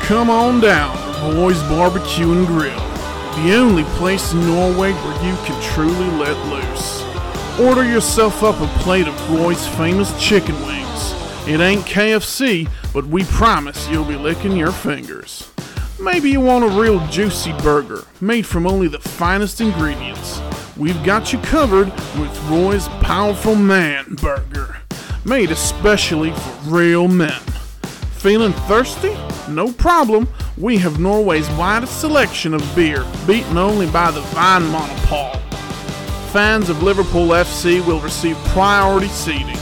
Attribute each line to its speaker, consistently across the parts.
Speaker 1: Come on down to Roy's Barbecue and Grill, the only place in Norway where you can truly let loose. Order yourself up a plate of Roy's famous chicken wings. It ain't KFC, but we promise you'll be licking your fingers. Maybe you want a real juicy burger made from only the finest ingredients. We've got you covered with Roy's Powerful Man Burger, made especially for real men. Feeling thirsty? No problem. We have Norway's widest selection of beer, beaten only by the Vine Monopole. Fans of Liverpool FC will receive priority seating.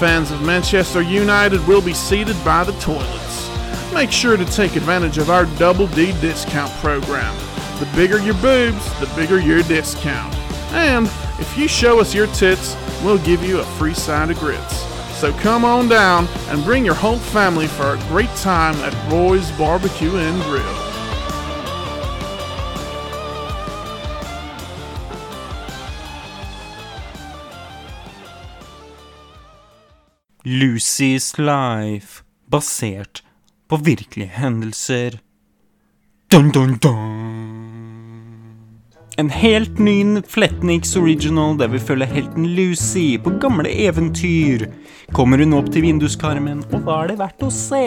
Speaker 1: Fans of Manchester United will be seated by the toilets. Make sure to take advantage of our Double D discount program. The bigger your boobs, the bigger your discount. And if you show us your tits, we'll give you a free side of grits. So come on down and bring your whole family for a great time at Roy's Barbecue and Grill.
Speaker 2: Lucy's Life, basert på virkelige hendelser. Dun, dun, dun. En helt ny Fletniks Original der vi følger helten Lucy på gamle eventyr. Kommer hun opp til vinduskarmen, og hva er det verdt å se?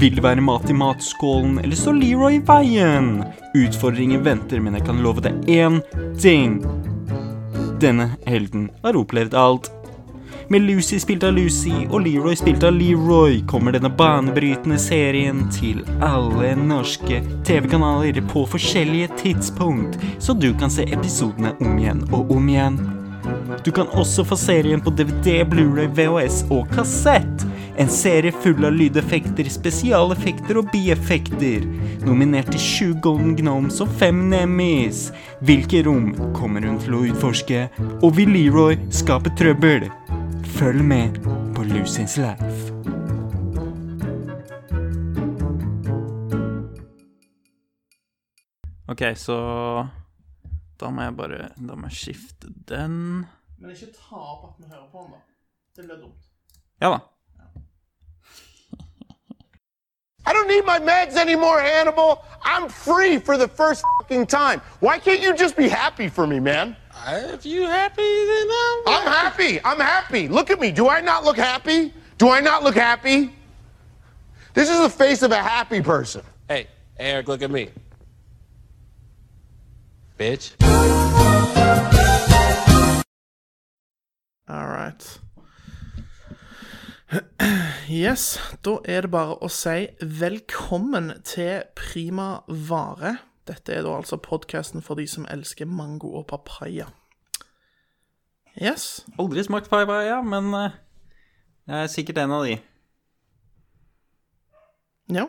Speaker 2: Vil det være mat i matskålen, eller står Leroy i veien? Utfordringer venter, men jeg kan love deg én ting. Denne helten har opplevd alt. Med Lucy spilt av Lucy og Leroy spilt av Leroy kommer denne banebrytende serien til alle norske TV-kanaler på forskjellige tidspunkt, så du kan se episodene om igjen og om igjen. Du kan også få serien på DVD, Blu-ray, VHS og kassett. En serie full av lydeffekter, spesialeffekter og bieffekter. Nominert til sju Golden Gnomes og fem Nemis. Hvilke rom kommer hun til å utforske? Og vil Leroy skape trøbbel? Følg med på Lucins Life.
Speaker 3: Ok, så da må jeg bare Da må jeg skifte den.
Speaker 1: Men ikke ta opp at vi hører på den, da. Det blir dumt.
Speaker 3: Ja da.
Speaker 4: I don't need my meds anymore, Hannibal. I'm free for the first fucking time. Why can't you just be happy for me, man?
Speaker 5: If you happy, then I'm.
Speaker 4: I'm happy. I'm happy. Look at me. Do I not look happy? Do I not look happy? This is the face of a happy person.
Speaker 5: Hey, Eric, look at me. Bitch.
Speaker 1: All right. Yes, da er det bare å si velkommen til Prima Vare. Dette er da altså podkasten for de som elsker mango og papaya. Yes.
Speaker 3: Aldri smakt papaya, men eh, jeg er sikkert en av de.
Speaker 1: Ja.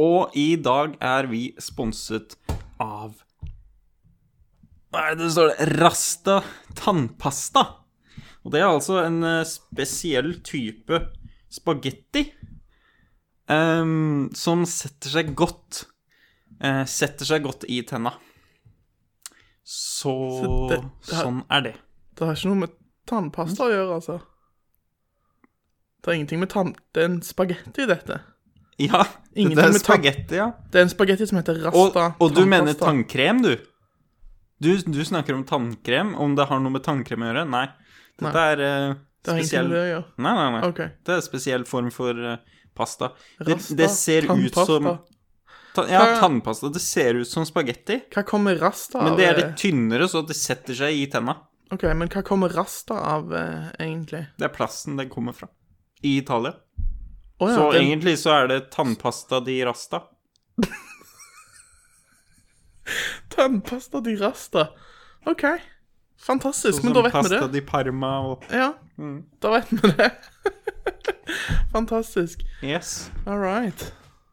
Speaker 3: Og i dag er vi sponset av Hva er det det står? der? Rasta tannpasta. Og det er altså en eh, spesiell type spagetti ehm, som setter seg godt eh, Setter seg godt i tenna. Så,
Speaker 1: Så det- det har-
Speaker 3: sånn er det.
Speaker 1: Det har ikke noe med tannpasta å gjøre, altså. Det er ingenting med tann... Det er en spagetti, dette.
Speaker 3: Ja, det
Speaker 1: Ingenting
Speaker 3: er
Speaker 1: med tann-
Speaker 3: spagetti, ja.
Speaker 1: Det er en spagetti som heter rasta
Speaker 3: Og, og du mener
Speaker 1: tannpasta.
Speaker 3: tannkrem, du? du? Du snakker om tannkrem, om det har noe med tannkrem å gjøre? Nei. Dette
Speaker 1: Nei.
Speaker 3: er eh,
Speaker 1: Det har
Speaker 3: spesiell
Speaker 1: ingenting med det å gjøre.
Speaker 3: Nei, nei, nei.
Speaker 1: Ok.
Speaker 3: Det er en spesiell form for eh, pasta. Det,
Speaker 1: Rasta,
Speaker 3: det ser ut som
Speaker 1: tannpasta.
Speaker 3: ta, Ja,
Speaker 1: Hva-
Speaker 3: tannpasta. Det ser ut som spagetti,
Speaker 1: Hva kommer rasta av?
Speaker 3: men det er
Speaker 1: eh,
Speaker 3: litt tynnere, så det setter seg i tenna.
Speaker 1: Ok, men hva kommer rasta av, eh, egentlig?
Speaker 3: Det er plassen den kommer fra. I Italia.
Speaker 1: Å ja,
Speaker 3: Så
Speaker 1: den-
Speaker 3: egentlig så er det tannpasta di rasta.
Speaker 1: Tannpasta di rasta. OK. Fantastisk. Men da
Speaker 3: Sånn Som
Speaker 1: vet vi
Speaker 3: pasta
Speaker 1: det.
Speaker 3: di Mm. parma og
Speaker 1: Ja, da vet vi det. Fantastisk.
Speaker 3: Yes.
Speaker 1: All right.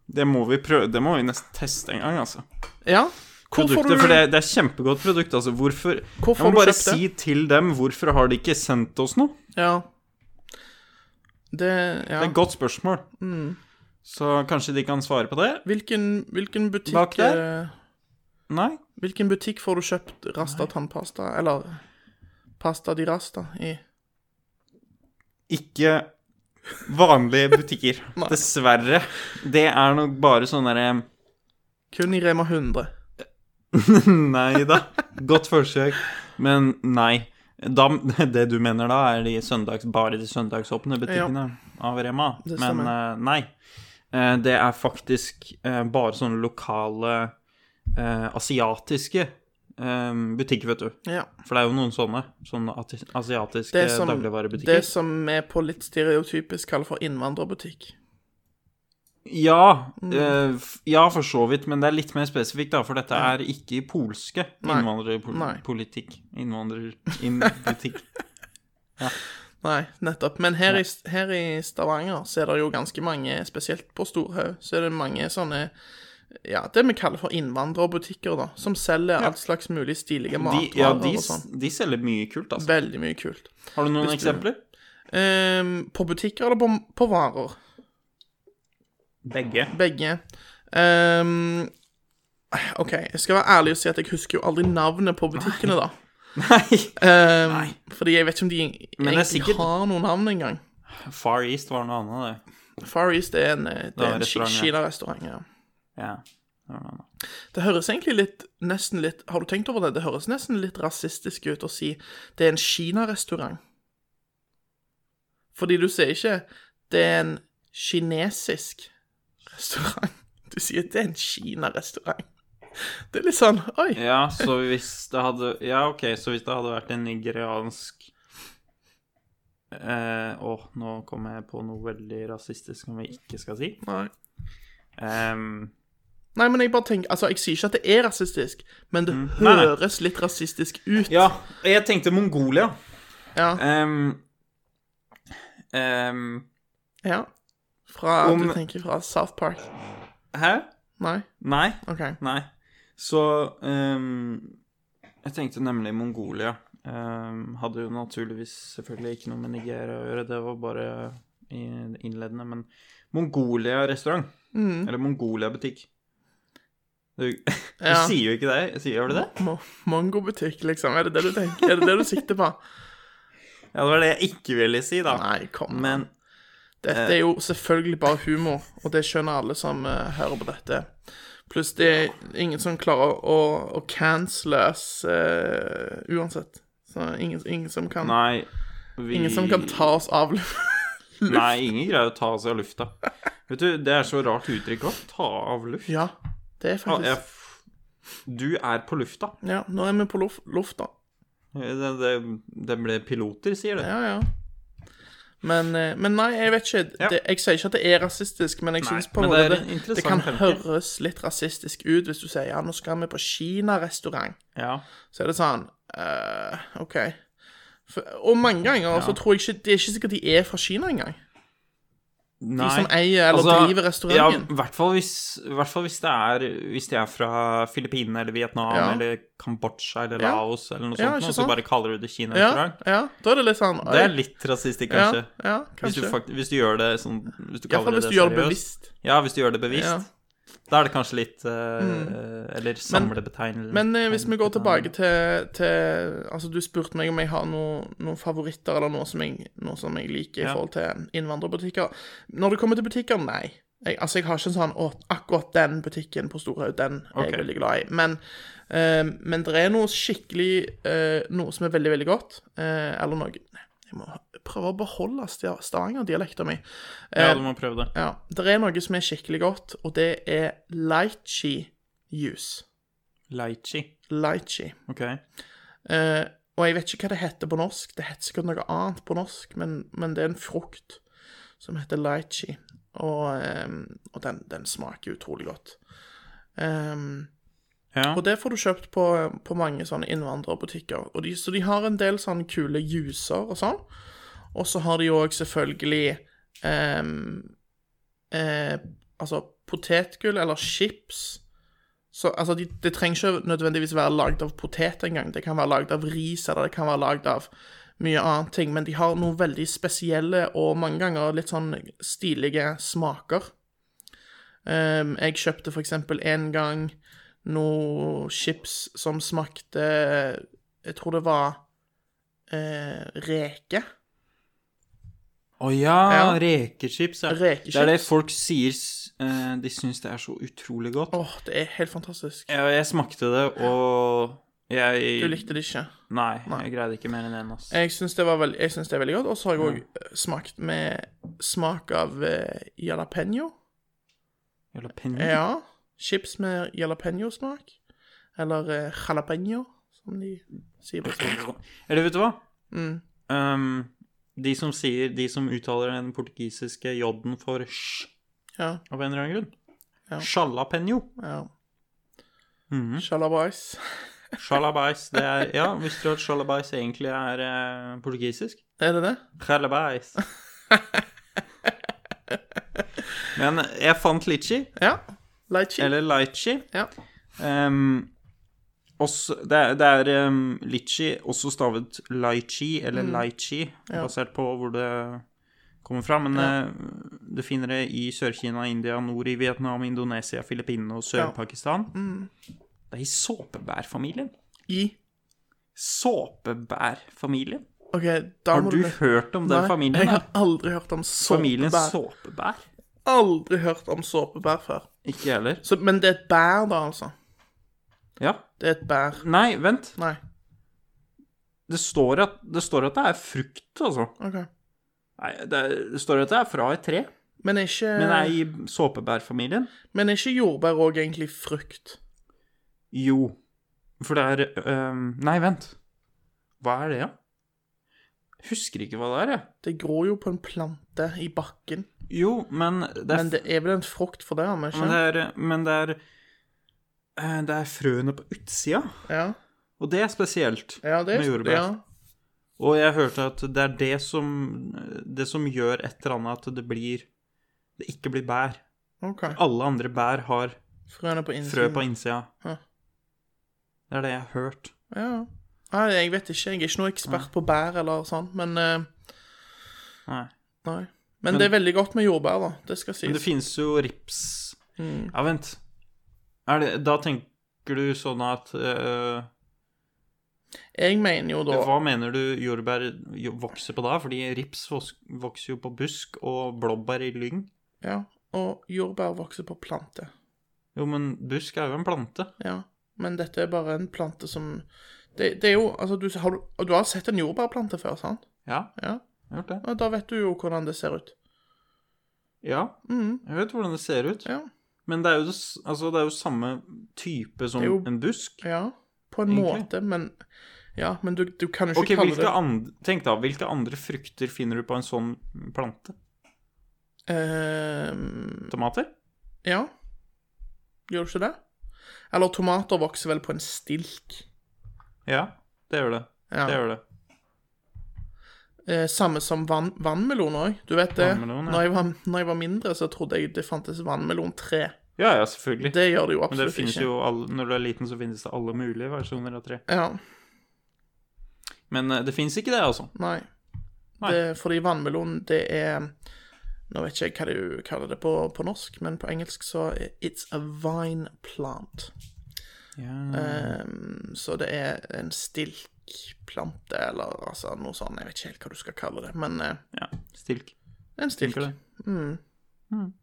Speaker 3: Det må vi prøve. Det må vi nesten teste en gang, altså.
Speaker 1: Ja. Hvor får du
Speaker 3: produktet, for det, det er kjempegodt produkt. Altså, hvorfor
Speaker 1: Hvor
Speaker 3: Jeg
Speaker 1: får
Speaker 3: må
Speaker 1: du
Speaker 3: bare
Speaker 1: kjøpt det?
Speaker 3: si til dem hvorfor har de ikke sendt oss noe?
Speaker 1: Ja. Det Ja. Mm.
Speaker 3: Det er et godt spørsmål. Så kanskje de kan svare på det?
Speaker 1: Hvilken, hvilken
Speaker 3: Bak
Speaker 1: butikk
Speaker 3: der?
Speaker 1: eh,
Speaker 3: Nei?
Speaker 1: Hvilken butikk får du kjøpt rasta tannpasta, eller pasta di rasta, i?
Speaker 3: Ikke vanlige butikker. Dessverre. Det er nok bare sånn derre
Speaker 6: Kun i Rema 100.
Speaker 3: Nei da. Godt forsøk, men nei. Da, det du mener da, er de søndags, bare de søndagsåpne butikkene av Rema.
Speaker 6: Det
Speaker 3: Men
Speaker 6: stemmer.
Speaker 3: eh, nei. Eh, det er faktisk eh, bare sånne lokale eh, asiatiske eh, butikker, vet du.
Speaker 6: Ja.
Speaker 3: For det er jo noen sånne. Sånne ati- asiatiske
Speaker 6: Det som, det
Speaker 3: dagligvarebutikker.
Speaker 6: som vi på litt stereotypisk kaller for innvandrerbutikk.
Speaker 3: Ja,
Speaker 6: Mm.
Speaker 3: eh, f- ja, for så vidt, men det er litt mer spesifikt, da, for dette er ikke i polske
Speaker 6: Nei. Nei.
Speaker 3: innvandrerpolitikk. Innvandrerbutikk.
Speaker 6: Nei, nettopp. Men her i, her i Stavanger så er det jo ganske mange, spesielt på Storhaug, så er det mange sånne ja, det vi kaller for innvandrerbutikker, da. Som selger alt slags mulig stilige
Speaker 3: De,
Speaker 6: matvarer
Speaker 3: ja, de,
Speaker 6: og sånn.
Speaker 3: de selger mye kult, altså.
Speaker 6: Veldig mye kult.
Speaker 3: Har du noen
Speaker 6: hvis du-
Speaker 3: eksempler?
Speaker 6: Ehm, på butikker eller på, på varer?
Speaker 3: Begge.
Speaker 6: Begge. Ehm, OK, jeg skal være ærlig og si at jeg husker jo aldri navnet på butikkene, da.
Speaker 3: Nei!
Speaker 6: Ehm,
Speaker 3: Nei.
Speaker 6: Fordi jeg vet ikke om de
Speaker 3: Men det er
Speaker 6: egentlig
Speaker 3: sikkert-
Speaker 6: har noen navn engang.
Speaker 3: Far East var noe annet, det.
Speaker 6: Far East er en, eh, det
Speaker 3: Ja,
Speaker 6: er en ki-
Speaker 3: restaurant, ja.
Speaker 6: Kina-restaurant. Ja.
Speaker 3: Ja. det var noe annet.
Speaker 6: Det høres egentlig litt, nesten litt Har du tenkt over det? Det høres nesten litt rasistisk ut å si det er en Kina-restaurant. Fordi du sier ikke det er en kinesisk restaurant. Du sier det er en Kina-restaurant. Det er litt sånn Oi.
Speaker 3: Ja, så hvis det hadde Ja, OK, så hvis det hadde vært en nigeriansk eh, Å, nå kom jeg på noe veldig rasistisk som vi ikke skal si.
Speaker 6: Nei.
Speaker 3: Ehm,
Speaker 6: Nei, men jeg bare tenker Altså, jeg sier ikke at det er rasistisk, men det
Speaker 3: Mm. Nei, nei.
Speaker 6: høres litt rasistisk ut.
Speaker 3: ja, jeg tenkte Mongolia.
Speaker 6: Ja.
Speaker 3: Ehm, ehm,
Speaker 6: ja. Fra
Speaker 3: Om-
Speaker 6: Du tenker fra South Park.
Speaker 3: hæ?
Speaker 6: Nei?
Speaker 3: Nei.
Speaker 6: OK.
Speaker 3: Nei. Så ehm, Jeg tenkte nemlig Mongolia. Ehm, hadde jo naturligvis selvfølgelig ikke noe med Nigeria å gjøre, det var bare i- innledende, men Mongolia-restaurant.
Speaker 6: Mm.
Speaker 3: Eller Mongolia-butikk. Du, du
Speaker 6: Ja.
Speaker 3: sier jo ikke det. Jeg Sier, gjør du det?
Speaker 6: Mo- Mongobutikk, liksom. Er det det du tenker? Er det det du sikter på?
Speaker 3: Ja, det var det jeg ikke ville si, da.
Speaker 6: Nei, kom. an.
Speaker 3: Men eh,
Speaker 6: dette er jo selvfølgelig bare humor, og det skjønner alle som eh, hører på dette. Pluss det er ingen som klarer å, å cancele oss eh, uansett. Så ingen, ingen, som kan,
Speaker 3: nei vi...
Speaker 6: ingen som kan ta oss av
Speaker 3: Nei, ingen greier å ta seg av lufta. Vet du, det er så rart uttrykk òg. Ta av luft.
Speaker 6: Ja, det
Speaker 3: Ja,
Speaker 6: er
Speaker 3: jeg
Speaker 6: faktisk
Speaker 3: f- Du er på lufta.
Speaker 6: Ja, nå er vi på lof- lufta.
Speaker 3: Det, det, det ble piloter, sier det.
Speaker 6: Ja, ja. Men, eh, men nei, jeg vet ikke.
Speaker 3: Ja.
Speaker 6: Det, jeg sier ikke at det er rasistisk, men jeg
Speaker 3: Nei,
Speaker 6: syns på
Speaker 3: men
Speaker 6: en
Speaker 3: det
Speaker 6: måte
Speaker 3: er en
Speaker 6: det, det kan
Speaker 3: interessant tanke.
Speaker 6: høres litt rasistisk ut hvis du sier ja, nå skal vi på Kina-restaurant.
Speaker 3: Ja.
Speaker 6: Så er det sånn eh, OK. For, og mange ganger så tror jeg ikke Det er ikke sikkert de er fra Kina engang.
Speaker 3: Nei. Altså,
Speaker 6: som eier eller driver restauranten.
Speaker 3: Ja, i hvert fall hvis, i hvert fall hvis, det er, hvis de er fra Filippinene eller Vietnam
Speaker 6: Ja.
Speaker 3: eller Kambodsja eller
Speaker 6: Ja.
Speaker 3: Laos eller noe
Speaker 6: Ja,
Speaker 3: sånt,
Speaker 6: ikke
Speaker 3: noe, så
Speaker 6: sant?
Speaker 3: bare kaller du det
Speaker 6: Ja,
Speaker 3: Kina-restaurant.
Speaker 6: ja, da er det litt sånn
Speaker 3: Det
Speaker 6: oi,
Speaker 3: er litt rasistisk,
Speaker 6: ja,
Speaker 3: kanskje.
Speaker 6: Ja,
Speaker 3: Hvis, du
Speaker 6: kanskje.
Speaker 3: fakt, hvis du gjør det sånn Hvis du
Speaker 6: Iallfall
Speaker 3: kaller det
Speaker 6: hvis du gjør det
Speaker 3: seriøst.
Speaker 6: bevisst.
Speaker 3: Ja, hvis du gjør det bevisst.
Speaker 6: Ja. Mm.
Speaker 3: Da er det kanskje litt eh, Eller samlebetegnelse.
Speaker 6: Men eh, hvis vi går tilbake til, til Altså, du spurte meg om jeg har noe, noen favoritter eller noe som jeg, noe som jeg liker i
Speaker 3: Ja.
Speaker 6: forhold til innvandrerbutikker. Når det kommer til butikker, nei. Jeg, altså, jeg har ikke en sånn Å, akkurat den butikken på Storhaug, den er
Speaker 3: Ok.
Speaker 6: jeg veldig glad i. Men, eh, men det er noe skikkelig eh, Noe som er veldig, veldig godt. Eh, eller noe Nei, jeg må prøve å beholde sta- Stavanger-dialekten min.
Speaker 3: Ja, du må prøve det.
Speaker 6: Ja, det er noe som er skikkelig godt, og det er lychee juice.
Speaker 3: Lychee.
Speaker 6: Lychee.
Speaker 3: OK.
Speaker 6: Eh, og jeg vet ikke hva det heter på norsk. Det heter sikkert noe annet på norsk, men, men det er en frukt som heter lychee. Og, ehm, og den, den smaker utrolig godt. Ehm,
Speaker 3: Ja.
Speaker 6: og det får du kjøpt på, på mange sånne innvandrerbutikker. Og de, så de har en del sånne kule juicer og sånn. Og så har de òg selvfølgelig ehm, eh, Altså potetgull eller chips. Så, altså, de, det trenger ikke nødvendigvis være lagd av potet engang. Det kan være lagd av ris, eller det kan være lagd av mye annet ting. Men de har noen veldig spesielle og mange ganger litt sånn stilige smaker. Ehm, jeg kjøpte for eksempel en gang noe chips som smakte Jeg tror det var eh, reke.
Speaker 3: Å ja,
Speaker 6: Ja.
Speaker 3: rekechips. Ja.
Speaker 6: Rekechips.
Speaker 3: Det er det folk sier s- eh, De syns det er så utrolig godt.
Speaker 6: Åh, det er helt fantastisk.
Speaker 3: Jeg, jeg smakte det, og jeg
Speaker 6: Du likte det ikke.
Speaker 3: Nei, jeg greide ikke mer enn én, ass.
Speaker 6: Jeg syns det, var veld... jeg synes det er veldig godt. Og så har jeg òg smakt med smak av eh, jalapeño.
Speaker 3: Jævla penne.
Speaker 6: Ja. Chips med jalapeño-smak. Eller eh, jalapeño, som de sier på spansk.
Speaker 3: Eller vet du hva?
Speaker 6: Mm.
Speaker 3: Ehm, de som sier De som uttaler den portugisiske j-en for sj
Speaker 6: Ja.
Speaker 3: av en eller annen grunn.
Speaker 6: Ja.
Speaker 3: Jalapeño.
Speaker 6: ja.
Speaker 3: Mhm.
Speaker 6: Shalabais.
Speaker 3: Jalabais. Det er Ja, visste du at jalabais egentlig er eh, portugisisk?
Speaker 6: Er det det?
Speaker 3: Jalabais. Men jeg fant litchi,
Speaker 6: Ja. Lychee.
Speaker 3: eller lychee.
Speaker 6: Ja.
Speaker 3: Ehm, også, det er, det er ehm, litchi, også stavet lychee, eller
Speaker 6: Mm.
Speaker 3: lychee, basert på hvor det kommer fra. Men eh, du finner det i Sør-Kina, India, nord i Vietnam, Indonesia, Filippinene og Sør-Pakistan.
Speaker 6: Mm.
Speaker 3: Det er i såpebærfamilien.
Speaker 6: I.
Speaker 3: Såpebærfamilien.
Speaker 6: OK, da
Speaker 3: Har
Speaker 6: må
Speaker 3: du hørt om den
Speaker 6: Nei,
Speaker 3: familien?
Speaker 6: Jeg
Speaker 3: da?
Speaker 6: har aldri hørt om
Speaker 3: Familien
Speaker 6: såpebær.
Speaker 3: såpebær?
Speaker 6: Aldri hørt om såpebær før.
Speaker 3: Ikke jeg heller.
Speaker 6: Så, men det er et bær, da, altså.
Speaker 3: Ja.
Speaker 6: Det er et bær.
Speaker 3: Nei, vent.
Speaker 6: Nei.
Speaker 3: Det står at det, står at det er frukt, altså.
Speaker 6: OK.
Speaker 3: Nei, det, er- det står at det er fra et tre.
Speaker 6: Men er ikke,
Speaker 3: Men det er i såpebærfamilien?
Speaker 6: men er ikke jordbær òg egentlig frukt?
Speaker 3: Jo. For det er øhm, Nei, vent. Hva er det, da? Husker ikke hva det er, jeg.
Speaker 6: Det gror jo på en plante i bakken.
Speaker 3: Jo, men det er,
Speaker 6: Men det er vel en frukt for det, har vi
Speaker 3: men det
Speaker 6: ikke?
Speaker 3: er, men det er eh, Det er frøene på utsida,
Speaker 6: Ja,
Speaker 3: og det er spesielt
Speaker 6: ja det
Speaker 3: med
Speaker 6: er
Speaker 3: jordbær.
Speaker 6: ja.
Speaker 3: Og jeg hørte at det er det som, det som gjør et eller annet at det blir Det ikke blir bær.
Speaker 6: OK.
Speaker 3: Alle andre bær har
Speaker 6: Frøene på innsiden.
Speaker 3: frø på innsida.
Speaker 6: Hæ.
Speaker 3: Det er det jeg har hørt.
Speaker 6: Ja. Nei, jeg vet ikke. Jeg er ikke noe ekspert på bær eller sånn, men eh,
Speaker 3: Nei.
Speaker 6: Nei. Men, det er veldig godt med jordbær, da. Det skal sies.
Speaker 3: Men det finnes jo rips
Speaker 6: Mm.
Speaker 3: Ja, vent. Er det, da tenker du sånn at øh,
Speaker 6: Jeg mener jo da
Speaker 3: Hva mener du jordbær jo- vokser på da? Fordi rips vos- vokser jo på busk, og blåbær i lyng.
Speaker 6: Ja, og jordbær vokser på plante.
Speaker 3: Jo, men busk er jo en plante.
Speaker 6: Ja, men dette er bare en plante som Det, det er jo Altså, du har, du- du har sett en jordbærplante før, sant?
Speaker 3: Ja,
Speaker 6: Ja.
Speaker 3: jeg har gjort det.
Speaker 6: ja. Da vet du jo hvordan det ser ut.
Speaker 3: Ja, jeg vet hvordan det ser ut.
Speaker 6: Mm. Ja.
Speaker 3: Men det er jo, det s- altså, det er jo samme type som
Speaker 6: Det er jo-
Speaker 3: en busk.
Speaker 6: ja på en
Speaker 3: Egentlig.
Speaker 6: måte, men Ja, men du, du kan jo ikke
Speaker 3: Ok,
Speaker 6: kalle
Speaker 3: hvilke andre, Tenk da, hvilke andre frukter finner du på en sånn plante?
Speaker 6: det Ehm,
Speaker 3: Tomater?
Speaker 6: Ja. Gjør du ikke det? Eller tomater vokser vel på en stilk.
Speaker 3: Ja, det gjør det.
Speaker 6: Ja.
Speaker 3: Det gjør det.
Speaker 6: Eh, samme som vann, vannmelon òg. Du vet det.
Speaker 3: Vannmelon, ja.
Speaker 6: når, jeg var, når jeg var mindre, så trodde jeg det fantes vannmelontre.
Speaker 3: Ja, ja, selvfølgelig.
Speaker 6: Det gjør det jo
Speaker 3: Men det
Speaker 6: absolutt
Speaker 3: finnes
Speaker 6: ikke.
Speaker 3: jo alle, Når du er liten, så finnes det alle mulige versjoner av tre.
Speaker 6: Ja,
Speaker 3: Men eh, det finnes ikke det, altså.
Speaker 6: nei.
Speaker 3: Nei.
Speaker 6: Det, fordi vannmelon, det er Nå vet ikke jeg hva du kaller det på, på norsk, men på engelsk så er It's a vine plant. Ehm, så det er en stilkplante, eller altså noe sånt. Jeg vet ikke helt hva du skal kalle det, men eh,
Speaker 3: Ja, Stilk.
Speaker 6: en stilk.
Speaker 3: Liker
Speaker 6: Mm.
Speaker 3: det.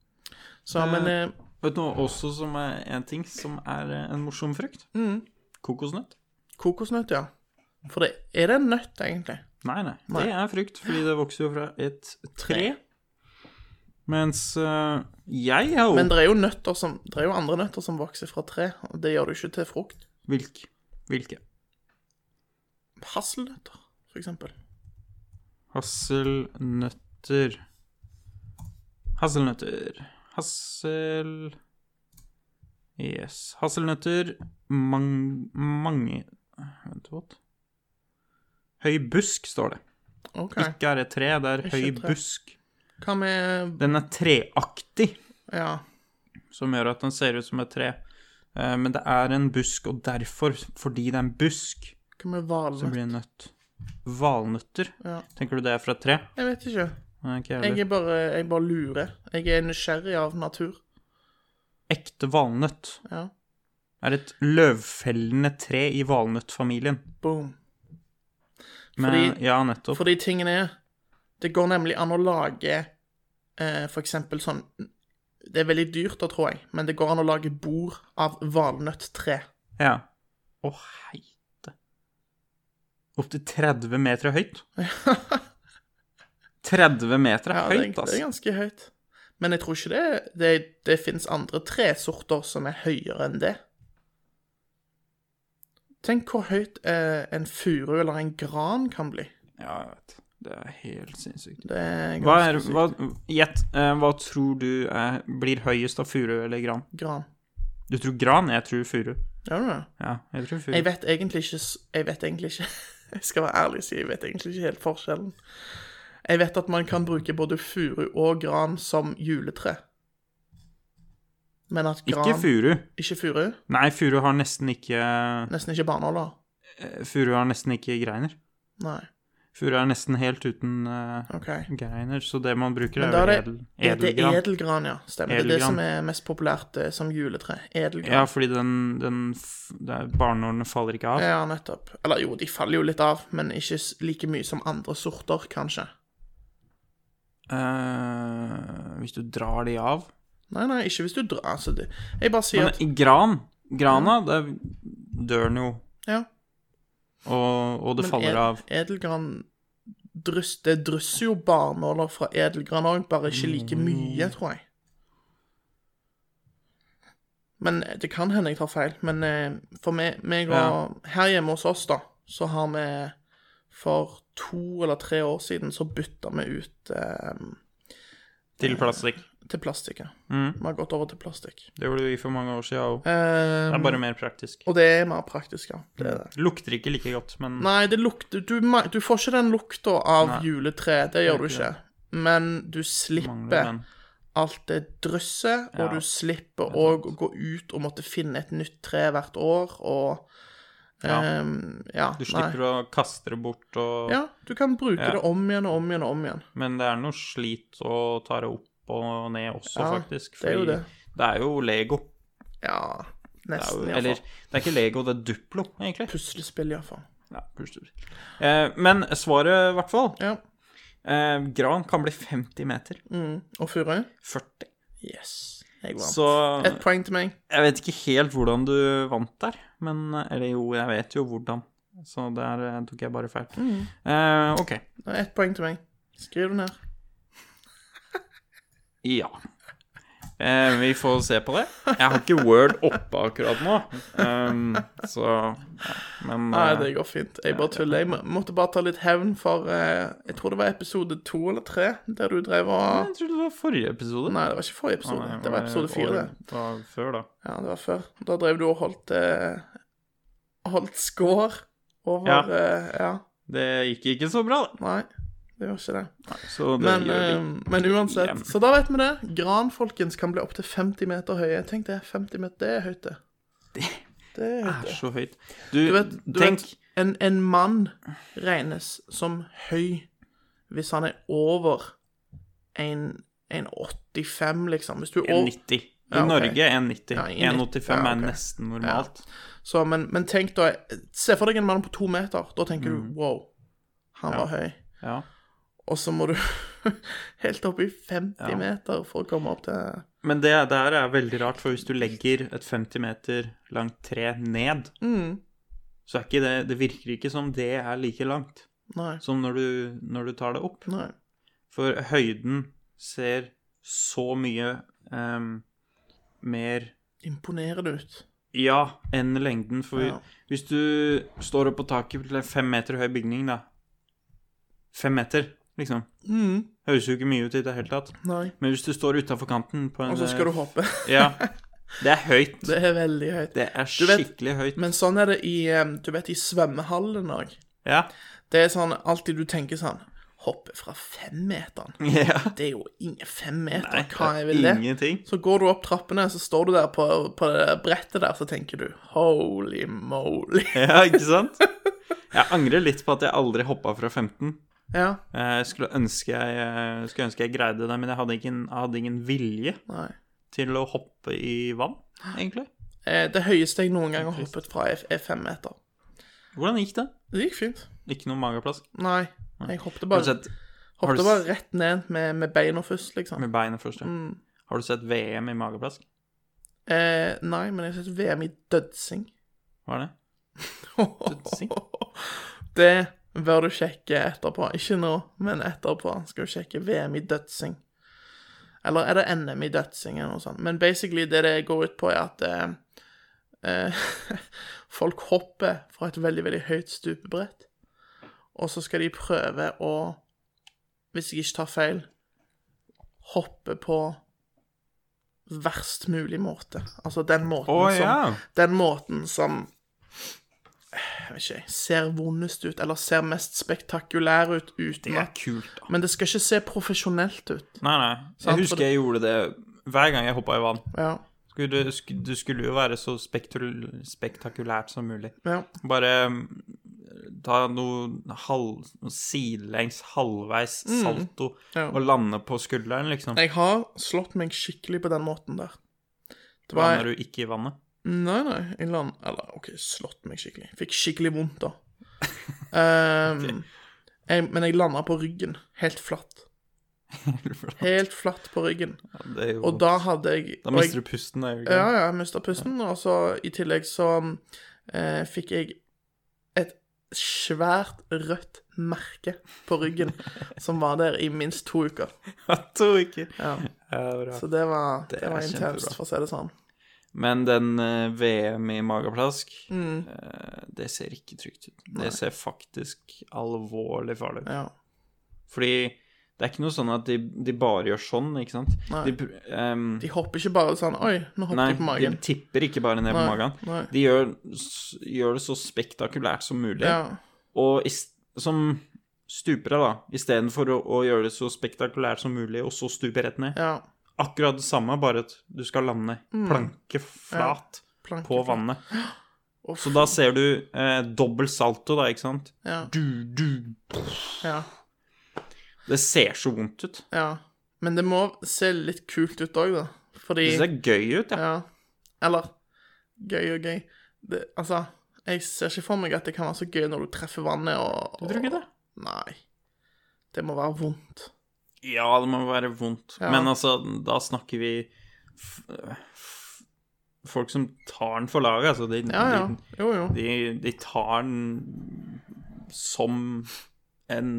Speaker 6: Så, men eh,
Speaker 3: Vet du noe også som er en ting som er eh, en morsom frukt?
Speaker 6: Mm.
Speaker 3: Kokosnøtt.
Speaker 6: kokosnøtt, ja. For det, er det en nøtt, egentlig?
Speaker 3: Nei, nei, Det er frukt, fordi det vokser jo fra et tre. Mens eh, jeg har jo
Speaker 6: Men det er jo nøtter som Det er jo andre nøtter som vokser fra tre, og det gjør du ikke til frukt.
Speaker 3: Hvilke? Hvilke?
Speaker 6: Hasselnøtter, for eksempel.
Speaker 3: Hasselnøtter Hasselnøtter Hassel... Yes. Hasselnøtter mang... mange Vent, what? Høy busk, står det.
Speaker 6: OK.
Speaker 3: Ikke er det tre, det er høy
Speaker 6: tre.
Speaker 3: busk.
Speaker 6: Hva med
Speaker 3: Den er treaktig,
Speaker 6: Ja.
Speaker 3: som gjør at den ser ut som et tre. Eh, Men det er en busk, og derfor, fordi det er en busk,
Speaker 6: Hva med
Speaker 3: så
Speaker 6: valnøtt?
Speaker 3: blir det en nøtt. Valnøtter?
Speaker 6: Ja.
Speaker 3: Tenker du det er fra et tre?
Speaker 6: Jeg vet ikke.
Speaker 3: Nei, ikke heller.
Speaker 6: Jeg er bare, jeg bare lurer. Jeg er nysgjerrig av natur.
Speaker 3: Ekte valnøtt
Speaker 6: Ja.
Speaker 3: er et løvfellende tre i valnøttfamilien.
Speaker 6: Boom.
Speaker 3: Men,
Speaker 6: Fordi-
Speaker 3: ja, nettopp.
Speaker 6: Fordi tingene er Det går nemlig an å lage eh, for eksempel sånn Det er veldig dyrt da, tror jeg, men det går an å lage bord av valnøtttre.
Speaker 3: Ja. Å, heite. Opptil 30 meter høyt. 30 meter er
Speaker 6: Ja, det,
Speaker 3: høyt,
Speaker 6: er- det er
Speaker 3: altså.
Speaker 6: ganske høyt. Men jeg tror ikke det Det, det fins andre tresorter som er høyere enn det. Tenk hvor høyt eh, en furu eller en gran kan bli.
Speaker 3: Ja, jeg vet. Det er helt sinnssykt.
Speaker 6: Det er
Speaker 3: Hva
Speaker 6: ganske
Speaker 3: er,
Speaker 6: sykt.
Speaker 3: hva, Gjett, eh, hva tror du eh, blir høyest av furu eller gran?
Speaker 6: Gran.
Speaker 3: Du tror gran? Jeg tror furu.
Speaker 6: Gjør du det?
Speaker 3: Ja, jeg tror furu.
Speaker 6: Jeg vet egentlig ikke s- Jeg vet egentlig ikke Jeg skal være ærlig og si jeg vet egentlig ikke helt forskjellen. Jeg vet at man kan bruke både furu og gran som juletre. Men at gran
Speaker 3: Ikke furu.
Speaker 6: Ikke furu?
Speaker 3: Nei, furu har nesten ikke
Speaker 6: Nesten ikke barnåler?
Speaker 3: Furu har nesten ikke greiner.
Speaker 6: Nei.
Speaker 3: Furu er nesten helt uten eh,
Speaker 6: OK.
Speaker 3: greiner, så det man bruker, er
Speaker 6: Men da
Speaker 3: jo
Speaker 6: er det,
Speaker 3: edel,
Speaker 6: ja, det er
Speaker 3: edelgran.
Speaker 6: edelgran, ja. Stemmer. Det er det
Speaker 3: Edelgran.
Speaker 6: som er mest populært eh, som juletre.
Speaker 3: Ja,
Speaker 6: Edelgran.
Speaker 3: fordi den, den f- det er- Barnårene faller ikke av.
Speaker 6: Ja, nettopp. Eller jo, de faller jo litt av, men ikke s- like mye som andre sorter, kanskje.
Speaker 3: Eh, hvis du drar de av
Speaker 6: Nei, nei, ikke hvis du drar Altså, det, jeg bare sier
Speaker 3: Men
Speaker 6: at
Speaker 3: i gran, grana, der dør den jo,
Speaker 6: Ja.
Speaker 3: og, og det
Speaker 6: Men
Speaker 3: faller
Speaker 6: ed-
Speaker 3: av.
Speaker 6: Edelgran dryss, Det drysser jo barnåler fra edelgran òg, bare ikke like
Speaker 3: Mm.
Speaker 6: mye, tror jeg. Men eh, det kan hende jeg tar feil. Men eh, for meg, meg og Her hjemme hos oss, da, så har vi for to eller tre år siden så bytta vi ut eh,
Speaker 3: Til plastikk.
Speaker 6: til plastikk. ja.
Speaker 3: Mm.
Speaker 6: Vi har gått over til plastikk.
Speaker 3: Det gjorde vi for mange år siden òg.
Speaker 6: Eh,
Speaker 3: Det er bare mer praktisk.
Speaker 6: Og det er mer praktisk, ja. Det er det.
Speaker 3: Lukter ikke like godt, men
Speaker 6: Nei, det lukter du, ma- du får ikke den lukta av
Speaker 3: Mm. Nei.
Speaker 6: juletre. Det gjør du
Speaker 3: ikke
Speaker 6: ikke. Men du
Speaker 3: mangler
Speaker 6: slipper
Speaker 3: den.
Speaker 6: alt det drysset,
Speaker 3: Ja,
Speaker 6: og du slipper
Speaker 3: det er
Speaker 6: òg
Speaker 3: sant.
Speaker 6: å gå ut og måtte finne et nytt tre hvert år, og
Speaker 3: Ja.
Speaker 6: ehm, ja
Speaker 3: Du slipper å kaste det bort, og,
Speaker 6: Ja, du kan bruke
Speaker 3: Ja.
Speaker 6: det om igjen og om igjen og om igjen.
Speaker 3: men det er noe slit å ta det opp og ned også,
Speaker 6: Ja,
Speaker 3: faktisk.
Speaker 6: det er jo
Speaker 3: fordi
Speaker 6: det.
Speaker 3: det er jo Lego.
Speaker 6: Ja,
Speaker 3: Det er jo,
Speaker 6: nesten,
Speaker 3: eller
Speaker 6: iallfall.
Speaker 3: det er ikke Lego, det er Duplo, egentlig.
Speaker 6: Puslespill, iallfall.
Speaker 3: Ja, puslespill. Eh, men svaret, i hvert fall
Speaker 6: Ja.
Speaker 3: eh, Gran kan bli 50 meter.
Speaker 6: Mm. Og Furu?
Speaker 3: 40.
Speaker 6: Yes. Jeg vant.
Speaker 3: Så
Speaker 6: Et poeng til meg.
Speaker 3: jeg vet ikke helt hvordan du vant der. Men Eller jo, jeg vet jo hvordan. Så der eh, tok jeg bare feil.
Speaker 6: Mm.
Speaker 3: Eh, OK.
Speaker 6: Det er Ett poeng til meg. Skriv det ned.
Speaker 3: Ja. Eh, vi får se på det. Jeg har ikke Word oppe akkurat nå, um, så ja, Men
Speaker 6: Nei,
Speaker 3: eh,
Speaker 6: det går fint. Jeg bare tuller. Jeg må- måtte bare ta litt hevn for eh, Jeg tror det var episode to eller tre der du drev og
Speaker 3: jeg trodde det var forrige episode.
Speaker 6: Nei, det var ikke forrige episode.
Speaker 3: Nei,
Speaker 6: det var episode fire,
Speaker 3: året
Speaker 6: det.
Speaker 3: var Før, da.
Speaker 6: Ja, det var før. Da drev du og holdt eh, Holdt score over
Speaker 3: Ja.
Speaker 6: Ja. ja.
Speaker 3: Det gikk ikke så bra, da.
Speaker 6: Nei, det gjorde ikke det.
Speaker 3: Så det
Speaker 6: Men,
Speaker 3: gjør vi.
Speaker 6: eh, men uansett.
Speaker 3: igjen.
Speaker 6: Så da vet vi det. Gran, folkens, kan bli opptil 50 meter høye. Tenk det. 50 meter, det er høyt, det. Det er høyt,
Speaker 3: Det er
Speaker 6: det.
Speaker 3: så høyt. Du,
Speaker 6: Du vet, du
Speaker 3: tenk
Speaker 6: vet en, en mann regnes som høy hvis han er over en, en 85, liksom. Hvis du er over,
Speaker 3: 1,90. I
Speaker 6: Ja, ok.
Speaker 3: Norge 1,90.
Speaker 6: Ja, 1,90.
Speaker 3: 1,85
Speaker 6: Ja,
Speaker 3: er
Speaker 6: ok.
Speaker 3: nesten normalt.
Speaker 6: så, men, men tenk da Se for deg en mann på to meter. Da tenker du wow, han var høy.
Speaker 3: Mm. Ja.
Speaker 6: Og så må du helt opp i 50 meter for å komme opp til
Speaker 3: Men det der er veldig rart, for hvis du legger et 50 meter langt tre ned,
Speaker 6: Mm.
Speaker 3: så er ikke det Det virker ikke som det er like langt
Speaker 6: Nei.
Speaker 3: som når du, når du tar det opp.
Speaker 6: Nei.
Speaker 3: For høyden ser så mye ehm, mer
Speaker 6: Imponerende ut.
Speaker 3: Ja, enn lengden. For
Speaker 6: Ja.
Speaker 3: hvis du står opp på taket til en fem meter høy bygning, da Fem meter, liksom.
Speaker 6: Mm.
Speaker 3: Høres jo ikke mye ut i det hele tatt.
Speaker 6: Nei.
Speaker 3: Men hvis du står utafor kanten på en eh,
Speaker 6: Og så skal du hoppe.
Speaker 3: Ja. Det er høyt.
Speaker 6: Det er veldig høyt.
Speaker 3: Det er
Speaker 6: Du vet-
Speaker 3: skikkelig høyt.
Speaker 6: Men sånn er det i eh, Du vet, i svømmehallen òg.
Speaker 3: Ja.
Speaker 6: Det er sånn alltid du tenker sånn Hoppe fra femmeteren?
Speaker 3: ja.
Speaker 6: Det er jo ingen femmeter.
Speaker 3: Nei,
Speaker 6: Hva
Speaker 3: det
Speaker 6: er
Speaker 3: er
Speaker 6: vel det?
Speaker 3: ingenting.
Speaker 6: Så går du opp trappene, så står du der på, på det brettet der, så tenker du Holy moly.
Speaker 3: Ja, ikke sant? Jeg angrer litt på at jeg aldri hoppa fra 15.
Speaker 6: Ja.
Speaker 3: Eh, Jeg skulle ønske jeg, eh, skulle ønske jeg greide det, men jeg hadde ingen, jeg hadde ingen vilje
Speaker 6: Nei.
Speaker 3: til å hoppe i vann, egentlig.
Speaker 6: Eh, Det høyeste jeg noen gang har hoppet fra, er, er fem meter.
Speaker 3: Hvordan gikk det?
Speaker 6: Det gikk fint.
Speaker 3: Ikke noe mageplask.
Speaker 6: Nei. Jeg hoppet
Speaker 3: Har du
Speaker 6: bare,
Speaker 3: sett Har du
Speaker 6: Ofte bare rett ned med, med beina først, liksom.
Speaker 3: Med beinet først, ja. Har du sett VM i mageplask?
Speaker 6: Eh, nei, men jeg syns VM i dødsing
Speaker 3: Hva er det? Dødsing?
Speaker 6: Det bør du sjekke etterpå. Ikke nå, men etterpå skal du sjekke VM i dødsing. Eller er det NM i dødsing eller noe sånt? Men basically det det går ut på, er at eh, eh, folk hopper fra et veldig, veldig høyt stupebrett, og så skal de prøve å, hvis jeg ikke tar feil, hoppe på verst mulig måte. Altså den måten
Speaker 3: Å,
Speaker 6: som
Speaker 3: ja.
Speaker 6: den måten som jeg vet ikke, ser vondest ut, eller ser mest spektakulær ut
Speaker 3: Det
Speaker 6: uten
Speaker 3: er
Speaker 6: at
Speaker 3: kult, da.
Speaker 6: Men det skal ikke se profesjonelt ut.
Speaker 3: Nei, nei.
Speaker 6: Sant,
Speaker 3: Jeg
Speaker 6: for-
Speaker 3: husker jeg gjorde det hver gang jeg hoppa i vann.
Speaker 6: Ja.
Speaker 3: Skulle, det sk- det skulle jo være så spektul- spektakulært som mulig.
Speaker 6: ja.
Speaker 3: Bare mm, ta noe halv, noe sidelengs, halvveis salto
Speaker 6: Ja.
Speaker 3: og lande på skulderen, liksom.
Speaker 6: Jeg har slått meg skikkelig på den måten der. Det var
Speaker 3: Lander du ikke i vannet?
Speaker 6: Nei, nei. Jeg land... Eller OK, slått meg skikkelig. Fikk skikkelig vondt, da. Ehm, jeg, men jeg landa på ryggen. Helt flatt. Helt flatt på ryggen.
Speaker 3: Det er jo,
Speaker 6: Og da hadde jeg
Speaker 3: da
Speaker 6: og jeg-
Speaker 3: mister du pusten, da. gjør du ikke
Speaker 6: Ja, ja, jeg mista pusten. Og så i tillegg så eh, fikk jeg et svært rødt merke på ryggen, som var der i minst to uker.
Speaker 3: det? Tror ikke.
Speaker 6: Ja.
Speaker 3: Ja, bra.
Speaker 6: Så det var, det
Speaker 3: er
Speaker 6: var
Speaker 3: kjempebra.
Speaker 6: intenst, for å si det sånn.
Speaker 3: Men den eh, VM i mageplask,
Speaker 6: Mm.
Speaker 3: eh, det ser ikke trygt ut. Det ser faktisk alvorlig farlig ut.
Speaker 6: Ja.
Speaker 3: Fordi det er ikke noe sånn at de, de bare gjør sånn, ikke sant?
Speaker 6: Nei.
Speaker 3: De, pr- ehm,
Speaker 6: De hopper ikke bare sånn Oi, nå hopper
Speaker 3: nei,
Speaker 6: de på
Speaker 3: de
Speaker 6: magen.
Speaker 3: tipper ikke bare ned på
Speaker 6: Nei,
Speaker 3: magen.
Speaker 6: nei.
Speaker 3: De gjør, s- gjør det så spektakulært som mulig.
Speaker 6: Ja.
Speaker 3: Og i, s- som stupere, da. Istedenfor å, å gjøre det så spektakulært som mulig, og så stupe rett ned.
Speaker 6: ja. Mm.
Speaker 3: Akkurat det samme, bare at du skal lande planke flat
Speaker 6: Planke
Speaker 3: på
Speaker 6: flat.
Speaker 3: vannet.
Speaker 6: Uff.
Speaker 3: Så da ser du eh, dobbel salto, da, ikke sant?
Speaker 6: Ja.
Speaker 3: Du, du
Speaker 6: ja.
Speaker 3: Det ser så vondt ut.
Speaker 6: ja. Men det må se litt kult ut òg, da. Fordi
Speaker 3: Det ser gøy ut, ja.
Speaker 6: Ja. Eller gøy og gøy. Det, altså, jeg ser ikke for meg at det kan være så gøy når du treffer vannet og Du tror ikke det? Nei. Det må være vondt.
Speaker 3: Ja, det må være vondt.
Speaker 6: Ja.
Speaker 3: Men altså, da snakker vi f f Folk som tar den for laget, altså. De,
Speaker 6: Ja, ja.
Speaker 3: de,
Speaker 6: Jo, jo.
Speaker 3: de, de tar den som en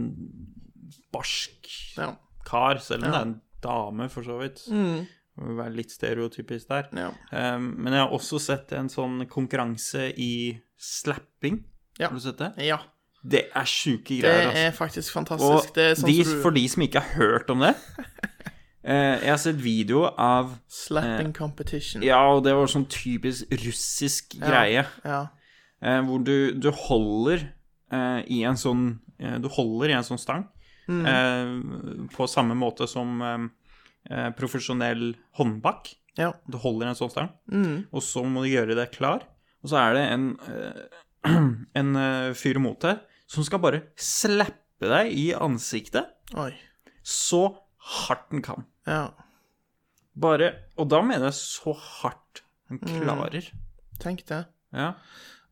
Speaker 3: barsk
Speaker 6: Ja.
Speaker 3: kar, selv om det er en dame, for så vidt.
Speaker 6: Mm,
Speaker 3: Må Være litt stereotypisk der.
Speaker 6: ja.
Speaker 3: Eh, men jeg har også sett en sånn konkurranse i slapping.
Speaker 6: Ja.
Speaker 3: Har du sett det?
Speaker 6: ja.
Speaker 3: Det er sjuke
Speaker 6: Det
Speaker 3: greier. altså.
Speaker 6: er faktisk fantastisk.
Speaker 3: Og
Speaker 6: det er sånn
Speaker 3: de,
Speaker 6: som du
Speaker 3: for de som ikke har hørt om det eh, Jeg har sett video av
Speaker 6: Slapping competition.
Speaker 3: Ja, og det var sånn typisk russisk greie.
Speaker 6: ja.
Speaker 3: eh, hvor du, du holder eh, i en sånn eh, Du holder i en sånn stang
Speaker 6: Mm.
Speaker 3: eh, på samme måte som eh, eh, profesjonell håndbak.
Speaker 6: Ja.
Speaker 3: Du holder i en sånn stang,
Speaker 6: Mm.
Speaker 3: og så må du gjøre deg klar. Og så er det en, eh, en eh, fyr mot deg som skal bare slappe deg i ansiktet
Speaker 6: Oi.
Speaker 3: så hardt den kan.
Speaker 6: Ja.
Speaker 3: Bare Og da mener jeg så hardt den
Speaker 6: Mm.
Speaker 3: klarer.
Speaker 6: Tenk det.
Speaker 3: Ja.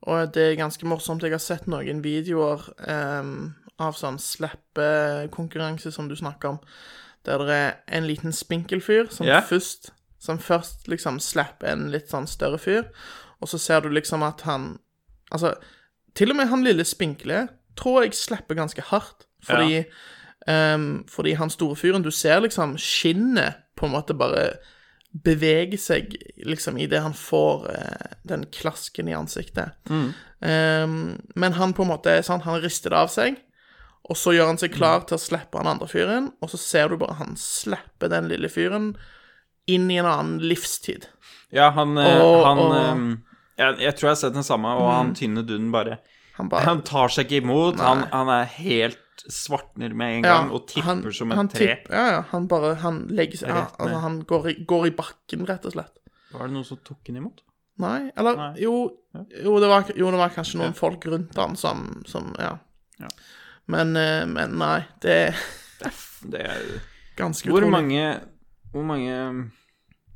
Speaker 6: Og det er ganske morsomt. Jeg har sett noen videoer em, av sånn slappekonkurranse som du snakker om, der det er en liten spinkel fyr som
Speaker 3: Ja.
Speaker 6: først som først liksom slapper en litt sånn større fyr, og så ser du liksom at han Altså, til og med han lille spinkle tror jeg slapper ganske hardt, fordi em, Fordi han store fyren Du ser liksom skinnet på en måte bare beveger seg liksom idet han får eh, den klasken i ansiktet. Ehm, men han på en måte er sånn, han rister det av seg, og så gjør han seg klar til å slippe han andre fyren, og så ser du bare han slipper den lille fyren inn i en annen livstid.
Speaker 3: Ja, han, eh,
Speaker 6: Og-
Speaker 3: han
Speaker 6: og-
Speaker 3: eh, jeg, jeg tror jeg har sett den samme, og
Speaker 6: Mm.
Speaker 3: han tynne dunden bare
Speaker 6: Han bare
Speaker 3: Han tar seg ikke imot. Han, han er helt svartner med en gang og tipper
Speaker 6: han-
Speaker 3: som et
Speaker 6: han
Speaker 3: tre.
Speaker 6: tipp- ja, ja, han bare Han legger seg ja,
Speaker 3: Rett ned.
Speaker 6: Altså, han går i, går i bakken, rett og slett.
Speaker 3: Var det noen som tok den imot?
Speaker 6: Nei, eller
Speaker 3: Nei.
Speaker 6: Jo, jo, det var, jo, det var kanskje noen folk rundt han som, som ja.
Speaker 3: Ja.
Speaker 6: Men, eh, men nei, det er
Speaker 3: Det er,
Speaker 6: ganske
Speaker 3: hvor,
Speaker 6: utrolig.
Speaker 3: mange, hvor mange um,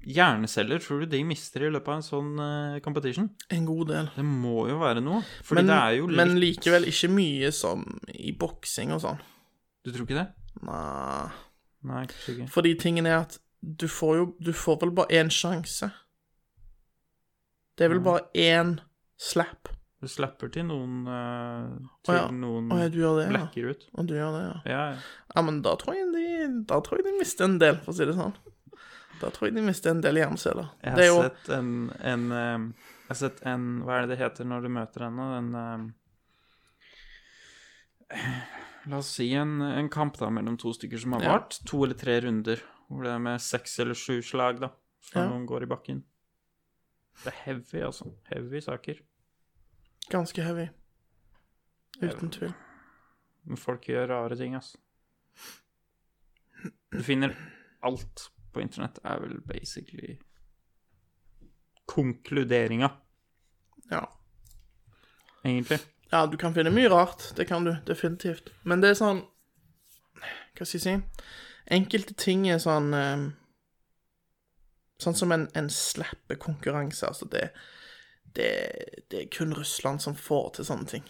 Speaker 3: hjerneceller tror du de mister i løpet av en sånn eh, competition?
Speaker 6: En god del.
Speaker 3: Det må jo være noe. Fordi
Speaker 6: Men,
Speaker 3: det er jo litt
Speaker 6: men likevel ikke mye som i boksing og sånn.
Speaker 3: Du tror ikke det?
Speaker 6: Nei.
Speaker 3: Nei, kanskje ikke.
Speaker 6: Fordi tingen er at du får jo Du får vel bare én sjanse. Det
Speaker 3: Mm.
Speaker 6: er vel bare én slap.
Speaker 3: Du slapper til noen eh, Til
Speaker 6: Å ja.
Speaker 3: noen
Speaker 6: Å ja, du gjør det, ja.
Speaker 3: blacker ut.
Speaker 6: Og du gjør det, ja.
Speaker 3: Ja, ja.
Speaker 6: Ja, men da tror jeg de, da tror jeg de mister en del, for å si det sånn. Da tror jeg de mister en del hjerneceller.
Speaker 3: Jeg
Speaker 6: Det
Speaker 3: har
Speaker 6: er jo
Speaker 3: sett en, en eh, Jeg har sett en Hva er det det heter når du møter henne? En eh, La oss si en, en kamp da mellom to stykker som har
Speaker 6: Ja.
Speaker 3: vart to eller tre runder. Hvor det er med seks eller sju slag, da, før
Speaker 6: Ja.
Speaker 3: noen går i bakken. Det er heavy, altså. Heavy saker.
Speaker 6: ganske heavy. Uten tvil.
Speaker 3: Men folk gjør rare ting, altså. Du finner alt på internett, er vel basically konkluderinga,
Speaker 6: Ja.
Speaker 3: egentlig.
Speaker 6: ja, du kan finne mye rart. Det kan du definitivt. Men det er sånn Hva skal jeg si? Enkelte ting er sånn eh, Sånn som en, en slappekonkurranse. Altså, det, det, det er kun Russland som får til sånne ting.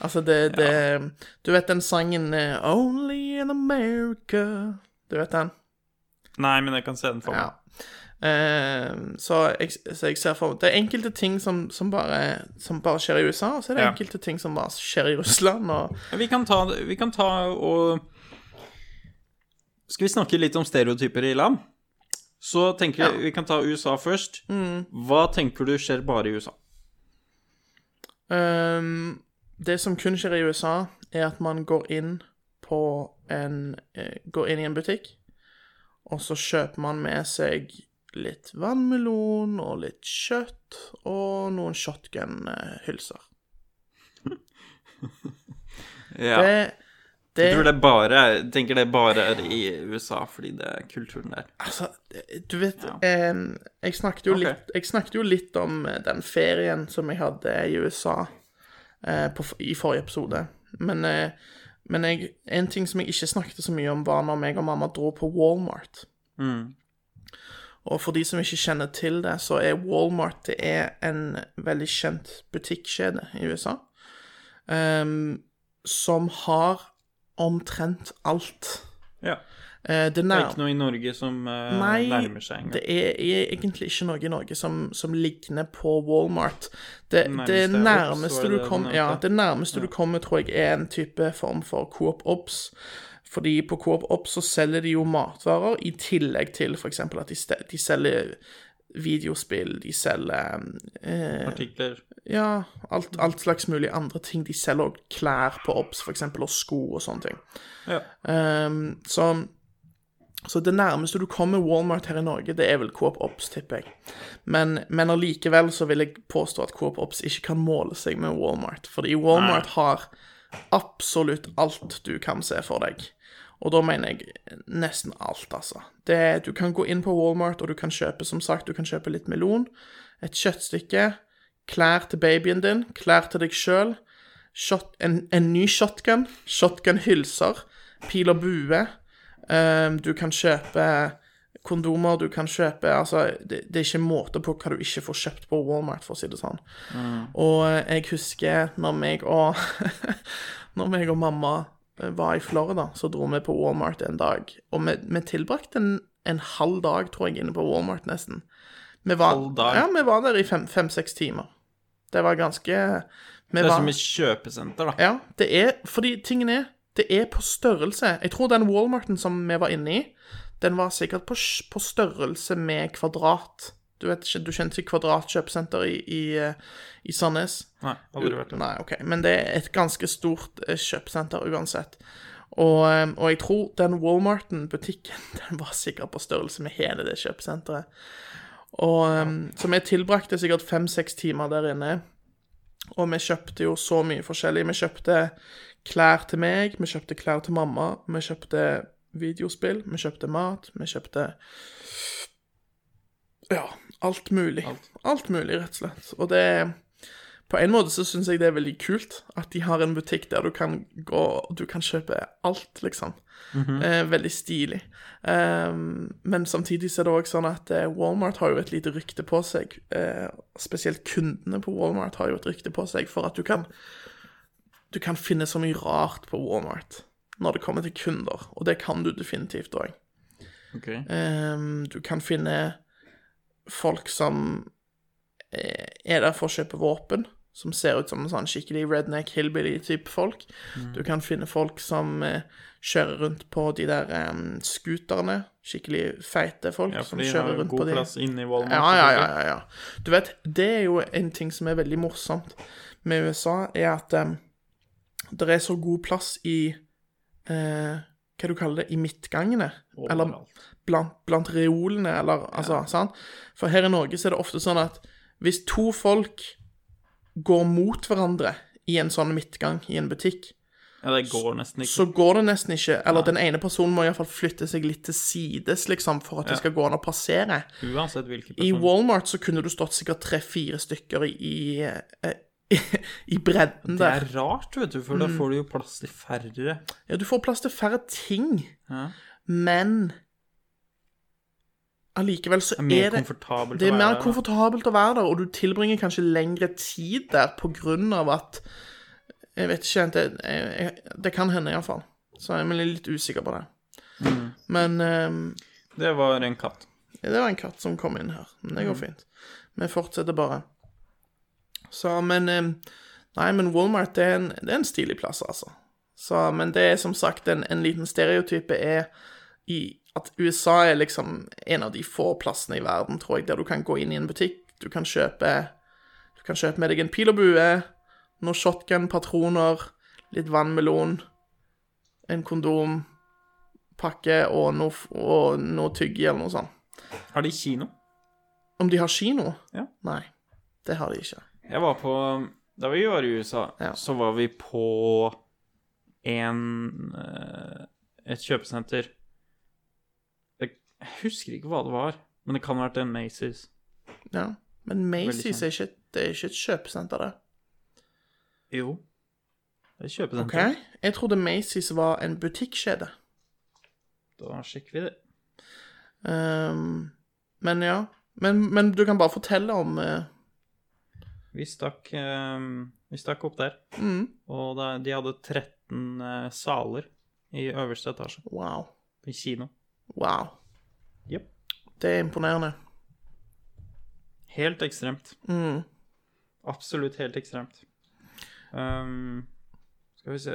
Speaker 6: altså, det, det Du vet den sangen eh, Only in America. Du vet den?
Speaker 3: Nei, men jeg kan se den for meg.
Speaker 6: Ja. Eh, så, jeg, så jeg ser for Det er enkelte ting som, som, bare, som bare skjer i USA, og så er det
Speaker 3: Ja.
Speaker 6: enkelte ting som bare skjer i Russland. Og,
Speaker 3: Vi kan ta, vi kan ta og Skal vi snakke litt om stereotyper i land? Så tenker jeg vi kan ta USA først.
Speaker 6: Mm.
Speaker 3: Hva tenker du skjer bare i USA?
Speaker 6: Ehm, det som kun skjer i USA, er at man går inn på en eh, Går inn i en butikk, og så kjøper man med seg litt vannmelon og litt kjøtt og noen eh, shotgun-hylser.
Speaker 3: Ja.
Speaker 6: Det, det,
Speaker 3: Jeg tror det bare er, tenker det bare er i USA, fordi det er kulturen der.
Speaker 6: Altså, du vet
Speaker 3: Ja.
Speaker 6: eh, jeg, snakket jo
Speaker 3: Ok.
Speaker 6: litt, jeg snakket jo litt om eh, den ferien som jeg hadde i USA eh, på, f- i forrige episode. Men, eh, men jeg, en ting som jeg ikke snakket så mye om, var når meg og mamma dro på Walmart.
Speaker 3: Mm.
Speaker 6: Og for de som ikke kjenner til det, så er Walmart det er en veldig kjent butikkjede i USA. ehm, som har omtrent alt.
Speaker 3: Ja.
Speaker 6: Eh, det,
Speaker 3: Det
Speaker 6: nær,
Speaker 3: er ikke noe i Norge som eh,
Speaker 6: Nei,
Speaker 3: nærmer seg engang.
Speaker 6: det er, er egentlig ikke noe i Norge som, som ligner på Walmart. Det
Speaker 3: Nærmeste
Speaker 6: det
Speaker 3: Obs, var
Speaker 6: nærmeste,
Speaker 3: det
Speaker 6: du,
Speaker 3: det
Speaker 6: kom,
Speaker 3: du nevnte?
Speaker 6: ja, det nærmeste du kommer, tror jeg er en type form for Coop Obs. Fordi på Coop Obs så selger de jo matvarer, i tillegg til f.eks. at de, ste- de selger videospill, de selger eh,
Speaker 3: Artikler.
Speaker 6: ja, alt, alt slags mulig andre ting. De selger òg klær på Obs, f.eks., og sko og sånne ting.
Speaker 3: Ja.
Speaker 6: Ehm, så, så det nærmeste du kommer Walmart her i Norge, det er vel Coop Obs, tipper jeg. Men, men allikevel så vil jeg påstå at Coop Obs ikke kan måle seg med Walmart. Fordi Walmart har absolutt alt du kan se for deg. Og da mener jeg nesten alt, altså. Det, du kan gå inn på Walmart, og du kan kjøpe, som sagt, du kan kjøpe litt melon, et kjøttstykke, klær til babyen din, klær til deg sjøl, en, en ny shotgun, shotgun-hylser, pil og bue. ehm, du kan kjøpe kondomer, du kan kjøpe Altså, det, det er ikke måte på hva du ikke får kjøpt på Walmart, for å si det sånn.
Speaker 3: Mm.
Speaker 6: Og eh, jeg husker når meg og Når meg og mamma eh, var i Florida, så dro vi på Walmart en dag. Og vi, vi tilbrakte en, en halv dag, tror jeg, inne på Walmart, nesten. Vi var,
Speaker 3: Halv dag?
Speaker 6: Ja, vi var der i fem- fem-seks timer. Det var ganske
Speaker 3: Det er som et kjøpesenter, da.
Speaker 6: ja, det er Fordi tingen er Det er på størrelse Jeg tror den Walmarten som vi var inne i Den var sikkert på, s- på størrelse med kvadrat Du vet ikke Du kjente ikke kvadratkjøpesenter i, i, eh, i Sandnes?
Speaker 3: Nei, aldri vært der.
Speaker 6: Nei, ok Men det er et ganske stort eh, kjøpesenter uansett og, eh, og jeg tror den Walmarten-butikken Den var sikkert på størrelse med hele det kjøpesenteret Og eh, Så vi tilbrakte sikkert 5-6 timer der inne og vi kjøpte jo så mye forskjellig. Vi kjøpte klær til meg, vi kjøpte klær til mamma, vi kjøpte videospill, vi kjøpte mat, vi kjøpte Ja, alt mulig. Alt, mulig, rett og slett. Og det På en måte så syns jeg det er veldig kult at de har en butikk der du kan gå Du kan kjøpe alt, liksom. eh, veldig stilig. Ehm, men samtidig så er det òg sånn at eh, Walmart har jo et lite rykte på seg. eh, spesielt kundene på Walmart har jo et rykte på seg for at du kan Du kan finne så mye rart på Walmart. når det kommer til kunder, og det kan du definitivt òg.
Speaker 3: Ok.
Speaker 6: Ehm, du kan finne folk som eh, er der for å kjøpe våpen, som ser ut som en sånn skikkelig redneck hillbilly-type folk.
Speaker 3: Mm.
Speaker 6: Du kan finne folk som eh, kjører rundt på de der em, scooterne, skikkelig feite folk
Speaker 3: Ja, for
Speaker 6: som
Speaker 3: de
Speaker 6: kjører
Speaker 3: har jo
Speaker 6: rundt
Speaker 3: god
Speaker 6: på de.
Speaker 3: plass inne i Walmart.
Speaker 6: Ja, ja, ja, ja, ja. Du vet, det er jo en ting som er veldig morsomt med USA, er at det er så god plass i eh, Hva du kaller det? I midtgangene? Eller blant, blant reolene, eller altså sant? For her i Norge så er det ofte sånn at hvis to folk går mot hverandre i en sånn midtgang i en butikk,
Speaker 3: Ja, det går nesten ikke.
Speaker 6: så går det nesten ikke. Eller den ene personen må iallfall flytte seg litt til sides, liksom, for at det skal gå an å passere.
Speaker 3: Uansett hvilken
Speaker 6: I
Speaker 3: person.
Speaker 6: Walmart så kunne du stått sikkert tre-fire stykker i, i, eh, i bredden
Speaker 3: Det
Speaker 6: der.
Speaker 3: er rart, vet du, for
Speaker 6: Mm.
Speaker 3: da får du jo plass til færre.
Speaker 6: Ja, du får plass til færre ting,
Speaker 3: Ja.
Speaker 6: men allikevel så
Speaker 3: Det er
Speaker 6: er,
Speaker 3: mer
Speaker 6: det
Speaker 3: komfortabelt å
Speaker 6: Det er
Speaker 3: være
Speaker 6: mer
Speaker 3: der, da.
Speaker 6: komfortabelt å være der, og du tilbringer kanskje lengre tid der på grunn av at Jeg vet ikke, det, jeg, jeg, det kan hende iallfall. Så jeg er litt usikker på det.
Speaker 3: Mm.
Speaker 6: Men ehm,
Speaker 3: Det var en katt.
Speaker 6: Det var en katt som kom inn her. Men det går fint. Vi fortsetter bare. Så, men eh, Nei, men Walmart det er en, det er en stilig plass, altså. Så, men det er som sagt en, en liten stereotype er i at USA er liksom en av de få plassene i verden, tror jeg, der du kan gå inn i en butikk, du kan kjøpe Du kan kjøpe med deg en pil og bue, noen shotgun-patroner, litt vannmelon, en kondom, pakke og noe, f- og noe tyggi eller noe sånt.
Speaker 3: Har de kino?
Speaker 6: Om de har kino?
Speaker 3: Ja.
Speaker 6: Nei, det har de ikke.
Speaker 3: Jeg var på Da vi var i USA,
Speaker 6: Ja.
Speaker 3: så var vi på en eh, Et kjøpesenter. Jeg husker ikke hva det var, men det kan ha vært en Macy's.
Speaker 6: Ja. Men
Speaker 3: Veldig
Speaker 6: Macy's
Speaker 3: kjent.
Speaker 6: er ikke, et- det er ikke et kjøpesenter, det.
Speaker 3: Jo. Det er et
Speaker 6: Ok?
Speaker 3: kjøpesenter.
Speaker 6: Jeg trodde Macy's var en butikkjede.
Speaker 3: Da sjekker vi det.
Speaker 6: Ehm, men ja. Men, men du kan bare fortelle om eh,
Speaker 3: Vi stakk, eh, vi stakk opp der,
Speaker 6: mm,
Speaker 3: og da, de hadde 13 eh, saler i øverste etasje
Speaker 6: Wow.
Speaker 3: i kino.
Speaker 6: Wow.
Speaker 3: Jep.
Speaker 6: Det er imponerende.
Speaker 3: Helt ekstremt.
Speaker 6: Mm.
Speaker 3: Absolutt helt ekstremt. Um, skal vi se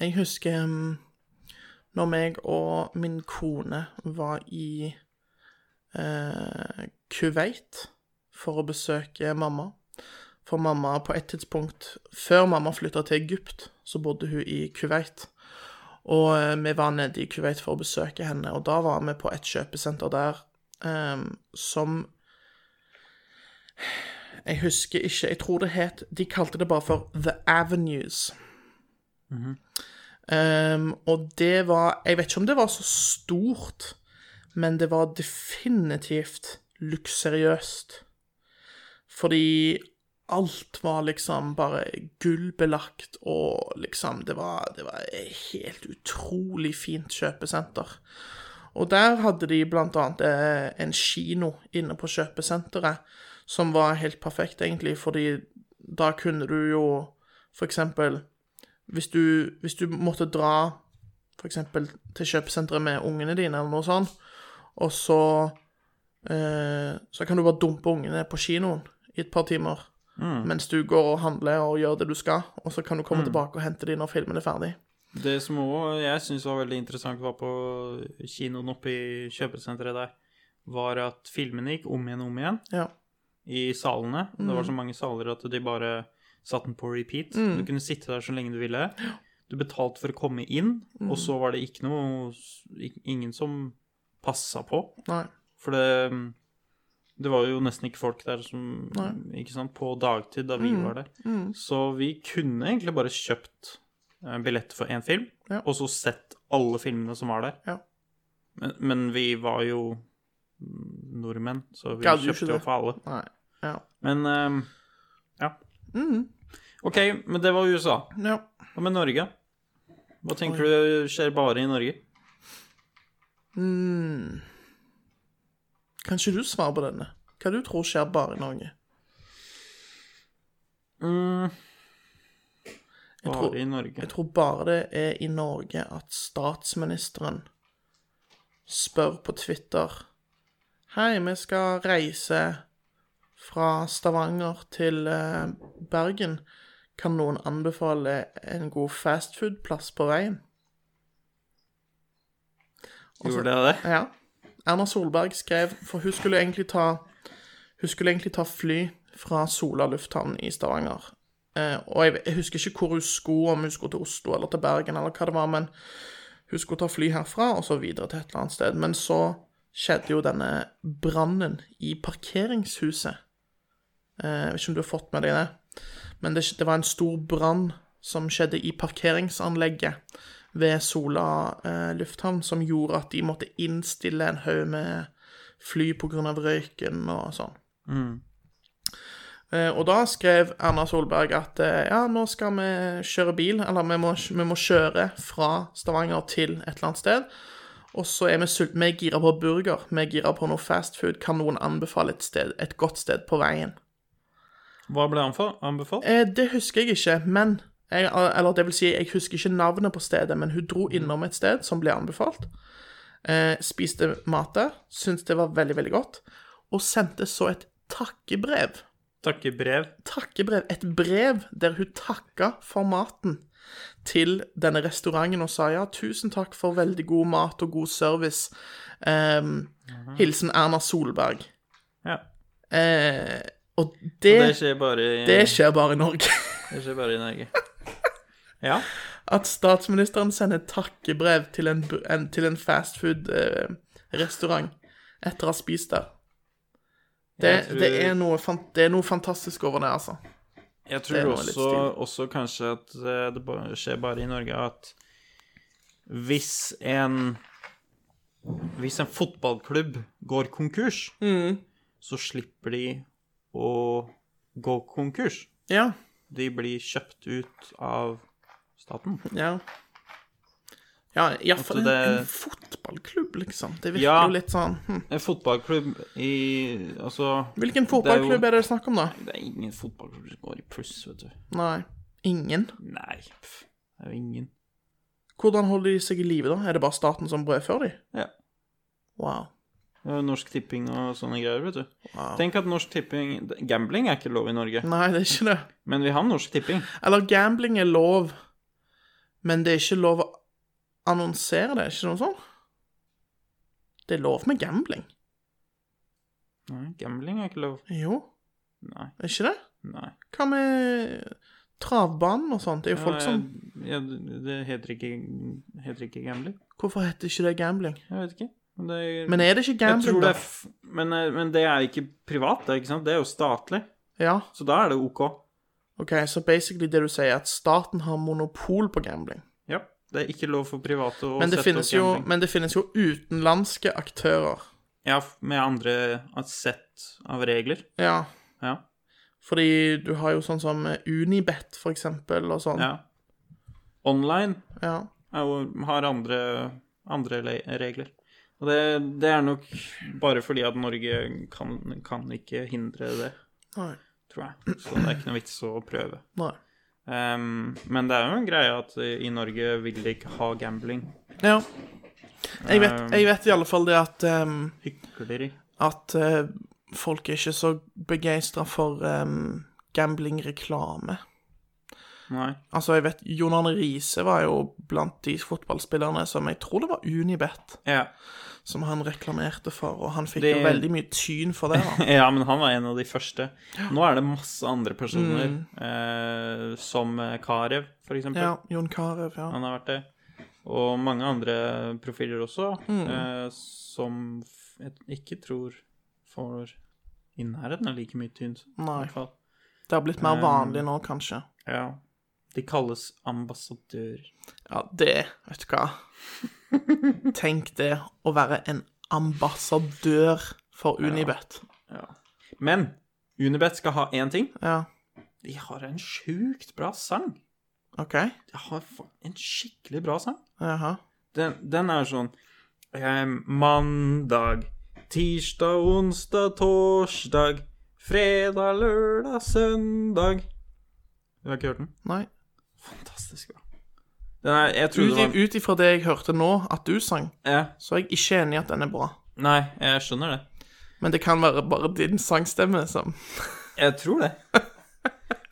Speaker 6: Jeg husker um, når meg og min kone var i eh, Kuwait for å besøke mamma. For mamma på et tidspunkt Før mamma flytta til Egypt, så bodde hun i Kuwait. Og eh, vi var nede i Kuwait for å besøke henne, og da var vi på et kjøpesenter der eh, som Jeg husker ikke, jeg tror det het De kalte det bare for The Avenues. Ehm, og det var Jeg vet ikke om det var så stort, men det var definitivt luksuriøst. Fordi alt var liksom bare gullbelagt, og liksom Det var, det var et helt utrolig fint kjøpesenter. Og der hadde de blant annet eh, en kino inne på kjøpesenteret, som var helt perfekt, egentlig, fordi da kunne du jo for eksempel hvis du, hvis du måtte dra f.eks. til kjøpesenteret med ungene dine, eller noe sånt, og så eh, Så kan du bare dumpe ungene på kinoen i et par timer mens du går og handler og gjør det du skal, og så kan du komme tilbake og hente de når filmen er ferdig.
Speaker 3: Det som òg jeg syns var veldig interessant, var på kinoen oppe i kjøpesenteret der, var at filmene gikk om igjen og om igjen
Speaker 6: Ja.
Speaker 3: i salene. Det var så mange saler at de bare satte den på repeat. Du kunne sitte der så lenge du ville. Du betalte for å komme inn, og så var det ikke noe ik- Ingen som passa på.
Speaker 6: Nei.
Speaker 3: For det, det var jo nesten ikke folk der som Ikke sant? På dagtid, da vi
Speaker 6: Mm.
Speaker 3: var der. Så vi kunne egentlig bare kjøpt eh, billett for én film,
Speaker 6: Ja.
Speaker 3: og så sett alle filmene som var der.
Speaker 6: Ja.
Speaker 3: Men, men vi var jo nordmenn, så vi
Speaker 6: Gadd jo ikke
Speaker 3: kjøpte jo
Speaker 6: det.
Speaker 3: for alle.
Speaker 6: Nei. Ja.
Speaker 3: Men eh, ja.
Speaker 6: Mm.
Speaker 3: OK, men det var USA.
Speaker 6: ja.
Speaker 3: Hva med Norge? Hva tenker du skjer bare i Norge?
Speaker 6: Kan ikke du svare på denne? Hva du tror skjer bare i Norge? tror-
Speaker 3: Bare i Norge.
Speaker 6: Jeg tror bare det er i Norge at statsministeren spør på Twitter Hei, vi skal reise fra Stavanger til eh, Bergen. Kan noen anbefale en god fastfood-plass på veien?
Speaker 3: Gjorde dere det?
Speaker 6: Ja. Erna Solberg skrev For hun skulle egentlig ta Hun skulle egentlig ta fly fra Sola lufthavn i Stavanger. Eh, og jeg, jeg husker ikke hvor hun skulle, om hun skulle til Oslo eller til Bergen eller hva det var, men hun skulle ta fly herfra og så videre til et eller annet sted. Men så skjedde jo denne brannen i parkeringshuset. Eh, jeg vet ikke om du har fått med deg det, men det, det var en stor brann som skjedde i parkeringsanlegget ved Sola eh, lufthavn som gjorde at de måtte innstille en haug med fly pga. røyken og sånn. Eh, og da skrev Erna Solberg at eh, ja, nå skal vi kjøre bil, eller vi må, vi må kjøre fra Stavanger til et eller annet sted. Og så er vi sultne, vi er gira på burger, vi er gira på noe fast food. Kan noen anbefale et, sted, et godt sted på veien?
Speaker 3: Hva ble anfa- anbefalt?
Speaker 6: Eh, det husker jeg ikke, men jeg, Eller det vil si, jeg husker ikke navnet på stedet, men hun
Speaker 3: Mm.
Speaker 6: dro innom et sted som ble anbefalt. Eh, spiste mat der, syntes det var veldig, veldig godt, og sendte så et takkebrev.
Speaker 3: Takkebrev.
Speaker 6: Takkebrev. Et brev der hun takka for maten til denne restauranten og sa ja, tusen takk for veldig god mat og god service. Ehm,
Speaker 3: Mhm.
Speaker 6: hilsen Erna Solberg.
Speaker 3: Ja.
Speaker 6: Eh, og
Speaker 3: Det
Speaker 6: det,
Speaker 3: skjer bare i,
Speaker 6: det skjer bare i Norge.
Speaker 3: det skjer bare i Norge. Ja.
Speaker 6: at statsministeren sender takkebrev til en, bu- en, til en fastfood-restaurant etter å ha spist der. Det,
Speaker 3: Jeg tror-
Speaker 6: det, er noe, fan- det er noe fantastisk over det, altså.
Speaker 3: Jeg
Speaker 6: Det er
Speaker 3: tror
Speaker 6: noe litt
Speaker 3: også,
Speaker 6: stilig.
Speaker 3: også kanskje at eh, det bare skjer bare i Norge at hvis en Hvis en fotballklubb går konkurs, Mm. så slipper de å gå konkurs.
Speaker 6: Ja.
Speaker 3: De blir kjøpt ut av staten.
Speaker 6: Ja, ja iallfall en,
Speaker 3: det-
Speaker 6: en fotballklubb, liksom. Det virker
Speaker 3: Ja.
Speaker 6: jo litt sånn hm.
Speaker 3: En fotballklubb i Altså
Speaker 6: Hvilken
Speaker 3: Det er
Speaker 6: fotballklubb
Speaker 3: jo-
Speaker 6: er det snakk om, da?
Speaker 3: Det er ingen fotballklubb som går i pluss, vet du.
Speaker 6: Nei. Ingen?
Speaker 3: Nei, pff, det er jo ingen.
Speaker 6: Hvordan holder de seg i live, da? Er det bare staten som brødfører de?
Speaker 3: Ja.
Speaker 6: Wow.
Speaker 3: Det er jo Eh, Norsk Tipping og sånne greier, vet du.
Speaker 6: Wow.
Speaker 3: Tenk at Norsk Tipping Gambling er ikke lov i Norge,
Speaker 6: Nei, det er ikke det.
Speaker 3: men vi har Norsk Tipping.
Speaker 6: Eller gambling er lov, men det er ikke lov å annonsere det, er ikke noe sånt? Det er lov med gambling.
Speaker 3: Nei, gambling er ikke lov.
Speaker 6: Jo,
Speaker 3: Nei.
Speaker 6: er ikke det?
Speaker 3: nei.
Speaker 6: Hva med travbanen og sånt? Det er jo folk som
Speaker 3: Ja, det det heter ikke, heter ikke gambling.
Speaker 6: Hvorfor heter ikke det gambling?
Speaker 3: Jeg vet ikke. Men det er,
Speaker 6: Men er det ikke
Speaker 3: jeg
Speaker 6: gambling,
Speaker 3: tror det
Speaker 6: da?
Speaker 3: er f men, eh, men det er ikke privat, da, ikke sant? Det er jo statlig.
Speaker 6: Ja,
Speaker 3: Så da er det OK.
Speaker 6: OK, så basically det du sier, er at staten har monopol på gambling.
Speaker 3: Ja. Det er ikke lov for private å
Speaker 6: Men
Speaker 3: sette
Speaker 6: det,
Speaker 3: opp
Speaker 6: finnes jo,
Speaker 3: gambling.
Speaker 6: men det finnes jo utenlandske aktører.
Speaker 3: Ja, f- med andre et sett av regler.
Speaker 6: Ja,
Speaker 3: Ja.
Speaker 6: fordi du har jo sånn som Unibet, for eksempel, og sånn.
Speaker 3: ja. Online
Speaker 6: ja.
Speaker 3: er jo, har andre, andre le- regler. Og det, det er nok bare fordi at Norge kan, kan ikke hindre det.
Speaker 6: Nei.
Speaker 3: tror jeg. Så det er ikke noe vits å prøve.
Speaker 6: Nei.
Speaker 3: Ehm, men det er jo en greie at i Norge vil de ikke ha gambling.
Speaker 6: Ja.
Speaker 3: Ehm.
Speaker 6: Jeg vet, jeg vet i alle fall det at ehm,
Speaker 3: Hykleri.
Speaker 6: At eh, folk er ikke så begeistra for ehm, gambling-reklame.
Speaker 3: Nei.
Speaker 6: Altså, jeg vet Jon Arne Riise var jo blant de fotballspillerne som jeg tror det var Unibet
Speaker 3: Ja.
Speaker 6: som han reklamerte for, og han fikk
Speaker 3: Det-
Speaker 6: jo veldig mye tyn for det. da.
Speaker 3: ja, men han var en av de første. Nå er det masse andre personer, eh, som Karev, for eksempel.
Speaker 6: Ja, Jon Carew, ja.
Speaker 3: Han har vært det. Og mange andre profiler også, eh, som f- jeg ikke tror får i nærheten av like mye tyn. i
Speaker 6: Nei.
Speaker 3: hvert fall.
Speaker 6: Det har blitt mer
Speaker 3: Ehm.
Speaker 6: vanlig nå, kanskje.
Speaker 3: Ja. De kalles ambassadører.
Speaker 6: Ja, det Vet du hva? Tenk det, å være en ambassadør for Unibet.
Speaker 3: Men Unibet skal ha én ting.
Speaker 6: Ja,
Speaker 3: De har en sjukt bra sang.
Speaker 6: OK?
Speaker 3: De har fa- en skikkelig bra sang.
Speaker 6: Jaha.
Speaker 3: Den, den er sånn eh, Mandag, tirsdag, onsdag, torsdag, fredag, lørdag, søndag Du har ikke hørt den?
Speaker 6: Nei.
Speaker 3: Fantastisk bra. Den er, jeg trodde
Speaker 6: Ut,
Speaker 3: det
Speaker 6: i-
Speaker 3: var
Speaker 6: ut ifra det jeg hørte nå at du sang,
Speaker 3: ja.
Speaker 6: så er jeg ikke enig i at den er bra.
Speaker 3: Nei, jeg skjønner det.
Speaker 6: Men det kan være bare din sangstemme som
Speaker 3: Jeg tror det.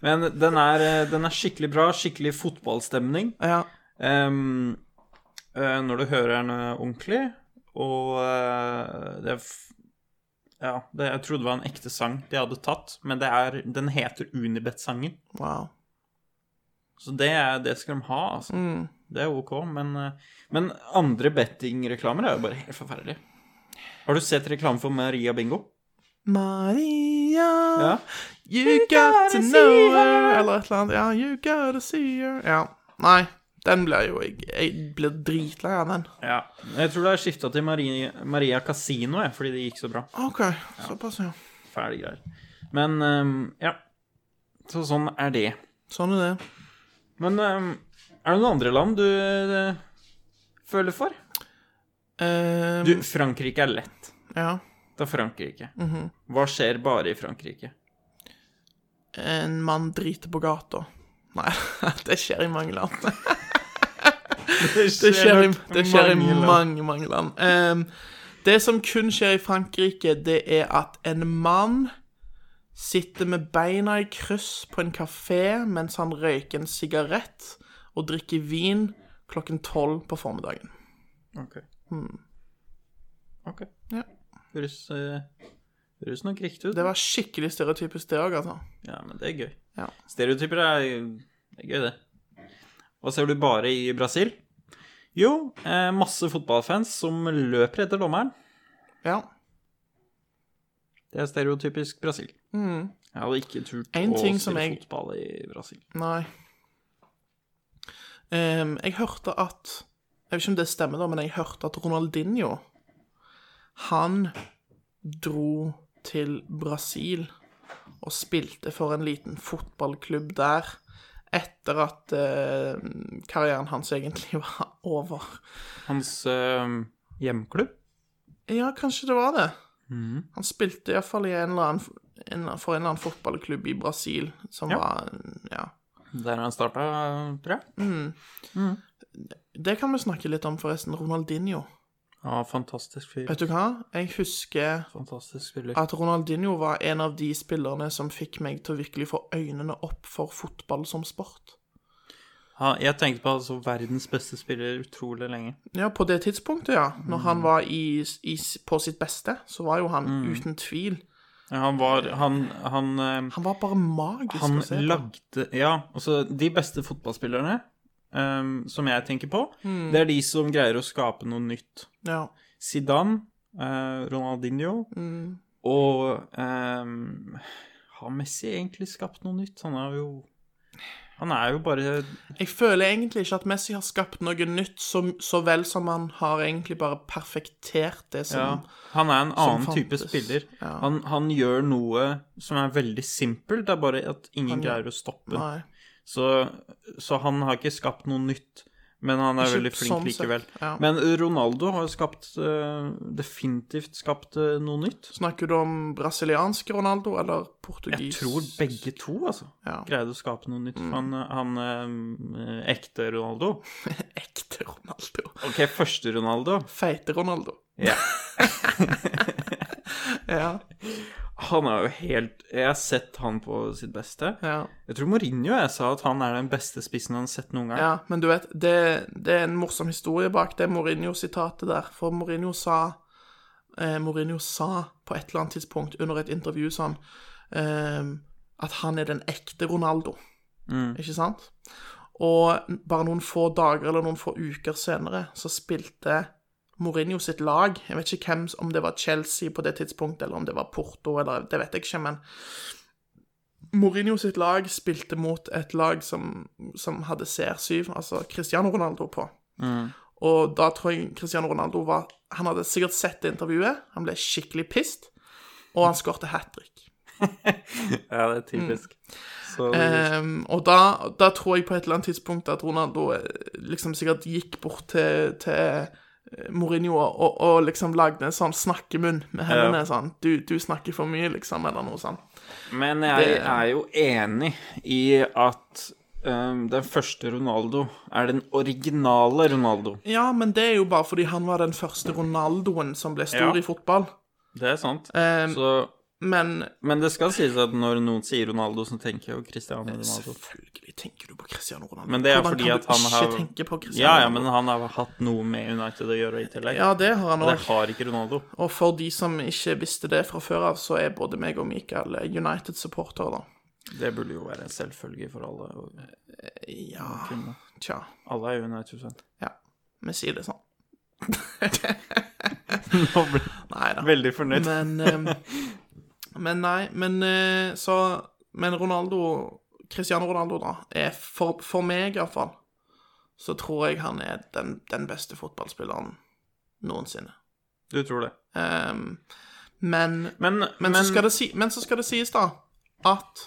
Speaker 3: Men den er, eh, den er skikkelig bra. Skikkelig fotballstemning.
Speaker 6: Ja.
Speaker 3: Ehm, eh, når du hører den eh, ordentlig, og eh, det er f Ja, det, jeg trodde det var en ekte sang de hadde tatt, men det er, den heter Unibet-sangen.
Speaker 6: Wow.
Speaker 3: Så det, er- det skal de ha, altså.
Speaker 6: Mm.
Speaker 3: Det er OK, men, eh, men andre bettingreklamer er jo bare helt forferdelig. Har du sett reklame for Maria Bingo?
Speaker 6: Maria
Speaker 3: Ja.
Speaker 6: You got to know her Eller et eller annet. Ja, you gotta see her. Ja. Nei, den blir jo Jeg, jeg blir dritlei av den.
Speaker 3: ja. Jeg tror det er skifta til Maria, Maria Casino, jeg, fordi det gikk så bra.
Speaker 6: OK, såpass, ja.
Speaker 3: Fæle greier. Men ehm, ja. Så sånn er det.
Speaker 6: Sånn er det.
Speaker 3: Men ehm, er det noen andre land du eh, føler for?
Speaker 6: Ehm,
Speaker 3: Du, Frankrike er lett.
Speaker 6: Ja.
Speaker 3: Det er Frankrike.
Speaker 6: Mhm.
Speaker 3: Hva skjer bare i Frankrike?
Speaker 6: En mann driter på gata. Nei, det skjer i mange land. Det skjer i, det skjer i mange, mange land. Ehm, det som kun skjer i Frankrike, det er at en mann sitter med beina i kryss på en kafé mens han røyker en sigarett og drikker vin klokken tolv på formiddagen.
Speaker 3: Ok. Ok.
Speaker 6: Hmm. Ja.
Speaker 3: Høres, eh, høres nok riktig ut.
Speaker 6: Det var skikkelig stereotypisk, det òg, altså.
Speaker 3: Ja, men det er gøy.
Speaker 6: Ja.
Speaker 3: Stereotyper er, det er gøy, det. Hva ser du bare i Brasil? Jo, eh, masse fotballfans som løper etter dommeren.
Speaker 6: Ja.
Speaker 3: Det er stereotypisk Brasil.
Speaker 6: Mm.
Speaker 3: Jeg hadde ikke turt
Speaker 6: En
Speaker 3: å
Speaker 6: ting
Speaker 3: spille
Speaker 6: som jeg-
Speaker 3: fotball i Brasil.
Speaker 6: Nei. Ehm, jeg hørte at Jeg vet ikke om det stemmer, da, men jeg hørte at Ronaldinho Han dro til Brasil og spilte for en liten fotballklubb der etter at eh, karrieren hans egentlig var over.
Speaker 3: Hans eh, hjemklubb?
Speaker 6: Ja, kanskje det var det. Han spilte iallfall i en eller annen, en, eller annen- for en eller annen fotballklubb i Brasil, som
Speaker 3: Ja.
Speaker 6: var Ja.
Speaker 3: Der han starta, tror jeg.
Speaker 6: Det kan vi snakke litt om, forresten. Ronaldinho.
Speaker 3: Ja, fantastisk fyr.
Speaker 6: Vet du hva? Jeg husker
Speaker 3: Fantastisk spiller.
Speaker 6: at Ronaldinho var en av de spillerne som fikk meg til å virkelig få øynene opp for fotball som sport.
Speaker 3: Ja, jeg tenkte på han som verdens beste spiller utrolig lenge.
Speaker 6: Ja, på det tidspunktet, ja. Når
Speaker 3: Mm.
Speaker 6: han var i, i, på sitt beste, så var jo han
Speaker 3: Mm.
Speaker 6: uten tvil
Speaker 3: Ja, han var Han, han, eh,
Speaker 6: Han var bare magisk
Speaker 3: han
Speaker 6: å se på.
Speaker 3: lagde Ja, altså, de beste fotballspillerne eh, som jeg tenker på,
Speaker 6: Mm.
Speaker 3: det er de som greier å skape noe nytt.
Speaker 6: Ja.
Speaker 3: Zidane, eh, Ronaldinho
Speaker 6: Mm.
Speaker 3: og eh, Har Messi egentlig skapt noe nytt? Han er jo Han er jo bare
Speaker 6: Jeg føler egentlig ikke at Messi har skapt noe nytt, så, så vel som han har egentlig bare perfektert det som
Speaker 3: Ja, han er en
Speaker 6: som
Speaker 3: annen type
Speaker 6: fantes.
Speaker 3: spiller.
Speaker 6: Ja.
Speaker 3: Han, han gjør noe som er veldig simpelt, det er bare at ingen greier å stoppe den.
Speaker 6: Nei.
Speaker 3: Så, så han har ikke skapt noe nytt, men han er
Speaker 6: Ikke
Speaker 3: veldig flink
Speaker 6: sånn sett,
Speaker 3: likevel.
Speaker 6: ja.
Speaker 3: Men Ronaldo har skapt øh, definitivt skapt øh, noe nytt.
Speaker 6: Snakker du om brasiliansk Ronaldo eller
Speaker 3: Jeg
Speaker 6: portugis?
Speaker 3: tror begge to, altså.
Speaker 6: Ja. Mm.
Speaker 3: Greide å skape noe nytt. Han, han øh, ekte Ronaldo.
Speaker 6: Ekte Ronaldo.
Speaker 3: OK, første Ronaldo.
Speaker 6: Feite Ronaldo.
Speaker 3: Ja.
Speaker 6: Ja.
Speaker 3: Han er jo helt Jeg har sett han på sitt beste.
Speaker 6: Ja.
Speaker 3: Jeg tror Mourinho jeg sa at han er den beste spissen han har sett noen gang.
Speaker 6: ja, men du vet, det, det er en morsom historie bak det Mourinho-sitatet der. For Mourinho sa eh, Mourinho sa på et eller annet tidspunkt under et intervju sånn eh, At han er den ekte Ronaldo. Ikke sant? Og bare noen få dager eller noen få uker senere så spilte Mourinho sitt lag Jeg vet ikke hvem, om det var Chelsea på det tidspunktet, eller om det var Porto, eller det vet jeg ikke, men Mourinho sitt lag spilte mot et lag som, som hadde CR7, altså Cristiano Ronaldo, på. Og da tror jeg Cristiano Ronaldo var Han hadde sikkert sett det intervjuet, han ble skikkelig pissed, og han skårte hat trick.
Speaker 3: Ja, det er typisk.
Speaker 6: Mm.
Speaker 3: Så
Speaker 6: Ehm, og da, da tror jeg på et eller annet tidspunkt at Ronaldo eh, liksom sikkert gikk bort til, til eh, Mourinho og, og liksom lagde en sånn snakkemunn med hendene. sånn, du, 'Du snakker for mye', liksom, eller noe sånt.
Speaker 3: Men jeg
Speaker 6: Det-
Speaker 3: er jo enig i at ehm, den første Ronaldo er den originale Ronaldo.
Speaker 6: Ja, men det er jo bare fordi han var den første Ronaldoen som ble stor
Speaker 3: Ja.
Speaker 6: i fotball.
Speaker 3: Det er sant.
Speaker 6: Ehm,
Speaker 3: Så,
Speaker 6: Men
Speaker 3: men det skal sies at når noen sier Ronaldo, så tenker jeg jo
Speaker 6: Eh,
Speaker 3: Cristiano Ronaldo.
Speaker 6: selvfølgelig tenker du på Cristiano Ronaldo.
Speaker 3: Men det er
Speaker 6: Hvordan
Speaker 3: fordi
Speaker 6: kan
Speaker 3: at
Speaker 6: du
Speaker 3: han
Speaker 6: ikke
Speaker 3: har
Speaker 6: tenke på Cristiano
Speaker 3: Ja, ja, men
Speaker 6: Ronaldo?
Speaker 3: han har hatt noe med United å gjøre i tillegg.
Speaker 6: Ja, det har han
Speaker 3: Og det
Speaker 6: òg.
Speaker 3: har ikke Ronaldo.
Speaker 6: Og for de som ikke visste det fra før av, så er både meg og Michael United-supportere, da.
Speaker 3: Det burde jo være en selvfølge for alle. og
Speaker 6: Ja Tja.
Speaker 3: Alle er jo United-fan.
Speaker 6: Ja. Vi sier det sånn.
Speaker 3: Nå ble jeg
Speaker 6: Nei da.
Speaker 3: Veldig fornøyd.
Speaker 6: Men eh, Men nei, men eh, så Men Ronaldo Cristiano Ronaldo, da, er for, for meg iallfall Så tror jeg han er den, den beste fotballspilleren noensinne.
Speaker 3: Du tror det.
Speaker 6: Ehm, men, men,
Speaker 3: Men, men,
Speaker 6: så skal det si, men så skal det sies, da, at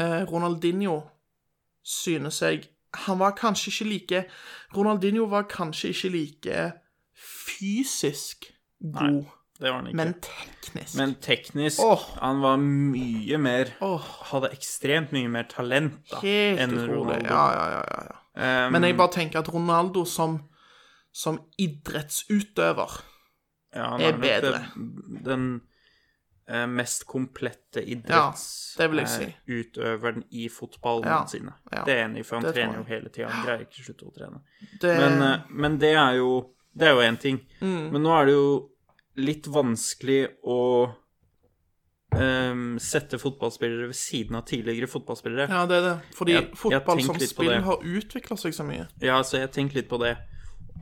Speaker 6: eh, Ronaldinho synes jeg Han var kanskje ikke like Ronaldinho var kanskje ikke like fysisk god,
Speaker 3: det var han ikke.
Speaker 6: men teknisk.
Speaker 3: Men teknisk
Speaker 6: Åh.
Speaker 3: Han var mye mer
Speaker 6: Åh.
Speaker 3: Hadde ekstremt mye mer talent da
Speaker 6: Helt
Speaker 3: enn
Speaker 6: utrolig.
Speaker 3: Ronaldo.
Speaker 6: Ja, ja, ja, ja, ja.
Speaker 3: Ehm,
Speaker 6: Men jeg bare tenker at Ronaldo som, som idrettsutøver
Speaker 3: ja, han
Speaker 6: er
Speaker 3: nok
Speaker 6: bedre.
Speaker 3: Den, den eh, mest komplette
Speaker 6: Ja, det vil jeg si.
Speaker 3: idrettsutøveren i fotball
Speaker 6: Ja,
Speaker 3: noensinne.
Speaker 6: ja.
Speaker 3: Det er enig, for han
Speaker 6: Det tror
Speaker 3: trener jo
Speaker 6: jeg.
Speaker 3: hele tida. Han greier ikke å slutte å trene.
Speaker 6: det,
Speaker 3: Men, eh, men det er jo Det er jo én ting.
Speaker 6: Mm.
Speaker 3: Men nå er det jo litt vanskelig å ehm, sette fotballspillere ved siden av tidligere fotballspillere.
Speaker 6: Ja, det er det. Fordi
Speaker 3: Jeg- jeg
Speaker 6: fotball
Speaker 3: tenkte
Speaker 6: som
Speaker 3: litt på
Speaker 6: spill
Speaker 3: det.
Speaker 6: har utvikla seg så mye.
Speaker 3: Ja, så jeg tenkte litt på det.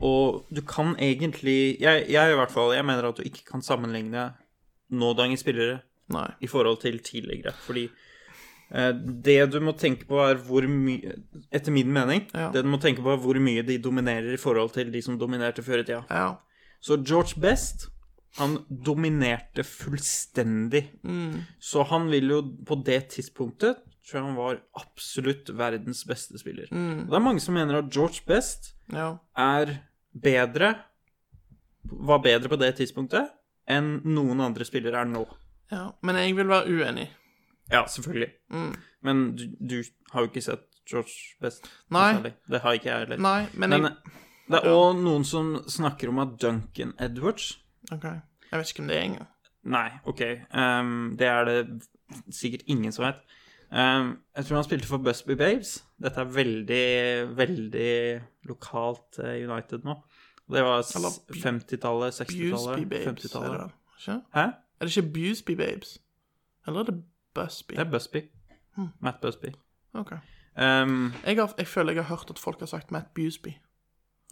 Speaker 3: Og du kan egentlig jeg, jeg i hvert fall, jeg mener at du ikke kan sammenligne nådagens spillere
Speaker 6: Nei.
Speaker 3: i forhold til tidligere. Fordi eh, det du må tenke på, er hvor mye Etter min mening,
Speaker 6: Ja.
Speaker 3: det du må tenke på, er hvor mye de dominerer i forhold til de som dominerte før i tida.
Speaker 6: Ja.
Speaker 3: Så George Best, han dominerte fullstendig. Så han vil jo på det tidspunktet tror jeg han var absolutt verdens beste spiller. Og det er mange som mener at George Best
Speaker 6: ja.
Speaker 3: er bedre Var bedre på det tidspunktet enn noen andre spillere er nå.
Speaker 6: ja. Men jeg vil være uenig.
Speaker 3: Ja, selvfølgelig. Men du, du har jo ikke sett George Best.
Speaker 6: Nei.
Speaker 3: særlig. Det har ikke jeg heller.
Speaker 6: Nei, men,
Speaker 3: Men eh,
Speaker 6: jeg
Speaker 3: det er òg noen som snakker om at Duncan Edwards
Speaker 6: OK. Jeg vet ikke hvem det er engang.
Speaker 3: Nei, OK. Ehm, det er det sikkert ingen som vet. Ehm, jeg tror han spilte for Busby Babes. Dette er veldig, veldig lokalt eh, United nå. Det var s-
Speaker 6: Eller
Speaker 3: 50-tallet, 60-tallet,
Speaker 6: Busby Babes, er det
Speaker 3: 50-tallet.
Speaker 6: vel? Ikke?
Speaker 3: Hæ?
Speaker 6: Er det ikke Busby Babes? Eller er det Busby?
Speaker 3: Det er Busby. Matt Busby.
Speaker 6: OK.
Speaker 3: Ehm,
Speaker 6: Jeg, har, jeg føler jeg har hørt at folk har sagt Matt Busby.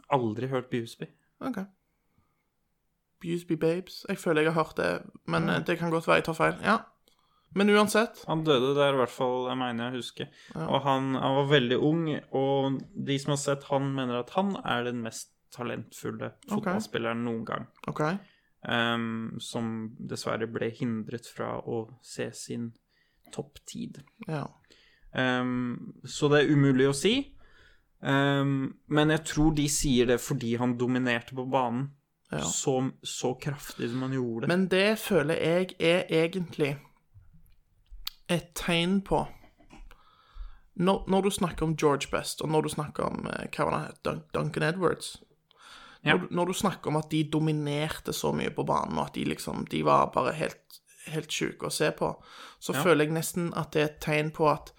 Speaker 3: aldri hørt Busby.
Speaker 6: OK. Busby Babes. Jeg føler jeg har hørt det, men eh, det kan godt være jeg tar feil. Ja. Men uansett
Speaker 3: Han døde der, i hvert fall, jeg mener jeg husker. Og han, han var veldig ung, og de som har sett han, mener at han er den mest talentfulle fotballspilleren noen gang.
Speaker 6: OK.
Speaker 3: ehm, som dessverre ble hindret fra å se sin topptid.
Speaker 6: Ja.
Speaker 3: Ehm, så det er umulig å si. Ehm, men jeg tror de sier det fordi han dominerte på banen
Speaker 6: Ja.
Speaker 3: så, så kraftig som han gjorde.
Speaker 6: Men det føler jeg er egentlig et tegn på når, når du snakker om George Best, og når du snakker om eh, hva var det, han het? Dun- Duncan Edwards
Speaker 3: Ja.
Speaker 6: når, du- når du snakker om at de dominerte så mye på banen, og at de liksom De var bare helt, helt sjuke å se på, så føler jeg nesten at det er et tegn på at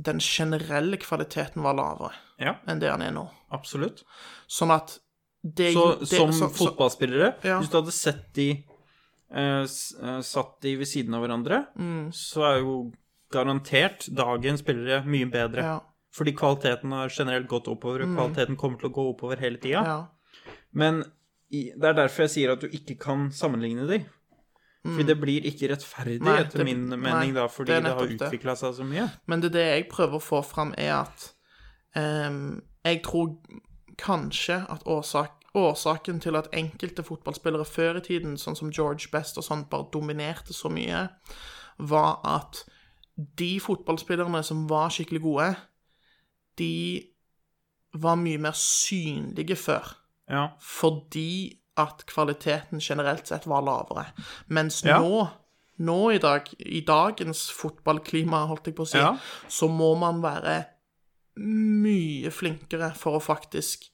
Speaker 6: den generelle kvaliteten var lavere
Speaker 3: ja,
Speaker 6: enn det han er nå.
Speaker 3: absolutt.
Speaker 6: Sånn at det
Speaker 3: Så
Speaker 6: det- altså,
Speaker 3: som
Speaker 6: så- så-
Speaker 3: fotballspillere,
Speaker 6: Ja.
Speaker 3: hvis du hadde sett de eh, s- eh, Satt de ved siden av hverandre,
Speaker 6: Mm.
Speaker 3: så er jo garantert dagens spillere mye bedre.
Speaker 6: Ja. Mm.
Speaker 3: Fordi kvaliteten har generelt gått oppover, og kvaliteten kommer til å gå oppover hele tida.
Speaker 6: Ja.
Speaker 3: Men i, det er derfor jeg sier at du ikke kan sammenligne de. Fordi det blir ikke rettferdig,
Speaker 6: Mm. Nei,
Speaker 3: etter
Speaker 6: det-
Speaker 3: min mening,
Speaker 6: nei,
Speaker 3: da, fordi
Speaker 6: det
Speaker 3: det,
Speaker 6: er
Speaker 3: har
Speaker 6: nettopp det.
Speaker 3: utvikla seg så mye.
Speaker 6: Men det er det jeg prøver å få fram, er at ehm, jeg tror kanskje at årsak, årsaken til at enkelte fotballspillere før i tiden, sånn som George Best og sånn, bare dominerte så mye, var at de fotballspillerne som var skikkelig gode, de var mye mer synlige før
Speaker 3: Ja.
Speaker 6: fordi at kvaliteten generelt sett var lavere. Mens
Speaker 3: Ja.
Speaker 6: nå, nå i dag, i dagens fotballklima, holdt jeg på å si,
Speaker 3: Ja.
Speaker 6: så må man være mye flinkere for å faktisk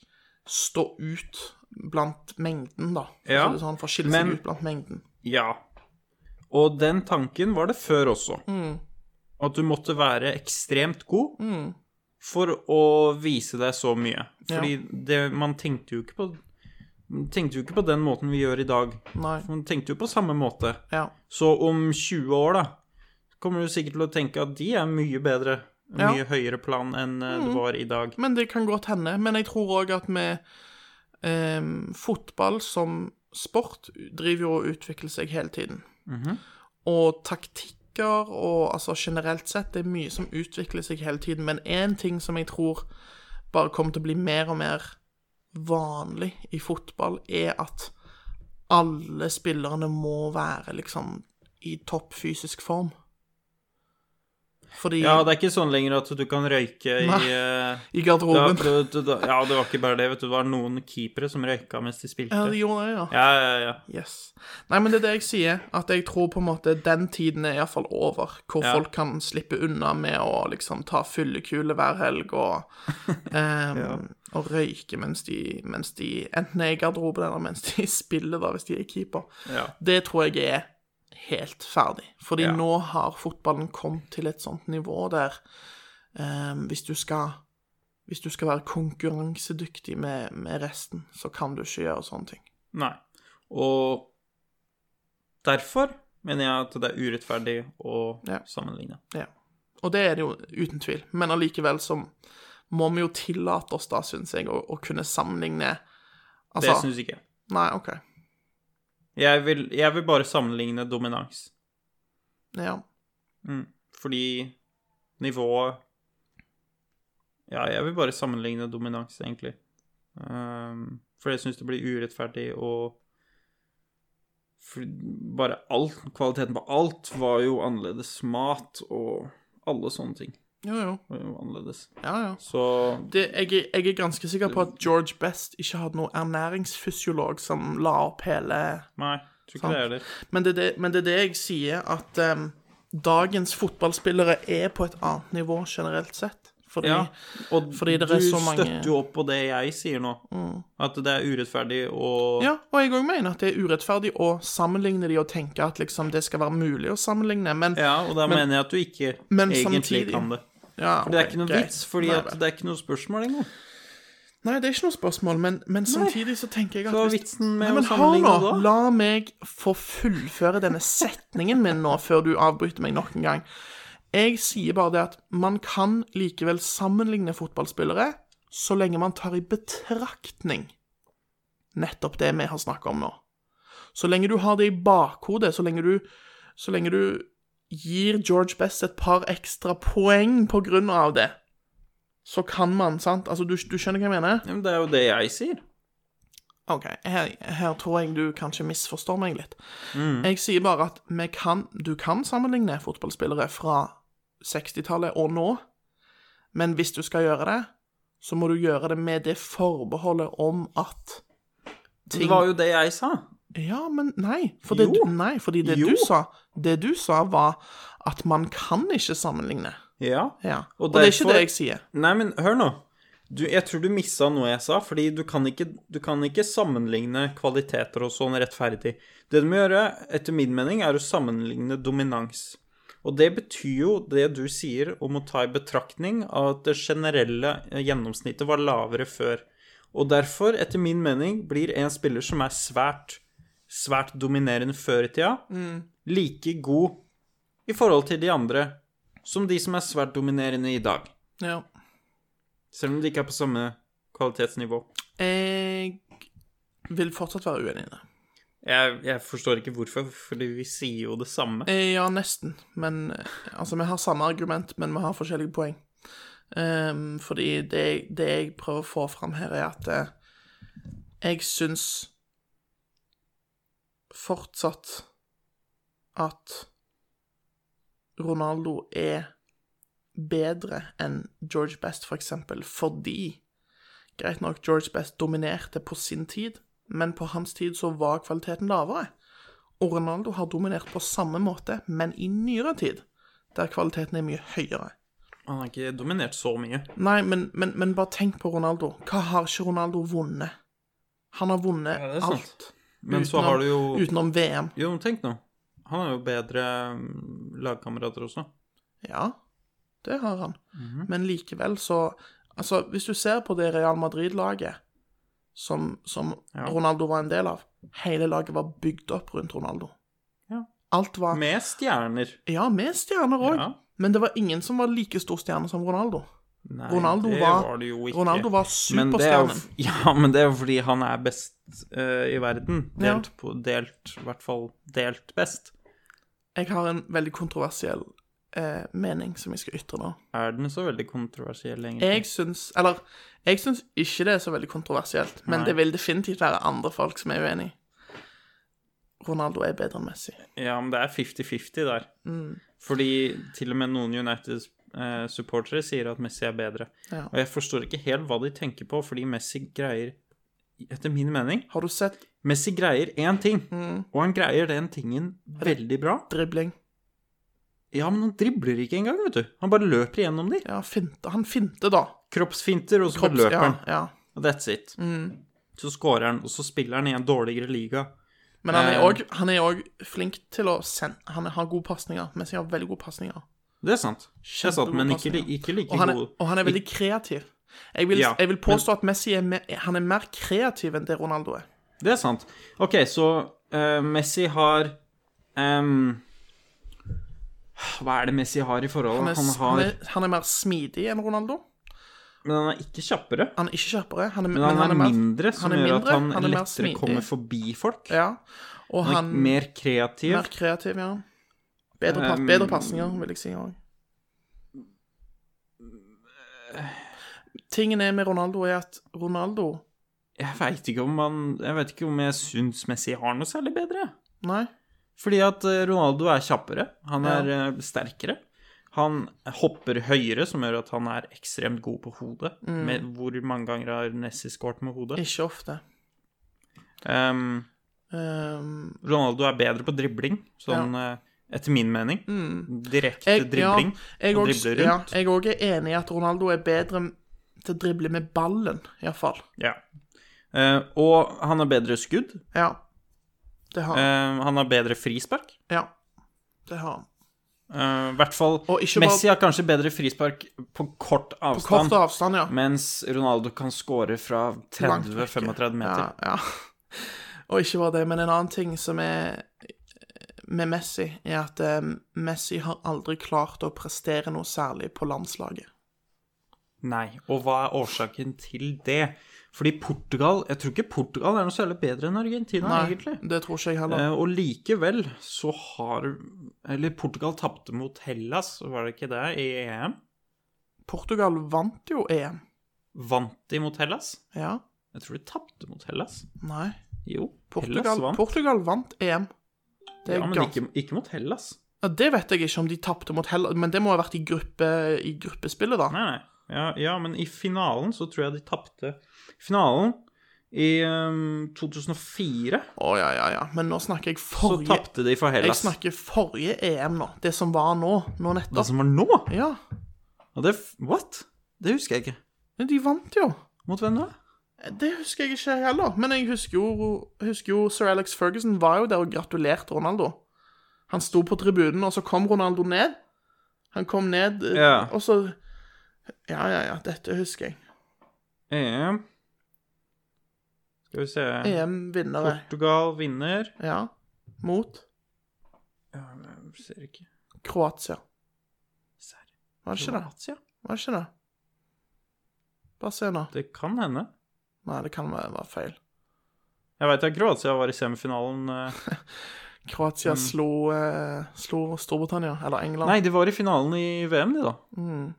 Speaker 6: stå ut blant mengden, da.
Speaker 3: Ja,
Speaker 6: Altså, han får skille
Speaker 3: men-
Speaker 6: seg ut blant mengden.
Speaker 3: Ja. Og den tanken var det før også.
Speaker 6: Mm.
Speaker 3: At du måtte være ekstremt god for å vise deg så mye. Fordi det, man tenkte jo ikke på man tenkte jo ikke på den måten vi gjør i dag.
Speaker 6: Nei.
Speaker 3: Man tenkte jo på samme måte.
Speaker 6: Ja.
Speaker 3: Så om 20 år, da, kommer du sikkert til å tenke at de er mye bedre,
Speaker 6: Ja. Mm.
Speaker 3: mye høyere plan enn eh, det var i dag.
Speaker 6: Men det kan godt hende. Men jeg tror òg at vi ehm, Fotball som sport driver jo og utvikler seg hele tiden.
Speaker 3: Mhm.
Speaker 6: Og taktikker og altså generelt sett, det er mye som utvikler seg hele tiden. Men én ting som jeg tror bare kommer til å bli mer og mer vanlig i fotball, er at alle spillerne må være liksom i topp fysisk form. Fordi
Speaker 3: Ja, det er ikke sånn lenger at du kan røyke i
Speaker 6: Nei.
Speaker 3: eh,
Speaker 6: i
Speaker 3: da,
Speaker 6: garderoben
Speaker 3: da, da, da, Ja, det var ikke bare det, vet du. Det var noen keepere som røyka mens de spilte.
Speaker 6: Ja, de gjorde det, ja.
Speaker 3: Ja, ja, ja.
Speaker 6: Yes. Nei, men det er det jeg sier, at jeg tror på en måte den tiden er iallfall over, hvor folk kan slippe unna med å liksom ta fyllekule hver helg og, ehm, og røyke mens de, mens de enten er i garderoben eller mens de spiller, da, hvis de er keeper.
Speaker 3: Ja.
Speaker 6: Det tror jeg er helt ferdig, fordi
Speaker 3: Ja.
Speaker 6: nå har fotballen kommet til et sånt nivå der ehm, hvis du skal hvis du skal være konkurransedyktig med, med resten, så kan du ikke gjøre sånne ting.
Speaker 3: Nei. Og derfor mener jeg at det er urettferdig å
Speaker 6: Ja.
Speaker 3: sammenligne.
Speaker 6: Ja. Og det er det jo uten tvil. Men allikevel så må vi jo tillate oss, da, syns jeg, å, å kunne sammenligne
Speaker 3: Det
Speaker 6: Altså
Speaker 3: syns ikke jeg.
Speaker 6: Nei, OK.
Speaker 3: Jeg vil, jeg vil bare sammenligne dominans.
Speaker 6: Ja.
Speaker 3: Fordi nivået Ja, jeg vil bare sammenligne dominans, egentlig. Ehm, for jeg syns det blir urettferdig og for Bare alt, kvaliteten på alt var jo annerledes. Mat og alle sånne ting
Speaker 6: Jo, jo.
Speaker 3: var jo annerledes.
Speaker 6: Ja, ja.
Speaker 3: Så
Speaker 6: Det, jeg, er- jeg er ganske sikker på at George Best ikke hadde noen ernæringsfysiolog som la opp hele
Speaker 3: Nei, tror ikke
Speaker 6: Sant.
Speaker 3: det heller.
Speaker 6: Men det, er det, men det er det jeg sier, at em, dagens fotballspillere er på et annet nivå generelt sett. Fordi
Speaker 3: Ja, og
Speaker 6: fordi det
Speaker 3: du
Speaker 6: er så mange-
Speaker 3: støtter
Speaker 6: Mm.
Speaker 3: jo opp på det jeg sier nå. At det er urettferdig og
Speaker 6: Ja, og jeg òg mener at det er urettferdig å sammenligne de og tenke at liksom det skal være mulig å sammenligne, men
Speaker 3: Ja, og da mener jeg at du ikke
Speaker 6: men
Speaker 3: egentlig
Speaker 6: samtidig-
Speaker 3: kan det.
Speaker 6: Ja,
Speaker 3: For det er
Speaker 6: ok,
Speaker 3: ikke noe
Speaker 6: greit.
Speaker 3: vits, fordi
Speaker 6: Nei,
Speaker 3: at
Speaker 6: vel.
Speaker 3: det er ikke noe spørsmål engang.
Speaker 6: Nei, det er ikke noe spørsmål, men, men samtidig så tenker jeg at
Speaker 3: Så
Speaker 6: hvis-
Speaker 3: vitsen med
Speaker 6: Nei, men
Speaker 3: å
Speaker 6: hør
Speaker 3: sammenligne
Speaker 6: nå,
Speaker 3: da?
Speaker 6: La meg få fullføre denne setningen min nå, før du avbryter meg nok en gang. Jeg sier bare det at man kan likevel sammenligne fotballspillere, så lenge man tar i betraktning nettopp det vi har snakka om nå. Så lenge du har det i bakhodet, så lenge du, så lenge du gir George Best et par ekstra poeng på grunn av det, så kan man, sant? Altså, du, du skjønner hva jeg mener?
Speaker 3: Ja, men det er jo det jeg sier.
Speaker 6: Mm. OK, her, her tror jeg du kanskje misforstår meg litt.
Speaker 3: Mm.
Speaker 6: Jeg sier bare at vi kan, du kan sammenligne fotballspillere fra 60-tallet og nå, men hvis du skal gjøre det, så må du gjøre det med det forbeholdet om at
Speaker 3: Det var jo det jeg sa.
Speaker 6: Ja, men nei. For det,
Speaker 3: Jo.
Speaker 6: du- nei, fordi det
Speaker 3: Jo.
Speaker 6: du sa, det du sa, var at man kan ikke sammenligne.
Speaker 3: Ja.
Speaker 6: Ja.
Speaker 3: Og
Speaker 6: Og, det er ikke
Speaker 3: derfor-
Speaker 6: det jeg sier.
Speaker 3: Nei, men hør nå. Du, jeg tror du missa noe jeg sa, fordi du kan, ikke, du kan ikke sammenligne kvaliteter og sånn rettferdig. Det du må gjøre, etter min mening, er å sammenligne dominans. Og det betyr jo det du sier om å ta i betraktning at det generelle eh, gjennomsnittet var lavere før. Og derfor, etter min mening, blir en spiller som er svært, svært dominerende før i tida, like god i forhold til de andre som de som er svært dominerende i dag.
Speaker 6: Ja.
Speaker 3: Selv om de ikke er på samme kvalitetsnivå.
Speaker 6: Jeg vil fortsatt være uenig i det.
Speaker 3: Jeg, jeg forstår ikke hvorfor, fordi vi sier jo det samme.
Speaker 6: Eh, Ja, nesten. Men eh, Altså, vi har samme argument, men vi har forskjellige poeng. Ehm, fordi det, det jeg prøver å få fram her, er at eh, jeg syns fortsatt at Ronaldo er bedre enn George Best, for eksempel, fordi Greit nok, George Best dominerte på sin tid, men på hans tid så var kvaliteten lavere. Og Ronaldo har dominert på samme måte, men i nyere tid, der kvaliteten er mye høyere.
Speaker 3: Han har ikke dominert så mye.
Speaker 6: Nei, men, men, men bare tenk på Ronaldo. Hva har ikke Ronaldo vunnet? Han har vunnet
Speaker 3: Ja, det er sant.
Speaker 6: alt.
Speaker 3: Men så har du jo
Speaker 6: Utenom VM.
Speaker 3: Jo, men tenk nå. Han har jo bedre mm, lagkamerater også.
Speaker 6: Ja, det har han.
Speaker 3: Mhm.
Speaker 6: Men likevel så Altså, hvis du ser på det Real Madrid-laget som, som
Speaker 3: Ja.
Speaker 6: Ronaldo var en del av Hele laget var bygd opp rundt Ronaldo.
Speaker 3: Ja.
Speaker 6: Alt var
Speaker 3: Med stjerner.
Speaker 6: Ja, med stjerner òg.
Speaker 3: Ja.
Speaker 6: Men det var ingen som var like stor stjerne som Ronaldo.
Speaker 3: Nei,
Speaker 6: Ronaldo
Speaker 3: det
Speaker 6: var-
Speaker 3: det jo ikke.
Speaker 6: Ronaldo var
Speaker 3: Men det er jo
Speaker 6: superstjernen.
Speaker 3: f- Ja, men det er jo fordi han er best eh, i verden.
Speaker 6: Ja.
Speaker 3: Delt på Delt, i hvert fall delt best.
Speaker 6: Jeg har en veldig kontroversiell eh, mening som jeg skal ytre nå.
Speaker 3: Er den så veldig kontroversiell, egentlig?
Speaker 6: Jeg syns Eller, jeg syns ikke det er så veldig kontroversielt, men
Speaker 3: Nei.
Speaker 6: det vil definitivt være andre folk som er uenig. Ronaldo er bedre enn Messi.
Speaker 3: Ja, men det er 50-50 der.
Speaker 6: Mm.
Speaker 3: Fordi til og med noen United-supportere sier at Messi er bedre.
Speaker 6: Ja.
Speaker 3: Og jeg forstår ikke helt hva de tenker på, fordi Messi greier Etter min mening
Speaker 6: Har du sett
Speaker 3: Messi greier én ting,
Speaker 6: Mm.
Speaker 3: og han greier den tingen veldig bra.
Speaker 6: dribling?
Speaker 3: Ja, men han dribler ikke engang, vet du. Han bare løper gjennom de.
Speaker 6: Ja, finte. Han finte, da.
Speaker 3: Kroppsfinter, og så bare
Speaker 6: Kropps-
Speaker 3: løper han.
Speaker 6: Ja, Mm. ja.
Speaker 3: Og That's it. Så scorer han, og så spiller han i en dårligere liga.
Speaker 6: Men han er
Speaker 3: Eh.
Speaker 6: også- han er òg flink til å sende Han har gode pasninger. Messi har veldig gode pasninger.
Speaker 3: Det er sant. Det er sant,
Speaker 6: Kjempegod
Speaker 3: men ikke,
Speaker 6: pasning, ja.
Speaker 3: ikke like
Speaker 6: Og han er,
Speaker 3: god
Speaker 6: og han er veldig kreativ. Jeg vil,
Speaker 3: Ja,
Speaker 6: jeg vil påstå at Messi er, mer, han er mer kreativ enn det Ronaldo er.
Speaker 3: Det er sant. OK, så eh, Messi har ehm, Hva er det Messi har i
Speaker 6: Han
Speaker 3: forholdet?
Speaker 6: er,
Speaker 3: Han,
Speaker 6: han
Speaker 3: har,
Speaker 6: er, han er mer smidig enn Ronaldo.
Speaker 3: men han er ikke kjappere.
Speaker 6: Han er ikke kjappere. Han er,
Speaker 3: Men han, er
Speaker 6: mer-
Speaker 3: mindre, som
Speaker 6: han er
Speaker 3: gjør at
Speaker 6: mindre,
Speaker 3: han,
Speaker 6: han er mer
Speaker 3: lettere
Speaker 6: smidig.
Speaker 3: kommer forbi folk.
Speaker 6: Ja. Og
Speaker 3: han
Speaker 6: han
Speaker 3: er mer kreativ.
Speaker 6: mer kreativ, ja. Bedre, pass,
Speaker 3: Um,
Speaker 6: bedre pasninger, vil jeg si òg. Tingen er med Ronaldo er at Ronaldo
Speaker 3: Jeg veit ikke om han Jeg vet ikke om jeg syns Messi har noe særlig bedre.
Speaker 6: Nei.
Speaker 3: Fordi at eh, Ronaldo er kjappere, han
Speaker 6: Ja.
Speaker 3: er eh, sterkere. Han hopper høyere, som gjør at han er ekstremt god på hodet.
Speaker 6: Mm.
Speaker 3: Med, hvor mange ganger har Nessie skåret med hodet?
Speaker 6: Ikke ofte.
Speaker 3: Ehm,
Speaker 6: Um,
Speaker 3: Ronaldo er bedre på dribling, sånn eh, etter min mening. Direkte
Speaker 6: Mm. jeg,
Speaker 3: dribling.
Speaker 6: Ja, jeg
Speaker 3: Han
Speaker 6: også-
Speaker 3: dribler rundt.
Speaker 6: Ja, jeg òg er enig i at Ronaldo er bedre til å drible med ballen, iallfall.
Speaker 3: Ja. Eh, og han har bedre skudd.
Speaker 6: Ja. Det har
Speaker 3: Eh,
Speaker 6: han.
Speaker 3: han har bedre frispark.
Speaker 6: Ja. Det har han.
Speaker 3: Eh, I hvert fall
Speaker 6: Og ikke bare-
Speaker 3: Messi har kanskje bedre frispark på kort
Speaker 6: På kort
Speaker 3: avstand,
Speaker 6: avstand, ja.
Speaker 3: mens Ronaldo kan score fra
Speaker 6: Langt vekke.
Speaker 3: 30-35 meter.
Speaker 6: Ja, ja. Og ikke bare det, men en annen ting som er med Messi, er at eh, Messi har aldri klart å prestere noe særlig på landslaget.
Speaker 3: Nei, og hva er årsaken til det? Fordi Portugal Jeg tror ikke Portugal er noe særlig bedre enn Argentina, egentlig.
Speaker 6: det tror ikke jeg heller.
Speaker 3: Eh, og likevel så har Eller Portugal tapte mot Hellas, var det ikke det, i EM?
Speaker 6: Portugal vant jo EM.
Speaker 3: Vant de mot Hellas?
Speaker 6: Ja.
Speaker 3: Jeg tror de tapte mot Hellas.
Speaker 6: Nei.
Speaker 3: Jo,
Speaker 6: Portugal
Speaker 3: Hellas
Speaker 6: vant,
Speaker 3: vant.
Speaker 6: Portugal vant EM. Det er
Speaker 3: ja, men
Speaker 6: gans-
Speaker 3: ikke, ikke mot Hellas.
Speaker 6: Ja, det vet jeg ikke om de tapte mot Hellas, men det må ha vært i, gruppe, i gruppespillet, da.
Speaker 3: Nei, nei. Ja, ja, men i finalen så tror jeg de tapte Finalen i ehm, 2004
Speaker 6: Å, ja, ja, ja. Men nå snakker jeg
Speaker 3: så
Speaker 6: forrige
Speaker 3: tapte de for
Speaker 6: Jeg
Speaker 3: Hellas.
Speaker 6: snakker forrige EM nå. Det som var nå. Nå
Speaker 3: Det
Speaker 6: nettopp.
Speaker 3: som var nå?
Speaker 6: Ja.
Speaker 3: Ja, det, what? Det husker jeg ikke.
Speaker 6: Men de vant jo.
Speaker 3: Mot hvem da?
Speaker 6: Det husker jeg ikke heller. Men jeg husker jo, husker jo Sir Alex Ferguson var jo der og gratulerte Ronaldo. Han sto på tribunen, og så kom Ronaldo ned. Han kom ned, eh,
Speaker 3: Ja.
Speaker 6: og så Ja, ja, ja. Dette husker jeg.
Speaker 3: EM Skal vi se
Speaker 6: EM-vinnere.
Speaker 3: Portugal vinner
Speaker 6: Ja. Mot
Speaker 3: Ja, men jeg ser ikke
Speaker 6: Kroatia.
Speaker 3: Ser-
Speaker 6: Var det ikke det?
Speaker 3: Kroatia?
Speaker 6: Var det ikke det? Bare se nå.
Speaker 3: Det kan hende.
Speaker 6: Nei, det kan være være feil.
Speaker 3: Jeg veit at Kroatia var i semifinalen eh.
Speaker 6: Kroatia slo, eh, slo Storbritannia, eller England,
Speaker 3: Mm. Nei, de var i finalen i VM, de, da.
Speaker 6: Mm.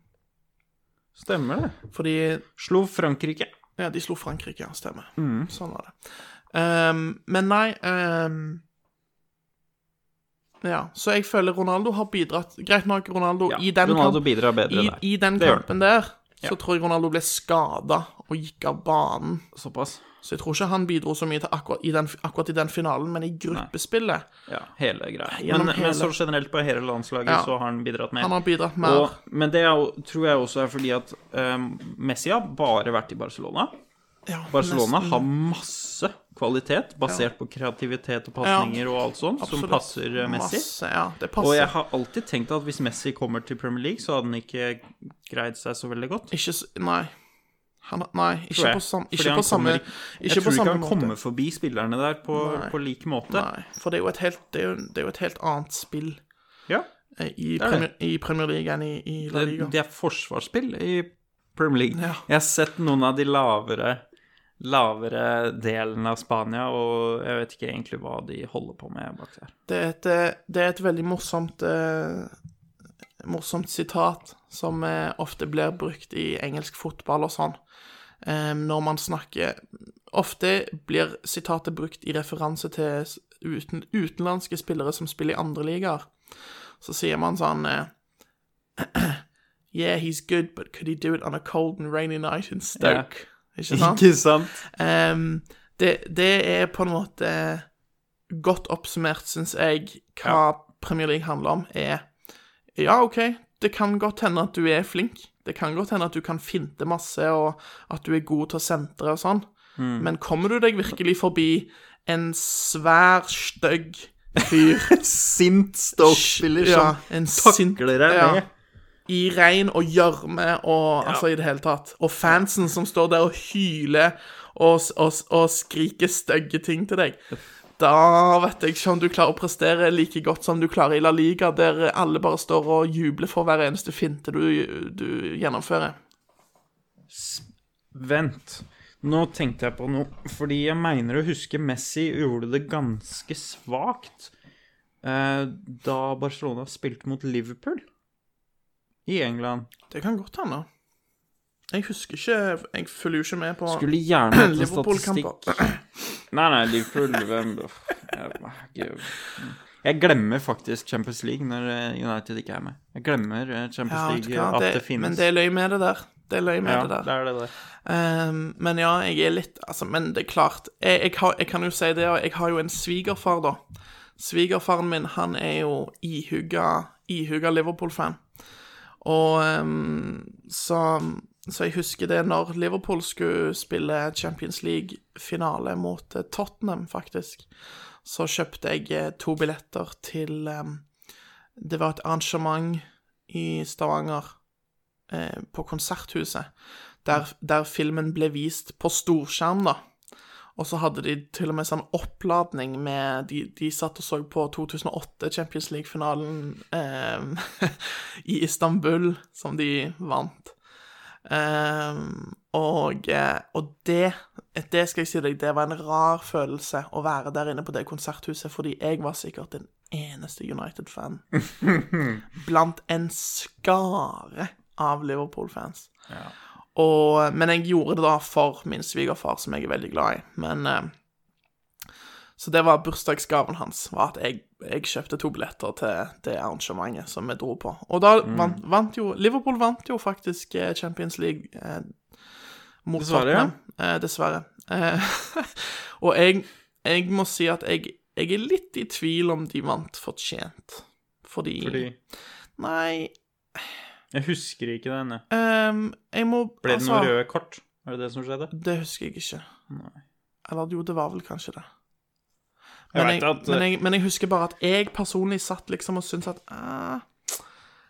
Speaker 3: Stemmer det.
Speaker 6: fordi
Speaker 3: Slo Frankrike.
Speaker 6: Ja, de slo Frankrike, ja, stemmer.
Speaker 3: Mm.
Speaker 6: Sånn var det. Ehm, men nei ehm, Ja, så jeg føler Ronaldo har bidratt Greit nok, Ronaldo,
Speaker 3: Ja,
Speaker 6: i den,
Speaker 3: Ronaldo
Speaker 6: kamp,
Speaker 3: bidrar bedre
Speaker 6: i,
Speaker 3: der.
Speaker 6: i den
Speaker 3: Det gjør han.
Speaker 6: kampen der så tror jeg Ronaldo ble skada og gikk av banen.
Speaker 3: Såpass.
Speaker 6: Så jeg tror ikke han bidro så mye til akkurat i den, akkurat i den finalen, men i gruppespillet.
Speaker 3: Ja, hele greia.
Speaker 6: Gjennom
Speaker 3: Men,
Speaker 6: hele-
Speaker 3: men så generelt på hele landslaget
Speaker 6: Ja.
Speaker 3: så har han bidratt mer.
Speaker 6: Han har bidratt mer.
Speaker 3: Og, men det er, jo- tror jeg også er fordi at ehm, Messi har bare vært i Barcelona.
Speaker 6: Ja,
Speaker 3: Barcelona
Speaker 6: nesten.
Speaker 3: har masse kvalitet basert på kreativitet og pasninger og alt sånt som
Speaker 6: Absolutt.
Speaker 3: passer eh, Messi.
Speaker 6: Masse, ja, det
Speaker 3: Og
Speaker 6: passer.
Speaker 3: jeg har alltid tenkt at hvis Messi kommer til Premier League, så hadde han ikke greid seg så veldig godt.
Speaker 6: Ikke s- Nei. Han, nei,
Speaker 3: Tror
Speaker 6: ikke
Speaker 3: jeg.
Speaker 6: på, sam,
Speaker 3: Fordi
Speaker 6: ikke
Speaker 3: han
Speaker 6: på samme
Speaker 3: kommer- jeg
Speaker 6: Ikke på
Speaker 3: tror ikke
Speaker 6: samme
Speaker 3: han
Speaker 6: måte.
Speaker 3: kommer forbi spillerne der på,
Speaker 6: Nei.
Speaker 3: på lik måte.
Speaker 6: Nei, for det er jo et helt, det er jo, det er jo et helt annet spill
Speaker 3: Ja.
Speaker 6: eh, i,
Speaker 3: er
Speaker 6: Premier, i Premier League enn i, i La
Speaker 3: Det,
Speaker 6: Liga.
Speaker 3: det er forsvarsspill i Premier League.
Speaker 6: Ja.
Speaker 3: Jeg har sett noen av de lavere Lavere delen av Spania, og jeg vet ikke egentlig hva de holder på med bak der.
Speaker 6: Det er et, eh, det er et veldig morsomt eh, morsomt sitat som eh, ofte blir brukt i engelsk fotball og sånn. Eh, når man snakker Ofte blir sitatet brukt i referanse til s- uten, utenlandske spillere som spiller i andre ligaer. Så sier man sånn eh, Yeah, he's good, but could he do it on a cold and rainy night in Stoke? Ikke sant?
Speaker 3: sant?
Speaker 6: Ehm, det, det er på en måte godt oppsummert, syns jeg, hva Premier League handler om, er Ja, OK, det kan godt hende at du er flink. Det kan godt hende at du kan finte masse, og at du er god til å sentre og sånn. Men kommer du deg virkelig forbi en svær, stygg fyr
Speaker 3: Sint
Speaker 6: Stoke-spiller som takler deg
Speaker 3: ja.
Speaker 6: ned. i regn og gjørme og altså i det hele tatt. Og fansen som står der og hyler og, s- og, s- og skriker stygge ting til deg. Da vet jeg ikke om du klarer å prestere like godt som du klarer i La Liga, der alle bare står og jubler for hver eneste finte du, du gjennomfører.
Speaker 3: Vent. Nå tenkte jeg på noe, fordi jeg mener å huske Messi gjorde det ganske svakt eh, da Barcelona spilte mot Liverpool i England.
Speaker 6: Det kan godt hende. Jeg husker ikke Jeg følger jo ikke med på
Speaker 3: Skulle gjerne hatt en statistikk
Speaker 6: Liverpool-kamper.
Speaker 3: Nei, nei, Liverpool hvem, uff, jeg, jeg glemmer faktisk Champions League når eh, United ikke er med. Jeg glemmer eh, Champions
Speaker 6: Ja, vet du
Speaker 3: League,
Speaker 6: hva,
Speaker 3: at det,
Speaker 6: det,
Speaker 3: finnes.
Speaker 6: men det er løy med det der. Det er løy med
Speaker 3: ja,
Speaker 6: det der.
Speaker 3: det er det der.
Speaker 6: Ehm, men ja, jeg er litt Altså, men det er klart. Jeg, jeg, har, jeg kan jo si det, og jeg har jo en svigerfar, da. Svigerfaren min, han er jo ihuga, ihuga Liverpool-fan. Og ehm, så Så jeg husker det når Liverpool skulle spille Champions League-finale mot eh, Tottenham, faktisk. Så kjøpte jeg eh, to billetter til ehm, Det var et arrangement i Stavanger, eh, på Konserthuset der, der filmen ble vist på storskjerm, da. Og så hadde de til og med sånn oppladning med De, de satt og så på 2008 Champions League-finalen eh, i Istanbul, som de vant. Ehm, og eh, og det, det skal jeg si deg, det var en rar følelse å være der inne på det konserthuset, fordi jeg var sikkert den eneste United-fan blant en skare av Liverpool-fans. Og, men jeg gjorde det da for min svigerfar, som jeg er veldig glad i. Men eh, Så det var bursdagsgaven hans, var at jeg, jeg kjøpte to billetter til det arrangementet som vi dro på. Og da
Speaker 3: Mm.
Speaker 6: vant, vant jo Liverpool vant jo faktisk eh, Champions League eh, mot
Speaker 3: Dessverre, ja.
Speaker 6: Tottenham. Eh, dessverre. Eh, og jeg, jeg må si at jeg, jeg er litt i tvil om de vant fortjent. Fordi,
Speaker 3: Fordi
Speaker 6: Nei
Speaker 3: jeg husker ikke det ennå.
Speaker 6: ehm, jeg må altså,
Speaker 3: Ble det noen røde kort? Er det det som skjedde?
Speaker 6: Det husker jeg ikke.
Speaker 3: Nei.
Speaker 6: Eller jo, det var vel kanskje det.
Speaker 3: Jeg
Speaker 6: Men jeg,
Speaker 3: vet at- eh,
Speaker 6: men, jeg, men jeg husker bare at jeg personlig satt liksom og syntes at ah,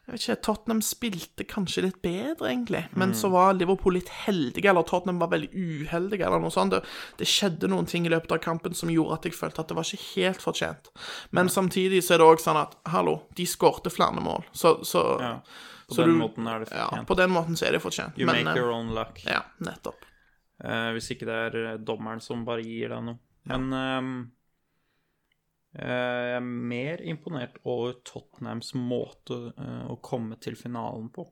Speaker 6: Jeg vet ikke, Tottenham spilte kanskje litt bedre, egentlig. Men
Speaker 3: Mm.
Speaker 6: så var Liverpool litt heldige, eller Tottenham var veldig uheldige, eller noe sånt. Det, det skjedde noen ting i løpet av kampen som gjorde at jeg følte at det var ikke helt fortjent. Men samtidig så er det òg sånn at hallo, de skårte flere mål, så, så
Speaker 3: Ja, På
Speaker 6: så
Speaker 3: den
Speaker 6: du-
Speaker 3: måten er det
Speaker 6: ja,
Speaker 3: fortjent.
Speaker 6: på den måten så er det fortjent.
Speaker 3: You
Speaker 6: Men
Speaker 3: make
Speaker 6: eh,
Speaker 3: your own luck.
Speaker 6: ja, nettopp.
Speaker 3: Eh, hvis ikke det er eh, dommeren som bare gir deg noe. Men eh, eh, jeg er mer imponert over Tottenhams måte eh, å komme til finalen på.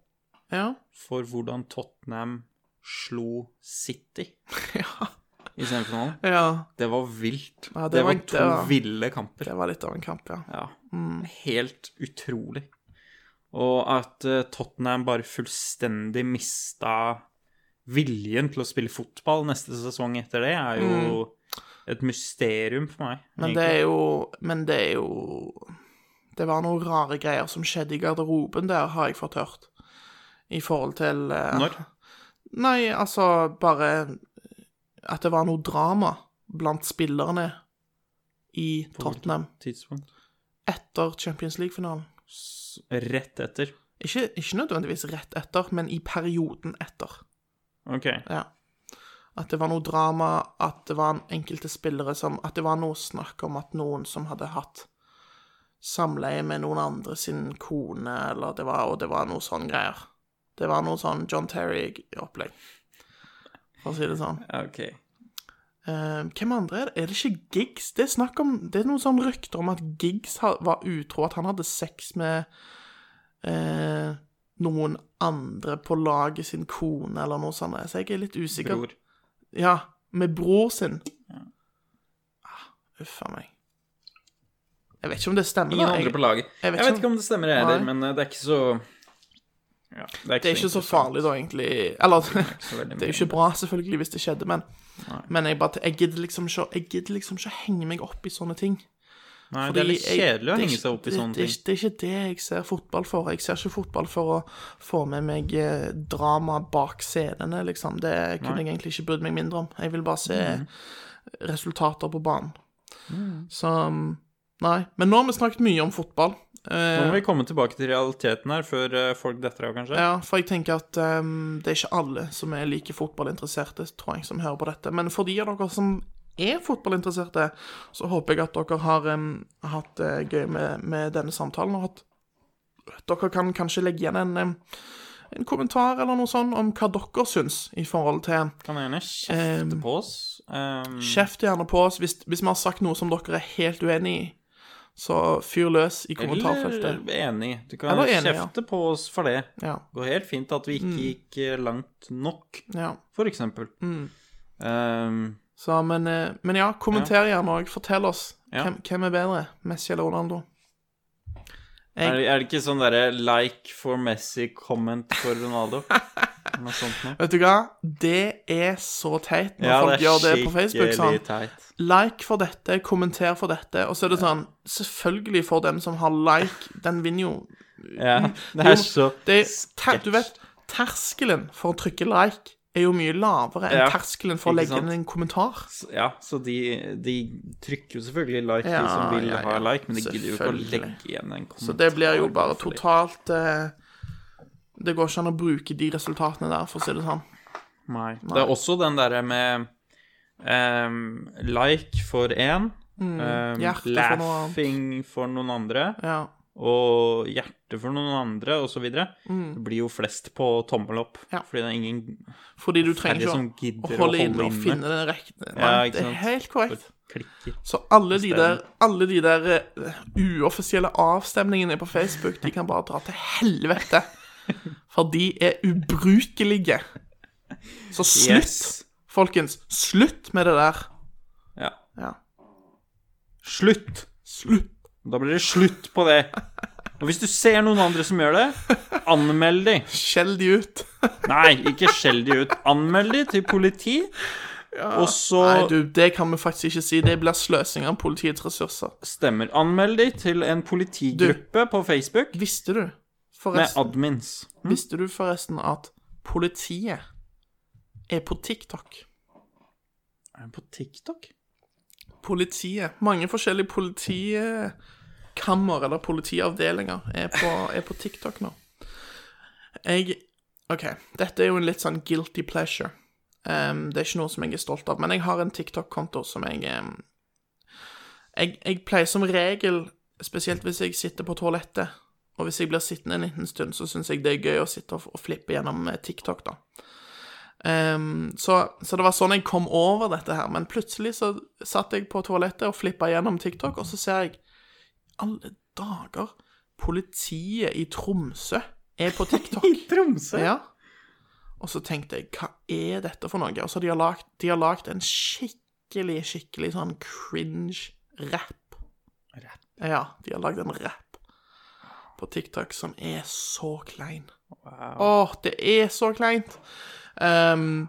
Speaker 6: Ja.
Speaker 3: For hvordan Tottenham slo City
Speaker 6: ja.
Speaker 3: i semifinalen.
Speaker 6: ja.
Speaker 3: Det var vilt.
Speaker 6: Ja, det
Speaker 3: det,
Speaker 6: var-
Speaker 3: var
Speaker 6: det
Speaker 3: to
Speaker 6: var-
Speaker 3: ville kamper.
Speaker 6: Mm. Det var litt av en kamp, ja.
Speaker 3: Ja. Helt utrolig. Og at eh, Tottenham bare fullstendig mista viljen til å spille fotball neste sesong etter det, er jo et mysterium for meg.
Speaker 6: Mm. Men det er jo Men det er jo Det var noen rare greier som skjedde i garderoben der, har jeg fått hørt. I forhold til eh,
Speaker 3: Når?
Speaker 6: Nei, altså bare At det var noe drama blant spillerne i Tottenham
Speaker 3: Tidspunkt.
Speaker 6: etter Champions League-finalen.
Speaker 3: Rett etter.
Speaker 6: Ikke, ikke nødvendigvis rett etter, men i perioden etter.
Speaker 3: OK.
Speaker 6: Ja. At det var noe drama, at det var en enkelte spillere som At det var noe snakk om at noen som hadde hatt samleie med noen andre sin kone, eller det var Og det var noe sånn greier. Det var noe sånn John Terry-opplegg, for å si det sånn.
Speaker 3: ok.
Speaker 6: Eh, hvem andre er det? Er det ikke Giggs? Det er snakk om Det er noen sånn rykter om at Giggs ha, var utro, at han hadde sex med eh, noen andre på laget sin kone, eller noe sånt. Så jeg er litt usikker.
Speaker 3: Bror.
Speaker 6: Ja, med bror sin. Ah, Uff a meg. Jeg vet ikke om det stemmer.
Speaker 3: Ingen
Speaker 6: da.
Speaker 3: andre
Speaker 6: Jeg-
Speaker 3: på laget. Jeg vet, ikke om det stemmer, jeg heller,
Speaker 6: Nei.
Speaker 3: men eh, det er ikke så ja, det, er
Speaker 6: Det er ikke så farlig, da, egentlig. Eller
Speaker 3: veldig
Speaker 6: Det er jo ikke bra, selvfølgelig, hvis det skjedde, men Men jeg bare Jeg gidder liksom ikke Jeg gidder liksom ikke henge meg opp i sånne ting.
Speaker 3: Nei, det er litt
Speaker 6: Fordi jeg-
Speaker 3: kjedelig å
Speaker 6: det er
Speaker 3: henge
Speaker 6: ikke-
Speaker 3: seg opp i
Speaker 6: det-
Speaker 3: sånne
Speaker 6: det er
Speaker 3: ting.
Speaker 6: ikke- Det er ikke det jeg ser fotball for. Jeg ser ikke fotball for å få med meg eh, drama bak scenene, liksom. Det kunne jeg egentlig ikke brydd meg mindre om. Jeg vil bare se
Speaker 3: Mm.
Speaker 6: resultater på banen. Så mm, Nei. Men nå har vi snakket mye om fotball. Eh,
Speaker 3: Nå må vi komme tilbake til realiteten her, før eh, folk detter av, kanskje.
Speaker 6: Ja, for jeg tenker at ehm, det er ikke alle som er like fotballinteresserte, tror jeg, som hører på dette. Men for de av dere som er fotballinteresserte, så håper jeg at dere har ehm, hatt det gøy med, med denne samtalen, og at dere kan kanskje legge igjen en, ehm, en kommentar eller noe sånt om hva dere syns i forhold til
Speaker 3: Kan gjerne kjefte
Speaker 6: Ehm,
Speaker 3: på oss. Um,
Speaker 6: Kjeft gjerne på oss hvis, hvis vi har sagt noe som dere er helt uenig i. Så fyr løs i
Speaker 3: eller
Speaker 6: kommentarfeltet.
Speaker 3: enig. Du kan
Speaker 6: Eller enig, ja. Mm.
Speaker 3: kjefte på oss for det.
Speaker 6: Ja,
Speaker 3: Det går helt fint at vi ikke gikk eh, langt nok,
Speaker 6: ja.
Speaker 3: for eksempel.
Speaker 6: Mm.
Speaker 3: Um,
Speaker 6: Så, men, eh, men ja, kommenter gjerne òg. Fortell oss
Speaker 3: Ja.
Speaker 6: hvem, hvem er bedre, Messi eller Ronaldo?
Speaker 3: er, det- er det ikke sånn derre like for Messi, comment for Ronaldo? Noe sånt noe?
Speaker 6: Vet du hva? Det er så teit når folk gjør det på Facebook. sånn.
Speaker 3: teit.
Speaker 6: Like for dette, kommenter for dette. Og så er det sånn Selvfølgelig for den som har like, den vinner jo.
Speaker 3: Ja, det
Speaker 6: Jo,
Speaker 3: er så
Speaker 6: det er, ter, Du vet, terskelen for å trykke like er jo mye lavere enn
Speaker 3: Ja,
Speaker 6: terskelen for å
Speaker 3: ikke
Speaker 6: legge
Speaker 3: sant?
Speaker 6: inn en kommentar.
Speaker 3: Ja, så de, de trykker jo selvfølgelig like,
Speaker 6: Ja,
Speaker 3: de som vil
Speaker 6: ja, ja.
Speaker 3: ha like, men de gidder jo ikke å
Speaker 6: Selvfølgelig.
Speaker 3: legge igjen en kommentar.
Speaker 6: Så det blir jo bare
Speaker 3: for det.
Speaker 6: totalt eh, Det går ikke an å bruke de resultatene der, for å si det sånn.
Speaker 3: Nei. Det er også den derre med ehm, like for én, ehm,
Speaker 6: hjerte Mm, for noen
Speaker 3: laughing for noen andre,
Speaker 6: Ja.
Speaker 3: og hjerte for noen andre, og så videre. Det blir jo flest på tommel opp,
Speaker 6: Mm. Ja.
Speaker 3: fordi det er ingen
Speaker 6: Fordi du
Speaker 3: færre
Speaker 6: trenger
Speaker 3: som
Speaker 6: ikke å-
Speaker 3: gidder
Speaker 6: å holde inn og finne den rekne. Nei,
Speaker 3: Ja, ikke
Speaker 6: det er
Speaker 3: sant.
Speaker 6: helt korrekt.
Speaker 3: klikker.
Speaker 6: Så alle de der,
Speaker 3: Stemmer.
Speaker 6: alle de der eh, uoffisielle avstemningene på Facebook, de kan bare dra til helvete. For de er ubrukelige. Så slutt,
Speaker 3: Yes.
Speaker 6: folkens. Slutt med det der.
Speaker 3: Ja.
Speaker 6: Ja.
Speaker 3: Slutt!
Speaker 6: Slutt.
Speaker 3: Da blir det slutt på det. Og hvis du ser noen andre som gjør det, anmeld de.
Speaker 6: Skjell de ut.
Speaker 3: Nei, ikke skjell de ut. Anmeld de til politi, og så
Speaker 6: Nei, du, det kan vi faktisk ikke si. Det blir sløsing av politiets ressurser.
Speaker 3: Stemmer. Anmeld de til en politigruppe på Facebook
Speaker 6: Visste du,
Speaker 3: med
Speaker 6: forresten,
Speaker 3: admins.
Speaker 6: visste du forresten at politiet er på TikTok?
Speaker 3: Er den på TikTok?
Speaker 6: politiet. Mange forskjellige politikammer eller politiavdelinger er på, er på TikTok nå. Jeg OK, dette er jo en litt sånn guilty pleasure. Ehm, det er ikke noe som jeg er stolt av, men jeg har en TikTok-konto som jeg ehm, jeg, jeg pleier som regel, spesielt hvis jeg sitter på toalettet, og hvis jeg blir sittende en liten stund, så syns jeg det er gøy å sitte og, og flippe gjennom eh, TikTok, da. Ehm, så, så det var sånn jeg kom over dette her, men plutselig så satt jeg på toalettet og flippa gjennom TikTok, og så ser jeg Alle dager! Politiet i Tromsø er på TikTok. I Tromsø? Ja. Og så tenkte jeg, hva er dette for noe? Og så de har lagt, de har lagt en skikkelig, skikkelig sånn cringe-rap. Rap? Ja, de har lagd en rap på TikTok som er så klein. Åh, det er så kleint! Ehm,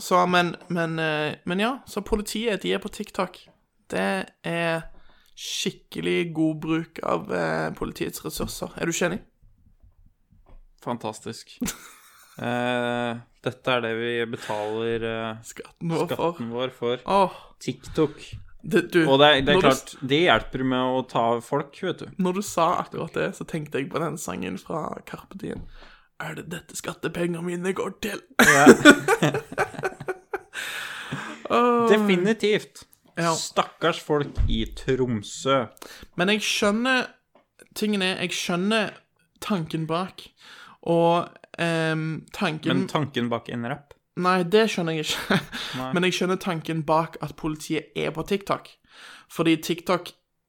Speaker 6: så, men, men, eh, men ja, så politiet, de er på TikTok. Det er skikkelig god bruk av eh, politiets ressurser. Er du ikke enig?
Speaker 3: Fantastisk. Eh, dette er det vi betaler eh,
Speaker 6: Skatten vår for.
Speaker 3: skatten vår for.
Speaker 6: Åh,
Speaker 3: TikTok.
Speaker 6: det, du,
Speaker 3: Og det, er- det
Speaker 6: når
Speaker 3: er
Speaker 6: du-
Speaker 3: klart, det hjelper med å ta folk, vet du.
Speaker 6: Når du sa akkurat det, så tenkte jeg på den sangen fra Carpe Diem. Er det dette skattepengene mine går til?
Speaker 3: Definitivt.
Speaker 6: Ja.
Speaker 3: Stakkars folk i Tromsø.
Speaker 6: Men jeg skjønner tingen er, jeg skjønner tanken bak. Og ehm, tanken
Speaker 3: Men tanken bak en rapp
Speaker 6: Nei, det skjønner jeg ikke. Men jeg skjønner tanken bak at politiet er på TikTok. Fordi TikTok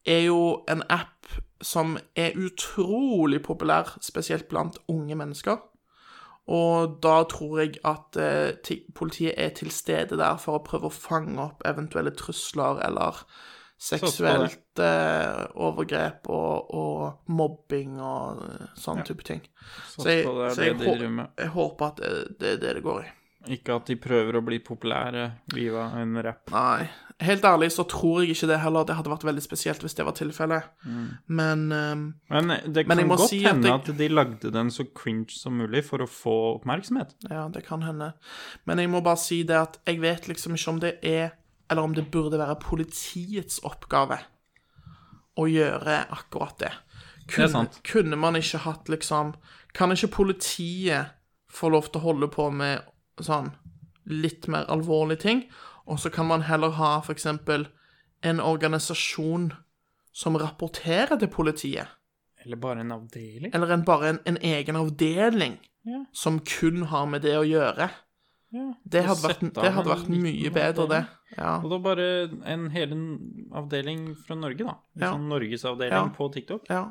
Speaker 6: er jo en app som er utrolig populær, spesielt blant unge mennesker. Og da tror jeg at eh, ti politiet er til stede der for å prøve å fange opp eventuelle trusler eller seksuelt eh, overgrep og, og mobbing og eh, sånn type ting. Så jeg,
Speaker 3: på det er
Speaker 6: så jeg,
Speaker 3: det de
Speaker 6: hå-
Speaker 3: driver med.
Speaker 6: jeg håper at det det er det det går i.
Speaker 3: Ikke at de prøver å bli populære via en rapp.
Speaker 6: Nei. Helt ærlig så tror jeg ikke det heller. Det hadde vært veldig spesielt hvis det var tilfellet. Men ehm,
Speaker 3: Men det
Speaker 6: Men
Speaker 3: kan
Speaker 6: jeg må
Speaker 3: godt
Speaker 6: si at
Speaker 3: hende
Speaker 6: jeg-
Speaker 3: at, de lagde den så cringe som mulig for å få oppmerksomhet.
Speaker 6: ja, det kan hende. Men jeg må bare si det at jeg vet liksom ikke om det er Eller om det burde være politiets oppgave å gjøre akkurat det. Kunne,
Speaker 3: sant.
Speaker 6: kunne man ikke hatt liksom Kan ikke politiet få lov til å holde på med sånn litt mer alvorlige ting? Og så kan man heller ha f.eks. en organisasjon som rapporterer til politiet.
Speaker 3: Eller bare en avdeling.
Speaker 6: Eller en, bare en, en egen avdeling
Speaker 3: Ja.
Speaker 6: som kun har med det å gjøre. Det hadde vært,
Speaker 3: sette
Speaker 6: det
Speaker 3: av
Speaker 6: hadde
Speaker 3: en
Speaker 6: vært
Speaker 3: liten
Speaker 6: mye bedre, det. Ja.
Speaker 3: Og da bare en hel en avdeling fra Norge, da. En
Speaker 6: Ja.
Speaker 3: sånn Norgesavdeling
Speaker 6: Ja.
Speaker 3: på TikTok.
Speaker 6: ja.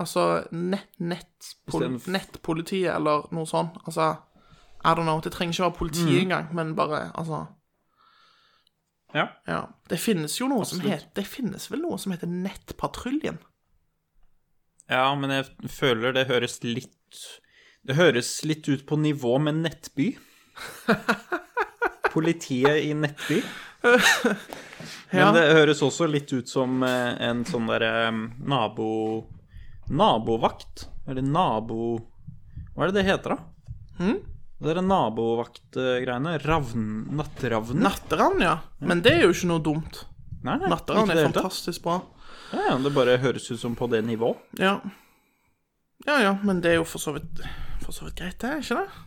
Speaker 6: Altså nett, nett, pol,
Speaker 3: Istedenfor-
Speaker 6: nettpolitiet eller noe sånt. Altså, I don't know. Det trenger ikke være politi
Speaker 3: Mm.
Speaker 6: engang, men bare altså
Speaker 3: Ja.
Speaker 6: ja. Det finnes jo noe som
Speaker 3: Absolutt.
Speaker 6: heter Det finnes vel noe som heter Nettpatruljen?
Speaker 3: ja, men jeg føler det høres litt Det høres litt ut på nivå med Nettby. Politiet i Nettby. Men
Speaker 6: Ja.
Speaker 3: det høres også litt ut som eh, en sånn derre nabo... Nabovakt. Eller nabo... Hva er det det heter, da?
Speaker 6: Hm?
Speaker 3: Det er nabovaktgreiene. Ravn... Nattravn?
Speaker 6: Natteravn, ja. Men det er jo ikke noe dumt.
Speaker 3: Nei, nei,
Speaker 6: Natteravn
Speaker 3: ikke
Speaker 6: er
Speaker 3: det hele tatt.
Speaker 6: fantastisk bra.
Speaker 3: Ja, ja, det bare høres ut som på det nivået.
Speaker 6: Ja. Ja ja, men det er jo for så vidt For så vidt greit, det, er ikke det?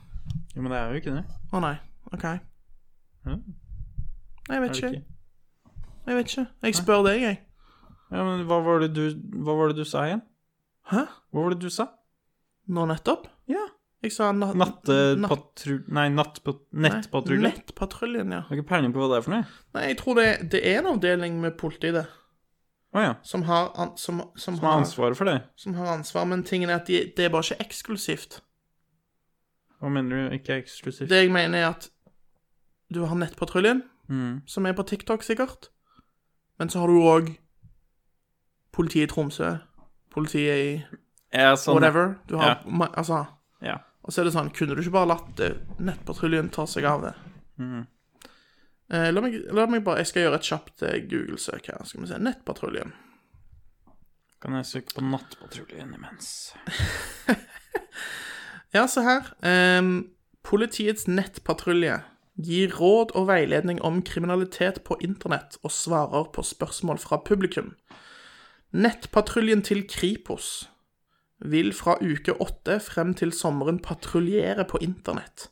Speaker 3: Jo, men det er jo ikke det.
Speaker 6: Å nei. OK.
Speaker 3: Hæ?
Speaker 6: Nei, jeg
Speaker 3: Er
Speaker 6: vet
Speaker 3: det
Speaker 6: ikke.
Speaker 3: ikke?
Speaker 6: Jeg vet ikke. Jeg spør deg, jeg.
Speaker 3: Ja, men hva var, det du, hva var det du sa igjen?
Speaker 6: Hæ?
Speaker 3: Hva var det du sa?
Speaker 6: Nå nettopp?
Speaker 3: Ja.
Speaker 6: Jeg sa nat natt-
Speaker 3: Nattepatrulje eh, Nei, nattpa-
Speaker 6: nei,
Speaker 3: nettpatrulje. Jeg
Speaker 6: Nettpatruljen, ja.
Speaker 3: har ikke peiling på hva det er for noe.
Speaker 6: Nei, jeg tror det, det er en avdeling med politi, det.
Speaker 3: Å ja.
Speaker 6: Som har, an som, som,
Speaker 3: Som har
Speaker 6: har,
Speaker 3: ansvaret for det?
Speaker 6: som har ansvar. Men tingen er at de, det er bare ikke eksklusivt.
Speaker 3: Hva mener du ikke er eksklusivt?
Speaker 6: Det jeg mener, er at du har Nettpatruljen,
Speaker 3: Mm.
Speaker 6: som er på TikTok, sikkert. Men så har du òg politiet i Tromsø, politiet i
Speaker 3: Ja, sånn,
Speaker 6: whatever. Du
Speaker 3: Ja.
Speaker 6: har ma- Altså.
Speaker 3: Ja.
Speaker 6: Og så er det sånn, kunne du ikke bare latt eh, nettpatruljen ta seg av det?
Speaker 3: Mm.
Speaker 6: Eh, la, meg, la meg bare Jeg skal gjøre et kjapt eh, Google-søk her. Skal vi se. Nettpatruljen.
Speaker 3: Kan jeg søke på nattpatruljen imens?
Speaker 6: Ja, se her. Ehm, politiets nettpatrulje gir råd og veiledning om kriminalitet på internett og svarer på spørsmål fra publikum. Nettpatruljen til Kripos vil fra uke åtte frem til sommeren patruljere på internett.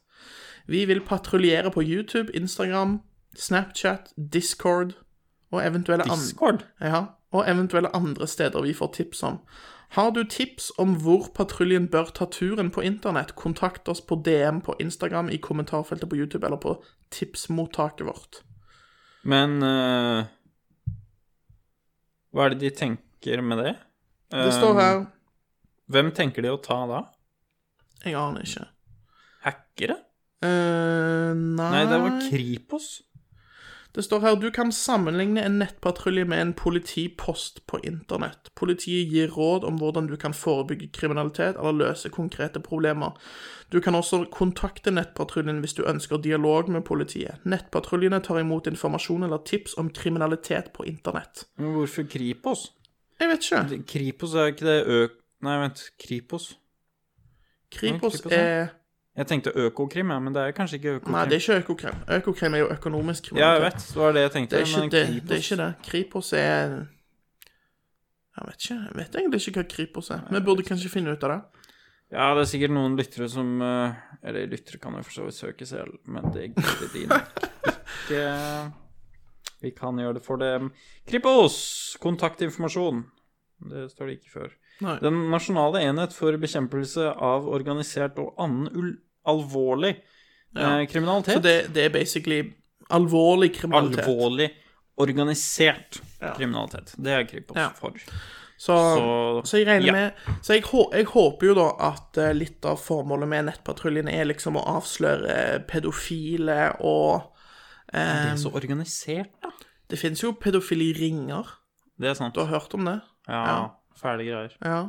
Speaker 6: Vi vil patruljere på YouTube, Instagram, Snapchat, Discord og eventuelle andre
Speaker 3: Discord?
Speaker 6: ja, og eventuelle andre steder vi får tips om. Har du tips om hvor patruljen bør ta turen på internett, kontakt oss på DM på Instagram, i kommentarfeltet på YouTube eller på tipsmottaket vårt.
Speaker 3: Men eh, Hva er det de tenker med det? Eh,
Speaker 6: Det
Speaker 3: Ehm.
Speaker 6: står her
Speaker 3: Hvem tenker de å ta da?
Speaker 6: Jeg aner ikke.
Speaker 3: Hackere?
Speaker 6: eh nei
Speaker 3: Nei, det var Kripos.
Speaker 6: Det står her du kan sammenligne en nettpatrulje med en politipost på internett. Politiet gir råd om hvordan du kan forebygge kriminalitet eller løse konkrete problemer. Du kan også kontakte nettpatruljen hvis du ønsker dialog med politiet. Nettpatruljene tar imot informasjon eller tips om kriminalitet på internett.
Speaker 3: Men hvorfor Kripos?
Speaker 6: Jeg vet ikke.
Speaker 3: Kripos er ikke det ø... Nei, vent. Kripos?
Speaker 6: Kripos
Speaker 3: Kripos, ja.
Speaker 6: er
Speaker 3: Jeg tenkte Økokrim, ja, men det er kanskje ikke Økokrim.
Speaker 6: Nei, det er ikke Økokrim. Økokrim er jo økonomisk
Speaker 3: Ja, jeg
Speaker 6: kriminalitet.
Speaker 3: vet. Det var det jeg tenkte.
Speaker 6: Det er ikke
Speaker 3: men
Speaker 6: det.
Speaker 3: Kripos-
Speaker 6: Det er ikke det. Kripos er Jeg vet ikke. Jeg vet egentlig ikke hva Kripos er. Vi burde kanskje finne ut av det.
Speaker 3: Ja, det er sikkert noen lyttere som eh, Eller lyttere kan jo for så vidt søke selv, men det gidder de nok ikke. Vi kan gjøre det for dem. Kripos! Kontaktinformasjon. Det står det ikke før.
Speaker 6: Nei.
Speaker 3: Den nasjonale enhet for bekjempelse av organisert og annen ul alvorlig eh, kriminalitet.
Speaker 6: Så det, det er basically alvorlig kriminalitet.
Speaker 3: Alvorlig organisert
Speaker 6: Ja.
Speaker 3: kriminalitet. Det er Kripos
Speaker 6: Ja.
Speaker 3: for.
Speaker 6: Så,
Speaker 3: Så-
Speaker 6: så, jeg regner
Speaker 3: ja.
Speaker 6: med Så jeg, hå- jeg håper jo da at eh, litt av formålet med Nettpatruljen er liksom å avsløre pedofile og
Speaker 3: Det
Speaker 6: eh,
Speaker 3: er så organisert, da.
Speaker 6: Det fins jo pedofiliringer.
Speaker 3: Det er sant.
Speaker 6: Du har hørt om det?
Speaker 3: Ja, fæle greier.
Speaker 6: Ja.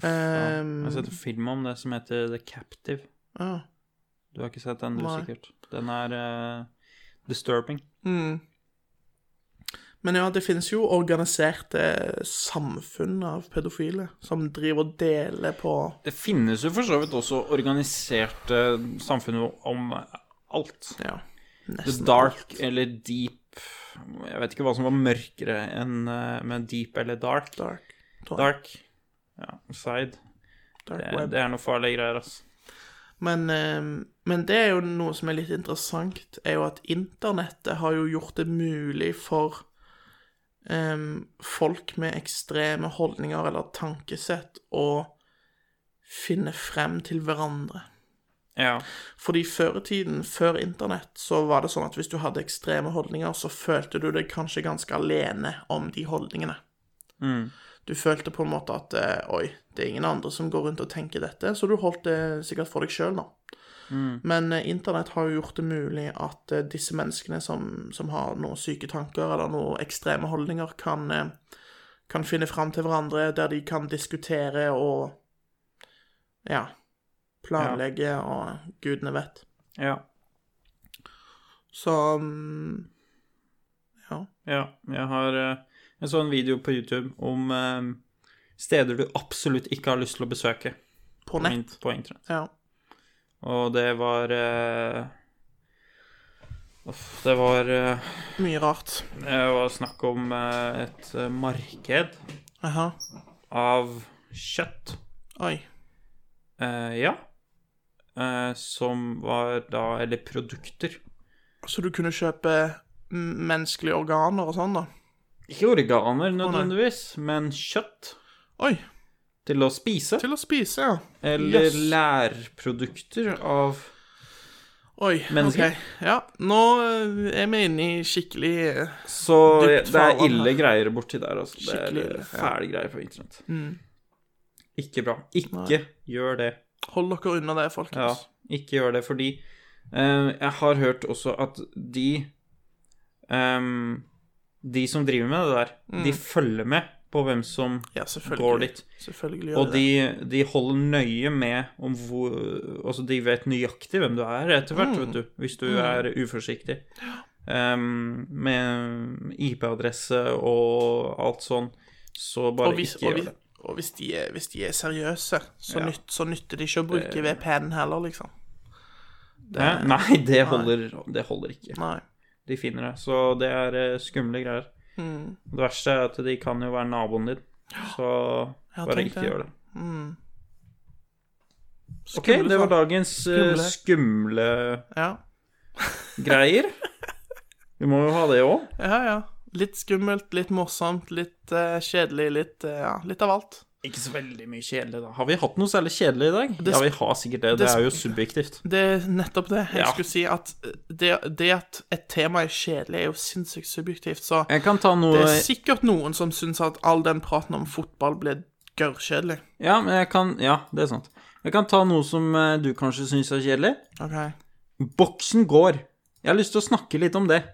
Speaker 3: Ja, Jeg
Speaker 6: Ehm,
Speaker 3: har sett en film om det som heter The Captive.
Speaker 6: ja.
Speaker 3: Du har ikke sett den, du,
Speaker 6: Nei.
Speaker 3: sikkert. Den er eh, disturbing.
Speaker 6: Men ja, det finnes jo organiserte samfunn av pedofile som driver og deler på
Speaker 3: Det finnes jo for så vidt også organiserte eh, samfunn om alt.
Speaker 6: Ja,
Speaker 3: The
Speaker 6: nesten.
Speaker 3: dark eller deep Jeg vet ikke hva som var mørkere enn eh, med deep eller dark.
Speaker 6: Dark. tror jeg.
Speaker 3: Dark. Ja, side.
Speaker 6: Dark
Speaker 3: Det,
Speaker 6: web.
Speaker 3: det er noe farlige greier, altså.
Speaker 6: Men, eh, men det er jo noe som er litt interessant, er jo at internettet har jo gjort det mulig for eh, folk med ekstreme holdninger eller tankesett å finne frem til hverandre.
Speaker 3: Ja.
Speaker 6: Fordi før i tiden, før internett, så var det sånn at hvis du hadde ekstreme holdninger, så følte du deg kanskje ganske alene om de holdningene. Du følte på en måte at eh, oi, det er ingen andre som går rundt og tenker dette, så du holdt det sikkert for deg sjøl nå. Men eh, internett har jo gjort det mulig at eh, disse menneskene som, som har noen syke tanker eller noen ekstreme holdninger, kan, eh, kan finne fram til hverandre, der de kan diskutere og ja, planlegge og gudene vet.
Speaker 3: Ja.
Speaker 6: Så mm, ja.
Speaker 3: Ja, jeg har eh, Jeg så en video på YouTube om eh, steder du absolutt ikke har lyst til å besøke
Speaker 6: På
Speaker 3: på in-
Speaker 6: nett.
Speaker 3: på internett.
Speaker 6: Ja.
Speaker 3: Og det var eh, uff, Det var eh,
Speaker 6: Mye rart.
Speaker 3: Det var snakk om eh, et eh, marked
Speaker 6: Aha.
Speaker 3: av kjøtt.
Speaker 6: Oi.
Speaker 3: Eh, ja. Eh, som var da Eller produkter.
Speaker 6: Så du kunne kjøpe mm, menneskelige organer og sånn, da?
Speaker 3: Ikke organer nødvendigvis, men kjøtt
Speaker 6: Oi.
Speaker 3: til å spise.
Speaker 6: Til å spise, ja.
Speaker 3: Eller
Speaker 6: Yes.
Speaker 3: lærprodukter av
Speaker 6: Oi.
Speaker 3: Mennesker.
Speaker 6: ok. Ja, nå eh, er vi inne i skikkelig eh,
Speaker 3: Så
Speaker 6: Dypt
Speaker 3: det er
Speaker 6: farvann
Speaker 3: ille greier borti der, altså. Det er
Speaker 6: Skikkelig ille, ja. Mm.
Speaker 3: fæle greier på internett. Ikke bra. Ikke gjør det.
Speaker 6: Hold dere unna det, folkens.
Speaker 3: Ja, ikke gjør det, fordi eh, jeg har hørt også at de ehm, De som driver med det der, de følger med på hvem som
Speaker 6: Mm. Ja, selvfølgelig.
Speaker 3: går dit.
Speaker 6: Selvfølgelig gjør
Speaker 3: Og
Speaker 6: de det.
Speaker 3: de, de holder nøye med om hvor Altså, de vet nøyaktig hvem du er etter
Speaker 6: Mm.
Speaker 3: hvert, vet du, hvis du er uforsiktig. Ehm, med IP-adresse og alt sånn, så bare
Speaker 6: Og, hvis,
Speaker 3: ikke
Speaker 6: og,
Speaker 3: gjør
Speaker 6: hvis,
Speaker 3: det.
Speaker 6: og hvis, de er, hvis de er seriøse, så,
Speaker 3: Ja.
Speaker 6: nytt, så nytter det ikke å bruke VPN heller, liksom.
Speaker 3: Hæ? Nei, det holder, det holder ikke.
Speaker 6: Nei.
Speaker 3: De finner det. Så det er eh, skumle greier.
Speaker 6: Mm.
Speaker 3: Det verste er at de kan jo være naboen din. Så
Speaker 6: Ja,
Speaker 3: bare
Speaker 6: tenk
Speaker 3: ikke
Speaker 6: det. Mm.
Speaker 3: gjør det. Ok,
Speaker 6: Skumle
Speaker 3: det var
Speaker 6: sak.
Speaker 3: dagens eh, skumle
Speaker 6: Ja.
Speaker 3: greier. Vi må jo ha det òg.
Speaker 6: ja, ja. Litt skummelt, litt morsomt, litt eh, kjedelig, litt eh, Ja, litt av alt.
Speaker 3: Ikke så veldig mye kjedelig, da. Har vi hatt noe særlig kjedelig i dag?
Speaker 6: Det
Speaker 3: ja,
Speaker 6: sp-
Speaker 3: vi har sikkert det. Det,
Speaker 6: det sp-
Speaker 3: er jo subjektivt.
Speaker 6: Det er nettopp det. Jeg
Speaker 3: Ja.
Speaker 6: skulle si at det, det at et tema er kjedelig, er jo sinnssykt subjektivt, så
Speaker 3: Jeg kan ta
Speaker 6: det
Speaker 3: noe
Speaker 6: er sikkert noen som syns at all den praten om fotball ble gørrkjedelig.
Speaker 3: Ja, men jeg kan Ja, det er sant. Jeg kan ta noe som eh, du kanskje syns er kjedelig.
Speaker 6: OK.
Speaker 3: Boksen går. Jeg har lyst til å snakke litt om det.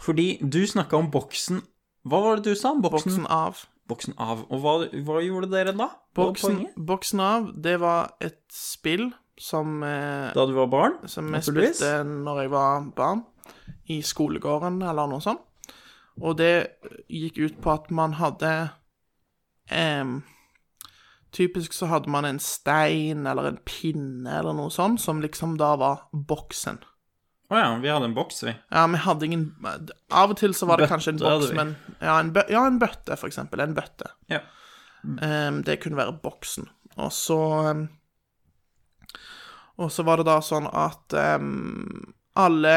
Speaker 3: Fordi du snakka om boksen Hva var det du sa? Boksen,
Speaker 6: Boksen av.
Speaker 3: boksen av. Og hva, hva gjorde dere da? Hva var
Speaker 6: Boksen,
Speaker 3: poenget?
Speaker 6: boksen av, det var et spill som, eh,
Speaker 3: Da du var barn?
Speaker 6: som jeg
Speaker 3: naturligvis.
Speaker 6: spilte når jeg var barn, i skolegården eller noe sånt. Og det gikk ut på at man hadde em, Typisk så hadde man en stein eller en pinne eller noe sånt, som liksom da var boksen.
Speaker 3: Å ja, vi hadde en boks, vi.
Speaker 6: Ja, vi hadde ingen Av og til så var det kanskje en
Speaker 3: Bøtte hadde
Speaker 6: boks,
Speaker 3: vi.
Speaker 6: men ja en, bø, ja, en bøtte, for eksempel. En bøtte.
Speaker 3: Ja.
Speaker 6: Ehm, det kunne være boksen. Og så ehm, Og så var det da sånn at ehm, alle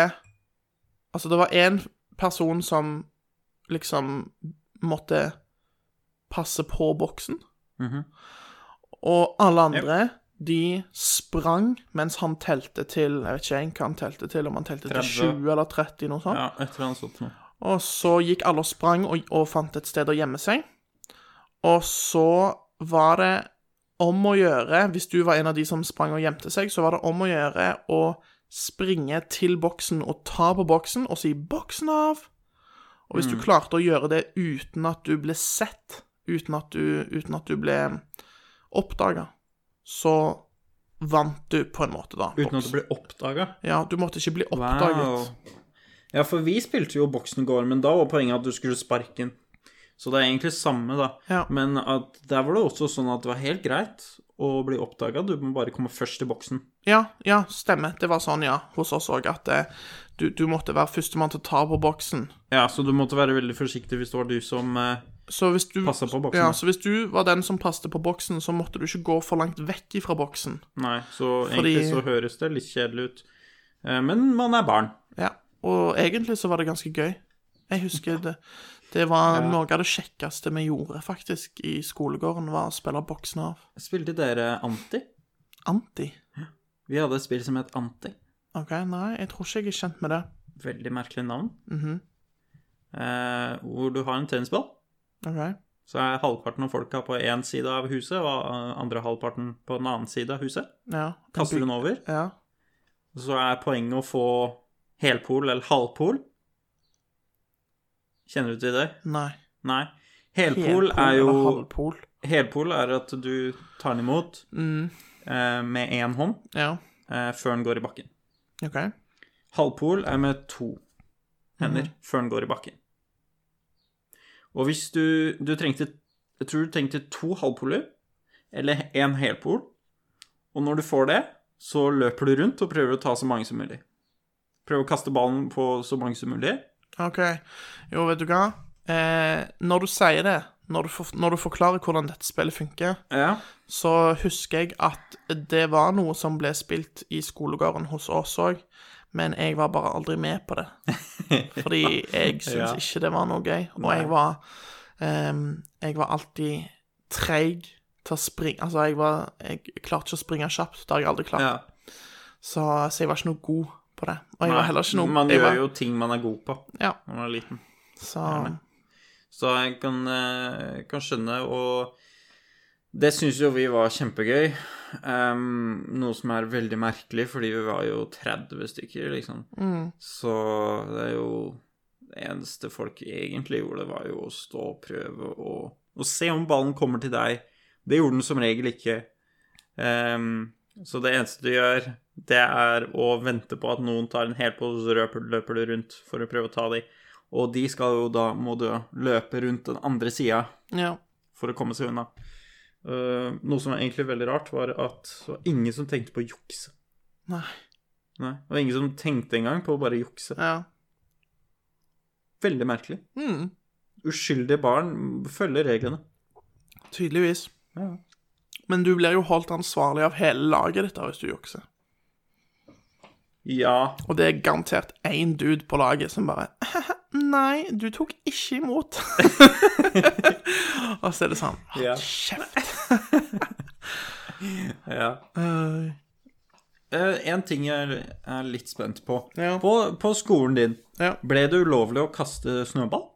Speaker 6: Altså, det var én person som liksom måtte passe på boksen.
Speaker 3: Mhm.
Speaker 6: Og alle andre, de sprang mens han telte til Jeg vet ikke jeg hva han telte til, om han telte til
Speaker 3: 30.
Speaker 6: 20 eller 30, noe sånt.
Speaker 3: Ja, et eller annet sånt noe.
Speaker 6: Og så gikk alle og sprang og, og fant et sted å gjemme seg. Og så var det om å gjøre, hvis du var en av de som sprang og gjemte seg, så var det om å gjøre å springe til boksen og ta på boksen og si 'boksen av'. Og
Speaker 3: Mm.
Speaker 6: hvis du klarte å gjøre det uten at du ble sett, uten at du, uten at du ble oppdaga, så vant du på en måte, da.
Speaker 3: Uten at det
Speaker 6: boksen.
Speaker 3: ble oppdaga.
Speaker 6: Ja, du måtte ikke bli oppdaget.
Speaker 3: Wow. Ja, for vi spilte jo boksen i går, men da var poenget at du skulle sparke den. Så det er egentlig samme, da.
Speaker 6: Ja.
Speaker 3: Men at der var det også sånn at det var helt greit å bli oppdaga, du må bare komme først i boksen.
Speaker 6: Ja, ja, stemmer. Det var sånn, ja, hos oss òg, at eh, du, du måtte være førstemann til å ta på boksen.
Speaker 3: Ja, så du måtte være veldig forsiktig hvis det var du som eh,
Speaker 6: Så hvis du,
Speaker 3: Passet på boksen,
Speaker 6: ja,
Speaker 3: ja.
Speaker 6: så hvis du var den som passet på boksen, så måtte du ikke gå for langt vekk ifra boksen.
Speaker 3: Nei, så
Speaker 6: Fordi-
Speaker 3: egentlig så høres det litt kjedelig ut. Eh, men man er barn.
Speaker 6: Ja, Og egentlig så var det ganske gøy. Jeg husker det. Det var noe av det kjekkeste vi gjorde, faktisk, i skolegården, var å spille boksen av.
Speaker 3: Spilte dere Anti?
Speaker 6: Anti.
Speaker 3: Vi hadde et spill som het Anti.
Speaker 6: OK, nei, jeg tror ikke jeg er kjent med det.
Speaker 3: Veldig merkelig navn.
Speaker 6: Mhm.
Speaker 3: eh, hvor du har en tennisball.
Speaker 6: OK.
Speaker 3: Så er halvparten av folka på én side av huset, og eh, andre halvparten på den annen side av huset.
Speaker 6: Ja.
Speaker 3: Kaster den over.
Speaker 6: Ja.
Speaker 3: Så er poenget å få helpol eller halvpol. Kjenner du til det?
Speaker 6: Nei.
Speaker 3: Nei. Helpol
Speaker 6: Helpol
Speaker 3: er jo
Speaker 6: eller halvpol.
Speaker 3: Helpol er at du tar den imot eh, med én hånd
Speaker 6: Ja.
Speaker 3: eh, før den går i bakken.
Speaker 6: OK.
Speaker 3: Halvpol er med to hender før den går i bakken. Og hvis du, du trengte Jeg tror du trengte to halvpoler, eller én helpol. Og når du får det, så løper du rundt og prøver å ta så mange som mulig. Prøver å kaste ballen på så mange som mulig.
Speaker 6: OK. Jo, vet du hva? Eh, når du sier det, når du, for, når du forklarer hvordan dette spillet funker,
Speaker 3: Ja.
Speaker 6: så husker jeg at det var noe som ble spilt i skolegården hos oss òg, men jeg var bare aldri med på det. Fordi jeg syntes ikke det var noe gøy. Og jeg var ehm, Jeg var alltid treig til å springe Altså, jeg var Jeg klarte ikke å springe kjapt. Det har jeg aldri klart.
Speaker 3: ja.
Speaker 6: Så, så jeg var ikke noe god på det. Og jeg var heller ikke noe
Speaker 3: Man
Speaker 6: jeg var,
Speaker 3: gjør jo ting man er god på
Speaker 6: Ja,
Speaker 3: når man er liten.
Speaker 6: så
Speaker 3: Så jeg kan, eh, kan skjønne, og det syns jo vi var kjempegøy. Ehm, noe som er veldig merkelig, fordi vi var jo 30 stykker, liksom. Så det er jo Det eneste folk egentlig gjorde, var jo å stå og prøve å, å se om ballen kommer til deg. Det gjorde den som regel ikke. Ehm, så det eneste du gjør, det er å vente på at noen tar en hel på, og så løper, løper du rundt for å prøve å ta de. Og de skal jo da, må du løpe rundt den andre sida
Speaker 6: Ja.
Speaker 3: for å komme seg unna. Eh, noe som var egentlig veldig rart, var at det var ingen som tenkte på å jukse.
Speaker 6: Nei.
Speaker 3: Nei, det var ingen som tenkte engang på å bare jukse.
Speaker 6: Ja.
Speaker 3: Veldig merkelig.
Speaker 6: Mm.
Speaker 3: Uskyldige barn følger reglene.
Speaker 6: Tydeligvis. Men du blir jo holdt ansvarlig av hele laget ditt da, hvis du jukser.
Speaker 3: Ja,
Speaker 6: Og det er garantert én dude på laget som bare Nei, du tok ikke imot. Og så er det sånn «Hold
Speaker 3: Ja.
Speaker 6: Kjeft.
Speaker 3: ja.
Speaker 6: Eh,
Speaker 3: Eh, en ting jeg er litt spent på.
Speaker 6: Ja.
Speaker 3: På, på skolen din,
Speaker 6: Ja.
Speaker 3: ble det ulovlig å kaste snøball?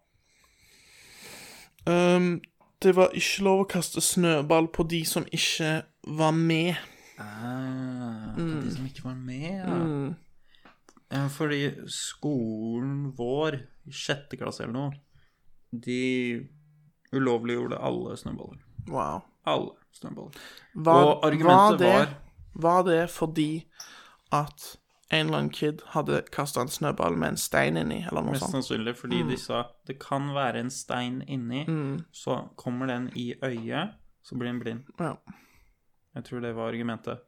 Speaker 6: ehm, det var ikke lov å kaste snøball på de som ikke var med.
Speaker 3: Ah, De som ikke var med, ja. Ja, fordi skolen vår, i sjette klasse eller noe, de ulovliggjorde alle snøballer.
Speaker 6: Wow.
Speaker 3: Alle snøballer.
Speaker 6: Var,
Speaker 3: Og argumentet
Speaker 6: var det,
Speaker 3: var-
Speaker 6: Var det fordi at en eller annen kid hadde kasta en snøball med en stein inni, eller noe
Speaker 3: Mest
Speaker 6: sånt?
Speaker 3: sannsynlig fordi de sa det kan være en stein inni, så kommer den i øyet, så blir den blind.
Speaker 6: Ja.
Speaker 3: Jeg tror det var argumentet.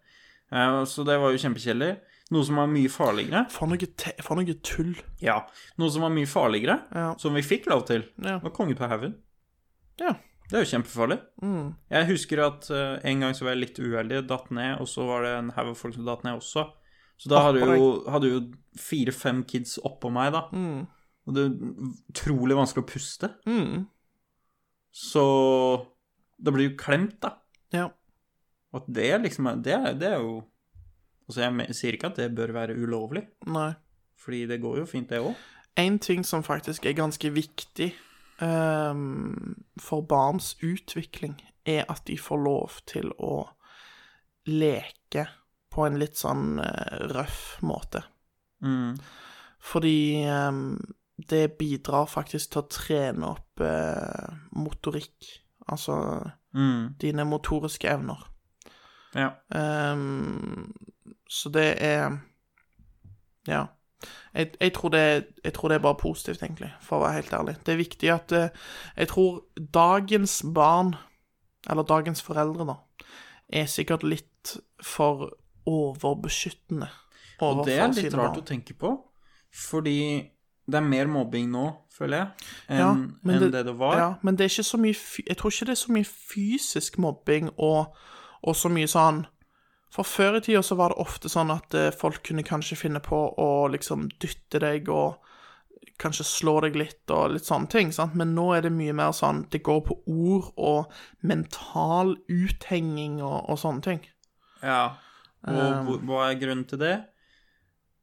Speaker 3: Eh, Så det var jo kjempekjedelig. Noe som var mye farligere
Speaker 6: For noe, te for noe tull.
Speaker 3: Ja, noe som var mye farligere,
Speaker 6: Ja.
Speaker 3: som vi fikk lov til,
Speaker 6: Ja.
Speaker 3: var konge på haugen.
Speaker 6: Ja. Mm.
Speaker 3: Det er jo kjempefarlig. Jeg husker at eh, en gang så var jeg litt uheldig, datt ned, og så var det en haug av folk som datt ned også. Så da hadde
Speaker 6: Oppå
Speaker 3: jo, hadde jo fire-fem kids oppå meg, da. Og det er utrolig vanskelig å puste.
Speaker 6: Mm.
Speaker 3: Så da blir du klemt, da.
Speaker 6: Ja.
Speaker 3: Og at det liksom er Det, er- det er jo Altså, jeg me- sier ikke at det bør være ulovlig,
Speaker 6: Nei.
Speaker 3: fordi det går jo fint, det òg.
Speaker 6: En ting som faktisk er ganske viktig ehm, for barns utvikling, er at de får lov til å leke på en litt sånn eh, røff måte.
Speaker 3: Mm.
Speaker 6: Fordi ehm, det bidrar faktisk til å trene opp eh, motorikk. Altså
Speaker 3: Mm.
Speaker 6: dine motoriske evner.
Speaker 3: Ja.
Speaker 6: Ehm, så det er Ja. Jeg, jeg, tror det, jeg tror det er bare positivt, egentlig, for å være helt ærlig. Det er viktig at eh, Jeg tror dagens barn, eller dagens foreldre, da, er sikkert litt for overbeskyttende
Speaker 3: Og
Speaker 6: overfor
Speaker 3: det er litt
Speaker 6: sine
Speaker 3: rart å
Speaker 6: barn.
Speaker 3: tenke på, fordi det er mer mobbing nå, føler jeg, enn
Speaker 6: Ja, men
Speaker 3: enn det, det var.
Speaker 6: Ja, men det er ikke så mye fy- Jeg tror ikke det er så mye fysisk mobbing og, og så mye sånn For før i tida så var det ofte sånn at eh, folk kunne kanskje finne på å liksom dytte deg og kanskje slå deg litt og litt sånne ting, sant? men nå er det mye mer sånn Det går på ord og mental uthenging og, og sånne ting.
Speaker 3: Ja. Og
Speaker 6: Um.
Speaker 3: hvor- hva er grunnen til det?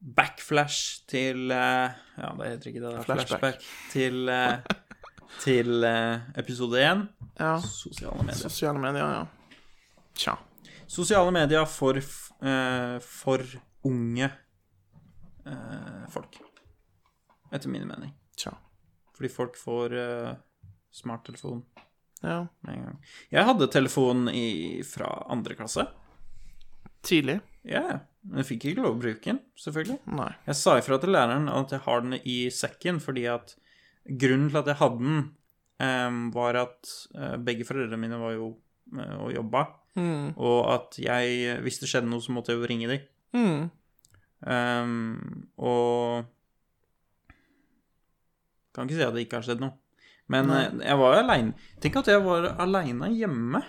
Speaker 3: Backflash til eh, Ja, det heter ikke det, det er
Speaker 6: Flashback.
Speaker 3: flashback. Til, eh, til eh, episode én,
Speaker 6: Ja.
Speaker 3: sosiale medier.
Speaker 6: Sosiale medier, ja. Tja.
Speaker 3: Sosiale medier for, f- eh, for unge eh, folk. Etter min mening.
Speaker 6: Tja.
Speaker 3: Fordi folk får eh, smarttelefon
Speaker 6: Ja.
Speaker 3: med en gang. Jeg hadde telefon i, fra andre klasse.
Speaker 6: Tidlig?
Speaker 3: Ja, men jeg fikk ikke lov å bruke den, selvfølgelig.
Speaker 6: Nei.
Speaker 3: Jeg sa ifra til læreren at jeg har den i sekken, fordi at grunnen til at jeg hadde den, em, var at eh, begge foreldrene mine var jo eh, og jobba, og at jeg, hvis det skjedde noe, så måtte jeg jo ringe dem.
Speaker 6: Mm.
Speaker 3: Em, og Kan ikke si at det ikke har skjedd noe. Men eh, jeg var aleine. Tenk at jeg var aleine hjemme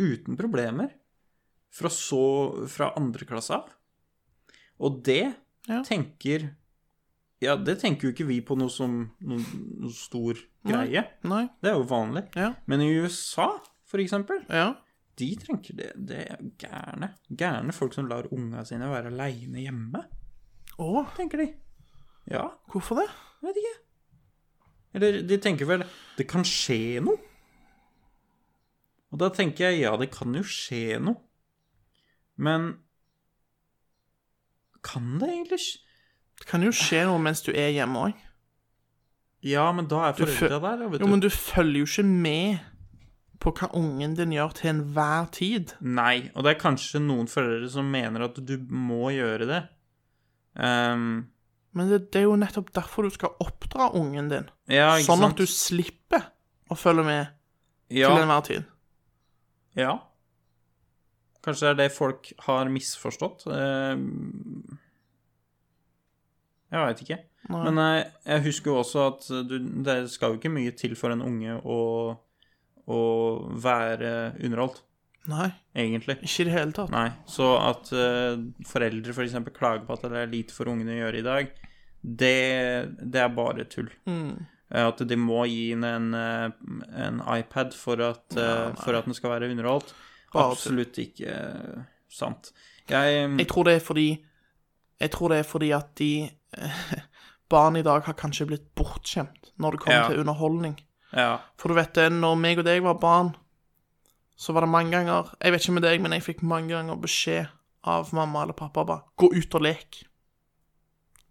Speaker 3: uten problemer fra, så, fra andre klasse av. Og det
Speaker 6: Ja.
Speaker 3: tenker Ja, det tenker jo ikke vi på noe som noen, noe stor greie.
Speaker 6: Nei.
Speaker 3: Det er jo vanlig.
Speaker 6: Ja.
Speaker 3: Men i USA, for eksempel,
Speaker 6: Ja.
Speaker 3: de tenker det. Det er gærne. Gærne folk som lar unga sine være aleine hjemme
Speaker 6: Å,
Speaker 3: tenker de. Ja,
Speaker 6: hvorfor det?
Speaker 3: jeg vet ikke. Eller de tenker vel Det kan skje noe. Og da tenker jeg ja, det kan jo skje noe. Men kan det egentlig skje?
Speaker 6: Det kan jo skje noe mens du er hjemme òg.
Speaker 3: Ja, men da er
Speaker 6: Du fø-
Speaker 3: foreldra der, vet
Speaker 6: Jo, men
Speaker 3: du.
Speaker 6: du følger jo ikke med på hva ungen din gjør til enhver tid.
Speaker 3: Nei, og det er kanskje noen foreldre som mener at du må gjøre det. Ehm,
Speaker 6: Men det, det er jo nettopp derfor du skal oppdra ungen din.
Speaker 3: ja, ikke
Speaker 6: sånn
Speaker 3: sant?
Speaker 6: at du slipper å følge med
Speaker 3: ja,
Speaker 6: til enhver tid.
Speaker 3: Ja. Kanskje det er det folk har misforstått. Eh, Jeg veit ikke. Men eh, jeg husker jo også at du, det skal jo ikke mye til for en unge å, å være underholdt,
Speaker 6: Nei,
Speaker 3: egentlig.
Speaker 6: ikke i det hele tatt.
Speaker 3: Nei. Så at eh, foreldre f.eks. klager på at det er lite for ungene å gjøre i dag, det, det er bare tull.
Speaker 6: Mm.
Speaker 3: Eh, At de må gi inn en, eh, en iPad for at, eh, for at den skal være underholdt.
Speaker 6: Bare tull.
Speaker 3: Absolutt ikke eh, sant. Jeg,
Speaker 6: Jeg tror det er fordi Jeg tror det er fordi at de Barn i dag har kanskje blitt bortskjemt når det kommer
Speaker 3: Ja.
Speaker 6: til underholdning.
Speaker 3: ja,
Speaker 6: For du vet det, når meg og deg var barn, så var det mange ganger Jeg vet ikke med deg, men jeg fikk mange ganger beskjed av mamma eller pappa bare Gå ut og lek.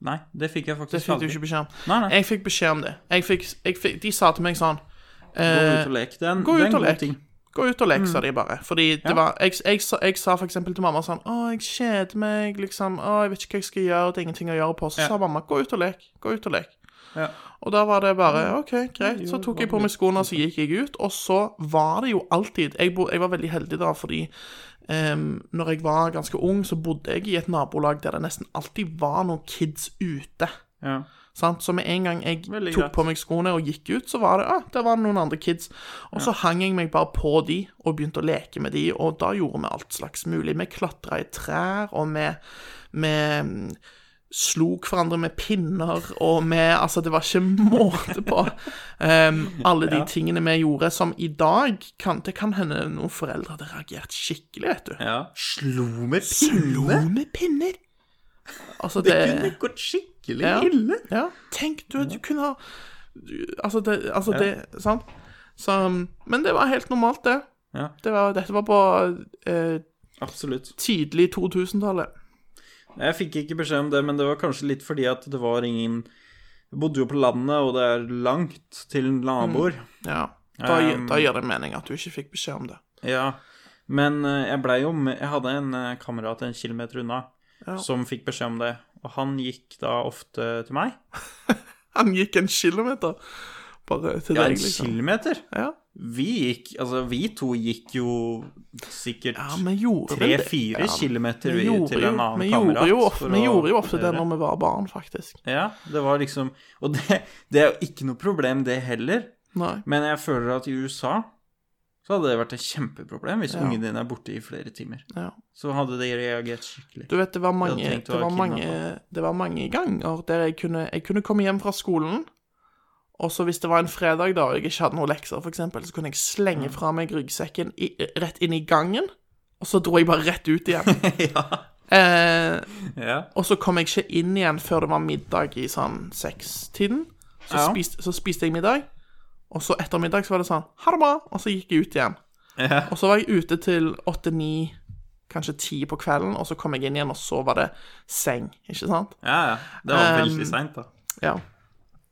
Speaker 3: Nei, det fikk jeg faktisk
Speaker 6: Det fikk du
Speaker 3: aldri.
Speaker 6: ikke beskjed om.
Speaker 3: Nei, nei.
Speaker 6: Jeg fikk beskjed om det. Jeg fikk, jeg fikk, de sa til meg sånn
Speaker 3: Gå
Speaker 6: eh,
Speaker 3: ut og lek. Det er en,
Speaker 6: Gå
Speaker 3: det er
Speaker 6: ut
Speaker 3: en
Speaker 6: og
Speaker 3: god
Speaker 6: lek.
Speaker 3: ting. Mm.
Speaker 6: Gå ut og lek, sa de bare. Fordi det var jeg, jeg, sa- jeg sa for eksempel til mamma sånn Å, jeg kjeder meg, liksom. Å, jeg vet ikke hva jeg skal gjøre, det er ingenting å gjøre på. Så
Speaker 3: Ja.
Speaker 6: sa mamma, gå ut og lek. Gå ut og lek.
Speaker 3: Ja.
Speaker 6: Og da var det bare OK, greit. Så tok jeg på meg skoene, og så gikk jeg ut. Og så var det jo alltid Jeg, bo, jeg var veldig heldig da, fordi em, når jeg var ganske ung, så bodde jeg i et nabolag der det nesten alltid var noen kids ute.
Speaker 3: Ja.
Speaker 6: Sant? Så med en gang jeg
Speaker 3: Veldig
Speaker 6: tok
Speaker 3: greit.
Speaker 6: på meg skoene og gikk ut, så var det ah, der var det noen andre kids. Og så hang jeg meg bare på de og begynte å leke med de, og da gjorde vi alt slags mulig. Vi klatra i trær, og vi, vi mm, slo hverandre med pinner, og vi Altså, det var ikke måte på em, alle de tingene vi gjorde, som i dag kan, Det kan hende noen foreldre hadde reagert skikkelig, vet du.
Speaker 3: ja.
Speaker 7: Slo med
Speaker 6: Slo
Speaker 7: pinne?
Speaker 6: med pinner! Altså,
Speaker 7: Det kunne gått skikkelig ille.
Speaker 6: ja. Tenk, du, du kunne ha du- Altså, det, altså det Sant? Så, um, men det var helt normalt, det.
Speaker 3: Ja.
Speaker 6: det var, dette var på eh,
Speaker 3: Absolutt.
Speaker 6: tidlig 2000-tallet.
Speaker 3: Jeg fikk ikke beskjed om det, men det var kanskje litt fordi at det var ingen Jeg bodde jo på landet, og det er langt til
Speaker 6: Mm.
Speaker 3: naboer.
Speaker 6: Ja. Da, gi-
Speaker 3: Um,
Speaker 6: da gir det mening at du ikke fikk beskjed om det.
Speaker 3: Ja. Men eh, jeg blei jo med Jeg hadde en eh, kamerat en kilometer unna som fikk beskjed om det. Og han gikk da ofte til meg.
Speaker 6: Han gikk en kilometer bare til
Speaker 3: Ja, en
Speaker 6: deg, liksom.
Speaker 3: kilometer?
Speaker 6: Ja.
Speaker 3: Vi gikk Altså, vi to gikk jo sikkert
Speaker 6: ja, vi gjorde vel det.
Speaker 3: tre-fire
Speaker 6: Ja,
Speaker 3: kilometer
Speaker 6: vi
Speaker 3: ut
Speaker 6: gjorde
Speaker 3: til
Speaker 6: jo-
Speaker 3: en annen
Speaker 6: vi
Speaker 3: kamerat.
Speaker 6: Gjorde jo ofte,
Speaker 3: for
Speaker 6: vi
Speaker 3: å
Speaker 6: gjorde jo ofte det
Speaker 3: gjøre.
Speaker 6: når vi var barn, faktisk.
Speaker 3: Ja, det var liksom Og det, det er jo ikke noe problem, det heller.
Speaker 6: Nei.
Speaker 3: Men jeg føler at i USA så hadde det vært et kjempeproblem hvis ungen din er borte i flere timer.
Speaker 6: Ja.
Speaker 3: Så hadde de reagert skikkelig.
Speaker 6: Du vet, det var mange,
Speaker 3: Jeg hadde tenkt å
Speaker 6: det var
Speaker 3: være
Speaker 6: mange,
Speaker 3: kidnappet.
Speaker 6: det var mange ganger der jeg kunne, jeg kunne komme hjem fra skolen, og så hvis det var en fredag da, og jeg ikke hadde noen lekser, for eksempel, så kunne jeg slenge
Speaker 3: Mm.
Speaker 6: fra meg ryggsekken i, rett inn i gangen, og så dro jeg bare rett ut igjen.
Speaker 3: ja.
Speaker 6: eh,
Speaker 3: ja.
Speaker 6: og så kom jeg ikke inn igjen før det var middag i sånn sekstiden. Så,
Speaker 3: Ja.
Speaker 6: spiste, så spiste jeg middag, og så etter middag så var det sånn, ha det bra, og så gikk jeg ut igjen.
Speaker 3: Ja.
Speaker 6: Og så var jeg ute til åtte-ni, kanskje ti på kvelden, og så kom jeg inn igjen, og så var det seng, ikke sant?
Speaker 3: ja, ja. Det var
Speaker 6: Um,
Speaker 3: veldig seint, da.
Speaker 6: Ja.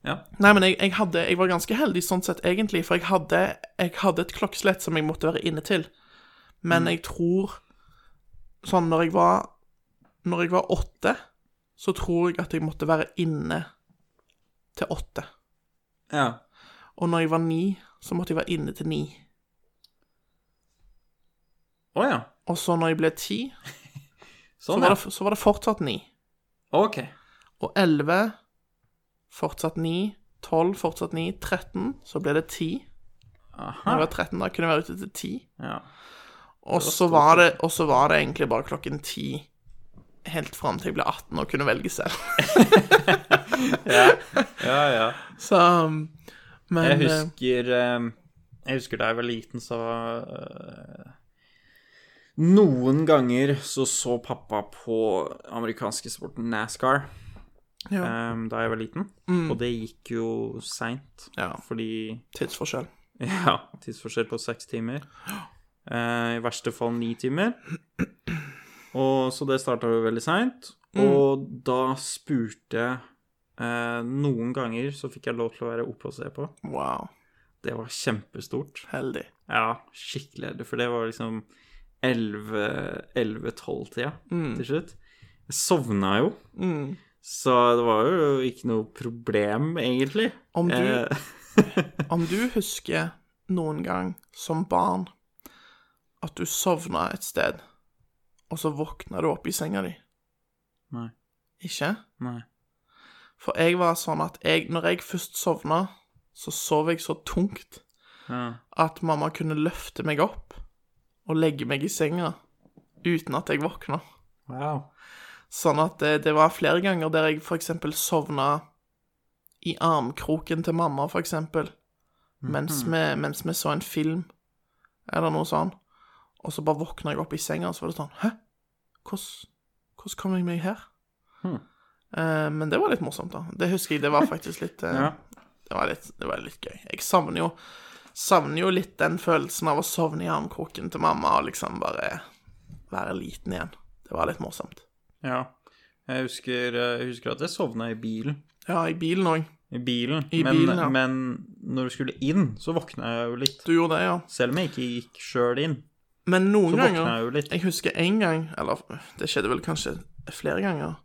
Speaker 3: Ja.
Speaker 6: Nei, men jeg, jeg, hadde, jeg var ganske heldig sånn sett, egentlig, for jeg hadde, jeg hadde et klokkeslett som jeg måtte være inne til. Men
Speaker 3: Mm.
Speaker 6: jeg tror Sånn når jeg var Når jeg var åtte, så tror jeg at jeg måtte være inne til åtte.
Speaker 3: Ja.
Speaker 6: Og når jeg var ni, så måtte jeg være inne til ni.
Speaker 3: Å ja.
Speaker 6: Og så når jeg ble ti, så,
Speaker 3: Sånn,
Speaker 6: var
Speaker 3: ja.
Speaker 6: det, så var det fortsatt ni.
Speaker 3: Ok.
Speaker 6: Og 11, fortsatt 9, 12, fortsatt 9, 13, så ble det 10.
Speaker 3: Aha.
Speaker 6: Når jeg var 13 da, kunne jeg være ute til 10.
Speaker 3: Ja.
Speaker 6: Og så var, det- og så var det egentlig bare klokken 10, helt fram til jeg ble 18 og kunne velge selv.
Speaker 3: ja, ja.
Speaker 6: Så, um,
Speaker 3: Jeg
Speaker 6: men... eh,
Speaker 3: husker eh, Jeg husker da jeg var liten, så eh, Noen ganger så så pappa på amerikanske sporten NASCAR
Speaker 6: Ja,
Speaker 3: eh, da jeg var liten, og det gikk jo seint,
Speaker 6: Mm. Ja.
Speaker 3: fordi
Speaker 6: tidsforskjell.
Speaker 3: Ja, tidsforskjell på seks timer. Eh, I verste fall ni timer. Og Så det starta jo veldig seint.
Speaker 6: Mm.
Speaker 3: Og da spurte jeg eh, Noen ganger så fikk jeg lov til å være oppe og se på.
Speaker 6: Wow,
Speaker 3: Det var kjempestort.
Speaker 6: heldig.
Speaker 3: Ja, skikkelig heldig, for det var liksom 11-12-tida
Speaker 6: Mm.
Speaker 3: til slutt. Jeg sovna jo, så det var jo ikke noe problem, egentlig.
Speaker 6: Om du-
Speaker 3: Eh,
Speaker 6: Om du husker noen gang som barn at du sovna et sted, og så våkna du opp i senga di?
Speaker 3: Nei.
Speaker 6: Ikke?
Speaker 3: nei.
Speaker 6: For jeg var sånn at jeg, når jeg først sovna, så sov jeg så tungt
Speaker 3: Ja.
Speaker 6: at mamma kunne løfte meg opp og legge meg i senga uten at jeg våkna.
Speaker 3: Wow.
Speaker 6: Sånn at det, det var flere ganger der jeg for eksempel sovna i armkroken til mamma, for eksempel, mens, vi, mens vi så en film eller noe sånn. Og så bare våkna jeg opp i senga, og så var det sånn Hæ? Hvordan, hvordan kom jeg meg her? Eh, men det var litt morsomt, da. Det husker jeg. Det var faktisk litt, eh,
Speaker 3: Ja.
Speaker 6: det var litt Det var litt gøy. Jeg savner jo Savner jo litt den følelsen av å sovne i armkroken til mamma og liksom bare være liten igjen. Det var litt morsomt.
Speaker 3: Ja. Jeg husker, eh, jeg husker at jeg sovna i bilen.
Speaker 6: Ja, i bilen òg.
Speaker 3: I bilen.
Speaker 6: I
Speaker 3: men,
Speaker 6: bilen, ja.
Speaker 3: men når du skulle inn, så våkna jeg jo litt.
Speaker 6: Du gjorde det, ja.
Speaker 3: Selv om jeg ikke gikk sjøl inn.
Speaker 6: Men noen
Speaker 3: Så våkna
Speaker 6: ganger
Speaker 3: jeg jo litt.
Speaker 6: Jeg husker en gang, eller det skjedde vel kanskje flere ganger,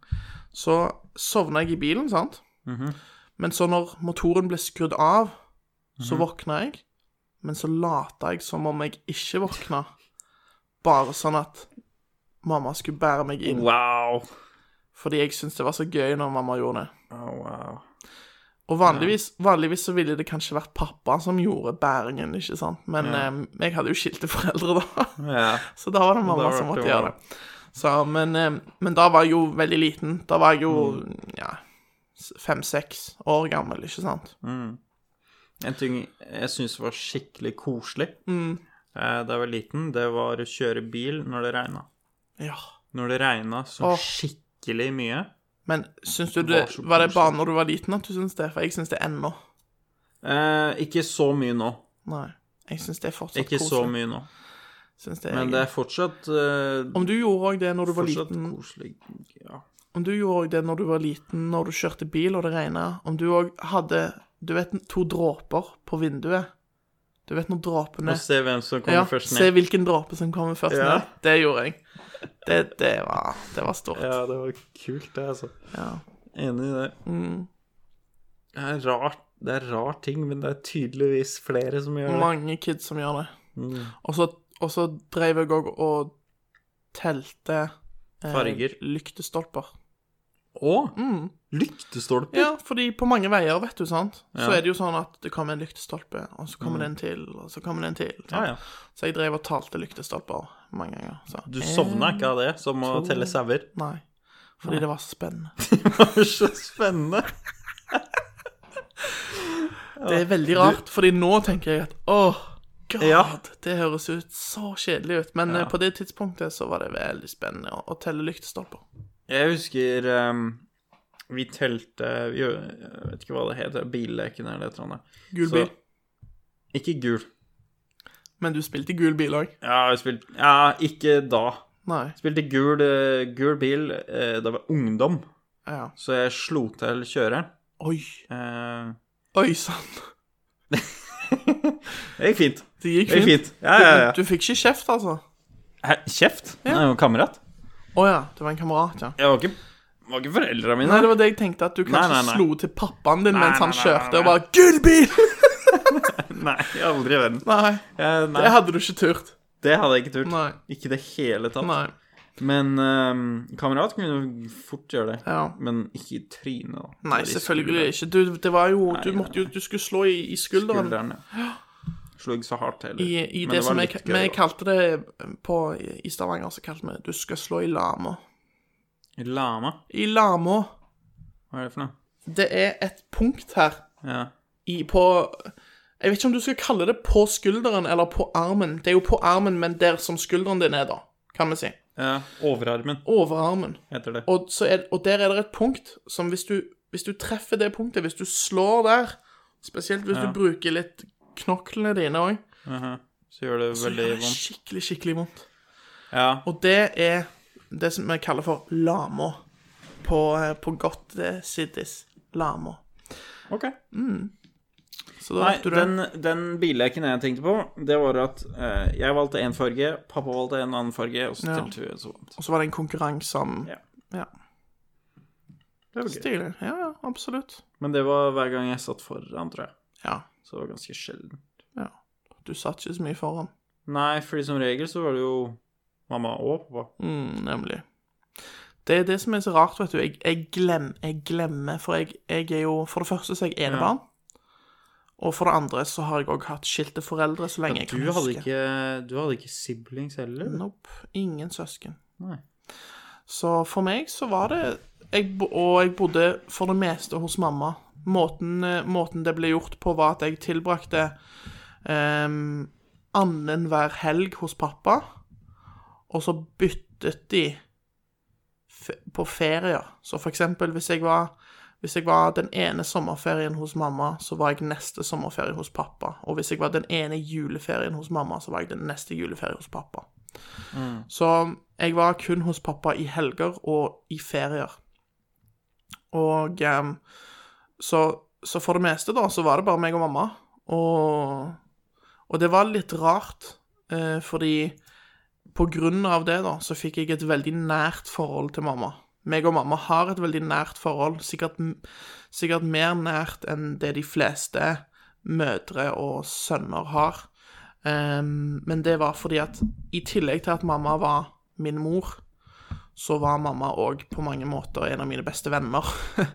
Speaker 6: så sovna jeg i bilen, sant?
Speaker 3: Mhm.
Speaker 6: Men så når motoren ble skrudd av,
Speaker 3: Mhm.
Speaker 6: så våkna jeg, men så lata jeg som om jeg ikke våkna, bare sånn at mamma skulle bære meg inn,
Speaker 3: Wow.
Speaker 6: fordi jeg syntes det var så gøy når mamma gjorde det.
Speaker 3: Oh, wow.
Speaker 6: Og vanligvis, vanligvis så ville det kanskje vært pappa som gjorde bæringen, ikke sant? Men eh, jeg hadde jo skilte foreldre da.
Speaker 3: Ja.
Speaker 6: Så da var det
Speaker 3: Da
Speaker 6: mamma
Speaker 3: var
Speaker 6: som
Speaker 3: det
Speaker 6: måtte
Speaker 3: mamma.
Speaker 6: gjøre det. Så, men, eh, men da var jeg jo veldig liten. Da var jeg jo
Speaker 3: Mm.
Speaker 6: ja, fem-seks år gammel, ikke sant?
Speaker 3: Mm. En ting jeg syns var skikkelig koselig
Speaker 6: Mm.
Speaker 3: eh, da jeg var liten, det var å kjøre bil når det regna.
Speaker 6: Ja.
Speaker 3: Når det regna så
Speaker 6: Åh.
Speaker 3: skikkelig mye.
Speaker 6: Men syns du
Speaker 3: Det
Speaker 6: det
Speaker 3: var så
Speaker 6: var, det bare når du var liten at du syns det? For jeg syns det ennå.
Speaker 3: Eh, ikke så mye nå.
Speaker 6: Nei. Jeg syns det er fortsatt
Speaker 3: Ikke så
Speaker 6: koselig.
Speaker 3: mye nå.
Speaker 6: Syns det er
Speaker 3: Men det er fortsatt eh,
Speaker 6: Om du gjorde òg det når du var
Speaker 3: fortsatt
Speaker 6: liten
Speaker 3: koselig. Ja.
Speaker 6: Om du gjorde også det når du var liten, når du kjørte bil og det regna, om du òg hadde du vet, to dråper på vinduet Du vet når dråpene
Speaker 3: Og se hvem som kommer
Speaker 6: Ja,
Speaker 3: først
Speaker 6: se
Speaker 3: ned.
Speaker 6: hvilken dråpe som kommer først
Speaker 3: Ja.
Speaker 6: ned. Det gjorde jeg. Det, det, var, det var stort.
Speaker 3: Ja, det var kult, det, altså.
Speaker 6: Ja. Mm.
Speaker 3: Enig i det. Det er rart. Det er rar ting, men det er tydeligvis flere som gjør det.
Speaker 6: Mange kids som gjør det.
Speaker 3: Mm.
Speaker 6: Og så- Og så drev jeg òg og telte eh,
Speaker 3: Farger.
Speaker 6: Lyktestolper.
Speaker 3: Og lyktestolper.
Speaker 6: Mm. Ja, fordi på mange veier, vet du, sant, så
Speaker 3: Ja. Mm.
Speaker 6: er det jo sånn at det kommer en lyktestolpe, og så kommer det en til, og så kommer det en til. sant?
Speaker 3: Ja, ja.
Speaker 6: Så jeg drev og talte lyktestolper mange ganger. Så.
Speaker 3: Du sovna ikke av det, som å telle sauer.
Speaker 6: Nei. Fordi det var så spennende.
Speaker 3: Det var så spennende.
Speaker 6: Det er veldig rart, fordi nå tenker jeg at åh, god,
Speaker 3: Ja.
Speaker 6: det høres ut så kjedelig ut. Men eh, på det tidspunktet så var det veldig spennende å, å telle lyktestolper.
Speaker 3: Jeg husker ehm, vi telte vi, gjør- Jeg vet ikke hva det heter. Billeken eller et eller annet.
Speaker 6: Gul
Speaker 3: Så-
Speaker 6: bil.
Speaker 3: Ikke gul.
Speaker 6: Men du spilte gul bil òg?
Speaker 3: Ja, jeg spilte Ja, ikke da.
Speaker 6: Nei.
Speaker 3: Spilte gul, eh, gul bil eh, da jeg var ungdom,
Speaker 6: Ja.
Speaker 3: så jeg slo til kjøreren.
Speaker 6: Oi.
Speaker 3: Eh,
Speaker 6: Oi sann.
Speaker 3: det gikk fint.
Speaker 6: Det gikk
Speaker 3: Det gikk
Speaker 6: fint.
Speaker 3: fint. Ja, ja, ja.
Speaker 6: Du, du fikk ikke kjeft, altså?
Speaker 3: Hæ, kjeft? Nei, jeg var kamerat.
Speaker 6: Å ja, det var en kamerat, ja.
Speaker 3: Jeg var ikke, var ikke foreldra mine.
Speaker 6: Nei, det var det jeg tenkte, at du kanskje
Speaker 3: nei, nei.
Speaker 6: slo til pappaen din mens han
Speaker 3: nei, nei,
Speaker 6: kjørte,
Speaker 3: nei,
Speaker 6: og bare 'Gul bil!'
Speaker 3: Nei, aldri i verden.
Speaker 6: Nei,
Speaker 3: Eh, nei,
Speaker 6: det hadde du ikke turt.
Speaker 3: det hadde jeg ikke turt.
Speaker 6: Nei.
Speaker 3: Ikke i det hele tatt.
Speaker 6: Nei.
Speaker 3: Men eh, kamerat kunne jo fort gjøre det.
Speaker 6: Ja.
Speaker 3: Men ikke i trynet, da.
Speaker 6: Nei,
Speaker 3: Bare i
Speaker 6: selvfølgelig ikke. Du, det var jo, du
Speaker 3: Nei,
Speaker 6: måtte jo, du skulle slå i, i
Speaker 3: skulderen.
Speaker 6: skulderen.
Speaker 3: skulderen ja. Slo ikke så hardt heller.
Speaker 6: I, i
Speaker 3: Men
Speaker 6: det,
Speaker 3: var
Speaker 6: som jeg,
Speaker 3: litt
Speaker 6: vi
Speaker 3: gøy, da.
Speaker 6: kalte det eh, på, i Stavanger, så kalte vi det 'du skal slå i lama'.
Speaker 3: Lama,
Speaker 6: I lama.
Speaker 3: hva er det for noe?
Speaker 6: Det er et punkt her
Speaker 3: Ja.
Speaker 6: i, på Jeg vet ikke om du skal kalle det på skulderen eller på armen. Det er jo på armen, men der som skulderen din er, da, kan vi si.
Speaker 3: ja. Overarmen
Speaker 6: Overarmen.
Speaker 3: heter det.
Speaker 6: Og, så er, og der er det et punkt som hvis du, hvis du treffer det punktet, hvis du slår der, spesielt hvis du bruker litt knoklene dine òg,
Speaker 3: Så gjør det
Speaker 6: så
Speaker 3: veldig
Speaker 6: gjør det
Speaker 3: vondt.
Speaker 6: skikkelig, skikkelig vondt.
Speaker 3: Ja.
Speaker 6: Og det er det som vi kaller for lama. På, eh, på godt eh, siddis. Lama.
Speaker 3: OK.
Speaker 6: Så da
Speaker 3: Nei,
Speaker 6: vet du det.
Speaker 3: den, den billeken jeg tenkte på, det var at eh, jeg valgte én farge, pappa valgte en annen farge, og så
Speaker 6: Ja.
Speaker 3: telte vi så vondt.
Speaker 6: Og så var det en konkurranse om
Speaker 3: Ja.
Speaker 6: ja.
Speaker 3: Det var gøy.
Speaker 6: Stilig. Ja, ja, absolutt.
Speaker 3: Men det var hver gang jeg satt foran, tror jeg.
Speaker 6: Ja.
Speaker 3: Så det var ganske sjelden.
Speaker 6: ja. Du satt ikke så mye foran.
Speaker 3: Nei, fordi som regel så var det jo mamma og pappa.
Speaker 6: Mm, nemlig. Det er det som er så rart, vet du. Jeg, jeg, glem, jeg glemmer, for jeg, jeg er jo For det første så er jeg enebarn. Og for det andre så har jeg òg hatt skilte foreldre så lenge jeg
Speaker 3: Du
Speaker 6: kan
Speaker 3: hadde
Speaker 6: huske.
Speaker 3: ikke, du hadde ikke siblings heller? du?
Speaker 6: Nope. Ingen søsken.
Speaker 3: Nei.
Speaker 6: Så for meg så var det jeg, bo- Og jeg bodde for det meste hos mamma. Måten, eh, måten det ble gjort på, var at jeg tilbrakte um, annenhver helg hos pappa, og så byttet de fe- på ferier. Så for eksempel hvis jeg var hvis jeg var den ene sommerferien hos mamma, så var jeg neste sommerferie hos pappa. Og hvis jeg var den ene juleferien hos mamma, så var jeg den neste juleferie hos pappa. Så jeg var kun hos pappa i helger og i ferier. Og ehm, så, så for det meste, da, så var det bare meg og mamma. Og, og det var litt rart, eh, fordi på grunn av det, da, så fikk jeg et veldig nært forhold til mamma. Meg og mamma har et veldig nært forhold, sikkert, m- sikkert mer nært enn det de fleste mødre og sønner har. Ehm, men det var fordi at i tillegg til at mamma var min mor, så var mamma òg på mange måter en av mine beste venner.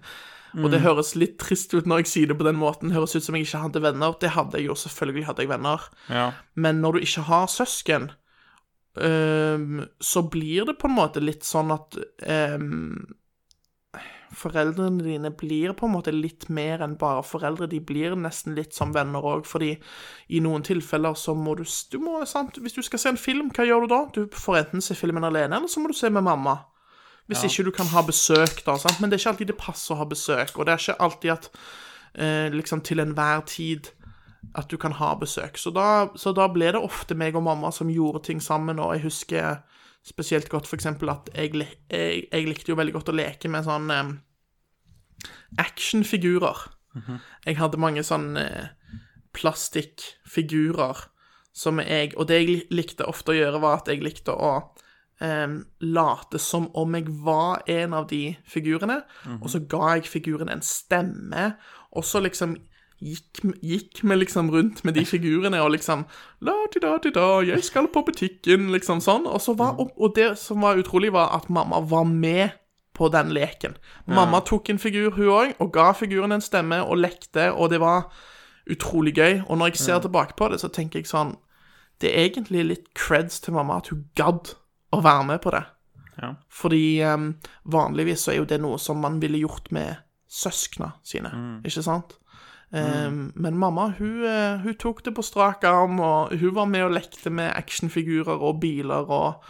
Speaker 6: og det høres litt trist ut når jeg sier det på den måten, høres ut som jeg ikke hadde venner. Det hadde jeg jo, selvfølgelig hadde jeg venner.
Speaker 3: Ja.
Speaker 6: Men når du ikke har søsken, øhm, så blir det på en måte litt sånn at øhm, Foreldrene dine blir på en måte litt mer enn bare foreldre. De blir nesten litt som venner òg, fordi i noen tilfeller så må du, s- du må, sant? Hvis du skal se en film, hva gjør du da? Du får enten se filmen alene, eller så må du se med mamma. Hvis ikke du kan ha besøk, da. Sant? Men det er ikke alltid det passer å ha besøk, og det er ikke alltid at eh, liksom til enhver tid at du kan ha besøk. Så da, så da ble det ofte meg og mamma som gjorde ting sammen, og jeg husker spesielt godt f.eks. at jeg, li- jeg, jeg likte jo veldig godt å leke med sånn eh, actionfigurer. Jeg hadde mange sånn eh, plastikkfigurer som jeg Og det jeg li- likte ofte å gjøre, var at jeg likte å em, ehm, late som om jeg var en av de figurene, og så ga jeg figuren en stemme, og så liksom gikk, gikk vi liksom rundt med de figurene og liksom La-di-da-di-da, jeg skal på butikken, liksom sånn. Og, så var, og, og det som var utrolig, var at mamma var med på den leken. Mamma tok en figur, hun òg, og ga figuren en stemme og lekte, og det var utrolig gøy. Og når jeg ser tilbake på det, så tenker jeg sånn det er egentlig litt creds til mamma at hun gadd å være med på det.
Speaker 3: Ja.
Speaker 6: Fordi em, vanligvis så er jo det noe som man ville gjort med søskna sine, ikke sant? Em, Men mamma, hun, eh, hun tok det på strak arm, og hun var med og lekte med actionfigurer og biler og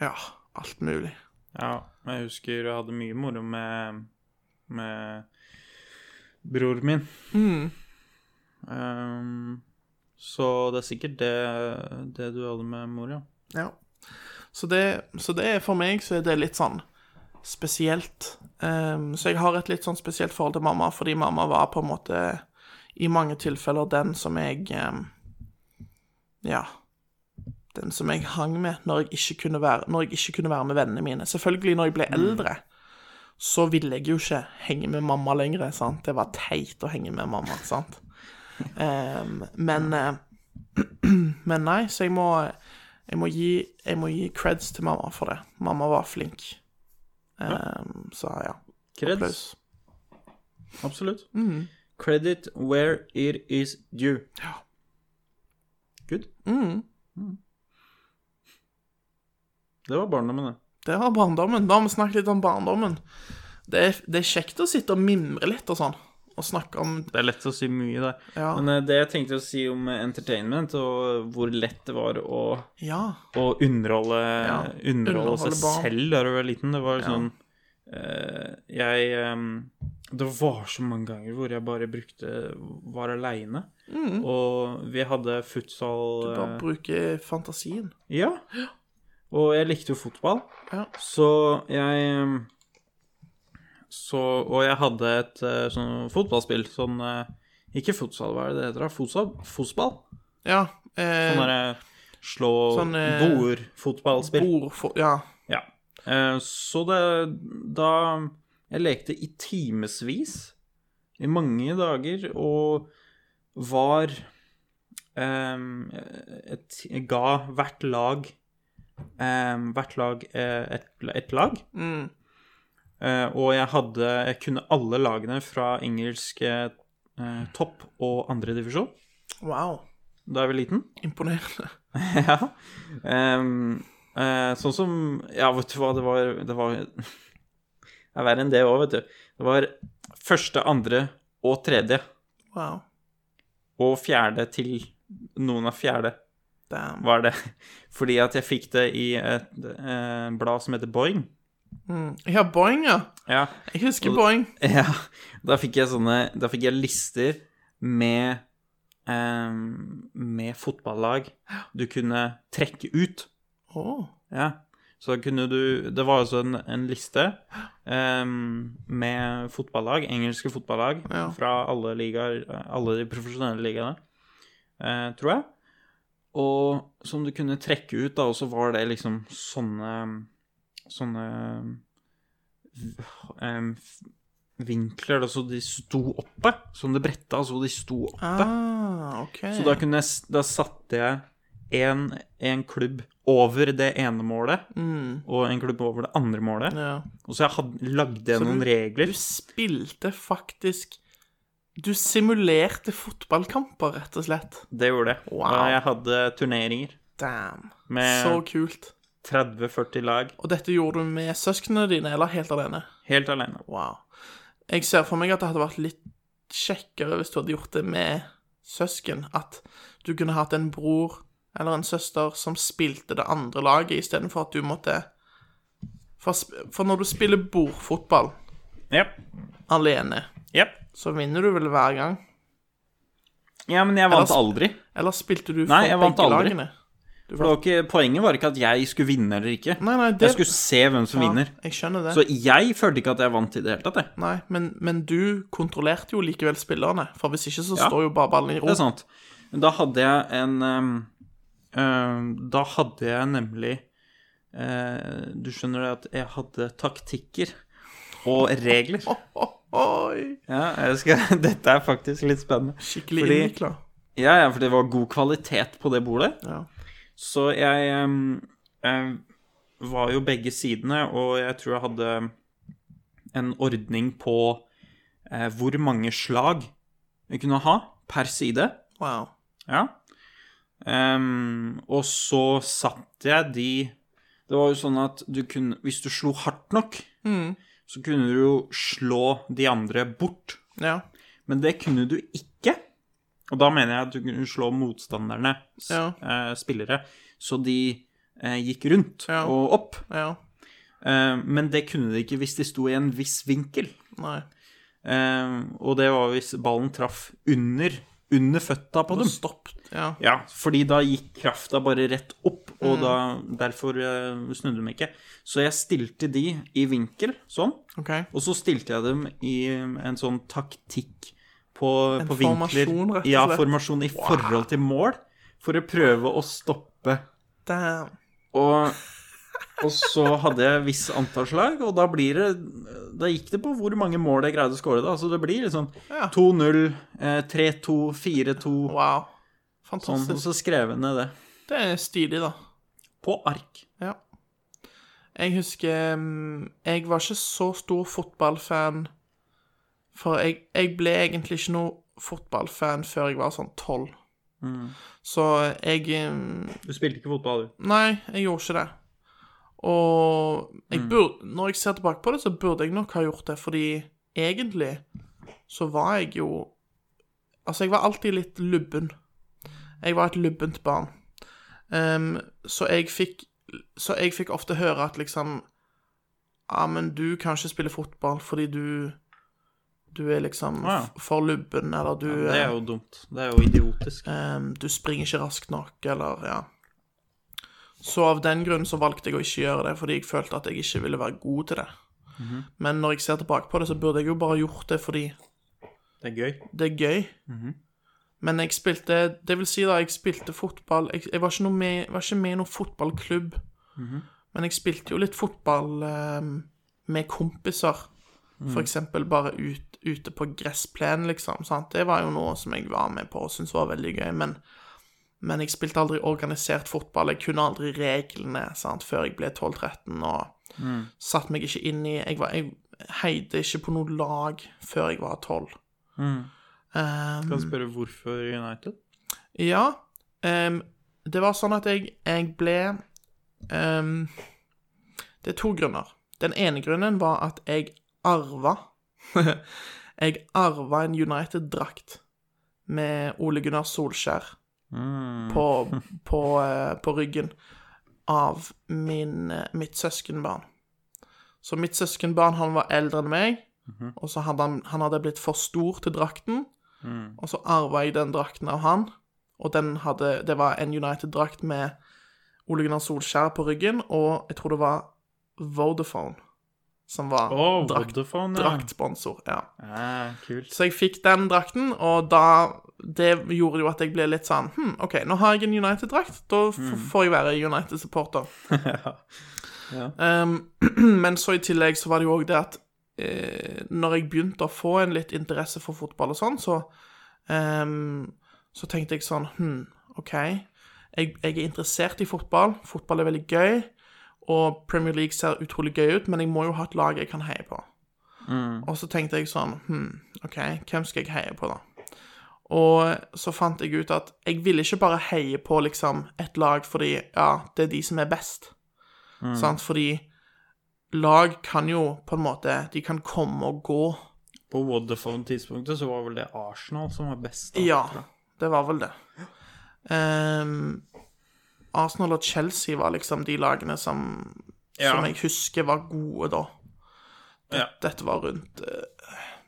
Speaker 6: ja, alt mulig.
Speaker 3: Ja, men jeg husker jeg hadde mye moro med, med bror min.
Speaker 6: Mm.
Speaker 3: Ehm, så det er sikkert det, det du hadde med mor, ja.
Speaker 6: Ja. Så det, så det er for meg så er det litt sånn spesielt. Ehm, så jeg har et litt sånn spesielt forhold til mamma, fordi mamma var på en måte i mange tilfeller den som jeg ehm, Ja. Den som jeg hang med når jeg ikke kunne være, når jeg ikke kunne være med vennene mine. Selvfølgelig, når jeg ble eldre, så ville jeg jo ikke henge med mamma lenger. sant? Det var teit å henge med mamma, sant? Ehm, men eh, Men nei, så jeg må jeg må, gi, jeg må gi creds til mamma for det. Mamma var flink. Ehm, så ja.
Speaker 3: Creds.
Speaker 6: Applaus. Mm.
Speaker 3: Absolutt. Credit where it is due. Ja. Good. Mm. Det var barndommen, det.
Speaker 6: Det var barndommen. Da har vi snakket litt om barndommen. Det er, det er kjekt å sitte og mimre litt og sånn, og snakke om
Speaker 3: Det er lett å si mye der.
Speaker 6: Ja.
Speaker 3: Men eh, det jeg tenkte å si om eh, entertainment, og eh, hvor lett det var å,
Speaker 6: Ja.
Speaker 3: å underholde, underholde
Speaker 6: underholde
Speaker 3: seg
Speaker 6: barn.
Speaker 3: selv da du var liten, det var sånn eh, Jeg eh, Det var så mange ganger hvor jeg bare brukte Var aleine.
Speaker 6: Mm.
Speaker 3: Og vi hadde futsal
Speaker 6: Bare
Speaker 3: eh,
Speaker 6: bruke fantasien.
Speaker 3: Ja. Og jeg likte jo fotball.
Speaker 6: Ja.
Speaker 3: Så jeg um, så, Og jeg hadde et eh, sånn fotballspill. Sånn eh, Ikke futsal, hva er det det heter? da? Fotsal? Fotball?
Speaker 6: Ja. Eh,
Speaker 3: Sånn derre slå
Speaker 6: Sånn, eh,
Speaker 3: bordfotballspill.
Speaker 6: ord for eh, Ja.
Speaker 3: Ja. Eh, Så det Da Jeg lekte i timevis. I mange dager. Og var em, et, jeg Ga hvert lag em, Hvert lag eh, et, et lag. Eh, og jeg hadde Jeg kunne alle lagene fra engelsk eh, topp og andredivisjon
Speaker 6: Wow.
Speaker 3: da jeg var liten.
Speaker 6: Imponerende.
Speaker 3: Ja. Ehm, eh, sånn som Ja, vet du hva, det var Det var det er verre enn det òg, vet du. Det var første, andre og tredje.
Speaker 6: Wow.
Speaker 3: Og fjerde til noen av fjerde
Speaker 6: Damn.
Speaker 3: var det. Fordi at jeg fikk det i et eh, blad som heter Boing.
Speaker 6: Ja, Boing, ja.
Speaker 3: Ja.
Speaker 6: Jeg husker Boing.
Speaker 3: Ja, da fikk jeg sånne Da fikk jeg lister med ehm, Med fotballag du kunne trekke ut.
Speaker 6: Å.
Speaker 3: Ja. Så da kunne du Det var altså en, en liste ehm, med fotballag, engelske fotballag,
Speaker 6: Ja.
Speaker 3: fra alle ligaer, alle de profesjonelle ligaene, eh, tror jeg. Og som du kunne trekke ut, da, og så var det liksom sånne Sånne em, vinkler, da, så de sto oppe. Som det bretta, så de sto oppe.
Speaker 6: Ah, ok.
Speaker 3: Så da, kunne jeg, s- da satte jeg en, en klubb over det ene målet,
Speaker 6: Mm.
Speaker 3: og en klubb over det andre målet.
Speaker 6: ja.
Speaker 3: Og så jeg hadde, lagde jeg
Speaker 6: Så du-
Speaker 3: noen regler.
Speaker 6: Du spilte faktisk Du simulerte fotballkamper, rett og slett.
Speaker 3: Det gjorde jeg.
Speaker 6: Wow.
Speaker 3: Og jeg hadde turneringer
Speaker 6: Damn.
Speaker 3: med
Speaker 6: Så kult.
Speaker 3: 30-40 lag
Speaker 6: Og dette gjorde du med søsknene dine, eller helt alene?
Speaker 3: helt alene.
Speaker 6: Wow. Jeg ser for meg at det hadde vært litt kjekkere hvis du hadde gjort det med søsken. At du kunne hatt en bror eller en søster som spilte det andre laget, istedenfor at du måtte for, sp- for når du spiller bordfotball
Speaker 3: Jep.
Speaker 6: alene,
Speaker 3: Jep.
Speaker 6: så vinner du vel hver gang?
Speaker 3: Ja, men jeg vant
Speaker 6: Ellers-
Speaker 3: aldri.
Speaker 6: Eller spilte
Speaker 3: Nei,
Speaker 6: du for
Speaker 3: jeg vant
Speaker 6: begge
Speaker 3: aldri.
Speaker 6: lagene? Du
Speaker 3: For det var ikke, poenget var ikke at jeg skulle vinne eller ikke.
Speaker 6: Nei, nei, det
Speaker 3: Jeg skulle se hvem som vinner.
Speaker 6: Ja, jeg skjønner det.
Speaker 3: Så jeg følte ikke at jeg vant i det hele tatt, jeg.
Speaker 6: Nei, men, men du kontrollerte jo likevel spillerne, for hvis ikke så
Speaker 3: Ja.
Speaker 6: står jo bare ballen i ro.
Speaker 3: Det er sant. Men Da hadde jeg en ehm, ehm, Da hadde jeg nemlig eh, Du skjønner det at jeg hadde taktikker og regler.
Speaker 6: Oi,
Speaker 3: Ja, jeg skal, dette er faktisk litt spennende.
Speaker 6: skikkelig
Speaker 3: Fordi-
Speaker 6: innvikla.
Speaker 3: Ja, ja, for det var god kvalitet på det bordet.
Speaker 6: Ja.
Speaker 3: Så jeg em, em, var jo begge sidene, og jeg tror jeg hadde en ordning på eh, hvor mange slag jeg kunne ha per side.
Speaker 6: Wow.
Speaker 3: Ja. Em, og så satt jeg de Det var jo sånn at du kunne Hvis du slo hardt nok,
Speaker 6: Mm.
Speaker 3: så kunne du jo slå de andre bort.
Speaker 6: Ja.
Speaker 3: Men det kunne du ikke. Og da mener jeg at du kunne slå motstanderne, s-
Speaker 6: Ja.
Speaker 3: eh, spillere, så de eh, gikk rundt
Speaker 6: Ja.
Speaker 3: og opp.
Speaker 6: Ja.
Speaker 3: Eh, men det kunne de ikke hvis de sto i en viss vinkel.
Speaker 6: Nei.
Speaker 3: Eh, og det var hvis ballen traff under, under føtta på dem.
Speaker 6: Stopp. Ja. Mm.
Speaker 3: Ja, fordi da gikk krafta bare rett opp, og da, derfor eh, snudde de ikke. Så jeg stilte de i vinkel, sånn.
Speaker 6: OK.
Speaker 3: Og så stilte jeg dem i en sånn taktikk på,
Speaker 6: En
Speaker 3: på vinkler.
Speaker 6: formasjon, rett og
Speaker 3: Ja,
Speaker 6: slett.
Speaker 3: formasjon i forhold til mål, for å prøve å stoppe.
Speaker 6: Damn.
Speaker 3: Og, og så hadde jeg viss antall slag, og da blir det Da gikk det på hvor mange mål jeg greide å skåre, da. Så det blir liksom
Speaker 6: Ja.
Speaker 3: 2-0, eh, 3-2, 4-2
Speaker 6: Wow.
Speaker 3: Sånn, og
Speaker 6: Fantastisk.
Speaker 3: så skrev jeg ned det.
Speaker 6: Det er stilig, da.
Speaker 3: På ark.
Speaker 6: Ja. Jeg husker mm, Jeg var ikke så stor fotballfan, for jeg, jeg ble egentlig ikke noe fotballfan før jeg var sånn tolv.
Speaker 3: Mm.
Speaker 6: Så jeg mm,
Speaker 3: Du spilte ikke fotball, du.
Speaker 6: Nei, jeg gjorde ikke det. Og jeg
Speaker 3: Mm.
Speaker 6: burde, når jeg ser tilbake på det, så burde jeg nok ha gjort det, fordi egentlig så var jeg jo Altså, jeg var alltid litt lubben. Jeg var et lubbent barn. Ehm, så jeg fikk Så jeg fikk ofte høre at liksom Ja, men du kan ikke spille fotball fordi du Du er liksom
Speaker 3: Ah, ja.
Speaker 6: f- for lubben, eller du
Speaker 3: Det
Speaker 6: eh,
Speaker 3: er jo dumt. Det er jo idiotisk.
Speaker 6: Ehm, du springer ikke raskt nok, eller ja. Så av den grunn så valgte jeg å ikke gjøre det, fordi jeg følte at jeg ikke ville være god til det. Men når jeg ser tilbake på det, så burde jeg jo bare gjort det fordi
Speaker 3: Det er gøy.
Speaker 6: det er gøy. Men jeg spilte Det vil si, da, jeg spilte fotball Jeg, jeg var, ikke noe med, var ikke med i noen fotballklubb. Men jeg spilte jo litt fotball ehm, med kompiser. For eksempel bare ut, ute på gressplenen, liksom. Sant? Det var jo noe som jeg var med på og syntes var veldig gøy. Men, men jeg spilte aldri organisert fotball. Jeg kunne aldri reglene sant? før jeg ble 12-13. og satt meg ikke inn i Jeg, var, jeg heide ikke på noe lag før jeg var 12. Ehm,
Speaker 3: Kan spørre hvorfor United?
Speaker 6: ja. ehm, det var sånn at jeg, jeg ble ehm, Det er to grunner. Den ene grunnen var at jeg arva Jeg arva en United-drakt med Ole Gunnar Solskjær på, på, eh, på ryggen av min, eh, mitt søskenbarn. Så mitt søskenbarn han var eldre enn meg, og så hadde han, han hadde blitt for stor til drakten. Og så arva jeg den drakten av han, og den hadde, det var en United-drakt med Ole Gunnar Solskjær på ryggen, og jeg tror det var Vodafone som var
Speaker 3: Å,
Speaker 6: drakt,
Speaker 3: Vodafone, ja.
Speaker 6: draktsponsor. Ja.
Speaker 3: Ah, kult.
Speaker 6: Så jeg fikk den drakten, og da Det gjorde jo at jeg ble litt sånn Hm, OK, nå har jeg en United-drakt. Da f får jeg være United-supporter. Um, men så i tillegg så var det jo òg det at eh, når jeg begynte å få en litt interesse for fotball og sånn, så um, Så tenkte jeg sånn Hm, OK. Jeg, jeg er interessert i fotball. Fotball er veldig gøy. Og Premier League ser utrolig gøy ut, men jeg må jo ha et lag jeg kan heie på. Og så tenkte jeg sånn Hm, OK, hvem skal jeg heie på, da? Og så fant jeg ut at jeg ville ikke bare heie på liksom et lag fordi ja, det er de som er best.
Speaker 3: Mm.
Speaker 6: Sant? Fordi lag kan jo på en måte De kan komme og gå.
Speaker 3: På Vodafone-tidspunktet så var vel det Arsenal som var best. da,
Speaker 6: Ja,
Speaker 3: tror jeg.
Speaker 6: det var vel det. Ehm, Arsenal og Chelsea var liksom de lagene som,
Speaker 3: Ja.
Speaker 6: som jeg husker var gode da. Det,
Speaker 3: Ja.
Speaker 6: Dette var rundt eh,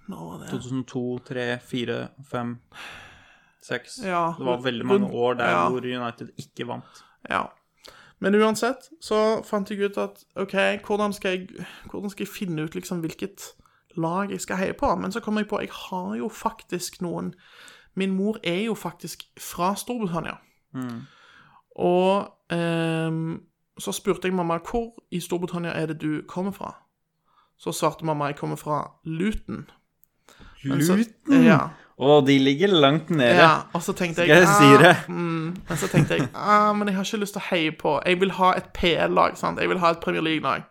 Speaker 6: Nå var det
Speaker 3: 2002, 3, 4, 5, 6
Speaker 6: Ja,
Speaker 3: Det var veldig
Speaker 6: rundt-
Speaker 3: mange år der
Speaker 6: ja.
Speaker 3: hvor United ikke vant.
Speaker 6: Ja. Men uansett så fant jeg ut at OK, hvordan skal jeg, hvordan skal jeg finne ut liksom hvilket lag jeg skal heie på? Men så kom jeg på jeg har jo faktisk noen Min mor er jo faktisk fra Storbritannia.
Speaker 3: Mm.
Speaker 6: Og ehm, så spurte jeg mamma hvor i Storbritannia er det du kommer fra. Så svarte mamma jeg kommer fra Luton. Men så-
Speaker 3: Luton?
Speaker 6: Ja,
Speaker 3: Og de ligger langt nede.
Speaker 6: ja, og så tenkte
Speaker 3: Skal
Speaker 6: jeg
Speaker 3: jeg si det?
Speaker 6: ah, Mm, men så tenkte jeg ah, men jeg har ikke lyst til å heie på. Jeg vil ha et PL-lag. sant? Jeg vil ha et Premier League-lag.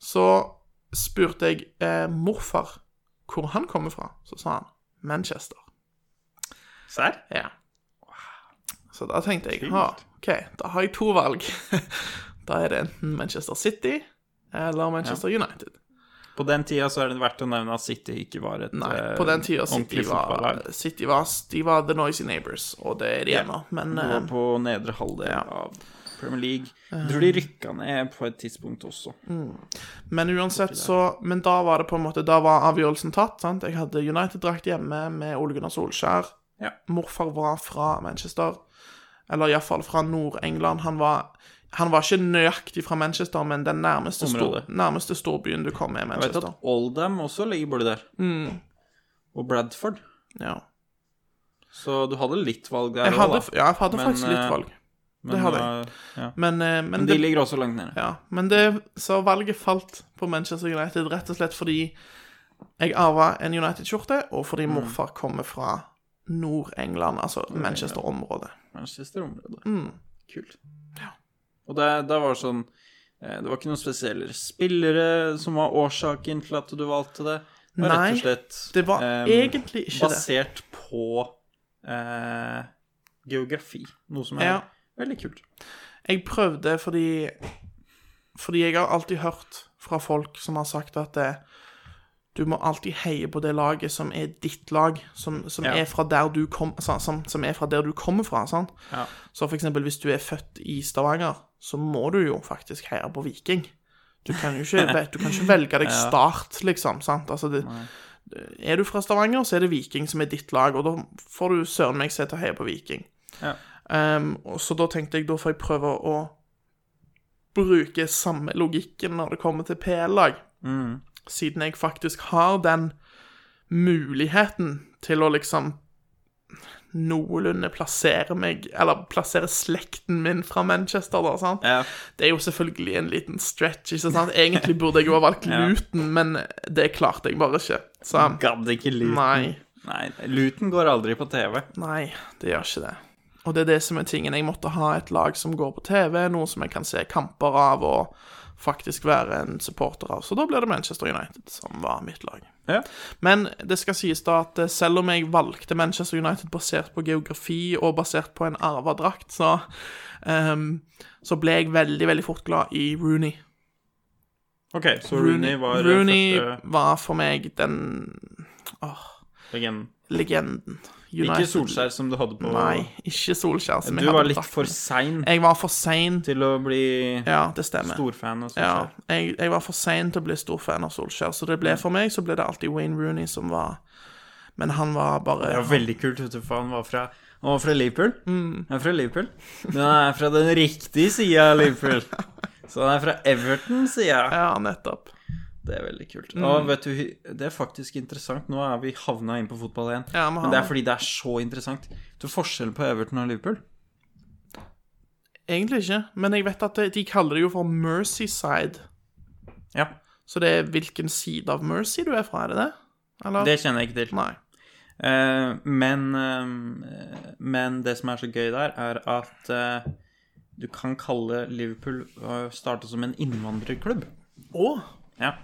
Speaker 6: Så spurte jeg eh, morfar hvor han kommer fra. Så sa han Manchester.
Speaker 3: Serr?
Speaker 6: Ja. Så da tenkte jeg ha, OK, da har jeg to valg. da er det enten Manchester City eller Manchester United.
Speaker 3: På den tida så er det verdt å nevne at City ikke var et
Speaker 6: Nei,
Speaker 3: eh,
Speaker 6: på den tida City
Speaker 3: ordentlig
Speaker 6: var,
Speaker 3: fotballag.
Speaker 6: City var De var the noisy neighbors, og det er de ennå. Men
Speaker 3: Det
Speaker 6: eh,
Speaker 3: var på nedre halvdel
Speaker 6: ja. Eh.
Speaker 3: av Premier League. Jeg tror de rykka ned på et tidspunkt også.
Speaker 6: Mm. Men uansett så Men da var det på en måte Da var avgjørelsen tatt. sant? Jeg hadde United-drakt hjemme med Ole Gunnar Solskjær.
Speaker 3: Ja.
Speaker 6: Morfar var fra Manchester, eller iallfall fra Nord-England. Han var han var ikke nøyaktig fra Manchester, men den nærmeste, stor,
Speaker 3: Området.
Speaker 6: nærmeste storbyen du kom, er
Speaker 3: Jeg vet
Speaker 6: Manchester.
Speaker 3: at Oldham også ligger borti der.
Speaker 6: Mm.
Speaker 3: Og Bradford.
Speaker 6: Ja.
Speaker 3: Så du hadde litt valg der
Speaker 6: Jeg hadde,
Speaker 3: også, da.
Speaker 6: ja, jeg hadde
Speaker 3: Men,
Speaker 6: faktisk litt
Speaker 3: eh,
Speaker 6: valg.
Speaker 3: Men,
Speaker 6: det hadde
Speaker 3: eh, Ja.
Speaker 6: Men, eh, men
Speaker 3: Men de
Speaker 6: det,
Speaker 3: ligger også langt nede.
Speaker 6: Ja, men det, så valget falt på Manchester United rett og slett fordi jeg arva en United-skjorte, og fordi
Speaker 3: Mm.
Speaker 6: morfar kommer fra Nord-England, altså Manchester-området.
Speaker 3: Manchester-området.
Speaker 6: Mm.
Speaker 3: Kult. Og det, det var sånn eh, Det var ikke noen spesielle spillere som var årsaken til at du valgte det. Det var
Speaker 6: Nei,
Speaker 3: rett og slett
Speaker 6: det var
Speaker 3: eh,
Speaker 6: egentlig ikke det.
Speaker 3: Basert på eh, geografi. Noe som er
Speaker 6: Ja.
Speaker 3: veldig kult.
Speaker 6: Jeg prøvde fordi Fordi jeg har alltid hørt fra folk som har sagt at eh, du må alltid heie på det laget som er ditt lag, som, som,
Speaker 3: Ja.
Speaker 6: er, fra der du kom, sa- som, som er fra der du kommer fra. Sant?
Speaker 3: Ja.
Speaker 6: Så for eksempel hvis du er født i Stavanger, så må du jo faktisk heie på Viking. Du kan jo ikke, ve- du kan ikke velge deg Start, liksom. Sant? Altså det, er du fra Stavanger, så er det Viking som er ditt lag, og da får du søren meg se til å heie på Viking.
Speaker 3: Ja.
Speaker 6: Ehm, og så da tenkte jeg da får jeg prøve å bruke samme logikken når det kommer til PL-lag,
Speaker 3: Mm.
Speaker 6: siden jeg faktisk har den muligheten til å liksom noenlunde plassere meg, eller plassere slekten min fra Manchester, da, sant?
Speaker 3: Ja.
Speaker 6: Det er jo selvfølgelig en liten stretch, ikke sant? Egentlig burde jeg jo ha valgt Luton, men det klarte jeg bare ikke. Så
Speaker 3: Gadd ikke Luton.
Speaker 6: nei,
Speaker 3: Nei, Luton går aldri på TV.
Speaker 6: nei, det gjør ikke det. Og det er det som er tingen. Jeg måtte ha et lag som går på TV, noe som jeg kan se kamper av og faktisk være en supporter av. Så da blir det Manchester United som var mitt lag.
Speaker 3: Ja.
Speaker 6: Men det skal sies da at eh, selv om jeg valgte Manchester United basert på geografi og basert på en arva drakt, så, ehm, så ble jeg veldig, veldig fort glad i Rooney.
Speaker 3: OK, så Rooney var
Speaker 6: Rooney
Speaker 3: første
Speaker 6: var for meg den
Speaker 3: legenden.
Speaker 6: legenden.
Speaker 3: Ikke Solskjær som du hadde på
Speaker 6: Nei, ikke Solskjær. som jeg
Speaker 3: Du
Speaker 6: hadde
Speaker 3: var
Speaker 6: på
Speaker 3: litt
Speaker 6: drakten.
Speaker 3: for sein
Speaker 6: Jeg var for sein.
Speaker 3: til å bli
Speaker 6: Ja, det stemmer.
Speaker 3: storfan av
Speaker 6: Ja,
Speaker 3: Solskjær.
Speaker 6: jeg, jeg var for sein til å bli stor fan av Solskjær, så det ble for meg så ble det alltid Wayne Rooney som var Men han var bare
Speaker 3: Det var veldig kult, vet du, for han var fra Og fra Liverpool.
Speaker 6: Mm.
Speaker 3: Den er fra Liverpool. Den er fra den riktige sida av Liverpool. Så den er fra Everton, sier jeg.
Speaker 6: Ja, nettopp.
Speaker 3: Det er veldig kult.
Speaker 6: Mm.
Speaker 3: Og vet du, det er faktisk interessant. Nå er vi havna inn på fotball igjen.
Speaker 6: Ja, men
Speaker 3: Men det er
Speaker 6: han-
Speaker 3: fordi det er så interessant. Du forskjellen på Everton og Liverpool?
Speaker 6: Egentlig ikke, men jeg vet at de- de kaller det jo for Merseyside.
Speaker 3: Ja.
Speaker 6: Så det er hvilken side av Mercy du er fra, er det det? Eller?
Speaker 3: Det kjenner jeg ikke til.
Speaker 6: Nei.
Speaker 3: Eh, men, eh, men det som er så gøy der, er at eh, du kan kalle Liverpool å starte som en innvandrerklubb.
Speaker 6: Å,
Speaker 3: Ja.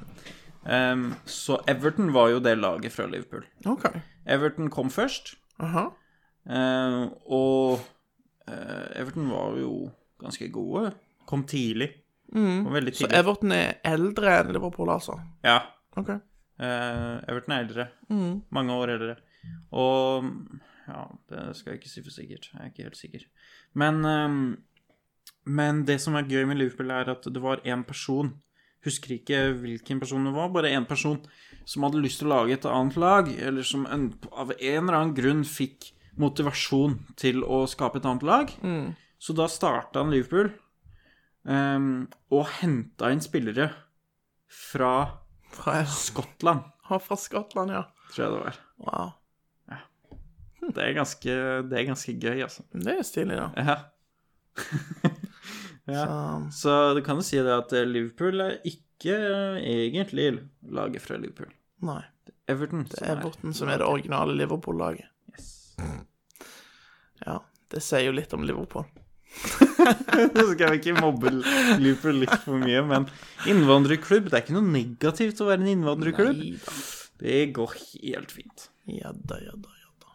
Speaker 3: Ehm, så Everton var jo det laget fra Liverpool.
Speaker 6: OK.
Speaker 3: Everton kom først,
Speaker 6: Aha.
Speaker 3: eh, og eh, Everton var jo ganske gode. Kom tidlig. Kom veldig
Speaker 6: Så
Speaker 3: tidlig.
Speaker 6: Everton er eldre enn Liverpool, altså?
Speaker 3: ja.
Speaker 6: OK.
Speaker 3: eh, Everton er eldre. Mange år eldre. Og ja, det skal jeg ikke si for sikkert. Jeg er ikke helt sikker. Men, ehm, men det som er gøy med Liverpool, er at det var én person Husker ikke hvilken person det var, bare én person som hadde lyst til å lage et annet lag, eller som en, av en eller annen grunn fikk motivasjon til å skape et annet lag. Så da starta han Liverpool, ehm, og henta inn spillere fra
Speaker 6: Fra,
Speaker 3: Skottland,
Speaker 6: fra Skottland, ja.
Speaker 3: tror jeg det var.
Speaker 6: Wow. Hm.
Speaker 3: Det er ganske, det er ganske gøy, altså.
Speaker 6: Det er stilig, da.
Speaker 3: Ja.
Speaker 6: Um,
Speaker 3: Så du kan jo si det at eh, Liverpool er ikke eh, egentlig laget fra Liverpool.
Speaker 6: nei.
Speaker 3: Everton.
Speaker 6: Det
Speaker 3: som
Speaker 6: er Everton som er det originale Liverpool-laget. Ja. Det sier jo litt om Liverpool.
Speaker 3: Nå skal vi ikke mobbe Liverpool litt for mye, men innvandrerklubb Det er ikke noe negativt å være en innvandrerklubb.
Speaker 6: Nei da.
Speaker 3: Det går helt fint.
Speaker 6: Jadda, jadda, jadda.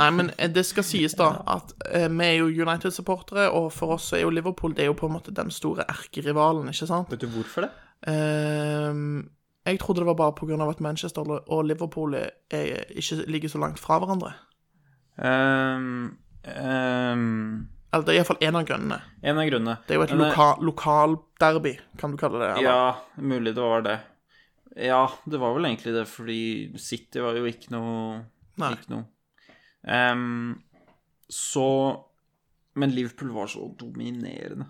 Speaker 6: Nei, men eh, det skal sies, da, at eh, vi er jo United-supportere, og for oss så er jo Liverpool det er jo på en måte den store erkerivalen, ikke sant?
Speaker 3: Vet du hvorfor det?
Speaker 6: Ehm, jeg trodde det var bare pga. at Manchester og Liverpool er, er, ikke ligger så langt fra hverandre.
Speaker 3: Ehm, ehm,
Speaker 6: Eller det er iallfall én av grunnene.
Speaker 3: en av grunnene
Speaker 6: Det er jo et
Speaker 3: Men, eh,
Speaker 6: loka, lokalderby, kan du kalle det. Eller?
Speaker 3: Ja, mulig det var det. Ja, det var vel egentlig det, fordi City var jo ikke noe
Speaker 6: Nei.
Speaker 3: Ikke noe. Ehm, så Men Liverpool var så dominerende.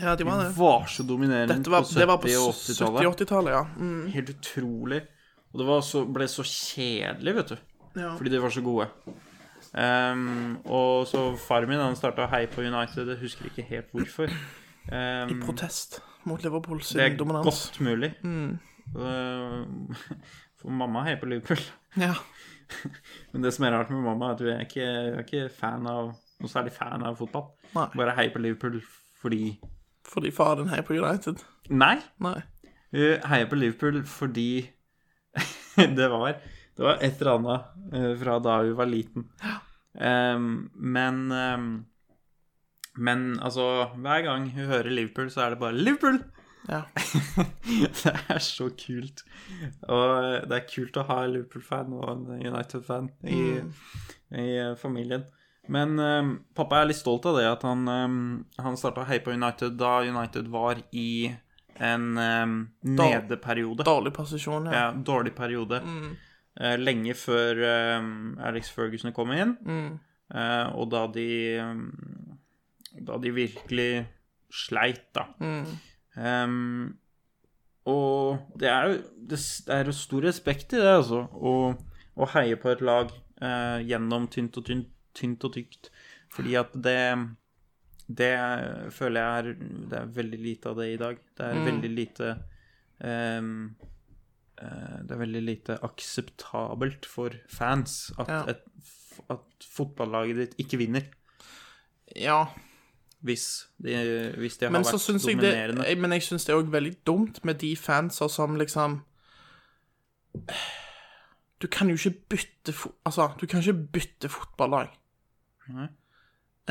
Speaker 6: Ja, de var
Speaker 3: De
Speaker 6: det.
Speaker 3: var så dominerende
Speaker 6: Dette var,
Speaker 3: på 70-
Speaker 6: det var på
Speaker 3: og
Speaker 6: 70-
Speaker 3: 80-tallet.
Speaker 6: 80-tallet, ja. Mm,
Speaker 3: Helt utrolig. Og det var så, ble så kjedelig, vet du.
Speaker 6: ja.
Speaker 3: Fordi de var så gode. Ehm, og så far min han starta å heie på United, jeg husker ikke helt hvorfor. Ehm,
Speaker 6: I protest mot Liverpool
Speaker 3: det er
Speaker 6: sin dominans.
Speaker 3: godt mulig. Eh, for mamma heier på Liverpool.
Speaker 6: Ja.
Speaker 3: Men det som er rart med mamma, er at hun er ikke, hun er ikke fan av, noe særlig fan av fotball.
Speaker 6: Nei.
Speaker 3: Bare heier på Liverpool fordi
Speaker 6: Fordi faren heier på United.
Speaker 3: Nei!
Speaker 6: Nei.
Speaker 3: Hun heier på Liverpool fordi det var Det var et eller annet eh, fra da hun var liten. Ehm, men ehm, Men altså, hver gang hun hører Liverpool, så er det bare 'Liverpool'!
Speaker 6: Ja.
Speaker 3: det er så kult. Og eh, det er kult å ha en Liverpool-fan og en United-fan i, i eh, familien. Men eh, pappa er litt stolt av det, at han, eh, han starta å heie på United da United var i en um,
Speaker 6: Dal-
Speaker 3: nedeperiode.
Speaker 6: Dårlig posisjon, ja.
Speaker 3: Ja, dårlig periode. Eh, lenge før eh, Alex Ferguson kom inn, eh, og da de eh, Da de virkelig sleit, da. Ehm, og det er jo det, s- det er jo stor respekt i det, altså, å, å heie på et lag eh, gjennom tynt og tynt, tynt og tykt. Fordi at det Det føler jeg er Det er veldig lite av det i dag. Det
Speaker 6: Mm.
Speaker 3: er veldig lite ehm, eh, Det er veldig lite akseptabelt for fans at,
Speaker 6: Ja.
Speaker 3: et, f- at fotballaget ditt ikke vinner
Speaker 6: ja.
Speaker 3: hvis de, hvis de har
Speaker 6: Men så
Speaker 3: vært
Speaker 6: syns jeg det
Speaker 3: dominerende.
Speaker 6: jeg- Men jeg syns det er òg veldig dumt med de fanser som liksom Du kan jo ikke bytte fo Altså, du kan ikke bytte fotballag.
Speaker 3: Nei.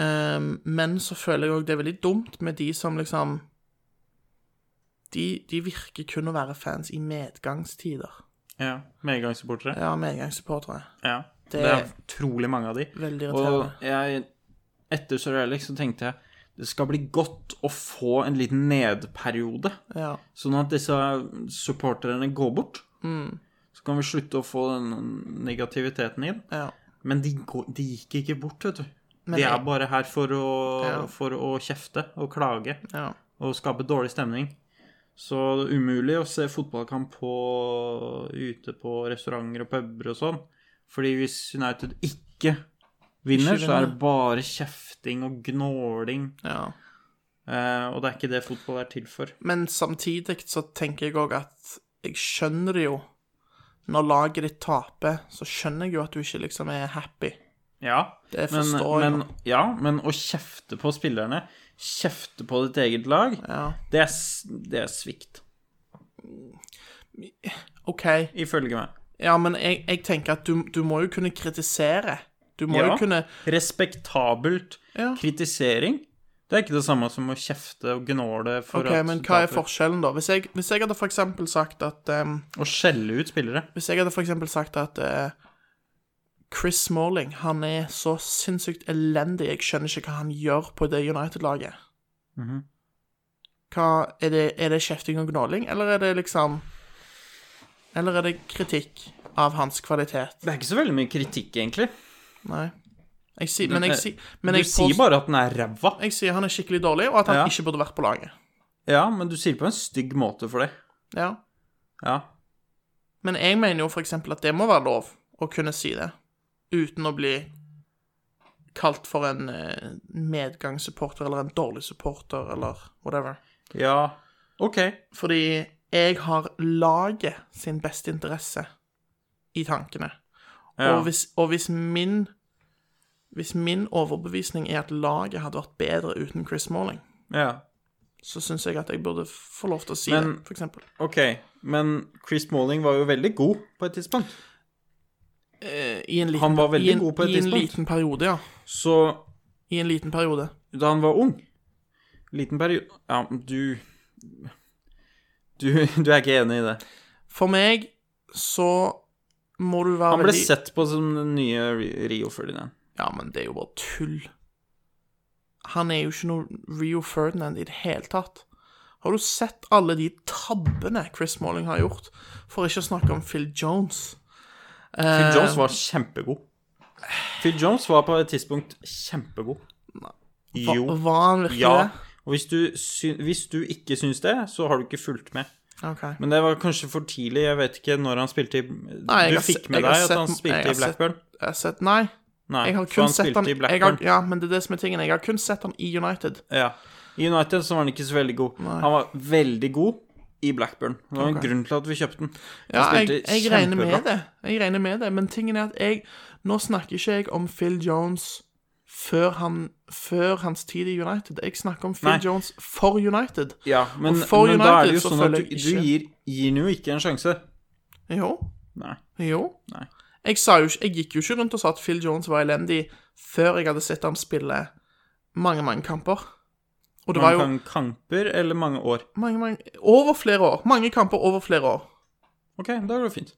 Speaker 6: Ehm, men så føler jeg òg det er veldig dumt med de som liksom de, de virker kun å være fans i medgangstider.
Speaker 3: Ja, Medgangssupportere.
Speaker 6: Ja, medgangssupportere.
Speaker 3: Ja.
Speaker 6: Det-
Speaker 3: Det er utrolig mange av de.
Speaker 6: Veldig
Speaker 3: Og
Speaker 6: irriterende.
Speaker 3: jeg, etter Sir Alex så tenkte jeg det skal bli godt å få en liten nedperiode,
Speaker 6: Ja.
Speaker 3: sånn at disse
Speaker 6: Mm.
Speaker 3: supporterne går bort. Så kan vi slutte å få den negativiteten inn.
Speaker 6: ja.
Speaker 3: Men de, går, de gikk ikke bort, vet du.
Speaker 6: Men
Speaker 3: De er
Speaker 6: jeg-
Speaker 3: bare her for å,
Speaker 6: Ja.
Speaker 3: for å kjefte og klage
Speaker 6: Ja.
Speaker 3: og skape dårlig stemning. Så det er umulig å se fotballkamp på, ute på restauranter og puber og sånn. Fordi hvis United ikke vinner, så er det bare kjefting og gnåling.
Speaker 6: ja.
Speaker 3: Eh, og det er ikke det fotball er til for.
Speaker 6: Men samtidig så tenker jeg òg at jeg skjønner det jo. Når laget ditt taper, så skjønner jeg jo at du ikke liksom er happy.
Speaker 3: Ja,
Speaker 6: Det
Speaker 3: men,
Speaker 6: forstår jeg.
Speaker 3: men, ja, men å kjefte på spillerne, kjefte på ditt eget lag,
Speaker 6: Ja.
Speaker 3: det, er, s- det er svikt,
Speaker 6: OK.
Speaker 3: ifølge meg.
Speaker 6: Ja, men jeg, jeg tenker at du, du må jo kunne kritisere. Du må
Speaker 3: Ja.
Speaker 6: jo kunne
Speaker 3: Respektabelt
Speaker 6: Ja.
Speaker 3: kritisering. Det er ikke det samme som å kjefte og gnåle for
Speaker 6: OK,
Speaker 3: at
Speaker 6: men hva er
Speaker 3: taper.
Speaker 6: forskjellen, da? Hvis jeg, hvis jeg hadde for eksempel sagt at ehm,
Speaker 3: Å skjelle ut spillere.
Speaker 6: Hvis jeg hadde for eksempel sagt at eh, Chris Smalling, han er så sinnssykt elendig, jeg skjønner ikke hva han gjør på det United-laget.
Speaker 3: Mhm.
Speaker 6: Hva, er det, er det kjefting og gnåling, eller er det liksom Eller er det kritikk av hans kvalitet?
Speaker 3: Det er ikke så veldig mye kritikk, egentlig.
Speaker 6: Nei. Jeg sier, men jeg, sier- men
Speaker 3: du
Speaker 6: jeg,
Speaker 3: sier
Speaker 6: påst-
Speaker 3: bare at den er ræva.
Speaker 6: jeg sier han er skikkelig dårlig, og at han
Speaker 3: Ja.
Speaker 6: ikke burde vært på laget.
Speaker 3: Ja, men du sier det på en stygg måte for det.
Speaker 6: Ja.
Speaker 3: Ja.
Speaker 6: Men jeg mener jo for eksempel at det må være lov å kunne si det, uten å bli kalt for en eh, medgangssupporter eller en dårlig supporter eller whatever.
Speaker 3: Ja. OK.
Speaker 6: Fordi jeg har laget sin beste interesse i tankene.
Speaker 3: Ja.
Speaker 6: Og, hvis, og hvis min hvis min overbevisning er at laget hadde vært bedre uten Chris Malling,
Speaker 3: ja.
Speaker 6: så syns jeg at jeg burde få lov til å si
Speaker 3: Men-
Speaker 6: det, for eksempel.
Speaker 3: OK. Men Chris Malling var jo veldig god på et tidspunkt.
Speaker 6: Eh, I en liten,
Speaker 3: Han var veldig
Speaker 6: i en,
Speaker 3: god på et
Speaker 6: I en
Speaker 3: tidspunkt.
Speaker 6: liten periode, ja.
Speaker 3: Så
Speaker 6: I en liten periode.
Speaker 3: da han var ung Liten periode Ja, men du Du, du er ikke enig i det?
Speaker 6: For meg så må du være
Speaker 3: Han ble
Speaker 6: veldig
Speaker 3: sett på som den nye Ri- Rio Ferdinand.
Speaker 6: Ja, men det er jo bare tull. Han er jo ikke noe Rio Ferdinand i det hele tatt. Har du sett alle de tabbene Chris Malling har gjort? For ikke å snakke om Phil Jones. Eh,
Speaker 3: Phil Jones var kjempegod. Phil Jones var på et tidspunkt kjempegod.
Speaker 6: Hva,
Speaker 3: Jo.
Speaker 6: var han virkelig
Speaker 3: Ja.
Speaker 6: det?
Speaker 3: Og hvis du, sy hvis du ikke syns det, så har du ikke fulgt med.
Speaker 6: Ok.
Speaker 3: Men det var kanskje for tidlig. Jeg vet ikke når han spilte i
Speaker 6: Nei, jeg
Speaker 3: Du
Speaker 6: har
Speaker 3: fikk
Speaker 6: sett-
Speaker 3: med
Speaker 6: jeg har
Speaker 3: deg at
Speaker 6: sett-
Speaker 3: han
Speaker 6: jeg
Speaker 3: spilte
Speaker 6: har
Speaker 3: i
Speaker 6: sett-
Speaker 3: Blackburn?
Speaker 6: Jeg har sett Nei,
Speaker 3: Nei,
Speaker 6: jeg har
Speaker 3: for
Speaker 6: kun
Speaker 3: han
Speaker 6: sett
Speaker 3: spilte
Speaker 6: han
Speaker 3: i
Speaker 6: jeg har,
Speaker 3: Blackburn.
Speaker 6: Ja, men det er det som er tingen. Jeg har kun sett han i United.
Speaker 3: Ja. I United så var han ikke så veldig god. Han var veldig god i Blackburn. Det var en grunn til at vi kjøpte den. Han
Speaker 6: Ja, jeg,
Speaker 3: spilte
Speaker 6: jeg regner med
Speaker 3: kjempebra.
Speaker 6: det. Jeg regner med det, men tingen er at jeg Nå snakker ikke jeg om Phil Jones før, han, før hans tid i United. Jeg snakker om Phil
Speaker 3: Nei.
Speaker 6: Jones for United.
Speaker 3: Ja, men,
Speaker 6: Og for
Speaker 3: men da er det
Speaker 6: United
Speaker 3: jo
Speaker 6: så
Speaker 3: sånn at
Speaker 6: føler
Speaker 3: du,
Speaker 6: jeg
Speaker 3: du
Speaker 6: ikke-
Speaker 3: gir, gir den jo ikke en sjanse.
Speaker 6: Jo.
Speaker 3: Nei.
Speaker 6: Jo.
Speaker 3: Nei.
Speaker 6: Jeg, sa jo, ikke- jeg gikk jo ikke rundt og sa at Phil Jones var elendig før jeg hadde sett ham spille mange, mange kamper. Og det var
Speaker 3: Mange
Speaker 6: jo
Speaker 3: kan kamper eller mange år.
Speaker 6: mange, mange, over flere år. Mange kamper over flere år.
Speaker 3: OK, da går det fint.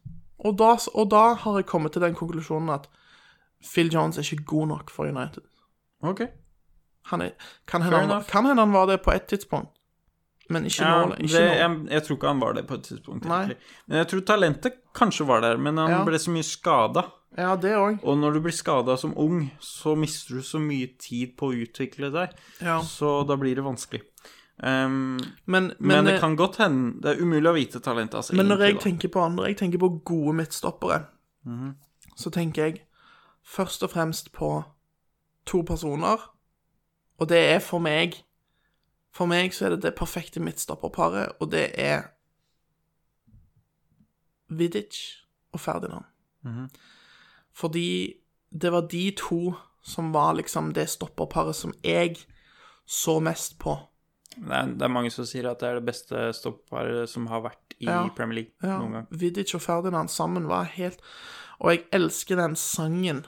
Speaker 6: Og da, og da har jeg kommet til den konklusjonen at Phil Jones er ikke god nok for United.
Speaker 3: OK.
Speaker 6: Han er, kan, hende han,
Speaker 3: enough.
Speaker 6: kan hende han var det på et tidspunkt, men ikke
Speaker 3: Ja,
Speaker 6: nå.
Speaker 3: det,
Speaker 6: Ikke nå.
Speaker 3: jeg, jeg tror ikke han var det på et tidspunkt.
Speaker 6: Nei.
Speaker 3: egentlig. Men jeg tror talentet kanskje var der, men han
Speaker 6: Ja.
Speaker 3: ble så mye skada.
Speaker 6: Ja, det òg.
Speaker 3: Og når du blir skada som ung, så mister du så mye tid på å utvikle deg,
Speaker 6: Ja.
Speaker 3: så da blir det vanskelig. Ehm,
Speaker 6: Men, eh,
Speaker 3: men,
Speaker 6: men,
Speaker 3: det kan godt hende Det er umulig å vite altså, talentet hans.
Speaker 6: men når jeg
Speaker 3: egentlig,
Speaker 6: tenker på andre, jeg tenker på gode midtstoppere, så tenker jeg først og fremst på to personer, og det er for meg For meg så er det det perfekte midtstopperparet, og det er Vidic og Ferdinand. Fordi det var de to som var liksom det stopperparet som jeg så mest på.
Speaker 3: da. det, er, det er mange som sier at det er det beste stopparet som har vært i
Speaker 6: Ja.
Speaker 3: Premier League
Speaker 6: Ja,
Speaker 3: noen gang.
Speaker 6: Vidic og Ferdinand sammen var helt Og jeg elsker den sangen.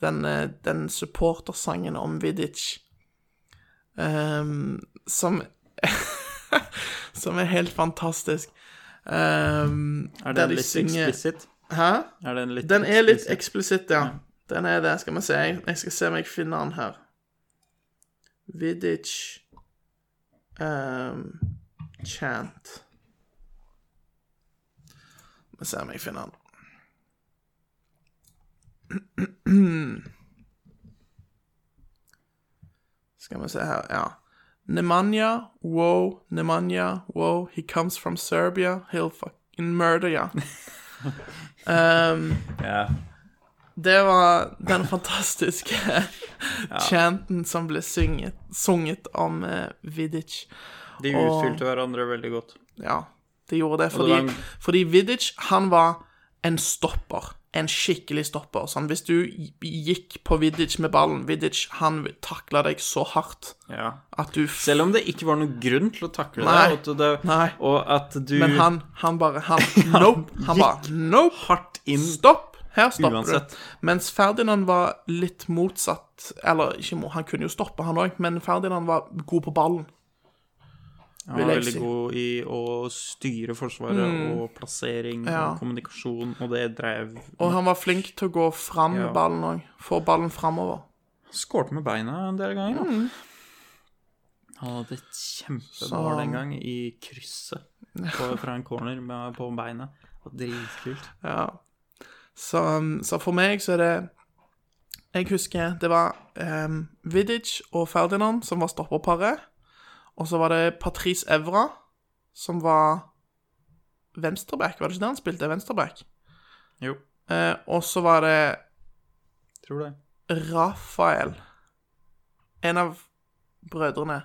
Speaker 6: Den, eh, den supportersangen om Vidic. Ehm, som Som er helt fantastisk. Ehm,
Speaker 3: Er
Speaker 6: der
Speaker 3: den
Speaker 6: de
Speaker 3: litt
Speaker 6: synger-
Speaker 3: eksplisitt?
Speaker 6: Hæ?
Speaker 3: Er den litt
Speaker 6: Den er litt
Speaker 3: eksplisitt?
Speaker 6: eksplisitt, ja. Den er det. Skal vi se. Jeg- Jeg skal se om jeg finner den her. Vidic ehm, Chant. Vi ser om jeg finner den. Skal vi se her, ja. Nemanja, wow, Nemanja, wow, he comes from Serbia, he'll fucking murder ya. um,
Speaker 3: Ja.
Speaker 6: det var den fantastiske chanten som ble synget, sunget om eh, Vidic.
Speaker 3: De
Speaker 6: Og-
Speaker 3: utfylte hverandre veldig godt.
Speaker 6: Ja, de gjorde det.
Speaker 3: det var
Speaker 6: Fordi,
Speaker 3: en-
Speaker 6: fordi Vidic, han var en stopper. En skikkelig stopper. Sånn, hvis du gikk på Vidic med ballen Vidic, han takla deg så hardt
Speaker 3: Ja.
Speaker 6: at du f-
Speaker 3: Selv om det ikke var noen grunn til å takle
Speaker 6: Nei.
Speaker 3: det, og at, det
Speaker 6: Nei.
Speaker 3: og at du
Speaker 6: Men han, han bare han, Nope. Han bare Nope.
Speaker 3: hardt inn
Speaker 6: Stopp. Her stopper
Speaker 3: Uansett.
Speaker 6: du. Mens Ferdinand var litt motsatt. Eller ikke mo- han kunne jo stoppe, han òg, men Ferdinand var god på ballen.
Speaker 3: Han
Speaker 6: vil
Speaker 3: var
Speaker 6: jeg
Speaker 3: veldig
Speaker 6: si. Mm.
Speaker 3: god i å styre Forsvaret og plassering
Speaker 6: Ja.
Speaker 3: og kommunikasjon, og det dreiv
Speaker 6: Og han var flink til å gå fram
Speaker 3: Ja.
Speaker 6: med ballen òg. Få ballen framover.
Speaker 3: Skårte med beina en del ganger. da.
Speaker 6: Mm.
Speaker 3: Han hadde et kjempemål
Speaker 6: Så-
Speaker 3: en gang i krysset på, fra en corner med, på beinet. Det var Dritkult.
Speaker 6: Ja. Så, um, så for meg så er det Jeg husker det var um, Vidic og Ferdinand som var stopperparet. Og så var det Patrice Evra som var venstreback. Var det ikke det han spilte? Venstreback.
Speaker 3: Jo,
Speaker 6: Eh, og så var det
Speaker 3: tror det.
Speaker 6: Rafael. En av brødrene.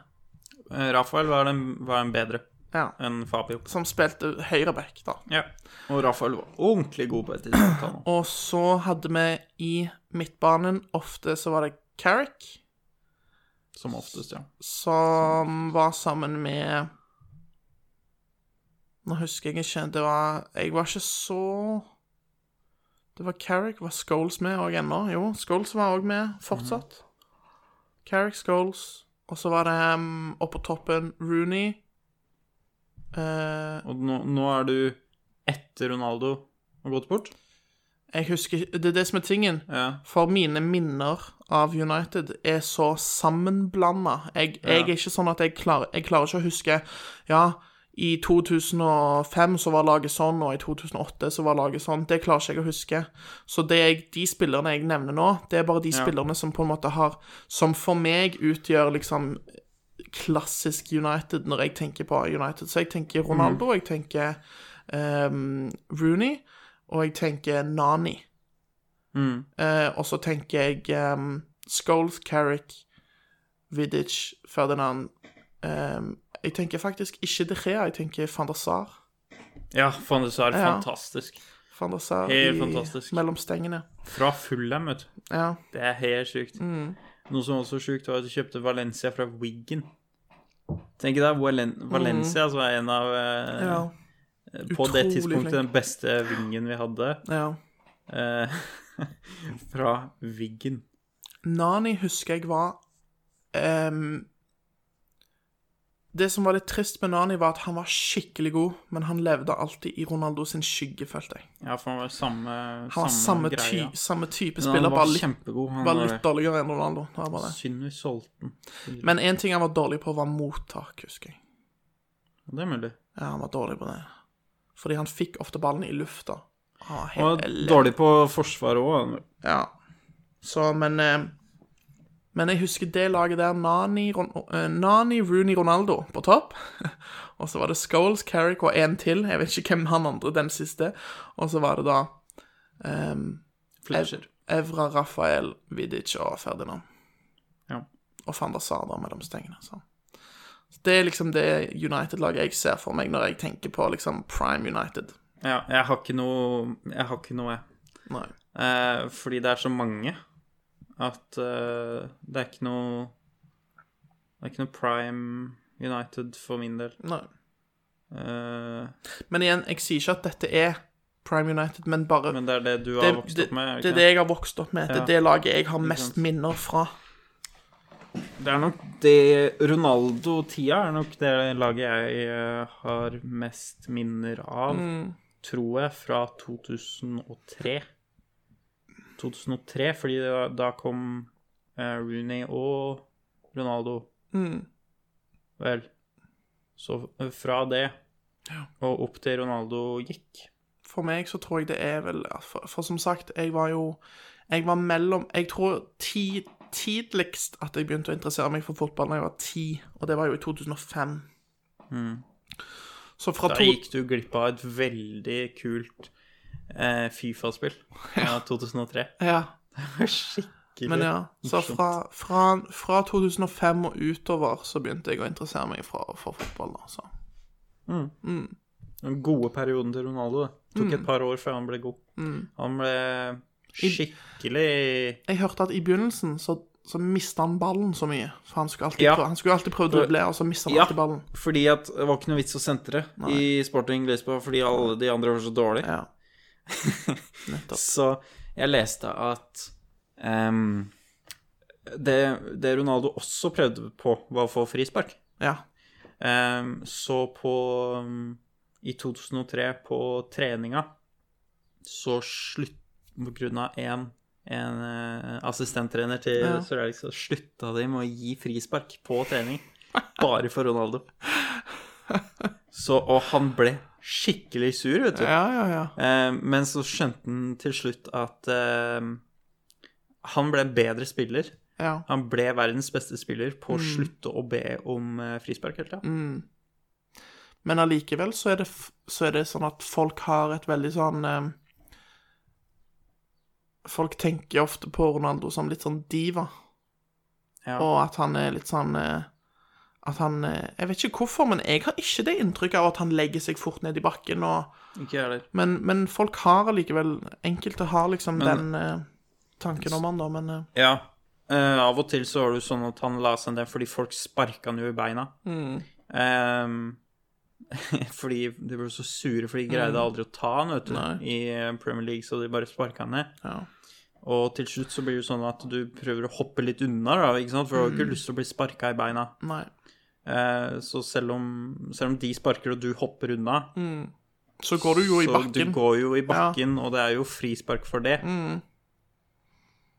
Speaker 3: Eh, Rafael var en, var en bedre
Speaker 6: Ja.
Speaker 3: enn Fabio.
Speaker 6: Som spilte høyreback, da.
Speaker 3: Ja. Og Rafael var ordentlig god på et tidspunkt. han også.
Speaker 6: Og så hadde vi i midtbanen Ofte så var det Carrick.
Speaker 3: Som oftest, ja.
Speaker 6: som var sammen med Nå husker jeg ikke. Det var Jeg var ikke så Det var Carrick. Var Scholes med òg ennå? Jo, Scholes var òg med fortsatt. Carrick, Scholes. Og så var det um, oppå toppen Rooney. Eh,
Speaker 3: Og nå, nå er du etter Ronaldo og gått bort?
Speaker 6: jeg husker ikke- Det er det som er tingen.
Speaker 3: Ja.
Speaker 6: For mine minner av United er så sammenblanda. Jeg, jeg er ikke sånn at jeg klarer Jeg klarer ikke å huske Ja, i 2005 så var laget sånn, og i 2008 så var laget sånn. Det klarer ikke jeg å huske. Så det jeg, de spillerne jeg nevner nå, det er bare de spillerne som på en måte har Som for meg utgjør liksom klassisk United når jeg tenker på United. Så jeg tenker Ronaldo, jeg tenker ehm, Rooney, og jeg tenker Nani.
Speaker 3: Mm.
Speaker 6: Eh, og så tenker jeg um, Scholes, Carrick, Vidic, Ferdinand Ehm, Jeg tenker faktisk ikke De Gea, jeg tenker van der Sar.
Speaker 3: Ja, faen, det så er
Speaker 6: Ja.
Speaker 3: fantastisk.
Speaker 6: Van der Sar
Speaker 3: Helt
Speaker 6: i-
Speaker 3: fantastisk.
Speaker 6: mellom stengene.
Speaker 3: Fra Fulham, vet du.
Speaker 6: Ja. Mm.
Speaker 3: Det er helt sjukt. Noe som også er sjukt, var at de kjøpte Valencia fra Wiggen. Tenk deg, Valen Valencia altså er en av eh,
Speaker 6: Mm. ja.
Speaker 3: På det
Speaker 6: utrolig
Speaker 3: tidspunktet
Speaker 6: flink.
Speaker 3: den beste vingen vi hadde.
Speaker 6: ja.
Speaker 3: Eh, fra Wiggen.
Speaker 6: Nani husker jeg var ehm, Det som var litt trist med Nani, var at han var skikkelig god, men han levde alltid i Ronaldo sin skygge, følte jeg.
Speaker 3: Ja, for han var samme,
Speaker 6: Han var samme, ty
Speaker 3: greia.
Speaker 6: samme type
Speaker 3: Men
Speaker 6: spiller,
Speaker 3: han
Speaker 6: bare
Speaker 3: var
Speaker 6: litt,
Speaker 3: kjempegod. Han
Speaker 6: bare
Speaker 3: var
Speaker 6: litt dårligere enn Ronaldo. Det var bare det.
Speaker 3: Synd vi solgte den.
Speaker 6: Men én ting han var dårlig på, var mottak, husker jeg.
Speaker 3: Det er mulig.
Speaker 6: Ja, han var dårlig på det. Fordi han fikk ofte ballen i lufta. Han var
Speaker 3: Han
Speaker 6: helt
Speaker 3: var
Speaker 6: ele-
Speaker 3: dårlig på forsvaret òg.
Speaker 6: Ja. Så, men eh, Men jeg husker det laget der. Nani, Ron eh, Nani Rooney Ronaldo på topp. og så var det Scholes, Carrick og én til. Jeg vet ikke hvem han andre, den siste. Og så var det da ehm,
Speaker 3: Fletcher.
Speaker 6: Evra, Rafael, Vidic og Ferdinand.
Speaker 3: Ja.
Speaker 6: Og van der Sar da mellom stengene. Så. Så det er liksom det United-laget jeg ser for meg når jeg tenker på liksom Prime United.
Speaker 3: Ja, jeg har ikke noe, jeg. Har ikke noe, jeg.
Speaker 6: Nei.
Speaker 3: Eh, fordi det er så mange at eh, det er ikke noe Det er ikke noe prime United for min del.
Speaker 6: Nei.
Speaker 3: Eh,
Speaker 6: Men igjen, jeg sier ikke at dette er Prime United, men bare
Speaker 3: men det er det du
Speaker 6: det,
Speaker 3: har vokst
Speaker 6: det,
Speaker 3: opp med? er
Speaker 6: det
Speaker 3: det,
Speaker 6: er
Speaker 3: ikke
Speaker 6: det jeg har vokst opp med. Det
Speaker 3: Ja.
Speaker 6: er det laget jeg har
Speaker 3: sant.
Speaker 6: mest minner fra.
Speaker 3: det? det er nok det Ronaldo-tida er nok det laget jeg eh, har mest minner av, tror jeg, fra 2003. 2003, fordi da, da kom eh, Rooney og Ronaldo. Vel. Så eh, fra det og opp til Ronaldo gikk
Speaker 6: For meg så tror jeg det er vel For, for som sagt, jeg var jo Jeg var mellom Jeg tror ti, tidligst at jeg begynte å interessere meg for fotball da jeg var ti, og det var jo i 2005. Så fra
Speaker 3: Mm. Da
Speaker 6: to
Speaker 3: gikk du glipp av et veldig kult eh, Fifa-spill fra 2003.
Speaker 6: Ja.
Speaker 3: Skikkelig.
Speaker 6: Men ja, så fra, fra, fra 2005 og utover så begynte jeg å interessere meg for, for fotball. da, så.
Speaker 3: Den gode perioden til Ronaldo. Det tok et par år før han ble god. Han ble skikkelig
Speaker 6: Jeg hørte at i begynnelsen så, så mista han ballen så mye. For han skulle alltid,
Speaker 3: Ja.
Speaker 6: prøve, han skulle alltid prøve å drible, og så mista han
Speaker 3: Ja.
Speaker 6: alltid ballen.
Speaker 3: Fordi at det var ikke noe vits å sentre i Sporting Lisboa fordi alle de andre var så dårlige.
Speaker 6: Ja. Nettopp.
Speaker 3: Så jeg leste at ehm, det, det Ronaldo også prøvde på, var å få frispark.
Speaker 6: Ja.
Speaker 3: Ehm, så på um, I 2003, på treninga, så slutt På grunn av en, en eh, assistenttrener til
Speaker 6: Ja.
Speaker 3: Sir Alex, så slutta de med å gi frispark på trening. Bare for Ronaldo. Så, og han ble skikkelig sur, vet du.
Speaker 6: ja, ja, ja.
Speaker 3: Eh, men så skjønte han til slutt at eh, han ble en bedre spiller.
Speaker 6: ja.
Speaker 3: Han ble verdens beste spiller på
Speaker 6: Mm.
Speaker 3: å slutte å be om eh, frispark hele tida.
Speaker 6: Men allikevel så er, det, f- så er det sånn at folk har et veldig sånn eh, Folk tenker ofte på Ronaldo som litt sånn diva.
Speaker 3: Ja.
Speaker 6: Og at han er litt sånn eh, At han eh, Jeg vet ikke hvorfor, men jeg har ikke det inntrykket av at han legger seg fort ned i bakken og
Speaker 3: Ikke jeg heller.
Speaker 6: Men, men folk har allikevel Enkelte har liksom
Speaker 3: Men-
Speaker 6: den eh, tanken om han, da, men eh,
Speaker 3: Ja. Eh, av og til så var det jo sånn at han la seg ned fordi folk sparka han jo i beina.
Speaker 6: Mm.
Speaker 3: Eh, fordi de ble så sure, for de greide aldri å ta han, vet du,
Speaker 6: Mm. Nei.
Speaker 3: i eh, Premier League, så de bare sparka han ned.
Speaker 6: ja.
Speaker 3: Og til slutt så blir det jo sånn at du prøver å hoppe litt unna, da, ikke sant? for du har jo
Speaker 6: Mm.
Speaker 3: ikke lyst til å bli sparka i beina.
Speaker 6: Nei.
Speaker 3: Eh, så selv om, selv om de sparker og du hopper unna,
Speaker 6: Så går du Mm. jo i
Speaker 3: så
Speaker 6: bakken. Mm.
Speaker 3: du går jo i bakken, og det er jo frispark for det.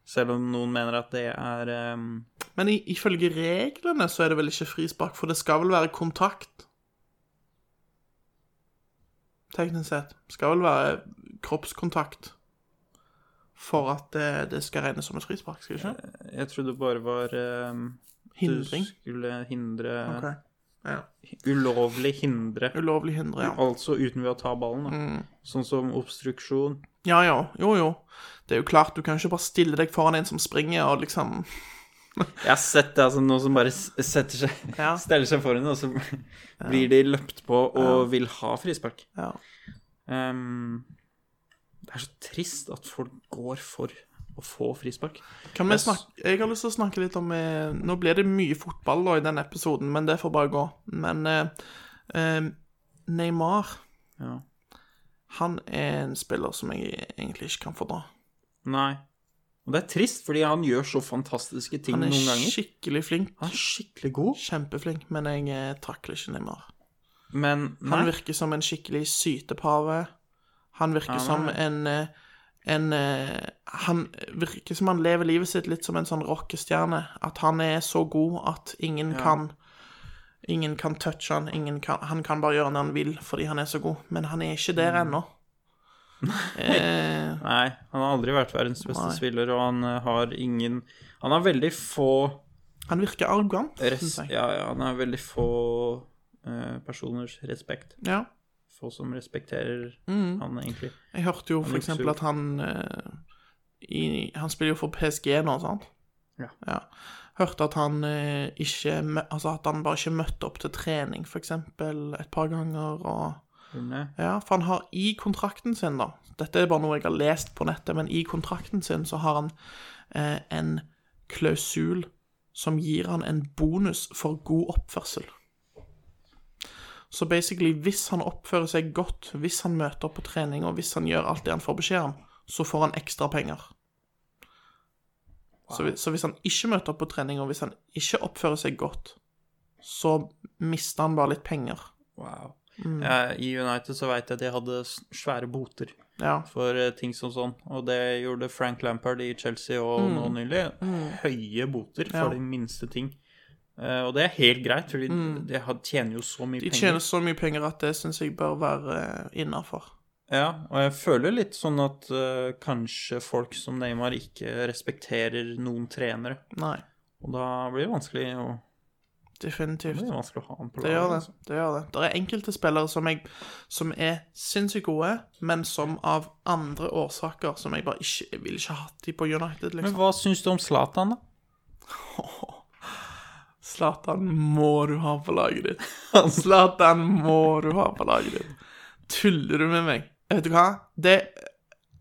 Speaker 3: Selv om noen mener at det er ehm,
Speaker 6: Men i, ifølge reglene så er det vel ikke frispark, for det skal vel være kontakt? Teknisk sett. Skal vel være kroppskontakt for at det, det skal regnes som et frispark, skal det ikke?
Speaker 3: Jeg trodde det bare var ehm,
Speaker 6: Hindring.
Speaker 3: Du skulle hindre
Speaker 6: Ok. Ja.
Speaker 3: Ulovlig hindre.
Speaker 6: Ulovlig hindre, ja.
Speaker 3: Altså uten ved å ta ballen, da.
Speaker 6: Mm.
Speaker 3: Sånn som obstruksjon.
Speaker 6: Ja, ja. Jo, jo. Det er jo klart, du kan ikke bare stille deg foran en som springer, og liksom
Speaker 3: Jeg har sett det, altså, noen som bare s- setter seg
Speaker 6: Ja.
Speaker 3: Steller seg foran, og så blir de løpt på og vil ha frispark.
Speaker 6: Ja.
Speaker 3: Ehm, det er så trist at folk går for å få frispark.
Speaker 6: Kan vi snakke Jeg har lyst til å snakke litt om eh, Nå blir det mye fotball da i den episoden, men det får bare gå. Men eh, eh, Neymar
Speaker 3: Ja.
Speaker 6: Han er en spiller som jeg egentlig ikke kan fordra.
Speaker 3: Nei. Og det er trist, fordi han gjør så fantastiske ting
Speaker 6: Han er
Speaker 3: noen ganger.
Speaker 6: skikkelig flink.
Speaker 3: Han er skikkelig god.
Speaker 6: Kjempeflink, men jeg eh, takler ikke Neymar.
Speaker 3: Men
Speaker 6: Han
Speaker 3: nei,
Speaker 6: virker som en skikkelig sytepave. Han virker
Speaker 3: nei,
Speaker 6: som
Speaker 3: nei.
Speaker 6: en eh, en, eh, han virker som han lever livet sitt litt som en sånn rockestjerne. At han er så god at ingen kan Ingen kan touche han, ingen kan, han kan bare gjøre det han vil fordi han er så god. Men han er ikke der ennå. Eh,
Speaker 3: nei, han har aldri vært verdens beste
Speaker 6: Nei.
Speaker 3: spiller, og han eh, har ingen Han har veldig få
Speaker 6: han virker arrogant,
Speaker 3: res
Speaker 6: synes jeg.
Speaker 3: ja, ja, han har veldig få eh, personers respekt.
Speaker 6: Ja.
Speaker 3: Få som respekterer
Speaker 6: Mm.
Speaker 3: han, egentlig.
Speaker 6: Jeg hørte jo for
Speaker 3: lukter jo.
Speaker 6: eksempel at han eh, i, Han spiller jo for PSG nå, sant?
Speaker 3: Ja.
Speaker 6: Hørte at han eh, ikke mø- Altså at han bare ikke møtte opp til trening, for eksempel, et par ganger og
Speaker 3: Skjønner jeg?
Speaker 6: Ja, for han har i kontrakten sin, da Dette er bare noe jeg har lest på nettet, men i kontrakten sin så har han eh, en klausul som gir han en bonus for god oppførsel. Så basically, hvis han oppfører seg godt, hvis han møter opp på trening, og hvis han gjør alt det han får beskjed om, så får han ekstra penger. Så, hvis- så hvis han ikke møter opp på trening, og hvis han ikke oppfører seg godt, så mister han bare litt penger.
Speaker 3: Wow. Eh, I United så veit jeg at de hadde s- svære boter.
Speaker 6: Ja.
Speaker 3: for eh, ting som sånn. Og det gjorde Frank Lampard i Chelsea og nå nylig. Høye boter for
Speaker 6: Mm. Ja.
Speaker 3: de minste ting. Eh, og det er helt greit, for de, de har- tjener jo så mye
Speaker 6: Mm. De
Speaker 3: penger.
Speaker 6: tjener så mye penger at det syns jeg bør være eh, innafor.
Speaker 3: Ja, og jeg føler litt sånn at eh, kanskje folk som Neymar ikke respekterer noen trenere.
Speaker 6: Nei,
Speaker 3: Og da blir det vanskelig å, det
Speaker 6: definitivt.
Speaker 3: blir vanskelig å ha han på
Speaker 6: Det
Speaker 3: laget.
Speaker 6: gjør det.
Speaker 3: altså.
Speaker 6: det gjør det. Det er enkelte spillere som, jeg, som er sinnssykt gode, men som av andre årsaker som jeg bare ikke jeg vil ikke ha hatt de på United,
Speaker 3: Men
Speaker 6: liksom.
Speaker 3: hva syns du om Zlatan, da?
Speaker 6: Zlatan må du ha på laget ditt. Zlatan må du ha på laget ditt. Tuller du med meg? Vet du hva? Det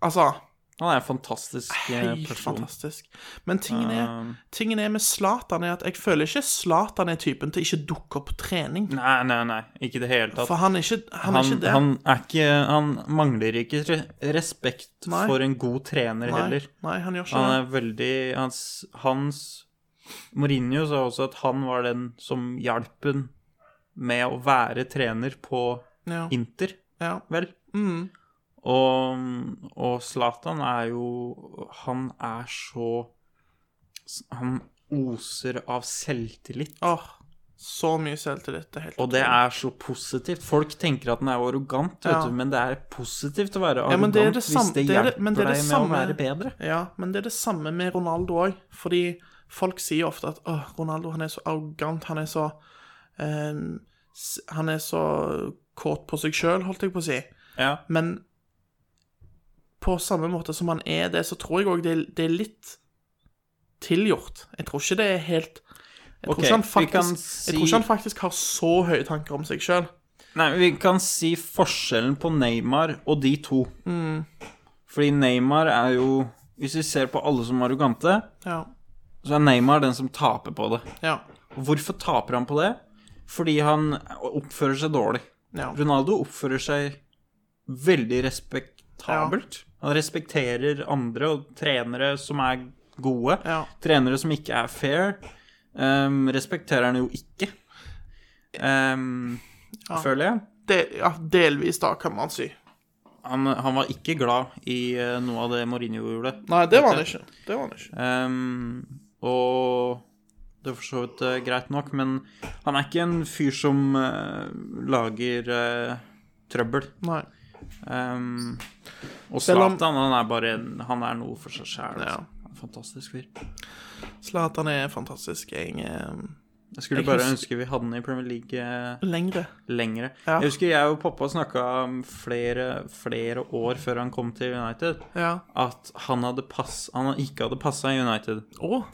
Speaker 6: Altså.
Speaker 3: Han er en fantastisk eh,
Speaker 6: Helt
Speaker 3: person.
Speaker 6: fantastisk. Men tingen er,
Speaker 3: Um,
Speaker 6: tingen er med Zlatan er at jeg føler ikke Zlatan er typen til ikke å dukke opp på trening.
Speaker 3: Nei, nei, nei. Ikke i det hele tatt.
Speaker 6: For han er ikke, han er
Speaker 3: han,
Speaker 6: ikke det.
Speaker 3: han, er ikke, han mangler ikke re- respekt
Speaker 6: Nei.
Speaker 3: for en god trener
Speaker 6: nei,
Speaker 3: heller.
Speaker 6: nei, han gjør ikke
Speaker 3: Han
Speaker 6: det.
Speaker 3: er veldig Hans, hans Mourinho sa også at han var den som hjalp ham med å være trener på
Speaker 6: Ja,
Speaker 3: Inter,
Speaker 6: ja.
Speaker 3: vel?
Speaker 6: Mm,
Speaker 3: Og, og Zlatan er jo Han er så Han oser av selvtillit.
Speaker 6: åh, så mye selvtillit. Det er helt
Speaker 3: Og det er så positivt. Folk tenker at den er arrogant, vet
Speaker 6: Ja.
Speaker 3: du, men det er positivt å være
Speaker 6: Ja, men
Speaker 3: arrogant
Speaker 6: det er det
Speaker 3: hvis
Speaker 6: samme-
Speaker 3: det
Speaker 6: det er
Speaker 3: hjelper
Speaker 6: det- men det er det
Speaker 3: deg med å
Speaker 6: samme-
Speaker 3: være bedre.
Speaker 6: Ja, men det er det samme med Ronaldo òg. Fordi folk sier ofte at åh, Ronaldo han er så arrogant, han er så eh, s- Han er så kåt på seg sjøl, holdt jeg på å si.
Speaker 3: Ja.
Speaker 6: Men på samme måte som han er det, så tror jeg òg det, det er litt tilgjort. Jeg tror ikke det er helt Jeg tror,
Speaker 3: Ok,
Speaker 6: ikke, han
Speaker 3: vi kan
Speaker 6: faktisk,
Speaker 3: si-
Speaker 6: jeg tror ikke han faktisk har så høye tanker om seg sjøl.
Speaker 3: Nei, vi kan si forskjellen på Neymar og de to.
Speaker 6: Mm.
Speaker 3: Fordi Neymar er jo Hvis vi ser på alle som arrogante,
Speaker 6: Ja.
Speaker 3: så er Neymar den som taper på det.
Speaker 6: Ja.
Speaker 3: Og hvorfor taper han på det? Fordi han oppfører seg dårlig.
Speaker 6: ja.
Speaker 3: Ronaldo oppfører seg veldig respektabelt. Han respekterer andre og trenere som er gode.
Speaker 6: Ja.
Speaker 3: Trenere som ikke er fair, ehm, respekterer han jo ikke. Ehm, Føler jeg.
Speaker 6: De, ja delvis, da, kan man si.
Speaker 3: Han, han var ikke glad i eh, noe av det Mourinho gjorde.
Speaker 6: Nei, det var han ikke. Det var han ikke.
Speaker 3: Ehm, og det er for så vidt eh, greit nok, men han er ikke en fyr som eh, lager eh, trøbbel.
Speaker 6: Nei.
Speaker 3: Ehm, og
Speaker 6: Selv om-
Speaker 3: Zlatan, han er bare en, Han er noe for seg altså. sjæl.
Speaker 6: Ja.
Speaker 3: Fantastisk fyr.
Speaker 6: Zlatan er fantastisk. Jeg eh,
Speaker 3: Jeg skulle
Speaker 6: Jeg
Speaker 3: bare
Speaker 6: hus-
Speaker 3: ønske vi hadde den i Premier League eh,
Speaker 6: Lengre.
Speaker 3: lengre.
Speaker 6: Ja.
Speaker 3: Jeg husker jeg og pappa snakka flere, flere år før han kom til United,
Speaker 6: Ja.
Speaker 3: at han, hadde pass, han ikke hadde passa i United.
Speaker 6: Å.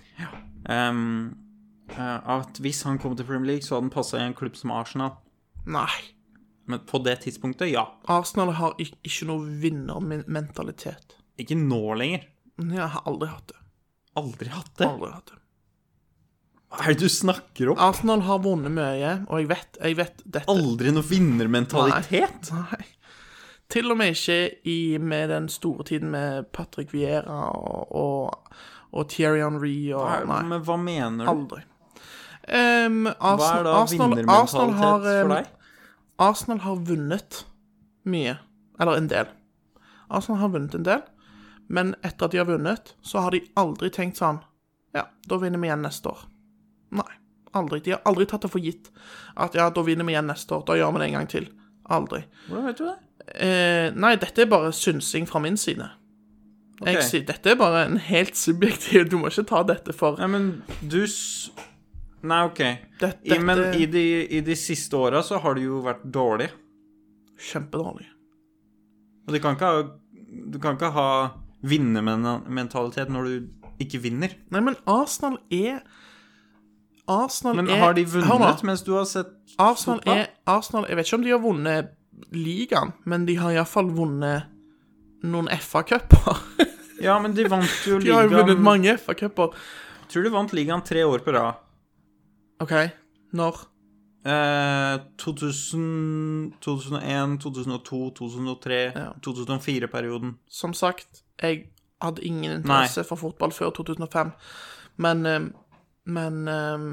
Speaker 3: Ehm, eh, at hvis han kom til Premier League, så hadde han passa i en klubb som Arsenal.
Speaker 6: Nei.
Speaker 3: Men på det tidspunktet, ja.
Speaker 6: Arsenal har ikke, ikke noe vinnermentalitet.
Speaker 3: Ikke nå lenger.
Speaker 6: Jeg har aldri hatt det.
Speaker 3: Aldri hatt det.
Speaker 6: Aldri hatt det.
Speaker 3: Hva er det du snakker om?
Speaker 6: Arsenal har vunnet mye, og jeg vet, jeg vet dette.
Speaker 3: Aldri noe vinnermentalitet.
Speaker 6: Nei. Til og med ikke i, med den store tiden med Patrick Vieira og, og, og Thierry Henry
Speaker 3: Hva,
Speaker 6: og Nei,
Speaker 3: men hva mener du?
Speaker 6: aldri. Ehm,
Speaker 3: Hva er
Speaker 6: Arsenal,
Speaker 3: da
Speaker 6: Arsenal, Arsenal,
Speaker 3: vinnermentalitet
Speaker 6: har, ehm,
Speaker 3: for deg?
Speaker 6: Arsenal har vunnet mye. Eller en del. Arsenal har vunnet en del, men etter at de har vunnet, så har de aldri tenkt sånn Ja, da vinner vi igjen neste år. Nei. Aldri. De har aldri tatt det for gitt at ja, da vinner vi igjen neste år. Da gjør vi det en gang til. Aldri.
Speaker 3: Hvordan vet du det?
Speaker 6: Eh, nei, dette er bare synsing fra min side.
Speaker 3: Ok.
Speaker 6: Jeg sier, Dette er bare en helt subjektiv Du må ikke ta dette for
Speaker 3: Nei, men du s... Nei, OK.
Speaker 6: Dette-
Speaker 3: I, men i de, i de siste åra så har du jo vært dårlig.
Speaker 6: kjempedårlig.
Speaker 3: Og du kan ikke ha, du kan ikke ha vinnermentalitet når du ikke vinner.
Speaker 6: Nei, men Arsenal er Arsenal
Speaker 3: Men
Speaker 6: er
Speaker 3: har de
Speaker 6: Hør nå.
Speaker 3: vunnet mens du har sett
Speaker 6: Arsenal
Speaker 3: fotball?
Speaker 6: er Arsenal, Jeg vet ikke om de har vunnet ligaen, men de har iallfall vunnet noen FA-cuper.
Speaker 3: Ja, men de vant jo
Speaker 6: De har jo vunnet
Speaker 3: ligaen
Speaker 6: mange FA-cuper.
Speaker 3: Tror de vant ligaen tre år på rad.
Speaker 6: OK, når
Speaker 3: Eh, 2000, 2001, 2002, 2003,
Speaker 6: Ja.
Speaker 3: 2004-perioden.
Speaker 6: Som sagt, jeg hadde ingen interesse for fotball før 2005, men eh, Men eh,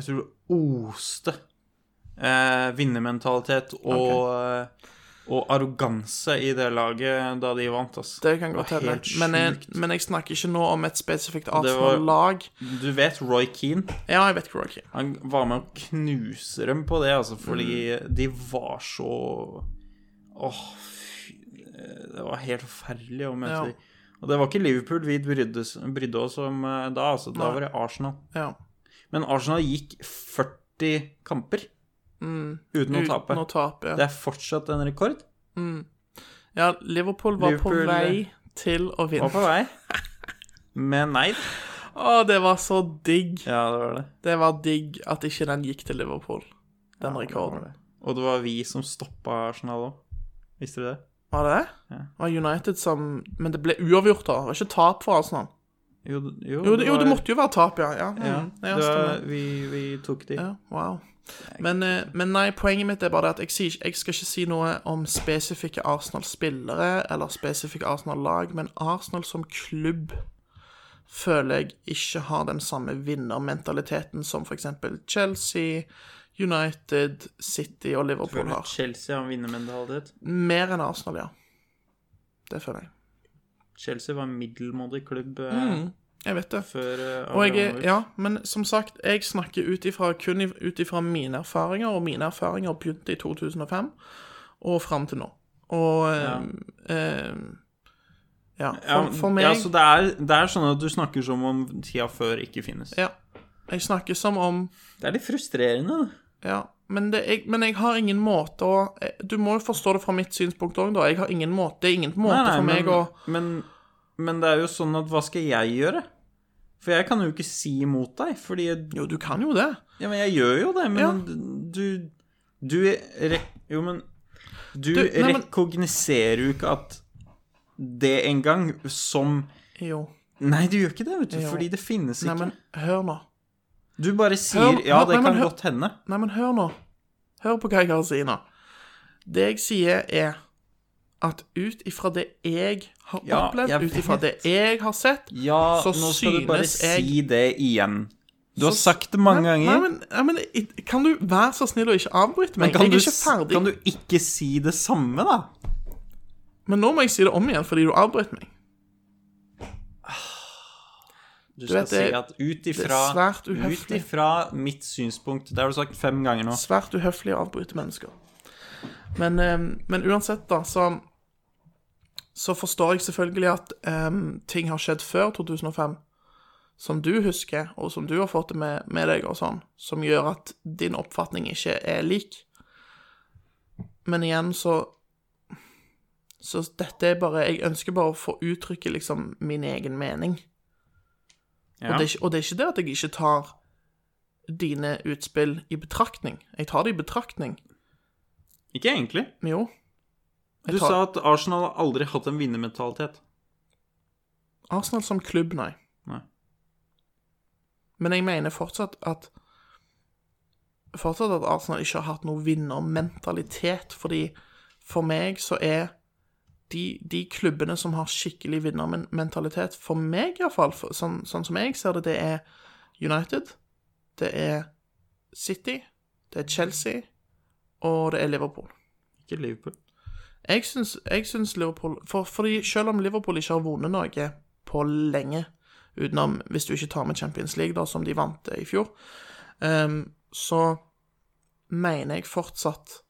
Speaker 3: Jeg tror det oste eh, vinnermentalitet og, eh, og arroganse i det laget da de vant, ass.
Speaker 6: det kan godt
Speaker 3: var
Speaker 6: hende.
Speaker 3: helt
Speaker 6: Men, jeg-
Speaker 3: sjukt.
Speaker 6: men jeg snakker ikke nå om et spesifikt
Speaker 3: var-
Speaker 6: Arsenal-lag.
Speaker 3: Du vet Roy Keane?
Speaker 6: Ja, jeg vet ikke, Rocky.
Speaker 3: Han var med å
Speaker 6: Mm.
Speaker 3: knuse dem på det, altså, fordi de var så Åh, fy eh, Det var helt forferdelig å møte
Speaker 6: Ja.
Speaker 3: de. Og det var ikke Liverpool vi brydde, s- brydde oss om eh, da, altså. Da
Speaker 6: Nei.
Speaker 3: var det Arsenal.
Speaker 6: Ja.
Speaker 3: Men Arsenal gikk 40 kamper uten å tape.
Speaker 6: Mm. Uten å tape.
Speaker 3: Det er fortsatt en rekord.
Speaker 6: Ja, Liverpool var
Speaker 3: Liverpool- eh,
Speaker 6: på vei til å vinne.
Speaker 3: Var på vei. Men nei.
Speaker 6: Å, det var så digg.
Speaker 3: Ja, det var det.
Speaker 6: Det var digg at ikke den gikk til Liverpool, den rekorden. Var det.
Speaker 3: Og det var vi som stoppa Arsenal òg. Visste du det?
Speaker 6: var det Det var United som Men det ble uavgjort, da. Det var ikke tap for Arsenal.
Speaker 3: Jo, d-
Speaker 6: Jo, det, jo, det
Speaker 3: var-
Speaker 6: måtte jo være tap, ja. Ja, mm.
Speaker 3: ja,
Speaker 6: ja,
Speaker 3: det var,
Speaker 6: stemmer.
Speaker 3: vi, vi tok de.
Speaker 6: ja wow. Men, eh, men nei, poenget mitt er bare det at jeg, sier, ikke- jeg skal ikke si noe om spesifikke Arsenal-spillere eller spesifikke Arsenal-lag, men Arsenal som klubb føler jeg ikke har den samme vinnermentaliteten som f.eks. Chelsea, United, City og Liverpool har.
Speaker 3: Chelsea har vinnermentalitet.
Speaker 6: Mer enn Arsenal, ja. Det føler jeg.
Speaker 3: Chelsea var en middelmådig klubb eh,
Speaker 6: Jeg vet det.
Speaker 3: før eh,
Speaker 6: Mm. Og jeg, er-
Speaker 3: Abramovich.
Speaker 6: ja, men som sagt, jeg snakker ut ifra, kun i- ut ifra mine erfaringer, og mine erfaringer begynte i 2005 og fram til nå. Og ja. ja.
Speaker 3: Ja,
Speaker 6: For, for meg
Speaker 3: ja, så det er, det er sånn at du snakker som om tida før ikke finnes.
Speaker 6: ja. Jeg snakker som om
Speaker 3: Det er litt frustrerende. da.
Speaker 6: Ja, men, det, jeg, men jeg har ingen måte å eh, Du må jo forstå det fra mitt synspunkt òg, da. Jeg har ingen måte, det er ingen måte for meg
Speaker 3: men,
Speaker 6: å
Speaker 3: men, men det er jo sånn at hva skal jeg gjøre? For jeg kan jo ikke si imot deg, fordi
Speaker 6: Jo, du kan jo det.
Speaker 3: Ja, men jeg gjør jo det, men
Speaker 6: Ja.
Speaker 3: du Du re, Jo, men Du,
Speaker 6: Du, nei, men-
Speaker 3: rekogniserer jo ikke at det en gang som
Speaker 6: Jo.
Speaker 3: Nei, du gjør ikke det, vet du,
Speaker 6: Jo.
Speaker 3: fordi det finnes ikke.
Speaker 6: Nei, men hør nå.
Speaker 3: du bare sier
Speaker 6: Hør-
Speaker 3: Ja,
Speaker 6: nei,
Speaker 3: det
Speaker 6: men
Speaker 3: kan
Speaker 6: hør-
Speaker 3: godt hende.
Speaker 6: Nei, men hør nå. Hør på hva jeg har å si nå. Det jeg sier, er at ut ifra det jeg har
Speaker 3: Ja, jeg
Speaker 6: opplevd, ut ifra det
Speaker 3: vet.
Speaker 6: jeg har sett
Speaker 3: Ja,
Speaker 6: Så
Speaker 3: nå skal du bare
Speaker 6: synes jeg-
Speaker 3: si det igjen. Du har
Speaker 6: Så-
Speaker 3: sagt det mange
Speaker 6: Nei,
Speaker 3: ganger.
Speaker 6: Nei, men, nei, men i- Kan du være så snill å ikke avbryte
Speaker 3: men
Speaker 6: meg?
Speaker 3: kan,
Speaker 6: jeg
Speaker 3: du,
Speaker 6: er ikke
Speaker 3: s-
Speaker 6: ferdig.
Speaker 3: kan du ikke si det samme, da?
Speaker 6: Men nå må jeg si det om igjen, fordi du avbrøt meg.
Speaker 3: Du skal
Speaker 6: vet,
Speaker 3: si
Speaker 6: det-
Speaker 3: at ut
Speaker 6: er
Speaker 3: ifra,
Speaker 6: svært
Speaker 3: ut
Speaker 6: uhøflig.
Speaker 3: ifra mitt synspunkt Det har du sagt fem ganger nå.
Speaker 6: Svært uhøflig å avbryte mennesker. Men, eh, men uansett, da, så Så forstår jeg selvfølgelig at eh, ting har skjedd før 2005, som du husker, og som du har fått det med, med deg, og sånn, som gjør at din oppfatning ikke er lik. Men igjen, så Så dette er bare Jeg ønsker bare å få uttrykke liksom min egen mening. Og,
Speaker 3: Ja.
Speaker 6: det er, ikke- og det er ikke det at jeg ikke tar dine utspill i betraktning. Jeg tar det i betraktning.
Speaker 3: Ikke egentlig.
Speaker 6: Men jo,
Speaker 3: Du
Speaker 6: tar-
Speaker 3: sa at Arsenal har aldri hatt en vinnermentalitet.
Speaker 6: Arsenal som klubb, nei.
Speaker 3: Nei.
Speaker 6: Men jeg mener fortsatt at Fortsatt at Arsenal ikke har hatt noe vinnermentalitet, fordi for meg så er de, de klubbene som har skikkelig vinnermentalitet, for meg iallfall, sånn, sånn som jeg ser det, det er United, det er City, det er Chelsea, og det er Liverpool.
Speaker 3: Ikke Liverpool.
Speaker 6: Jeg syns, jeg syns Liverpool for, Fordi selv om Liverpool ikke har vunnet noe på lenge, utenom hvis du ikke tar med Champions League, da, som de vant eh, i fjor, ehm, så mener jeg fortsatt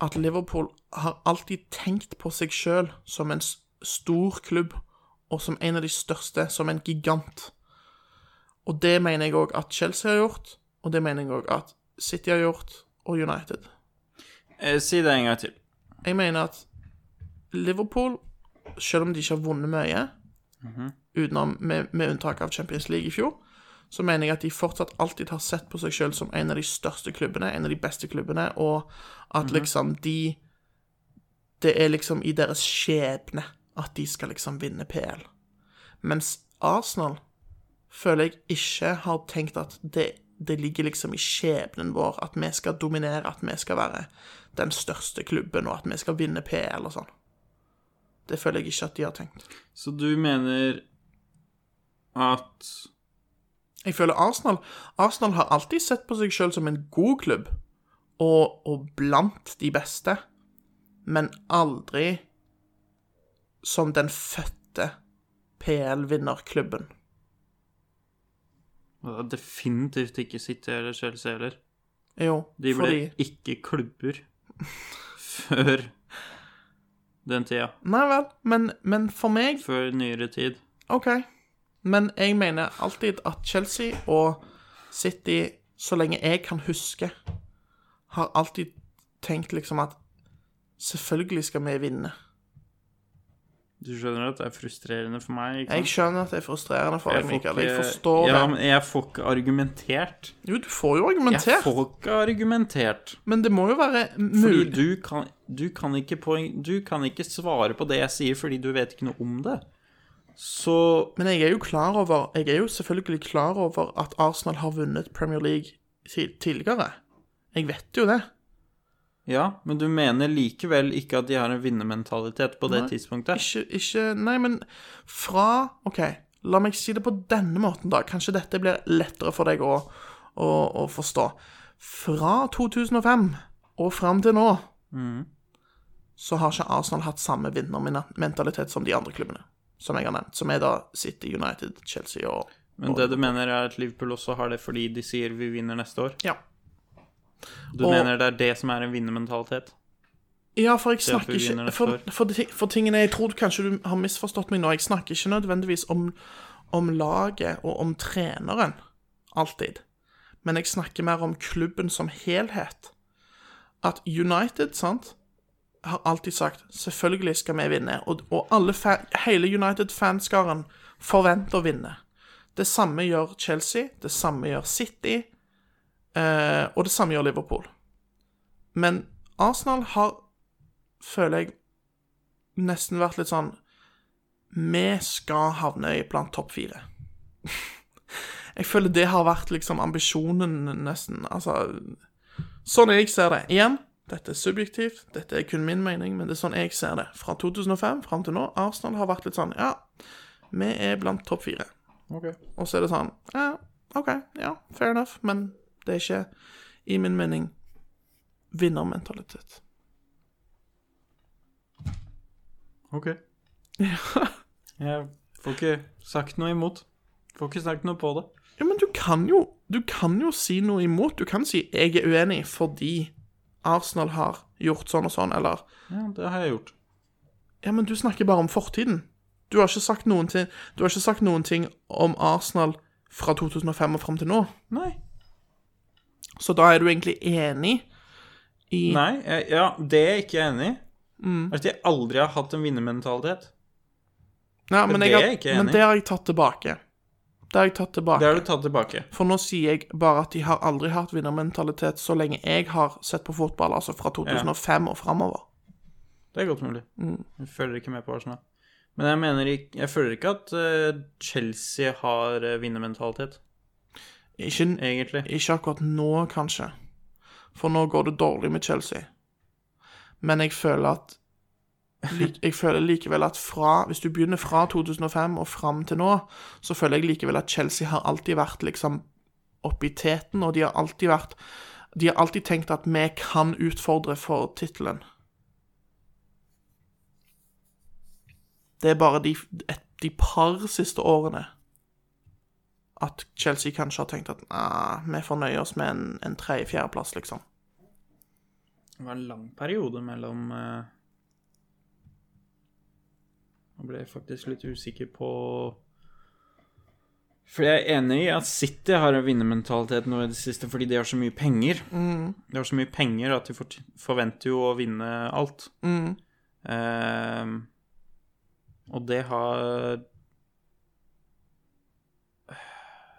Speaker 6: at Liverpool har alltid tenkt på seg sjøl som en s- stor klubb, og som en av de største, som en gigant. Og det mener jeg òg at Chelsea har gjort, og det mener jeg òg at City har gjort, og United.
Speaker 3: Eh, si det en gang til.
Speaker 6: Jeg mener at Liverpool, selv om de ikke har vunnet mye, utenom, med, med unntak av Champions League i fjor, så mener jeg at de fortsatt alltid har sett på seg selv som en av de største klubbene, en av de beste klubbene, og at liksom de Det er liksom i deres skjebne at de skal liksom vinne PL. Mens Arsenal føler jeg ikke har tenkt at det, det ligger liksom i skjebnen vår at vi skal dominere, at vi skal være den største klubben, og at vi skal vinne PL og sånn. Det føler jeg ikke at de har tenkt.
Speaker 3: Så du mener at
Speaker 6: Jeg føler Arsenal Arsenal har alltid sett på seg sjøl som en god klubb, og, og blant de beste, men aldri som den fødte PL-vinnerklubben.
Speaker 3: Og det er definitivt ikke City eller Chelsea heller.
Speaker 6: Jo,
Speaker 3: De ble
Speaker 6: fordi
Speaker 3: ikke klubber før den tida.
Speaker 6: Nei vel, men, men for meg
Speaker 3: Før nyere tid.
Speaker 6: OK. Men jeg mener alltid at Chelsea og City, så lenge jeg kan huske, har alltid tenkt liksom at selvfølgelig skal vi vinne.
Speaker 3: Du skjønner at det er frustrerende for meg? ikke
Speaker 6: Jeg
Speaker 3: sant?
Speaker 6: skjønner at det er frustrerende for deg,
Speaker 3: får
Speaker 6: Mikael. Jeg
Speaker 3: ikke-
Speaker 6: forstår
Speaker 3: ja,
Speaker 6: det.
Speaker 3: Men jeg får ikke argumentert.
Speaker 6: Jo, du får jo
Speaker 3: Jeg
Speaker 6: argumentert,
Speaker 3: får ikke argumentert.
Speaker 6: men det må jo være
Speaker 3: Fordi
Speaker 6: mulig.
Speaker 3: du kan, du, kan ikke poeng, du kan ikke svare på det jeg sier, fordi du vet ikke noe om det. Så
Speaker 6: Men jeg er jo klar over Jeg er jo selvfølgelig klar over at Arsenal har vunnet Premier League ti- tidligere. Jeg vet jo det.
Speaker 3: Ja, men du mener likevel ikke at de har en vinnermentalitet på det tidspunktet?
Speaker 6: Ikke, ikke Nei, men fra OK, la meg si det på denne måten, da. Kanskje dette blir lettere for deg å, å, å forstå. Fra 2005 og fram til nå så har ikke Arsenal hatt samme vinnermentalitet som de andre klubbene. Som jeg har nevnt. Som er da City, United, Chelsea og
Speaker 3: Men det du mener er at Liverpool også har det fordi de sier vi vinner neste år?
Speaker 6: Ja.
Speaker 3: Du
Speaker 6: Og-
Speaker 3: mener det er det som er en vinnermentalitet?
Speaker 6: Ja, for jeg
Speaker 3: at
Speaker 6: snakker
Speaker 3: vi vinner
Speaker 6: ikke
Speaker 3: neste
Speaker 6: for,
Speaker 3: år.
Speaker 6: for, de ting- for tingene jeg tror kanskje du har misforstått meg nå. Jeg snakker ikke nødvendigvis om, om laget og om treneren, alltid. Men jeg snakker mer om klubben som helhet. At United, sant, har alltid sagt 'selvfølgelig skal vi vinne', og, og alle fa hele United-fanskaren forventer å vinne. Det samme gjør Chelsea, det samme gjør City, eh, og det samme gjør Liverpool. Men Arsenal har føler jeg nesten vært litt sånn Vi skal havne i blant topp fire. jeg føler det har vært liksom ambisjonen, nesten. Altså Sånn jeg ser det. Igjen, dette er subjektivt, dette er kun min mening, men det er sånn jeg ser det. Fra 2005 fram til nå, Arsenal har vært litt sånn Ja, vi er blant topp fire. Og så er det sånn Ja, OK, ja, fair enough, men det er ikke, i min mening, vinnermentalitet.
Speaker 3: Ok. Jeg får ikke sagt noe imot. Får ikke sagt noe på det.
Speaker 6: Ja, men du kan jo Du kan jo si noe imot. Du kan si 'jeg er uenig fordi Arsenal har gjort sånn og sånn', eller
Speaker 3: Ja, det har jeg gjort.
Speaker 6: Ja, men du snakker bare om fortiden. Du har ikke sagt noen ting, du har ikke sagt noen ting om Arsenal fra 2005 og fram til nå.
Speaker 3: Nei.
Speaker 6: Så da er du egentlig enig i
Speaker 3: Nei, jeg, ja, det er jeg ikke er enig i. At jeg aldri har hatt en vinnermentalitet.
Speaker 6: Nei, men,
Speaker 3: det
Speaker 6: jeg har,
Speaker 3: er jeg ikke enig
Speaker 6: men
Speaker 3: i.
Speaker 6: det har jeg tatt tilbake. Det har jeg tatt tilbake.
Speaker 3: Det har du tatt tilbake.
Speaker 6: For nå sier jeg bare at de har aldri hatt vinnermentalitet så lenge jeg har sett på fotball, altså fra 2005 og framover.
Speaker 3: Det er godt mulig. Jeg følger ikke med på Arsenal. Men jeg mener ikke, jeg føler ikke at eh, Chelsea har eh, vinnermentalitet,
Speaker 6: Ikke,
Speaker 3: egentlig.
Speaker 6: Ikke akkurat nå, kanskje. For nå går det dårlig med Chelsea. Men jeg føler at lik- Jeg føler likevel at fra Hvis du begynner fra 2005 og fram til nå, så føler jeg likevel at Chelsea har alltid vært liksom oppe i teten, og de har alltid vært De har alltid tenkt at vi kan utfordre for tittelen. Det er bare de, et, de par siste årene at Chelsea kanskje har tenkt at nah, vi får nøye oss med en, en tredje-fjerdeplass, liksom.
Speaker 3: Det var en lang periode mellom eh, Nå ble jeg faktisk litt usikker på For jeg er enig i at City har en vinnermentalitet nå i det siste fordi de har så mye penger. De har så mye penger at de fort- forventer jo å vinne alt. Eh, og det har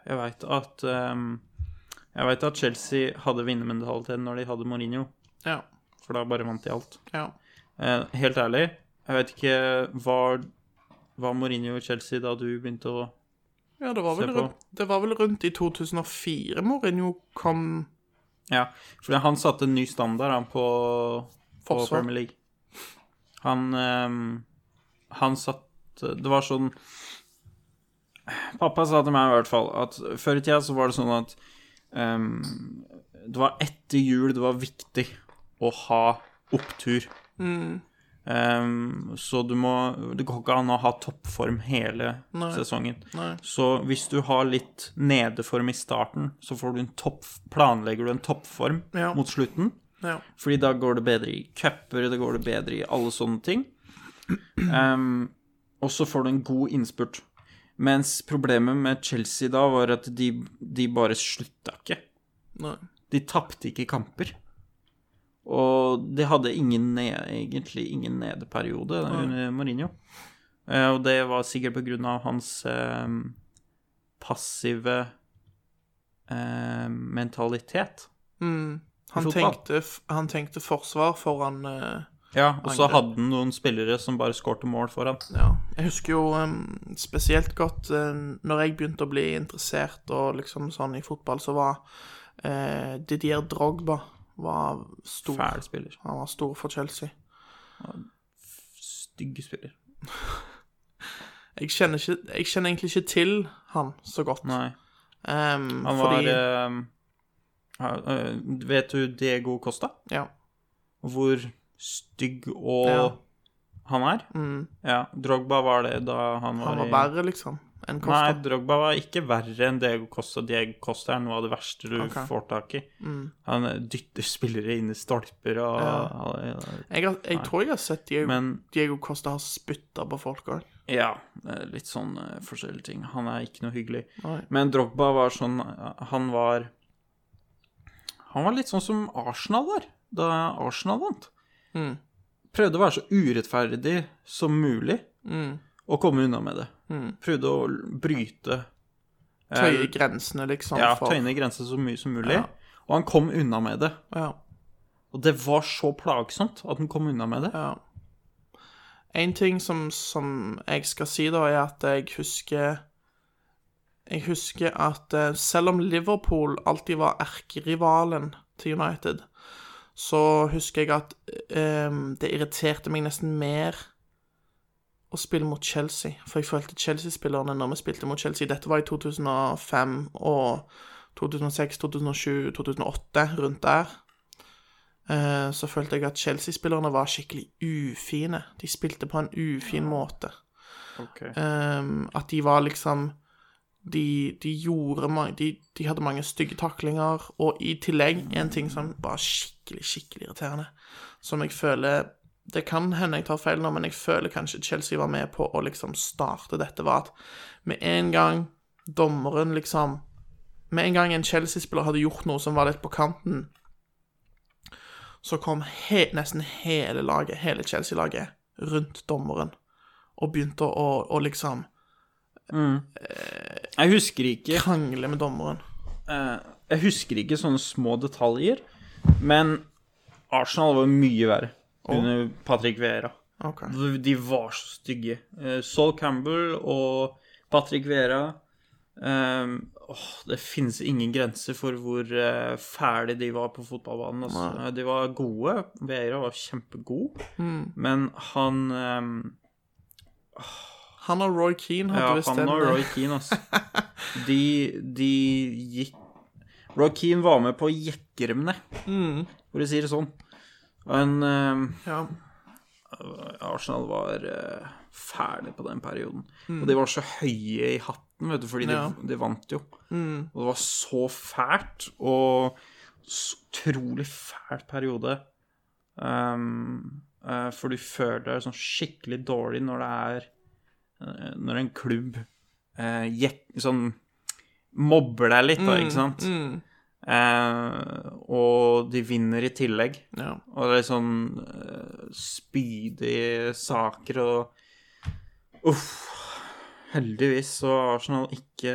Speaker 3: Jeg veit at eh, Jeg veit at Chelsea hadde vinnermentalitet når de hadde Mourinho.
Speaker 6: Ja,
Speaker 3: For da bare vant de alt.
Speaker 6: ja.
Speaker 3: Eh, helt ærlig, jeg vet ikke Var, var Mourinho i Chelsea da du begynte å
Speaker 6: ja det, var vel
Speaker 3: Se på.
Speaker 6: rundt, det var vel rundt i 2004 Mourinho kom
Speaker 3: Ja, for han satte en ny standard han på, på
Speaker 6: Forsvar.
Speaker 3: Premier League. Han eh, Han satt Det var sånn Pappa sa til meg i hvert fall at før i tida så var det sånn at eh, Det var etter jul det var viktig å ha opptur. Eh, så du må Det går ikke an å ha toppform hele sesongen. Så hvis du har litt nedeform i starten, så får du en topp, planlegger du en toppform
Speaker 6: Ja.
Speaker 3: mot slutten.
Speaker 6: Ja.
Speaker 3: Fordi da går det bedre i cuper, det går det bedre i alle sånne ting. Ehm, og så får du en god innspurt. Mens problemet med Chelsea da var at de, de bare slutta ikke.
Speaker 6: Nei.
Speaker 3: De tapte ikke kamper. Og de hadde ingen ne egentlig ingen nedeperiode under Mourinho. Eh, og det var sikkert på grunn av hans eh, passive eh, mentalitet.
Speaker 6: Mm. Han,
Speaker 3: Fotball.
Speaker 6: tenkte, f- han tenkte forsvar foran eh,
Speaker 3: Ja, og så
Speaker 6: Angrep.
Speaker 3: hadde han noen spillere som bare skårte mål for han.
Speaker 6: Ja. Jeg husker jo em, spesielt godt uh, når jeg begynte å bli interessert og liksom sånn i fotball, så var eh, Didier Drogba var stor.
Speaker 3: Fæl spiller.
Speaker 6: Han var stor for Chelsea.
Speaker 3: Stygge spiller.
Speaker 6: Jeg kjenner, ikke, jeg kjenner egentlig ikke til han så godt.
Speaker 3: Nei.
Speaker 6: Em,
Speaker 3: Han var
Speaker 6: Ehm, fordi,
Speaker 3: eh, ja, eh, Vet du Diego Costa?
Speaker 6: ja.
Speaker 3: Hvor stygg og
Speaker 6: Ja. Mm.
Speaker 3: han er? Ja. Drogba var det da han var,
Speaker 6: Han var
Speaker 3: i-
Speaker 6: verre, liksom, enn
Speaker 3: Nei,
Speaker 6: Costa.
Speaker 3: Drogba var ikke verre enn Diego Costa. Diego Costa er noe av det verste du
Speaker 6: Ok. Mm.
Speaker 3: får tak i. Han eh, dytter spillere inn i stolper og
Speaker 6: Jeg, har, jeg tror jeg har sett Diego,
Speaker 3: Men-
Speaker 6: Diego Costa har spytta på folk òg.
Speaker 3: Ja, eh, litt sånn eh, forskjellige ting. Han er ikke noe hyggelig.
Speaker 6: Nei.
Speaker 3: Men Drogba var sånn eh, Han var Han var litt sånn som Arsenal var da Arsenal vant.
Speaker 6: Mm.
Speaker 3: Prøvde å være så urettferdig som mulig
Speaker 6: Mm.
Speaker 3: og komme unna med det. Prøvde å l- bryte
Speaker 6: Tøye grensene,
Speaker 3: Eh,
Speaker 6: liksom.
Speaker 3: Ja,
Speaker 6: for-
Speaker 3: tøyne grenser så mye som mulig. Og han kom unna med det.
Speaker 6: Ja.
Speaker 3: Og det var så plagsomt at han kom unna med det.
Speaker 6: Ja. En ting som, som jeg skal si, da, er at jeg husker Jeg husker at eh, selv om Liverpool alltid var erkerivalen til United, så husker jeg at eh, det irriterte meg nesten mer å spille mot Chelsea. For jeg følte Chelsea-spillerne når vi spilte mot Chelsea Dette var i 2005 og 2006, 2007, 2008, rundt der. Eh, så følte jeg at Chelsea-spillerne var skikkelig ufine. De spilte på en ufin måte. Ehm, at de var liksom De, de gjorde mange de, de hadde mange stygge taklinger. Og i tillegg en ting som var skikkelig, skikkelig irriterende, som jeg føler Det kan hende jeg tar feil nå, men jeg føler kanskje Chelsea var med på å liksom starte dette, var at med en gang dommeren liksom Med en gang en Chelsea-spiller hadde gjort noe som var litt på kanten, så kom he nesten hele laget, hele Chelsea-laget, rundt dommeren og begynte å, å, å liksom
Speaker 3: Jeg husker ikke
Speaker 6: krangle med dommeren.
Speaker 3: Jeg husker ikke sånne små detaljer, men Arsenal var mye verre under Patrick Vera.
Speaker 6: Ok.
Speaker 3: De var så stygge. Eh, Sol Campbell og Patrick Vera ehm, åh, Det finnes ingen grenser for hvor eh, fæle de var på fotballbanen. Altså. Eh, De var gode. Vera var kjempegod, men han ehm,
Speaker 6: Han og Roy Keane hadde
Speaker 3: Ja,
Speaker 6: visst
Speaker 3: han
Speaker 6: en
Speaker 3: og Roy Keane, altså. De, de gikk Roy Keane var med på Jekkeremne,
Speaker 6: Mm.
Speaker 3: for å si det sånn. Og en eh,
Speaker 6: Ja.
Speaker 3: Arsenal var eh, fæle på den perioden. Og de var så høye i hatten, vet du, fordi
Speaker 6: Ja.
Speaker 3: de, de vant jo. Og det var så fælt, og så utrolig fæl periode. Um, eh, for du føler deg sånn skikkelig dårlig når det er eh, Når en klubb eh, jek, sånn mobber deg litt, da, ikke sant? Eh, og de vinner i tillegg.
Speaker 6: ja.
Speaker 3: Og det er sånn eh, spydige saker og Uff. Heldigvis så har Arsenal ikke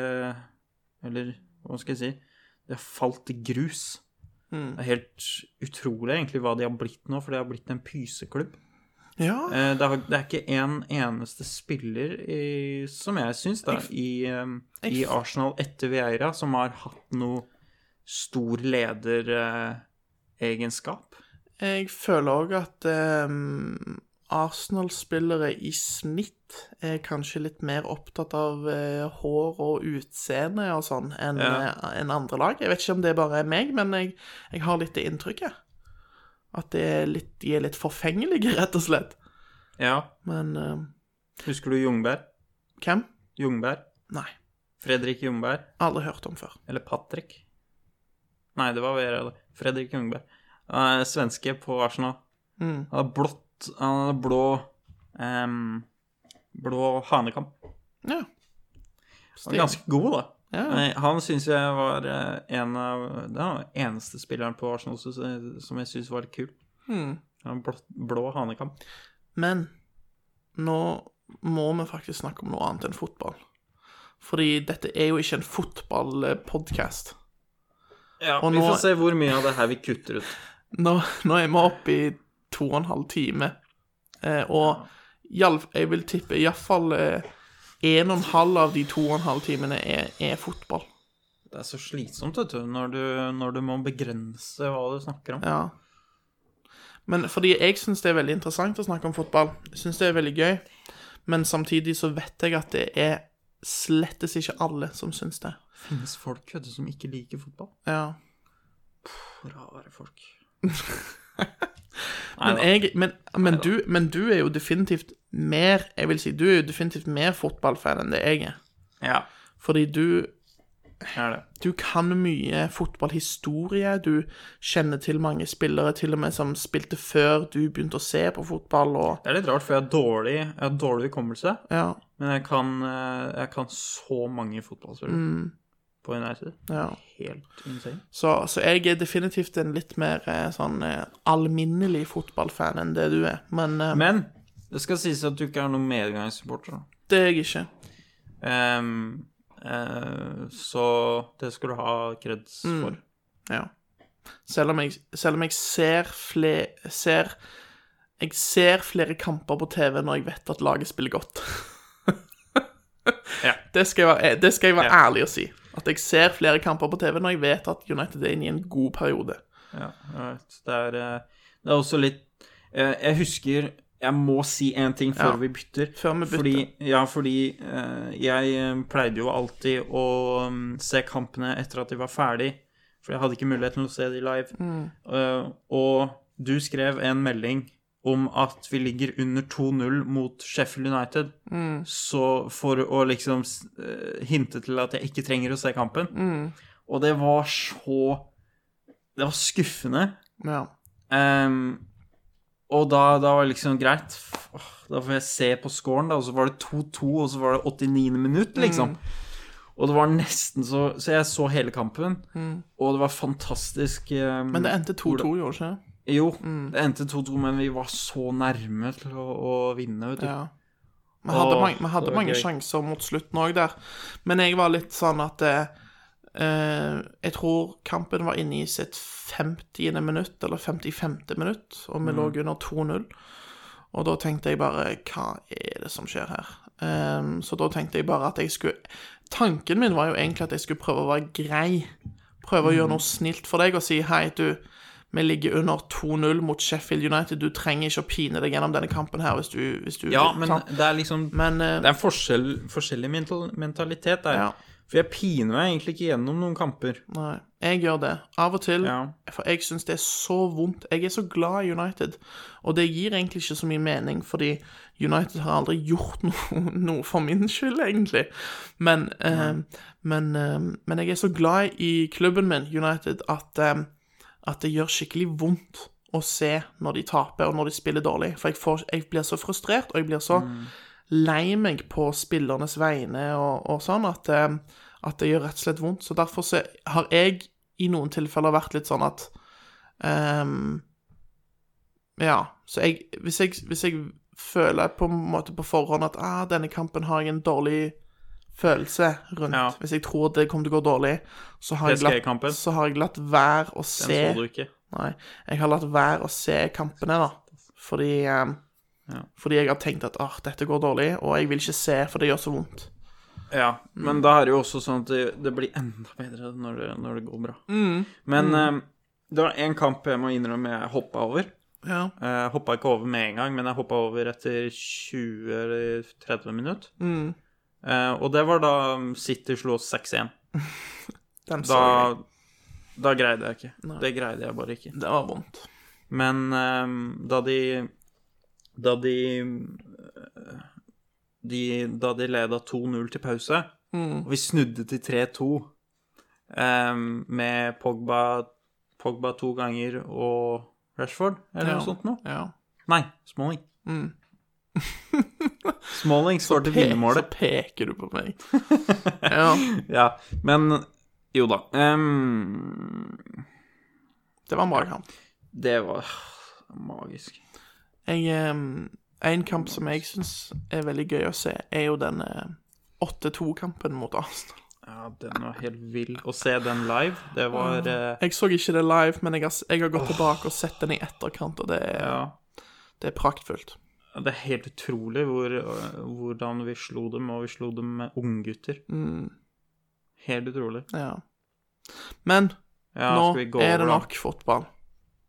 Speaker 3: Eller hva skal jeg si De har falt i grus. Det er helt utrolig egentlig hva de har blitt nå, for de har blitt en pyseklubb.
Speaker 6: ja.
Speaker 3: Eh, det, har, det er ikke en eneste spiller i, som jeg syns, da, i, eh, i Arsenal etter Vieira som har hatt noe stor lederegenskap.
Speaker 6: Jeg føler òg at ehm, Arsenal-spillere i snitt er kanskje litt mer opptatt av eh, hår og utseende og sånn enn
Speaker 3: Ja.
Speaker 6: eh, enn andre lag. Jeg vet ikke om det bare er meg, men jeg, jeg har litt det inntrykket. At det er litt, de er litt forfengelige, rett og slett.
Speaker 3: ja.
Speaker 6: Men ehm,
Speaker 3: Husker du Jungberg?
Speaker 6: hvem?
Speaker 3: Jungberg?
Speaker 6: Nei.
Speaker 3: Fredrik Jungberg?
Speaker 6: Aldri hørt om før.
Speaker 3: Eller Patrick? Nei, det var Vera. da. Fredrik
Speaker 6: Mm.
Speaker 3: Jungberg. Han er svenske på Arsenal. Han har blått Han har blå ehm, blå hanekam.
Speaker 6: Ja.
Speaker 3: Han var ganske god, da.
Speaker 6: Ja.
Speaker 3: Nei, Han syns jeg var eh, en av Det var den eneste spilleren på Arsenal som som jeg syns var litt kul.
Speaker 6: Hmm.
Speaker 3: Han blå, blå hanekam.
Speaker 6: Men nå må vi faktisk snakke om noe annet enn fotball. Fordi dette er jo ikke en fotballpodkast.
Speaker 3: Ja,
Speaker 6: Og
Speaker 3: vi
Speaker 6: nå-
Speaker 3: får se hvor mye av det her vi kutter ut.
Speaker 6: Nå, nå er vi oppe i to og en halv time, eh, og iallf- jeg vil tippe iallfall eh, en og en halv av de to og en halv timene er, er fotball.
Speaker 3: Det er så slitsomt, vet du, når du, når du må begrense hva du snakker om.
Speaker 6: Ja. Men fordi jeg syns det er veldig interessant å snakke om fotball. Jeg syns det er veldig gøy. Men samtidig så vet jeg at det er slettes ikke alle som syns det.
Speaker 3: Finnes folk vet du, som ikke liker fotball?
Speaker 6: Ja.
Speaker 3: Rare folk.
Speaker 6: Men, jeg, men, men, du, men du er jo definitivt mer Jeg vil si, du er jo definitivt mer fotballfan enn det jeg er.
Speaker 3: Ja,
Speaker 6: Fordi du
Speaker 3: jeg er det.
Speaker 6: du kan mye fotballhistorie. Du kjenner til mange spillere til og med som spilte før du begynte å se på fotball. Og,
Speaker 3: Det er litt rart, for jeg har dårlig, jeg har dårlig hukommelse,
Speaker 6: ja,
Speaker 3: men jeg kan, eh, jeg kan så mange fotballspillere på United.
Speaker 6: ja.
Speaker 3: Helt insane.
Speaker 6: Så, så jeg er definitivt en litt mer eh, sånn eh, alminnelig fotballfan enn det du er. Men, eh,
Speaker 3: Men det skal sies at du ikke er noen medgangssupporter. da.
Speaker 6: det er jeg ikke.
Speaker 3: Ehm, eh, så det skal du ha kreds for.
Speaker 6: Ja. Selv om jeg, selv om jeg ser flere ser, Jeg ser flere kamper på TV når jeg vet at laget spiller godt.
Speaker 3: Ja.
Speaker 6: Det skal jeg være, det skal jeg være ærlig og si. At jeg ser flere kamper på TV når jeg vet at United er inne i en god periode.
Speaker 3: Ja, jeg vet. det, er, eh, det er også litt eh, Jeg husker Jeg må si en ting før
Speaker 6: Ja,
Speaker 3: vi bytter.
Speaker 6: før vi bytter.
Speaker 3: Fordi, ja, fordi eh, jeg eh, pleide jo alltid å mm, se kampene etter at de var ferdig, for jeg hadde ikke mulighet til å se de live.
Speaker 6: Mm.
Speaker 3: Eh, og du skrev en melding om at vi ligger under 2-0 mot Sheffield United,
Speaker 6: Mm.
Speaker 3: så for å liksom s- eh, hinte til at jeg ikke trenger å se kampen.
Speaker 6: Mm.
Speaker 3: Og det var så det var skuffende.
Speaker 6: Ja.
Speaker 3: Ehm, og da, da var det liksom greit. f- åh, Da får jeg se på scoren, da. Og så var det 2-2, og så var det 89. minutt, liksom.
Speaker 6: Mm.
Speaker 3: Og det var nesten så Så jeg så hele kampen, og det var fantastisk. ehm,
Speaker 6: Mm. Men det endte Mm. 2-2, gjorde det ikke? det?
Speaker 3: Jo, det endte 2-2, men vi var så nærme til å, å vinne, vet du.
Speaker 6: Ja. Vi hadde,
Speaker 3: Åh,
Speaker 6: mange, vi hadde
Speaker 3: det var
Speaker 6: mange
Speaker 3: gøy.
Speaker 6: sjanser mot slutten òg der, men jeg var litt sånn at eh, eh, Jeg tror kampen var inne i sitt 50. minutt, eller 55. minutt, og vi lå
Speaker 3: Mm.
Speaker 6: under 2-0. Og da tenkte jeg bare Hva er det som skjer her? Ehm, så da tenkte jeg bare at jeg skulle Tanken min var jo egentlig at jeg skulle prøve å være grei. Prøve
Speaker 3: Mm.
Speaker 6: å gjøre noe snilt for deg og si hei, du. Vi ligger under 2-0 mot Sheffield United. Du trenger ikke å pine deg gjennom denne kampen her hvis du, hvis du
Speaker 3: Ja,
Speaker 6: vil,
Speaker 3: men
Speaker 6: sant?
Speaker 3: det er liksom
Speaker 6: Men eh,
Speaker 3: Det er en forskjell, forskjellig mental, mentalitet der.
Speaker 6: Ja.
Speaker 3: For jeg piner meg egentlig ikke gjennom noen kamper.
Speaker 6: nei, jeg gjør det. Av og til.
Speaker 3: Ja.
Speaker 6: For jeg syns det er så vondt. Jeg er så glad i United. Og det gir egentlig ikke så mye mening, fordi United har aldri gjort noe, noe for min skyld, egentlig. Men, eh, men, eh, men jeg er så glad i klubben min, United, at, eh, at det gjør skikkelig vondt å se når de taper, og når de spiller dårlig. For jeg, får, jeg blir så frustrert, og jeg blir så lei meg på spillernes vegne og, og sånn, at, eh, at det gjør rett og slett vondt. Så derfor så har jeg i noen tilfeller vært litt sånn at ehm, Ja. Så jeg, hvis, jeg, hvis jeg føler på en måte på forhånd at ah, denne kampen har jeg en dårlig følelse rundt
Speaker 3: Ja.
Speaker 6: Hvis jeg tror det kommer til å gå dårlig, så har, jeg latt,
Speaker 3: PSG-kampen.
Speaker 6: så har jeg latt være å se
Speaker 3: Den så du ikke.
Speaker 6: Nei, jeg har latt være å se kampene, da. Fordi, eh, fordi jeg har tenkt at ah, dette går dårlig, og jeg vil ikke se, for det gjør så vondt.
Speaker 3: Ja, men da er det jo også sånn at det, det blir enda bedre når det, når det går bra. Men eh, det var en kamp jeg må innrømme jeg hoppa over.
Speaker 6: Ja.
Speaker 3: Jeg hoppa ikke over med en gang, men jeg hoppa over etter 20 eller 30 minutter. Eh, og det var da City slo oss 6-1.
Speaker 6: Den så
Speaker 3: Da,
Speaker 6: jeg.
Speaker 3: da greide jeg ikke. Det greide jeg bare ikke.
Speaker 6: Det var vondt.
Speaker 3: Men eh, da de Da de, eh, de Da de leda 2-0 til pause,
Speaker 6: Mm.
Speaker 3: og vi snudde til 3-2 eh, med Pogba, Pogba to ganger og Rashford, eller
Speaker 6: Ja.
Speaker 3: noe sånt noe?
Speaker 6: Ja.
Speaker 3: Nei, Smalling. Smalling står til vinnermålet.
Speaker 6: Så peker du på meg. Ja,
Speaker 3: Ja, men jo da. Ehm,
Speaker 6: det var en bra kamp.
Speaker 3: det var ah, magisk.
Speaker 6: Jeg, em, en kamp som jeg syns er veldig gøy å se, er jo den eh, 8-2-kampen mot Arsenal.
Speaker 3: Ja, den var helt vill. Å se den live, det
Speaker 6: Ah.
Speaker 3: var eh,
Speaker 6: Jeg så ikke det live, men jeg har, s- jeg har gått tilbake og sett den i etterkant, og det er,
Speaker 3: Ja.
Speaker 6: det er praktfullt.
Speaker 3: Det er helt utrolig hvor, øh, hvordan vi slo dem, og vi slo dem med unggutter.
Speaker 6: Mm.
Speaker 3: Helt utrolig.
Speaker 6: Ja. Men
Speaker 3: Ja,
Speaker 6: nå
Speaker 3: skal vi gå
Speaker 6: er det
Speaker 3: over, da?
Speaker 6: nok fotball.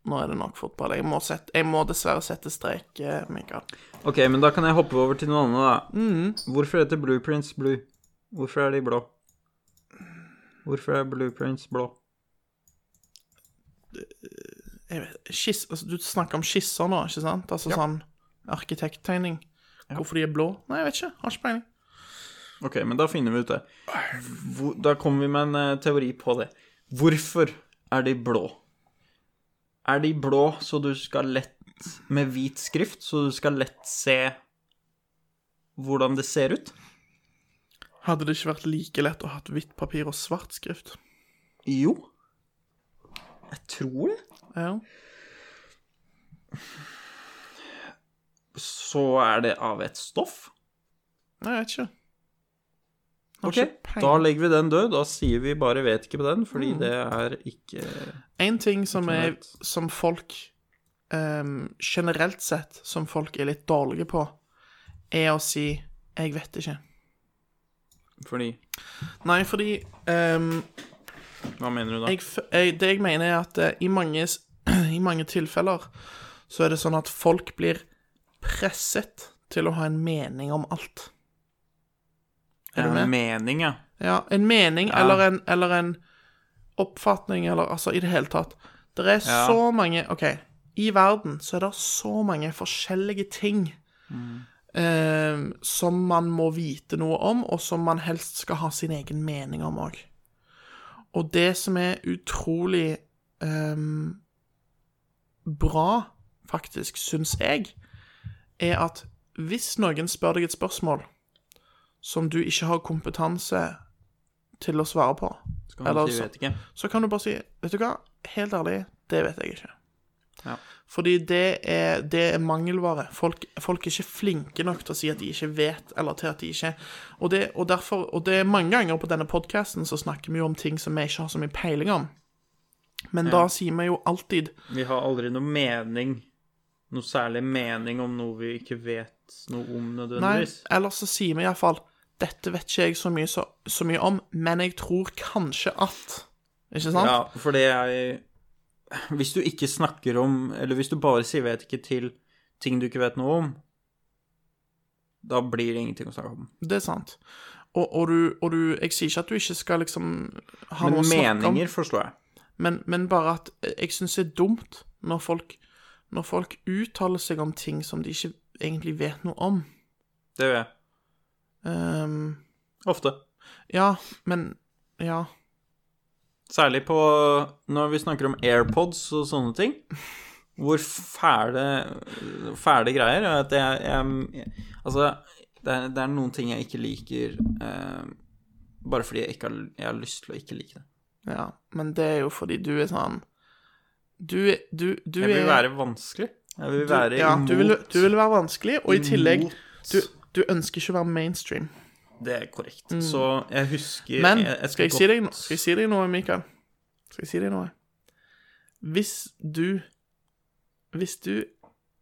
Speaker 6: Nå er det nok fotball. Jeg må, sette, jeg må dessverre sette strek, eh, Mikael.
Speaker 3: Ok, men da kan jeg hoppe over til noe annet, da.
Speaker 6: Mm.
Speaker 3: Hvorfor heter Blueprints blue? Hvorfor er de blå? Hvorfor er Blueprints blå?
Speaker 6: Jeg vet, skiss, altså, du snakker om skisser nå, ikke sant? Altså sånn arkitekttegning. Hvorfor de er blå? Nei, jeg vet ikke. Har ikke peiling.
Speaker 3: Ok, men da finner vi ut det. Hvor, da kommer vi med en eh, teori på det. Hvorfor er de blå? Er de blå så du skal lett Med hvit skrift, så du skal lett se hvordan det ser ut?
Speaker 6: Hadde det ikke vært like lett å ha hatt hvitt papir og svart skrift?
Speaker 3: Jo. Jeg tror det.
Speaker 6: Ja.
Speaker 3: Så er det av et stoff.
Speaker 6: Nei, jeg vet ikke. Har
Speaker 3: Ok,
Speaker 6: ikke peiling. Mm.
Speaker 3: da legger vi den død. Da sier vi bare 'vet ikke' på den, fordi det er ikke
Speaker 6: En ting som,
Speaker 3: Ikke
Speaker 6: er,
Speaker 3: sant.
Speaker 6: som folk ehm, Generelt sett, som folk er litt dårlige på, er å si 'jeg vet ikke'.
Speaker 3: Fordi
Speaker 6: Nei, fordi ehm,
Speaker 3: Hva mener du da?
Speaker 6: jeg, f- jeg, Det jeg mener, er at eh, i mange, s- i mange tilfeller så er det sånn at folk blir presset til å ha en mening om alt. Er du med?
Speaker 3: Mening, ja.
Speaker 6: Ja, en mening eller, en, eller en oppfatning, eller altså i det hele tatt. Det er så mange OK, i verden så er det så mange forskjellige ting eh, som man må vite noe om, og som man helst skal ha sin egen mening om òg. Og det som er utrolig eh, bra, faktisk, syns jeg, er at hvis noen spør deg et spørsmål som du ikke har kompetanse til å svare på,
Speaker 3: Skal man
Speaker 6: eller
Speaker 3: si
Speaker 6: så-
Speaker 3: 'vet ikke'?
Speaker 6: så kan du bare si Vet du hva, helt ærlig, det vet jeg ikke.
Speaker 3: Ja.
Speaker 6: Fordi det er, det er mangelvare. Folk, folk er ikke flinke nok til å si at de ikke vet, eller til at de ikke Og det, og derfor, og det er mange ganger på denne podkasten så snakker vi jo om ting som vi ikke har så mye peiling om. Men da sier vi jo alltid
Speaker 3: Vi har aldri noe mening, noe særlig mening om noe vi ikke vet noe om
Speaker 6: Nei,
Speaker 3: nødvendigvis.
Speaker 6: eller så sier vi iallfall Dette vet ikke jeg så mye, så, så mye om, men jeg tror kanskje at Ikke sant?
Speaker 3: Ja, for det er Hvis du ikke snakker om Eller hvis du bare sier 'vet ikke' til ting du ikke vet noe om, da blir det ingenting å snakke om.
Speaker 6: Det er sant. Og, og, du, og du Jeg sier ikke at du ikke skal liksom ha noe
Speaker 3: Men
Speaker 6: å snakke om,
Speaker 3: meninger forstår jeg.
Speaker 6: men, men bare at jeg syns det er dumt når folk, når folk uttaler seg om ting som de ikke egentlig vet noe om.
Speaker 3: Det gjør jeg.
Speaker 6: Ehm,
Speaker 3: Ofte.
Speaker 6: ja, men Ja.
Speaker 3: Særlig på Når vi snakker om AirPods og sånne ting. Hvor fæle, fæle greier er at jeg, jeg Altså, det er, det er noen ting jeg ikke liker eh, bare fordi jeg ikke har, jeg har lyst til å ikke like det.
Speaker 6: ja. Men det er jo fordi du er sånn Du, er- du, du
Speaker 3: Jeg vil
Speaker 6: er
Speaker 3: være vanskelig. Jeg vil være
Speaker 6: ja,
Speaker 3: imot
Speaker 6: du vil, du vil være vanskelig, og i tillegg
Speaker 3: Imot.
Speaker 6: du, du ønsker ikke å være mainstream.
Speaker 3: Det er korrekt. Så jeg husker
Speaker 6: Men
Speaker 3: jeg, jeg
Speaker 6: skal, jeg si deg, no- skal jeg si deg noe, Mikael? Skal jeg si deg noe? Hvis du Hvis du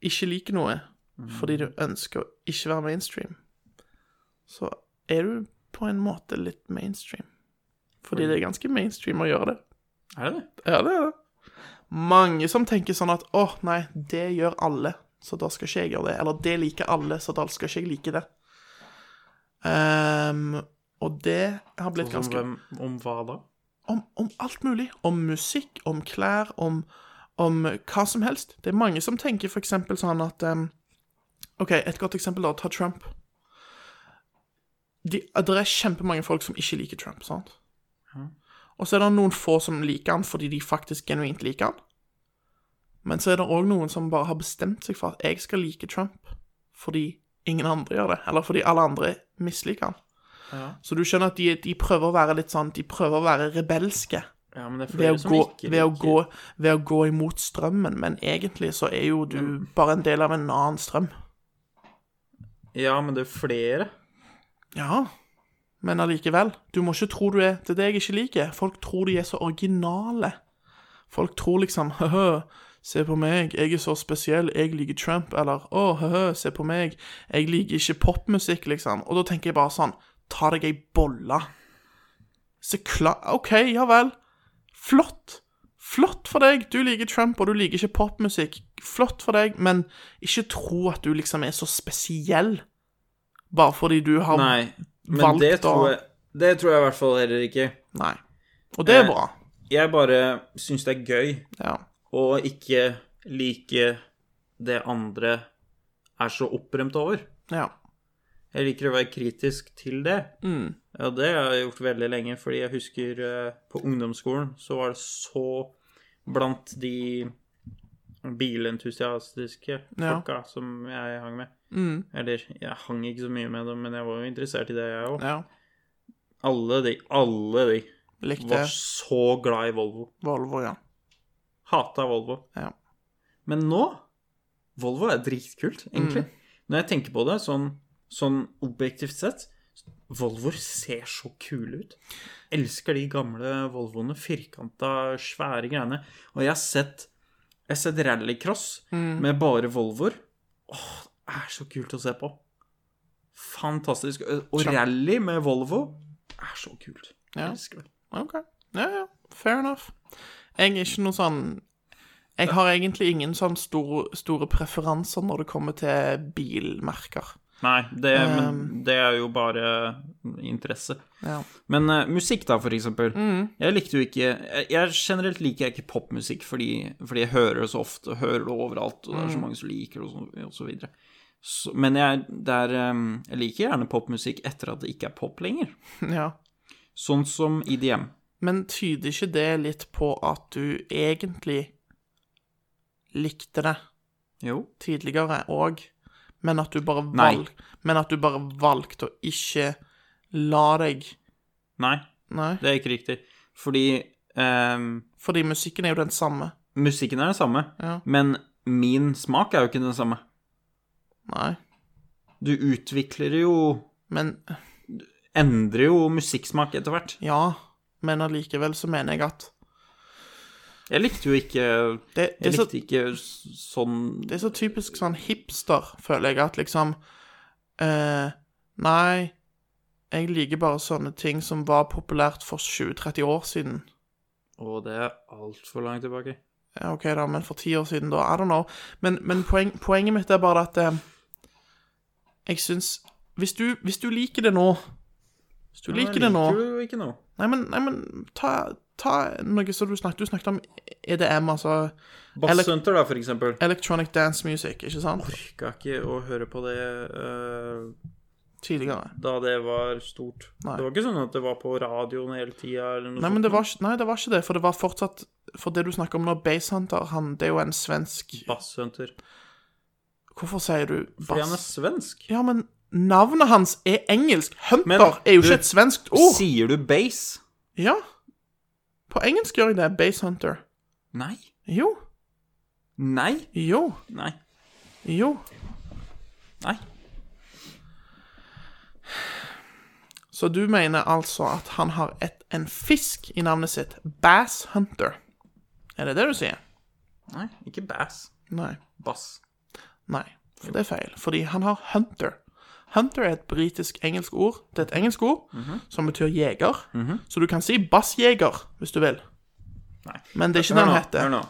Speaker 6: ikke liker noe fordi du ønsker å ikke være mainstream, så er du på en måte litt mainstream. Fordi det er ganske mainstream å gjøre det.
Speaker 3: Er det det?
Speaker 6: Ja, det er det. Mange som tenker sånn at 'Å, nei, det gjør alle, så da skal ikke jeg gjøre det.' Eller 'Det liker alle, så da skal ikke jeg like det'. Ehm, og det har blitt
Speaker 3: Om,
Speaker 6: ganske
Speaker 3: Sånn hvem, om hva da?
Speaker 6: om, om alt mulig. Om musikk, om klær, om, om hva som helst. Det er mange som tenker for eksempel sånn at em, OK, et godt eksempel, da. Ta Trump. De, det er kjempemange folk som ikke liker Trump, sant? Og så er det noen få som liker han fordi de faktisk genuint liker han. Men så er det òg noen som bare har bestemt seg for at jeg skal like Trump fordi ingen andre gjør det. Eller fordi alle andre misliker han. Så du skjønner at de, de prøver å være litt sånn De prøver å være rebelske
Speaker 3: Ja, men det er
Speaker 6: ved
Speaker 3: flere
Speaker 6: å,
Speaker 3: som
Speaker 6: gå,
Speaker 3: ikke
Speaker 6: ved, å
Speaker 3: liker-
Speaker 6: gå, ved å gå imot strømmen, men egentlig så er jo du
Speaker 3: Mm.
Speaker 6: bare en del av en annen strøm.
Speaker 3: Ja, men det er flere.
Speaker 6: Ja, men allikevel. Du må ikke tro du er Det er det jeg ikke liker. Folk tror de er så originale. Folk tror liksom høhø, se på meg, jeg er så spesiell, jeg liker Trump, eller å, høhø, se på meg, jeg liker ikke popmusikk, liksom. Og da tenker jeg bare sånn, ta deg ei bolle. Så klar OK, ja vel. Flott. Flott for deg. Du liker Trump, og du liker ikke popmusikk. Flott for deg, men ikke tro at du liksom er så spesiell bare fordi du har
Speaker 3: Nei, men
Speaker 6: valgt
Speaker 3: det
Speaker 6: å-
Speaker 3: tror jeg Det tror jeg i hvert fall heller ikke.
Speaker 6: Nei. Og det er
Speaker 3: Eh,
Speaker 6: bra.
Speaker 3: Jeg bare syns det er gøy
Speaker 6: Ja.
Speaker 3: å ikke like det andre er så opprømt over.
Speaker 6: ja.
Speaker 3: Jeg liker å være kritisk til det.
Speaker 6: Mm.
Speaker 3: Ja, det har jeg gjort veldig lenge, fordi jeg husker eh, på ungdomsskolen så var det så blant de bilentusiastiske
Speaker 6: Ja. Mm.
Speaker 3: folka som jeg hang med. Eller jeg hang ikke så mye med dem, men jeg var jo interessert i det, jeg òg.
Speaker 6: ja.
Speaker 3: Alle de, alle de
Speaker 6: Likte
Speaker 3: var så glad i Volvo.
Speaker 6: Volvo, ja.
Speaker 3: Hata Volvo.
Speaker 6: Ja.
Speaker 3: Men nå Volvo er dritkult, egentlig.
Speaker 6: Mm.
Speaker 3: Når jeg tenker på det sånn, sånn objektivt sett Volvoer ser så kule ut. Elsker de gamle Volvoene. Firkanta, svære greiene. Og jeg har sett, jeg har sett rallycross
Speaker 6: Mm.
Speaker 3: med bare Volvoer. Åh, det er så kult å se på. Fantastisk. Og rally med Volvo er så kult.
Speaker 6: Ja.
Speaker 3: Elsker det.
Speaker 6: OK. Ja, ja. Fair enough. Jeg er ikke noe sånn Jeg har egentlig ingen sånn store, store preferanser når det kommer til bilmerker.
Speaker 3: Nei, det, men det er jo bare interesse.
Speaker 6: Ja.
Speaker 3: Men eh, musikk, da, for eksempel. Jeg likte jo ikke jeg, jeg Generelt liker jeg ikke popmusikk fordi, fordi jeg hører det så ofte, og hører det overalt, og det er så mange som liker det, og så, og så videre. Så, men jeg, det er, eh, jeg liker gjerne popmusikk etter at det ikke er pop lenger.
Speaker 6: ja.
Speaker 3: Sånn som IDM.
Speaker 6: Men tyder ikke det litt på at du egentlig likte det
Speaker 3: Jo.
Speaker 6: tidligere òg, men at du bare
Speaker 3: Nei.
Speaker 6: valg, Men at du bare valgte å ikke la deg
Speaker 3: Nei,
Speaker 6: Nei.
Speaker 3: det er ikke riktig. Fordi eh,
Speaker 6: Fordi musikken er jo den samme.
Speaker 3: musikken er den samme,
Speaker 6: Ja.
Speaker 3: men min smak er jo ikke den samme.
Speaker 6: Nei.
Speaker 3: Du utvikler jo
Speaker 6: Men
Speaker 3: Endrer jo musikksmak etter hvert.
Speaker 6: Ja, men allikevel så mener jeg at
Speaker 3: Jeg likte jo ikke
Speaker 6: det, det, er
Speaker 3: Jeg
Speaker 6: så,
Speaker 3: likte ikke s- sånn
Speaker 6: det er så typisk sånn hipster, føler jeg, at liksom eh, Nei, jeg liker bare sånne ting som var populært for 20-30 år siden.
Speaker 3: Å, det er altfor langt tilbake.
Speaker 6: Ja, OK, da, men for ti år siden, da? I don't know. Men, men poeng, poenget mitt er bare at eh, jeg syns hvis, du- hvis du liker det nå Hvis du liker det nå
Speaker 3: Liker du ikke nå?
Speaker 6: Nei, men, nei, men ta, ta noe som du snakket Du snakket om EDM, altså
Speaker 3: Basshunter, da, for eksempel.
Speaker 6: Electronic Dance Music, ikke sant?
Speaker 3: Orka ikke å høre på det eh,
Speaker 6: Tidligere.
Speaker 3: da det var stort.
Speaker 6: Nei.
Speaker 3: Det var ikke sånn at det var på radioen hele tida eller noe
Speaker 6: Nei,
Speaker 3: sånt.
Speaker 6: men det var, ikke- nei, det var ikke det, for det var fortsatt For det du snakker om nå, Basehunter, han det er jo en svensk
Speaker 3: Basshunter.
Speaker 6: Hvorfor sier du
Speaker 3: Fordi han er
Speaker 6: bass?
Speaker 3: svensk.
Speaker 6: Ja, men navnet hans er engelsk. Hunter
Speaker 3: Men,
Speaker 6: er jo
Speaker 3: du-
Speaker 6: ikke et svenskt ord.
Speaker 3: Sier du base?
Speaker 6: Ja. På engelsk gjør jeg det. Basehunter.
Speaker 3: Nei.
Speaker 6: Jo.
Speaker 3: Nei.
Speaker 6: Jo.
Speaker 3: Nei.
Speaker 6: Jo.
Speaker 3: Nei.
Speaker 6: Så du mener altså at han har et, en fisk i navnet sitt. Bass Hunter. Er det det du sier?
Speaker 3: Nei. Ikke bass.
Speaker 6: Nei.
Speaker 3: Bass.
Speaker 6: Nei, for det er feil. Fordi han har hunter. Hunter er et britisk-engelsk ord. Det er et engelsk ord
Speaker 3: Mhm.
Speaker 6: som betyr jeger. Så du kan si bassjeger hvis du vil.
Speaker 3: Nei.
Speaker 6: Men det er ikke det
Speaker 3: Hør nå,
Speaker 6: han heter.
Speaker 3: hør nå.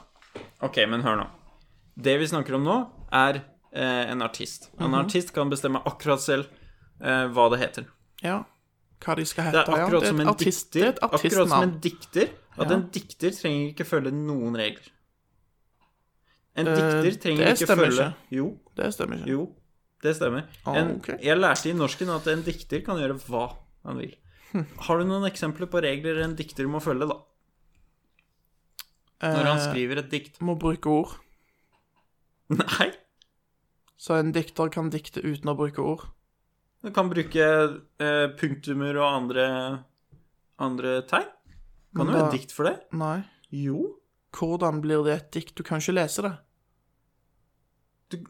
Speaker 3: Ok, men hør nå. Det vi snakker om nå, er eh, en artist. En
Speaker 6: Mhm.
Speaker 3: artist kan bestemme akkurat selv eh, hva det heter.
Speaker 6: Ja. Hva de skal hete.
Speaker 3: Det er
Speaker 6: ja.
Speaker 3: akkurat
Speaker 6: et
Speaker 3: som en
Speaker 6: artist-
Speaker 3: dikter.
Speaker 6: Det er et
Speaker 3: Akkurat som en
Speaker 6: artistnavn.
Speaker 3: dikter. At en dikter trenger ikke følge noen regler. En dikter trenger
Speaker 6: Eh, det
Speaker 3: ikke
Speaker 6: stemmer
Speaker 3: følge
Speaker 6: ikke.
Speaker 3: Jo,
Speaker 6: Det stemmer ikke.
Speaker 3: jo, det stemmer.
Speaker 6: Ah,
Speaker 3: En,
Speaker 6: ok.
Speaker 3: Jeg lærte i norsken at en dikter kan gjøre hva han vil.
Speaker 6: Hm.
Speaker 3: Har du noen eksempler på regler en dikter må følge, da?
Speaker 6: Eh.
Speaker 3: Når han skriver et dikt?
Speaker 6: Må bruke ord.
Speaker 3: Nei.
Speaker 6: Så en dikter kan dikte uten å bruke ord.
Speaker 3: Du kan bruke eh, punktummer og andre, andre tegn. Kan du
Speaker 6: Men
Speaker 3: gjøre
Speaker 6: da-
Speaker 3: et dikt for det?
Speaker 6: Nei.
Speaker 3: Jo.
Speaker 6: Hvordan blir det et dikt? Du kan ikke lese det. Du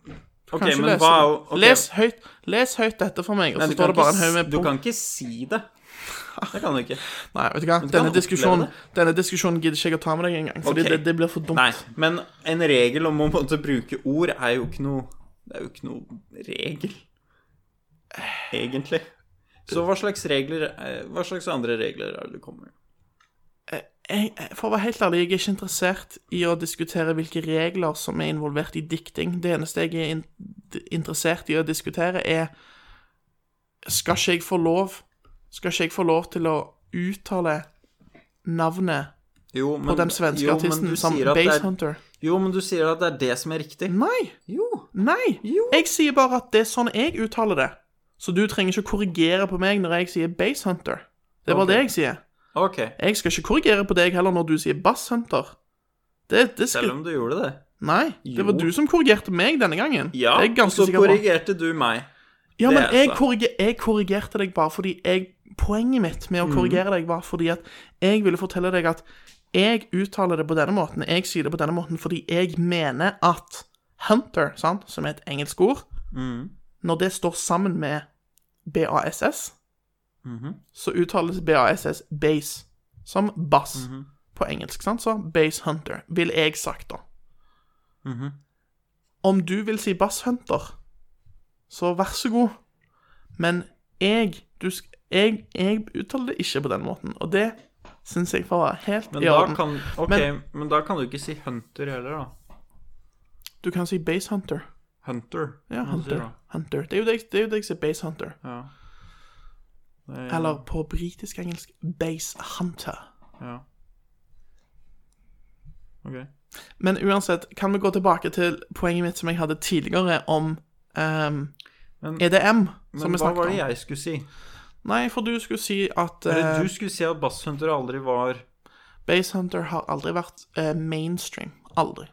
Speaker 3: Ok,
Speaker 6: kan ikke
Speaker 3: men
Speaker 6: lese
Speaker 3: hva er
Speaker 6: det.
Speaker 3: jo ok.
Speaker 6: les, høyt, les høyt dette for meg, og
Speaker 3: Nei,
Speaker 6: så
Speaker 3: du
Speaker 6: står
Speaker 3: kan
Speaker 6: det bare en
Speaker 3: ikke
Speaker 6: haug
Speaker 3: s-
Speaker 6: med
Speaker 3: Du
Speaker 6: punkt.
Speaker 3: kan ikke si det. Det kan du ikke.
Speaker 6: Nei, vet
Speaker 3: Men
Speaker 6: du hva?
Speaker 3: du kan
Speaker 6: Denne
Speaker 3: oppleve
Speaker 6: diskusjonen,
Speaker 3: det.
Speaker 6: denne diskusjonen gidder ikke jeg å ta med deg engang, fordi
Speaker 3: Ok.
Speaker 6: det, det blir for dumt.
Speaker 3: Nei, men en regel om å måtte bruke ord er jo ikke noe Det er jo ikke noe regel, egentlig. Så hva slags regler eh, Hva slags andre regler er det du kommer med?
Speaker 6: Jeg, jeg- for å være helt ærlig, jeg er ikke interessert i å diskutere hvilke regler som er involvert i dikting. Det eneste jeg er in interessert i å diskutere, er Skal ikke jeg få lov Skal ikke jeg få lov til å uttale navnet
Speaker 3: Jo, men,
Speaker 6: på den svenske
Speaker 3: jo, men
Speaker 6: artisten
Speaker 3: du
Speaker 6: som
Speaker 3: sier at det er-
Speaker 6: Basehunter?
Speaker 3: Jo, men du sier at det er det som er riktig.
Speaker 6: Nei!
Speaker 3: Jo.
Speaker 6: Nei!
Speaker 3: Jo.
Speaker 6: Jeg sier bare at det er sånn jeg uttaler det. Så du trenger ikke å korrigere på meg når jeg sier Basehunter. Det er bare
Speaker 3: Ok.
Speaker 6: det jeg sier.
Speaker 3: Ok.
Speaker 6: Jeg skal ikke korrigere på deg heller når du sier Basshunter. Det, det skal...
Speaker 3: Selv om du gjorde det.
Speaker 6: Nei, det var
Speaker 3: Jo.
Speaker 6: du som korrigerte meg denne gangen.
Speaker 3: Ja,
Speaker 6: det er jeg
Speaker 3: og så
Speaker 6: ganske sikker på.
Speaker 3: korrigerte du meg.
Speaker 6: Ja, men
Speaker 3: det er
Speaker 6: jeg,
Speaker 3: sant.
Speaker 6: korriger, jeg korrigerte deg bare fordi jeg Poenget mitt med å
Speaker 3: Mhm.
Speaker 6: korrigere deg var fordi at jeg ville fortelle deg at jeg uttaler det på denne måten, jeg sier det på denne måten fordi jeg mener at hunter, sant, som er et engelsk ord,
Speaker 3: Mhm.
Speaker 6: når det står sammen med BASS,
Speaker 3: Mhm.
Speaker 6: så uttales BASS base, som bass
Speaker 3: Mhm.
Speaker 6: på engelsk, sant? Så base hunter, vil jeg sagt da.
Speaker 3: Mhm.
Speaker 6: Om du vil si bass hunter, så vær så god. Men jeg, du, sk- jeg, jeg uttaler det ikke på den måten, og det synes jeg får være helt
Speaker 3: Men
Speaker 6: i
Speaker 3: da
Speaker 6: orden.
Speaker 3: kan Ok, men,
Speaker 6: Men-
Speaker 3: da kan du ikke si Hunter heller, da.
Speaker 6: Du kan si base hunter.
Speaker 3: Hunter.
Speaker 6: Ja,
Speaker 3: må du si
Speaker 6: hunter.
Speaker 3: da.
Speaker 6: hunter. Det er jo det, jeg- det er jo det jeg sier base hunter.
Speaker 3: Ja. Det er-
Speaker 6: Eller på britisk-engelsk base hunter.
Speaker 3: Ja. Ok.
Speaker 6: Men uansett, kan vi gå tilbake til poenget mitt som jeg hadde tidligere om ehm,
Speaker 3: Men-
Speaker 6: EDM, som
Speaker 3: Men
Speaker 6: vi
Speaker 3: hva
Speaker 6: snakket
Speaker 3: var
Speaker 6: om.
Speaker 3: det jeg skulle si?
Speaker 6: Nei, for du skulle si at
Speaker 3: Eller
Speaker 6: eh,
Speaker 3: du skulle si at Basshunter aldri var
Speaker 6: Basehunter har aldri vært eh, mainstream. Aldri.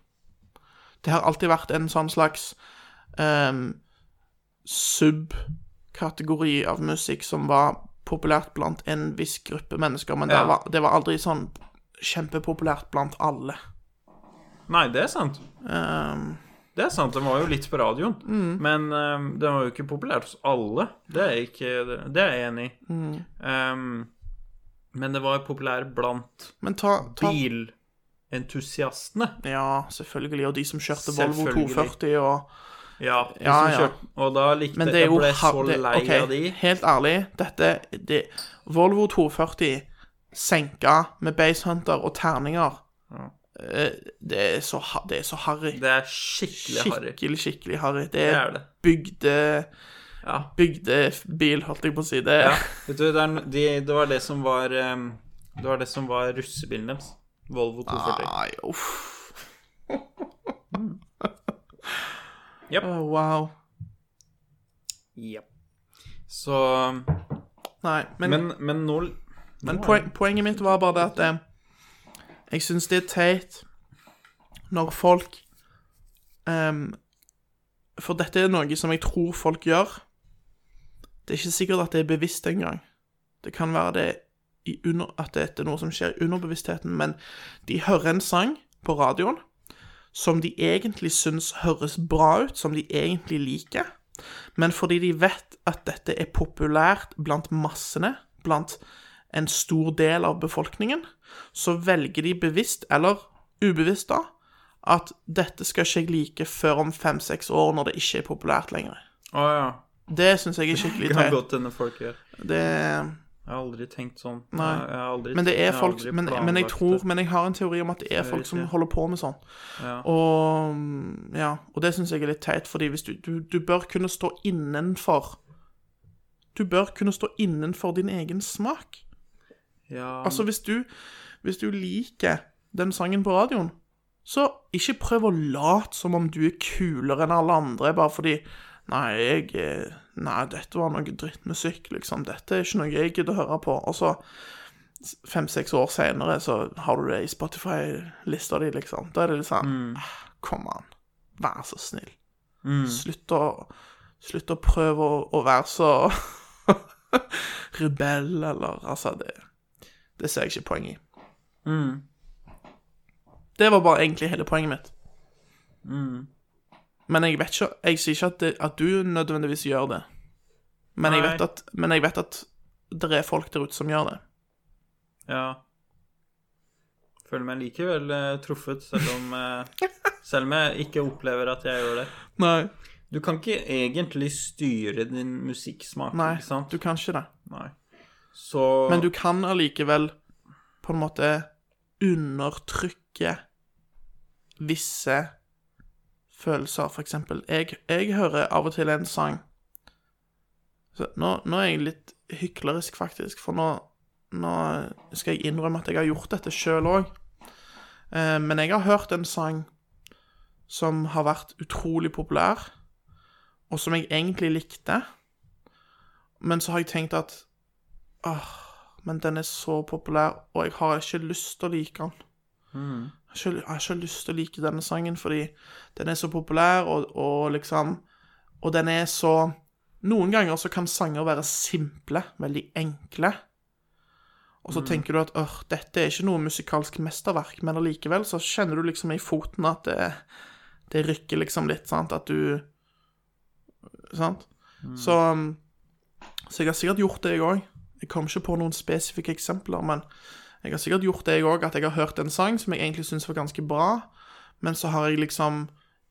Speaker 6: Det har alltid vært en sånn slags ehm, subkategori av musikk som var populært blant en viss gruppe mennesker, men
Speaker 3: Ja.
Speaker 6: det, var, det var aldri sånn kjempepopulært blant alle.
Speaker 3: Nei, det er sant.
Speaker 6: Ehm,
Speaker 3: Det er sant, den var jo litt på radioen.
Speaker 6: Mm.
Speaker 3: Men ehm, den var jo ikke populært hos alle. Det er, jeg ikke, det er jeg enig i.
Speaker 6: Mm.
Speaker 3: Ehm, men det var populært blant
Speaker 6: men ta, ta
Speaker 3: bilentusiastene.
Speaker 6: Ja, selvfølgelig. Og de som kjørte Volvo
Speaker 3: Selvfølgelig.
Speaker 6: 240 og
Speaker 3: Ja, de
Speaker 6: Ja,
Speaker 3: som
Speaker 6: ja.
Speaker 3: kjørte, og da likte
Speaker 6: Men det er jo
Speaker 3: Jeg ble så
Speaker 6: har- det-
Speaker 3: lei
Speaker 6: ok,
Speaker 3: av de.
Speaker 6: Helt ærlig, dette det, Volvo 240 senka med basehunter og terninger eh, Det er så, ha- det er så harry.
Speaker 3: Det er skikkelig harry.
Speaker 6: Skikkelig, skikkelig harry. Det
Speaker 3: Det er
Speaker 6: er
Speaker 3: det.
Speaker 6: bygde...
Speaker 3: Ja.
Speaker 6: Bygdebil, holdt jeg på å si. Det
Speaker 3: ja. Vet du, det, er, no- de, det var det som var ehm, Det var det som var russebilen deres. Volvo
Speaker 6: Ah.
Speaker 3: 240.
Speaker 6: Nei, uff.
Speaker 3: Japp.
Speaker 6: Å, Oh, wow.
Speaker 3: Jep. Så
Speaker 6: Nei,
Speaker 3: Men, men nå
Speaker 6: Men poen, poenget mitt var bare det at eh, jeg syns det er teit når folk ehm, For dette er noe som jeg tror folk gjør. Det er ikke sikkert at det er bevisst engang. Det kan være det i under, at dette er noe som skjer i underbevisstheten, men de hører en sang på radioen som de egentlig syns høres bra ut, som de egentlig liker, men fordi de vet at dette er populært blant massene, blant en stor del av befolkningen, så velger de bevisst, eller ubevisst da, at dette skal ikke jeg like før om fem-seks år når det ikke er populært lenger.
Speaker 3: Å ja.
Speaker 6: Det syns jeg er skikkelig
Speaker 3: Det kan
Speaker 6: teit.
Speaker 3: godt hende folk gjør.
Speaker 6: Det,
Speaker 3: Jeg har aldri tenkt sånn.
Speaker 6: Nei.
Speaker 3: Jeg, jeg har aldri,
Speaker 6: men det
Speaker 3: jeg
Speaker 6: er
Speaker 3: har
Speaker 6: folk
Speaker 3: aldri
Speaker 6: men, men jeg
Speaker 3: planlagt
Speaker 6: tror
Speaker 3: det.
Speaker 6: Men jeg har en teori om at det er folk som
Speaker 3: riktig.
Speaker 6: holder på med sånn.
Speaker 3: Ja.
Speaker 6: Og mm, ja, og det syns jeg er litt teit, fordi hvis du, du, du bør kunne stå innenfor Du bør kunne stå innenfor din egen smak.
Speaker 3: ja,
Speaker 6: Altså, hvis du, hvis du liker den sangen på radioen, så ikke prøv å late som om du er kulere enn alle andre, bare fordi Nei, jeg eh, Nei, dette var noe drittmusikk, liksom. Dette er ikke noe jeg gidder å høre på. Og så, s- fem-seks år seinere, så har du det i Spotify-lista di, liksom. Da er det litt sånn «Ah, Kom an, vær så snill. Slutt å Slutt å prøve å, å være så rebell, eller Altså, det, det ser jeg ikke poenget i.
Speaker 3: Mm.
Speaker 6: Det var bare egentlig hele poenget mitt.
Speaker 3: Mm.
Speaker 6: Men jeg vet ikke Jeg sier ikke at, det, at du nødvendigvis gjør det. Men jeg,
Speaker 3: Nei.
Speaker 6: vet at, men jeg vet at det er folk der ute som gjør det.
Speaker 3: Ja. Føler meg likevel eh, truffet, selv om, eh, selv om jeg ikke opplever at jeg gjør det.
Speaker 6: Nei.
Speaker 3: Du kan ikke egentlig styre din musikksmak,
Speaker 6: Nei,
Speaker 3: ikke sant?
Speaker 6: du kan ikke det.
Speaker 3: Nei. Så
Speaker 6: Men du kan allikevel på en måte undertrykke visse følelser. For eksempel, jeg, jeg hører av og til en sang så nå, nå er jeg litt hyklerisk, faktisk, for nå, nå skal jeg innrømme at jeg har gjort dette sjøl òg. Eh, men jeg har hørt en sang som har vært utrolig populær, og som jeg egentlig likte. Men så har jeg tenkt at Åh, men den er så populær, og jeg har ikke lyst til å like den. Jeg, har ikke, jeg har ikke lyst til å like denne sangen, fordi den er så populær, og, og liksom Og den er så Noen ganger så kan sanger være simple, veldig enkle. Og så tenker du at åh, dette er ikke noe musikalsk mesterverk, men allikevel så kjenner du liksom i foten at det, det rykker liksom litt, sant, at du Sant? Så, um, så jeg har sikkert gjort det, jeg òg. Jeg kom ikke på noen spesifikke eksempler, men jeg har sikkert gjort det, jeg òg, at jeg har hørt en sang som jeg egentlig syns var ganske bra, men så har jeg liksom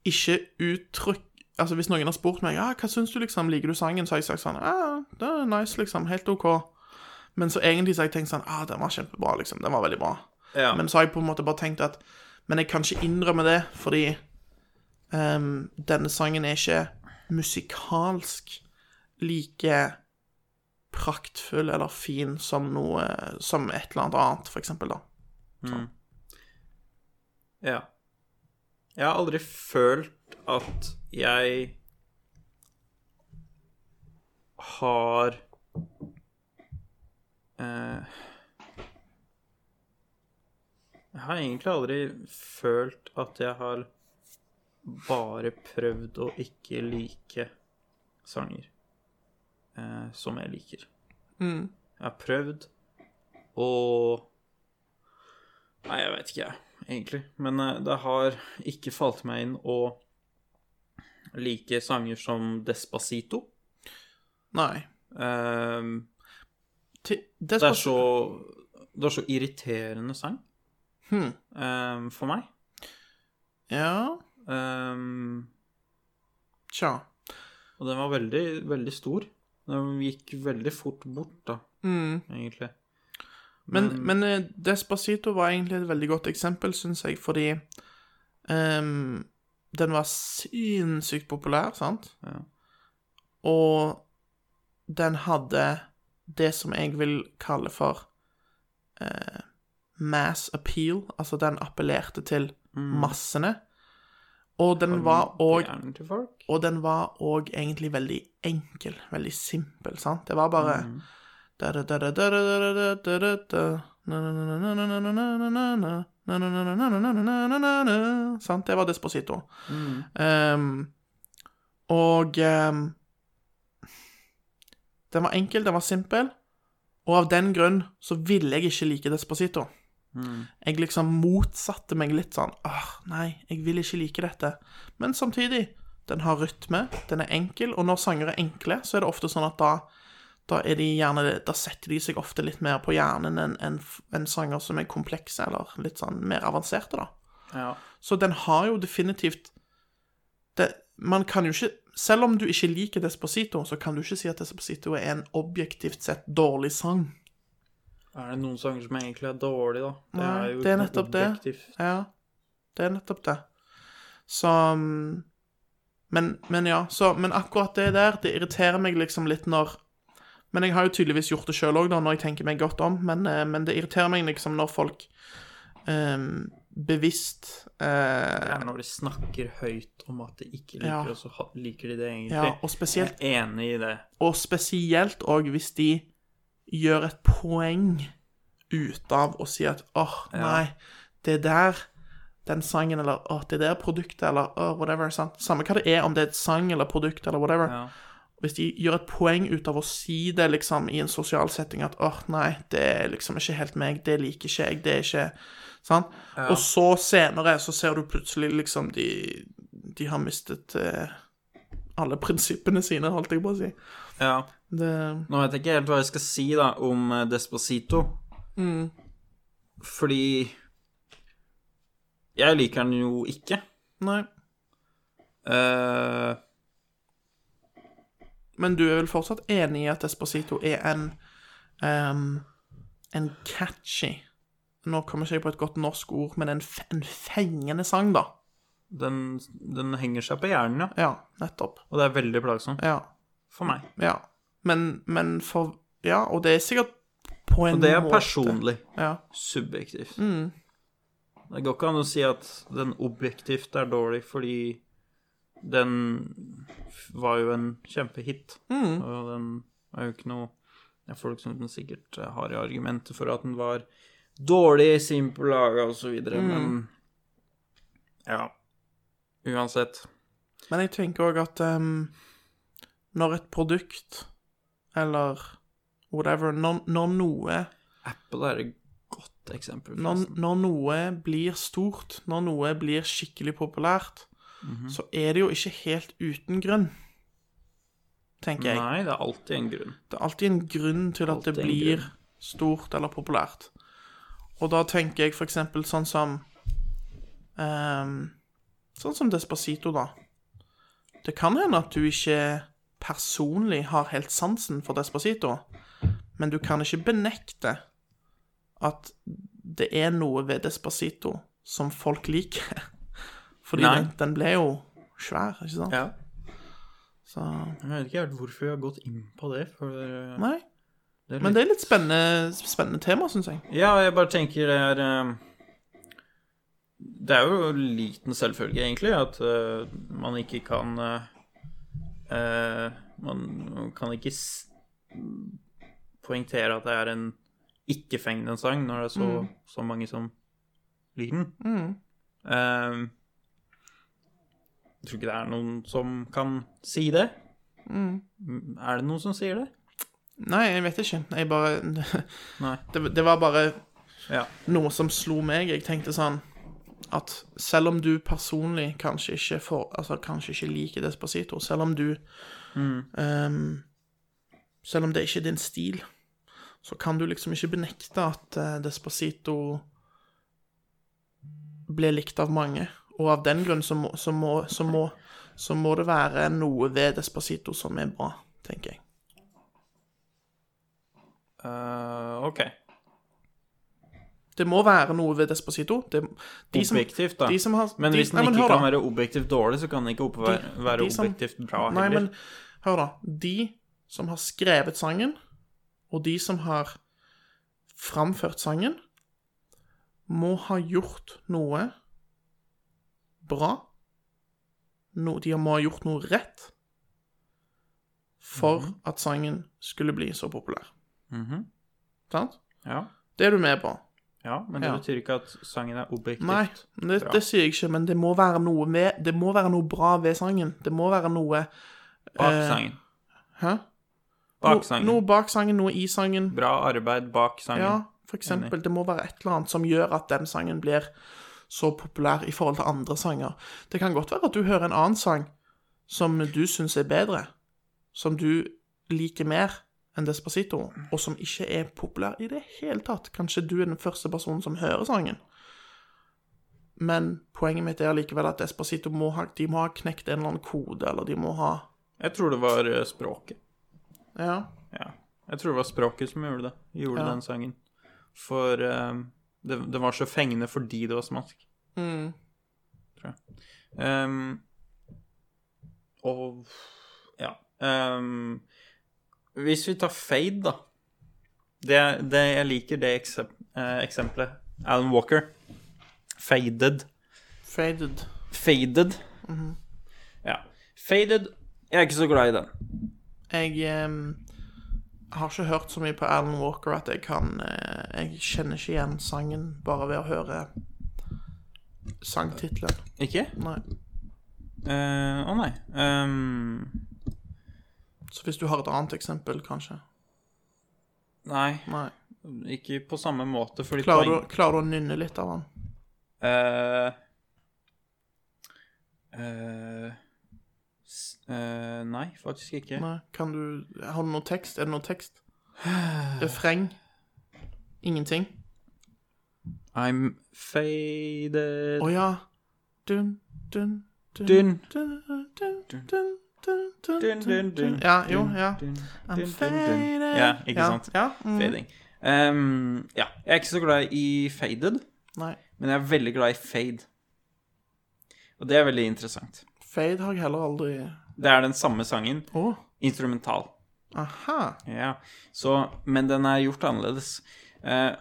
Speaker 6: ikke uttrykk Altså, hvis noen har spurt meg ja, hva syns du liksom, liker du sangen, så har jeg sagt sånn ja, det er nice, liksom, helt OK. Men så egentlig så har jeg tenkt sånn ah, den var kjempebra, liksom. Den var veldig bra.
Speaker 3: ja.
Speaker 6: Men så har jeg på en måte bare tenkt at Men jeg kan ikke innrømme det, fordi ehm, denne sangen er ikke musikalsk like praktfull eller fin som noe Som et eller annet annet, for eksempel, da.
Speaker 3: Ja. Jeg har aldri følt at jeg har eh, Jeg har egentlig aldri følt at jeg har bare prøvd å ikke like sanger eh, som jeg liker. Jeg har prøvd å Nei, jeg veit ikke, jeg, egentlig. Men eh, det har ikke falt meg inn å like sanger som Despacito.
Speaker 6: Nei.
Speaker 3: Ehm,
Speaker 6: Ti-
Speaker 3: det,
Speaker 6: Det
Speaker 3: er
Speaker 6: spørs
Speaker 3: så, det er så irriterende sang
Speaker 6: Hmm.
Speaker 3: ehm, for meg.
Speaker 6: Ja,
Speaker 3: Ehm,
Speaker 6: tja.
Speaker 3: og den var veldig, veldig stor. Den gikk veldig fort bort, da,
Speaker 6: Mm.
Speaker 3: egentlig.
Speaker 6: Men, men eh, Despacito var egentlig et veldig godt eksempel, syns jeg, fordi ehm, den var sinnssykt populær, sant?
Speaker 3: Ja.
Speaker 6: Og den hadde det som jeg vil kalle for eh, mass appeal, altså den appellerte til massene. Og den var òg
Speaker 3: Hjernen til folk.
Speaker 6: og den var òg egentlig veldig enkel, veldig simpel, sant? Det var bare Sant? Det var Desposito. Um, og um, Den var enkel, den var simpel, og av den grunn så ville jeg ikke like Desposito. Jeg liksom motsatte meg litt sånn Åh, nei, jeg vil ikke like dette. Men samtidig, den har rytme, den er enkel, og når sanger er enkle, så er det ofte sånn at da da, er de gjerne, da setter de seg ofte litt mer på hjernen enn enn f- enn sanger som er komplekse, eller litt sånn mer avanserte, da.
Speaker 3: Ja.
Speaker 6: Så den har jo definitivt det, Man kan jo ikke Selv om du ikke liker Desposito, så kan du ikke si at Desposito er en objektivt sett dårlig sang.
Speaker 3: Er det noen sanger som egentlig er dårlige, da? Det
Speaker 6: Nei,
Speaker 3: er jo
Speaker 6: det er
Speaker 3: ikke
Speaker 6: nettopp det.
Speaker 3: objektivt.
Speaker 6: Ja, det er nettopp det. Så mm, Men, men ja. Så, men akkurat det der, det irriterer meg liksom litt når Men jeg har jo tydeligvis gjort det sjøl òg, når jeg tenker meg godt om, men, eh, men det irriterer meg liksom når folk eh, bevisst
Speaker 3: Det
Speaker 6: eh,
Speaker 3: er når de snakker høyt om at de ikke liker
Speaker 6: Ja.
Speaker 3: det, og så ha- liker de det egentlig.
Speaker 6: Ja, og spesielt
Speaker 3: Jeg er enig i det.
Speaker 6: Og spesielt òg hvis de gjør et poeng ut av å si at åh, nei, det der den sangen, eller å, det der produktet, eller å, whatever. Sant? Samme hva det er, om det er et sang eller produkt eller whatever. Hvis de gjør et poeng ut av å si det liksom i en sosial setting, at åh, nei, det er liksom ikke helt meg, det liker ikke jeg, det er ikke Sant? Og så senere så ser du plutselig liksom de, de har mistet eh, alle prinsippene sine, holdt jeg på å si.
Speaker 3: Ja.
Speaker 6: Det,
Speaker 3: Nå vet jeg ikke helt hva jeg skal si da om eh, Despacito.
Speaker 6: Mm.
Speaker 3: Fordi Jeg liker den jo ikke.
Speaker 6: nei.
Speaker 3: Eh,
Speaker 6: Men du er vel fortsatt enig i at Despacito er en ehm, en catchy Nå kommer ikke jeg på et godt norsk ord, men en, f- en fengende sang, da.
Speaker 3: den, den henger seg på hjernen, ja.
Speaker 6: Ja, nettopp.
Speaker 3: Og det er veldig plagsomt
Speaker 6: Ja.
Speaker 3: for meg.
Speaker 6: ja. Men, men for Ja, og det er sikkert på en
Speaker 3: Og det er
Speaker 6: måte-
Speaker 3: personlig.
Speaker 6: Ja.
Speaker 3: Subjektivt. Det går ikke an å si at den objektivt er dårlig, fordi den f- var jo en kjempehit. Og den er jo ikke noe det er folk som sikkert eh, har argumenter for at den var dårlig, simpel laga osv., videre men ja. Uansett.
Speaker 6: Men jeg tenker òg at ehm, når et produkt eller whatever Når, når noe
Speaker 3: Apple er et godt eksempel.
Speaker 6: når,
Speaker 3: forresten.
Speaker 6: når noe blir stort, når noe blir skikkelig populært, så er det jo ikke helt uten grunn, tenker jeg.
Speaker 3: Nei, det er alltid en grunn.
Speaker 6: Det er alltid en grunn til at det
Speaker 3: Alltid en
Speaker 6: blir
Speaker 3: grunn.
Speaker 6: stort eller populært. Og da tenker jeg for eksempel sånn som ehm, Sånn som Despacito, da. Det kan hende at du ikke personlig har helt sansen for Despacito, men du kan ikke benekte at det er noe ved Despacito som folk liker. Fordi
Speaker 3: Nei.
Speaker 6: den, den ble jo svær, ikke sant?
Speaker 3: Ja.
Speaker 6: Så
Speaker 3: Jeg vet ikke helt hvorfor vi har gått inn på det. For eh,
Speaker 6: Nei.
Speaker 3: det er
Speaker 6: Men det er litt spennende, spennende tema, syns jeg.
Speaker 3: Ja, jeg bare tenker det er eh, Det er jo en liten selvfølge, egentlig, at eh, man ikke kan eh, eh, Man kan ikke s poengtere at det er en ikke-fengende sang når det er så, så mange som liker den. Eh, jeg tror ikke det er noen som kan si det. Er det noen som sier det?
Speaker 6: Nei, jeg vet ikke. Jeg bare
Speaker 3: Nei.
Speaker 6: det, det var bare
Speaker 3: Ja.
Speaker 6: noe som slo meg. Jeg tenkte sånn at selv om du personlig kanskje ikke får Altså kanskje ikke liker Despacito, selv om du ehm, Selv om det ikke er din stil, så kan du liksom ikke benekte at eh, Despacito ble likt av mange. Og av den grunn så må, så må, så må, så må det være noe ved Despacito som er bra, tenker jeg.
Speaker 3: Eh, OK.
Speaker 6: Det må være noe ved Despacito. Det, de som,
Speaker 3: Objektivt, da.
Speaker 6: de som har,
Speaker 3: Men
Speaker 6: de,
Speaker 3: hvis den
Speaker 6: nei,
Speaker 3: ikke
Speaker 6: hør
Speaker 3: kan
Speaker 6: da.
Speaker 3: være objektivt dårlig, så kan den ikke opp- være, være
Speaker 6: de som-
Speaker 3: objektivt bra
Speaker 6: Nei,
Speaker 3: heller.
Speaker 6: men hør, da. De som har skrevet sangen, og de som har framført sangen, må ha gjort noe bra. No, de må ha gjort noe rett for at sangen skulle bli så populær.
Speaker 3: Mhm.
Speaker 6: Sant?
Speaker 3: ja,
Speaker 6: Det er du med på.
Speaker 3: ja, men det
Speaker 6: Ja.
Speaker 3: betyr ikke at sangen er objektivt
Speaker 6: Nei, det,
Speaker 3: bra.
Speaker 6: det sier jeg ikke, men det må, være noe med, det må være noe bra ved sangen. Det må være noe
Speaker 3: bak
Speaker 6: eh,
Speaker 3: sangen.
Speaker 6: Hæ?
Speaker 3: Bak
Speaker 6: No,
Speaker 3: sangen.
Speaker 6: noe bak sangen, noe i sangen.
Speaker 3: Bra arbeid bak sangen.
Speaker 6: Ja, for eksempel. Det må være et eller annet som gjør at den sangen blir så populær i forhold til andre sanger. Det kan godt være at du hører en annen sang som du syns er bedre, som du liker mer enn Despacito, og som ikke er populær i det hele tatt. Kanskje du er den første personen som hører sangen. Men poenget mitt er likevel at Despacito må ha, de må ha knekt en eller annen kode, eller de må ha
Speaker 3: Jeg tror det var eh, språket.
Speaker 6: Ja.
Speaker 3: Ja. Jeg tror det var språket som gjorde det. Gjorde
Speaker 6: Ja.
Speaker 3: den sangen. For eh, det, det var så fengende fordi det var smask. Tror jeg. Ehm, og ja. ehm, hvis vi tar fade, da. Det, det jeg liker det eksem, eh, eksempelet. Alan Walker. Faded.
Speaker 6: Faded.
Speaker 3: Faded. Ja. Faded. Jeg er ikke så glad i den.
Speaker 6: Jeg ehm, har ikke hørt så mye på Alan Walker at jeg kan eh, Jeg kjenner ikke igjen sangen bare ved å høre sangtittelen.
Speaker 3: Ikke?
Speaker 6: Nei.
Speaker 3: Eh, Å nei. Ehm,
Speaker 6: Så hvis du har et annet eksempel, kanskje.
Speaker 3: nei,
Speaker 6: Nei.
Speaker 3: ikke på samme måte, fordi
Speaker 6: Klarer du, klarer du å nynne litt av den?
Speaker 3: Eh, eh, s- eh, nei, faktisk ikke.
Speaker 6: Nei. Kan du Har du noe tekst? Er det noe tekst? Refreng? Ingenting?
Speaker 3: I'm faded
Speaker 6: Å ja. Dun, dun,
Speaker 3: Dun.
Speaker 6: dun, dun, dun, dun, dun, dun,
Speaker 3: Dun, dun, dun,
Speaker 6: Ja, jo, ja.
Speaker 3: dun, dun,
Speaker 6: I'm
Speaker 3: dun, dun.
Speaker 6: faded.
Speaker 3: Ja, ikke
Speaker 6: Ja,
Speaker 3: sant?
Speaker 6: Ja. Mm.
Speaker 3: Fading. Ehm, ja. Jeg er ikke så glad i faded,
Speaker 6: Nei.
Speaker 3: men jeg er veldig glad i fade. Og det er veldig interessant.
Speaker 6: Fade har jeg heller aldri
Speaker 3: Det er den samme sangen,
Speaker 6: Å.
Speaker 3: instrumental.
Speaker 6: Aha.
Speaker 3: Ja, så, Men den er gjort annerledes. Eh,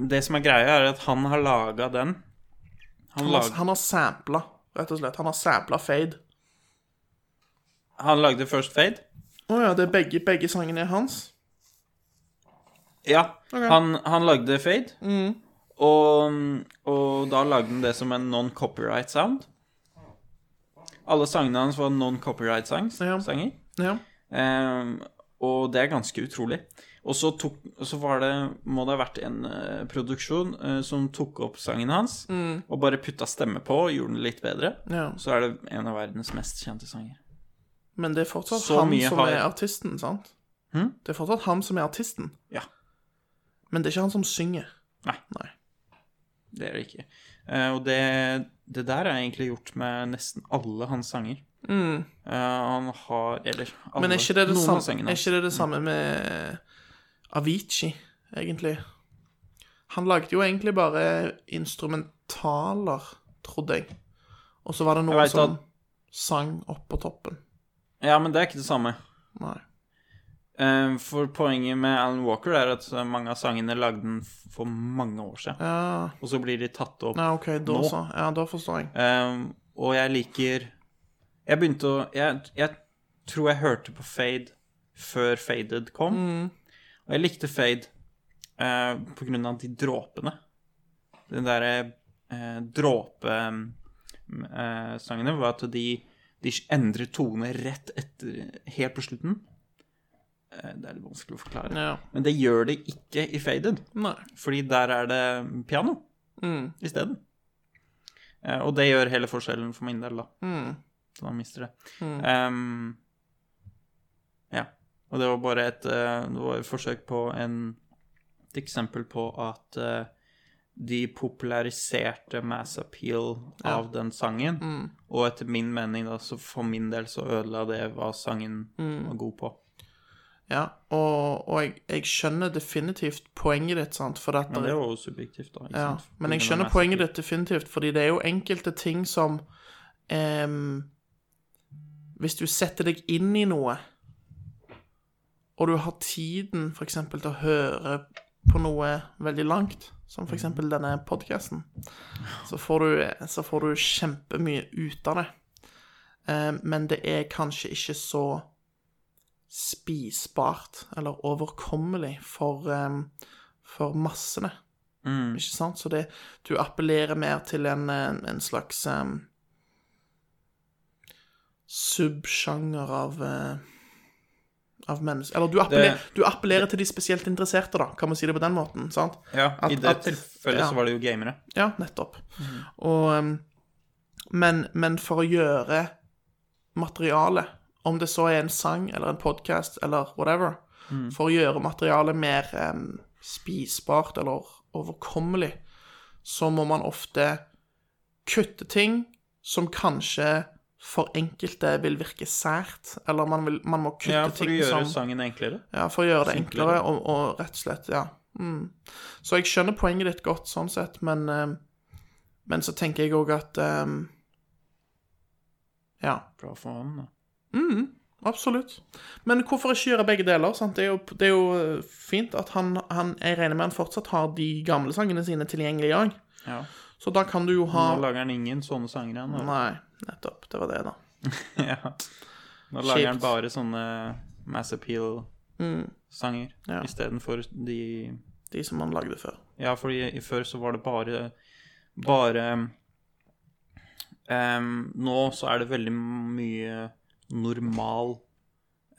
Speaker 3: det som er greia, er at han har laga den. Han,
Speaker 6: Han har,
Speaker 3: lag,
Speaker 6: han har sampla, rett og slett. Han har sampla fade.
Speaker 3: han lagde først Fade.
Speaker 6: Å ja, det er begge, begge sangene er hans?
Speaker 3: Ja. Han, han lagde Fade.
Speaker 6: Mm.
Speaker 3: Og, og da lagde han det som en non-copyright sound. Alle sangene hans var non-copyright sangs,
Speaker 6: Ja.
Speaker 3: sanger.
Speaker 6: Ja.
Speaker 3: Ehm, og det er ganske utrolig. Og så, tok, så var det, må det ha vært en eh, produksjon eh, som tok opp sangen hans, og bare putta stemme på og gjorde den litt bedre.
Speaker 6: Mm. ja.
Speaker 3: Så er det en av verdens mest kjente sanger.
Speaker 6: Men det er fortsatt
Speaker 3: Så
Speaker 6: han
Speaker 3: mye
Speaker 6: som
Speaker 3: har-
Speaker 6: er artisten, sant?
Speaker 3: Hm?
Speaker 6: Det er fortsatt han som er artisten.
Speaker 3: Ja.
Speaker 6: Men det er ikke han som synger.
Speaker 3: Nei.
Speaker 6: Nei.
Speaker 3: Det er det ikke. Eh, og det, det der er egentlig gjort med nesten alle hans sanger. Eh, han har Eller alle,
Speaker 6: Mm. Men er ikke det det,
Speaker 3: noen av
Speaker 6: samme,
Speaker 3: sangene
Speaker 6: er
Speaker 3: hans.
Speaker 6: ikke det, det samme med Avicii, egentlig? Han lagde jo egentlig bare instrumentaler, trodde jeg. Og så var det noen
Speaker 3: vet
Speaker 6: som
Speaker 3: at-
Speaker 6: sang opp på toppen.
Speaker 3: Ja, men det er ikke det samme.
Speaker 6: Nei.
Speaker 3: Eh, for poenget med Alan Walker er at mange av sangene lagde han for mange år siden.
Speaker 6: Ja,
Speaker 3: Og så blir de tatt opp
Speaker 6: ja OK, da
Speaker 3: Nå.
Speaker 6: så. Ja, da forstår jeg.
Speaker 3: Um, og jeg liker Jeg begynte å jeg, jeg tror jeg hørte på Fade før Faded kom.
Speaker 6: Mm.
Speaker 3: Og jeg likte Fade eh, på grunn av de dråpene. Den derre uh, dråpesangene eh, var at de, de endret tone rett etter Helt på slutten. Eh, det er litt vanskelig å forklare.
Speaker 6: Ja.
Speaker 3: Men det gjør det ikke i Faded.
Speaker 6: Nei.
Speaker 3: Fordi der er det piano
Speaker 6: Mm.
Speaker 3: isteden. Eh, og det gjør hele forskjellen for min del, da.
Speaker 6: Mm.
Speaker 3: Så man mister det. Ehm, ja. Og det var bare et, eh, det var et forsøk på en, et eksempel på at eh, de populariserte mass appeal av den sangen.
Speaker 6: Mm.
Speaker 3: Og etter min mening, da, så for min del så ødela det hva sangen
Speaker 6: Mm.
Speaker 3: var god på.
Speaker 6: Ja, og, og jeg, jeg skjønner definitivt poenget ditt, sant, for at
Speaker 3: Men
Speaker 6: der-
Speaker 3: det var jo subjektivt, da. Ikke
Speaker 6: ja,
Speaker 3: sant?
Speaker 6: men jeg
Speaker 3: På grunn av
Speaker 6: skjønner
Speaker 3: mass
Speaker 6: poenget
Speaker 3: appeal.
Speaker 6: ditt definitivt, fordi det er jo enkelte ting som ehm, Hvis du setter deg inn i noe, og du har tiden f.eks. til å høre på noe veldig langt, som
Speaker 3: Mhm.
Speaker 6: f.eks. denne podkasten, så, får du- så får du kjempemye ut av det. Eh, men det er kanskje ikke så spisbart eller overkommelig for, eh, for massene.
Speaker 3: Mm.
Speaker 6: Ikke sant? Så det, du appellerer mer til en, eh, en slags eh, subsjanger av eh, av mennesker Eller du appellerer, du appellerer til de spesielt interesserte, da, kan man si det på den måten. sant?
Speaker 3: Ja,
Speaker 6: At-
Speaker 3: i det
Speaker 6: at-
Speaker 3: tilfellet
Speaker 6: ja.
Speaker 3: så var det jo gamere.
Speaker 6: Ja, nettopp. Og, um, men, men for å gjøre materialet, om det så er en sang eller en podkast eller whatever,
Speaker 3: Mm.
Speaker 6: for å gjøre materialet mer um, spisbart eller overkommelig, så må man ofte kutte ting som kanskje for enkelte vil virke sært, eller man, vil, man må kutte
Speaker 3: Ja, for å
Speaker 6: ting
Speaker 3: gjøre
Speaker 6: som
Speaker 3: sangen enklere.
Speaker 6: ja, for å gjøre det enklere
Speaker 3: Simplere.
Speaker 6: og, og rett og slett, ja. Mm. Så jeg skjønner poenget ditt godt sånn sett, men, eh, men så tenker jeg òg at eh, Ja,
Speaker 3: Bra for han, da.
Speaker 6: absolutt. Men hvorfor ikke gjøre begge deler? Sant? Det, er jo, det er jo eh, fint at han, han Jeg regner med han fortsatt har de gamle sangene sine tilgjengelig òg.
Speaker 3: Ja.
Speaker 6: Så da kan du jo ha
Speaker 3: Nå lager han ingen sånne sanger igjen. da.
Speaker 6: Nei, nettopp. Det var det, da.
Speaker 3: ja. Nå lager han
Speaker 6: Kjipt.
Speaker 3: bare sånne Mass Appeal-sanger
Speaker 6: Mm. Ja.
Speaker 3: istedenfor de
Speaker 6: De som han lagde før.
Speaker 3: Ja, fordi i før så var det bare Bare Ehm, nå så er det veldig mye normal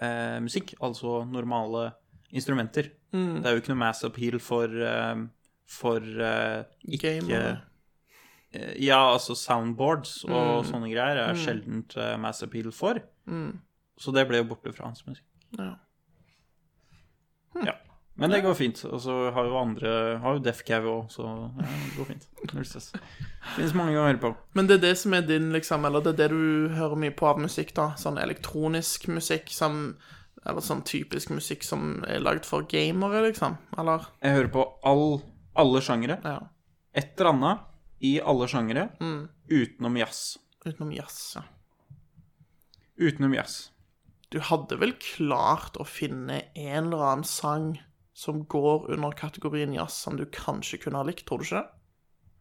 Speaker 3: eh, musikk, altså normale instrumenter. Det er jo ikke noe mass appeal for, ehm, for eh, ikke
Speaker 6: Gamer.
Speaker 3: Eh, Ja, altså soundboards
Speaker 6: Mm.
Speaker 3: og sånne greier er sjeldent eh, mass appeal for. Så det ble jo borte fra hans musikk.
Speaker 6: Ja. Hm.
Speaker 3: Ja. Men det går fint. Og så har jo andre Har jo Def Cav òg, så ja, det går fint. Null stress. Fins mange å høre på.
Speaker 6: Men det er det som er din, liksom, eller det er det du hører mye på av musikk, da. Sånn elektronisk musikk som Eller sånn typisk musikk som er lagd for gamere, liksom. Eller
Speaker 3: Jeg hører på all, alle sjangere.
Speaker 6: Ja.
Speaker 3: Et eller annet i alle sjangere
Speaker 6: Mm.
Speaker 3: utenom jazz.
Speaker 6: Utenom jazz, ja.
Speaker 3: Utenom jazz.
Speaker 6: Du hadde vel klart å finne en eller annen sang som går under kategorien jazz, som du kanskje kunne ha likt, tror du ikke det?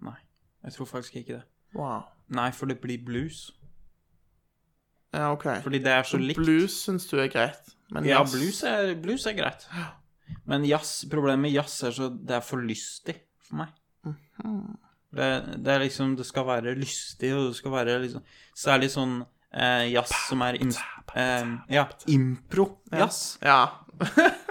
Speaker 3: Nei. Jeg tror faktisk ikke det.
Speaker 6: Wow.
Speaker 3: Nei, for det blir blues.
Speaker 6: Ja, OK.
Speaker 3: Fordi det er så likt.
Speaker 6: Blues syns du er greit, men
Speaker 3: Ja,
Speaker 6: jazz
Speaker 3: blues er, blues er greit. Men jazz, problemet med jazz er så det er for lystig for meg.
Speaker 6: Mhm.
Speaker 3: Det, det er liksom Det skal være lystig, og det skal være liksom Særlig sånn eh, jazz som er ins- eh, Ja, impro-jazz.
Speaker 6: Ja.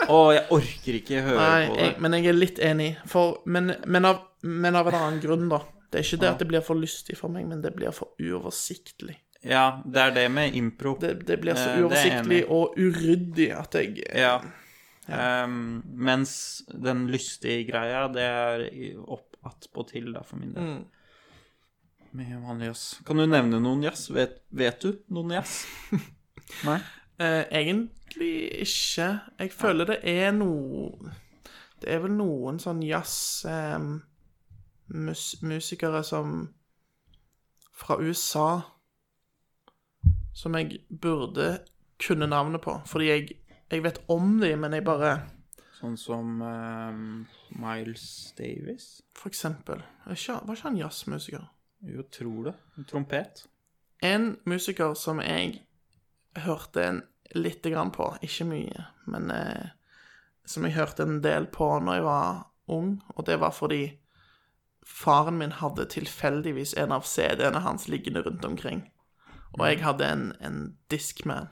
Speaker 3: Og jeg orker ikke høre
Speaker 6: Nei,
Speaker 3: på det.
Speaker 6: jeg, men jeg er litt enig. For, men, men, av, men av en annen grunn, da. Det er ikke det at det blir for lystig for meg, men det blir for uoversiktlig.
Speaker 3: Ja, det er det med impro.
Speaker 6: Det, det blir så
Speaker 3: Eh, det er jeg enig
Speaker 6: uoversiktlig
Speaker 3: i.
Speaker 6: og uryddig at jeg
Speaker 3: Ja. Ehm, mens den lystige greia, det er i- opp attpåtil, da, for min del. Med vanlig jazz. Kan du nevne noen jazz? Vet, vet du noen jazz? Nei?
Speaker 6: eh, egentlig ikke Jeg føler det er noe Det er vel noen sånn jazzmusikere mus, musikere som Fra USA Som jeg burde kunne navnet på. Fordi jeg, jeg vet om dem, men jeg bare
Speaker 3: Sånn som ehm, Miles Davis?
Speaker 6: For eksempel er ikke, Var ikke han jazzmusiker?
Speaker 3: Jo, tror det. En Trompet.
Speaker 6: En musiker som jeg hørte en lite grann på, ikke mye, men eh, som jeg hørte en del på når jeg var ung, og det var fordi faren min hadde tilfeldigvis en av CD-ene hans liggende rundt omkring. Og jeg hadde en, en Discman.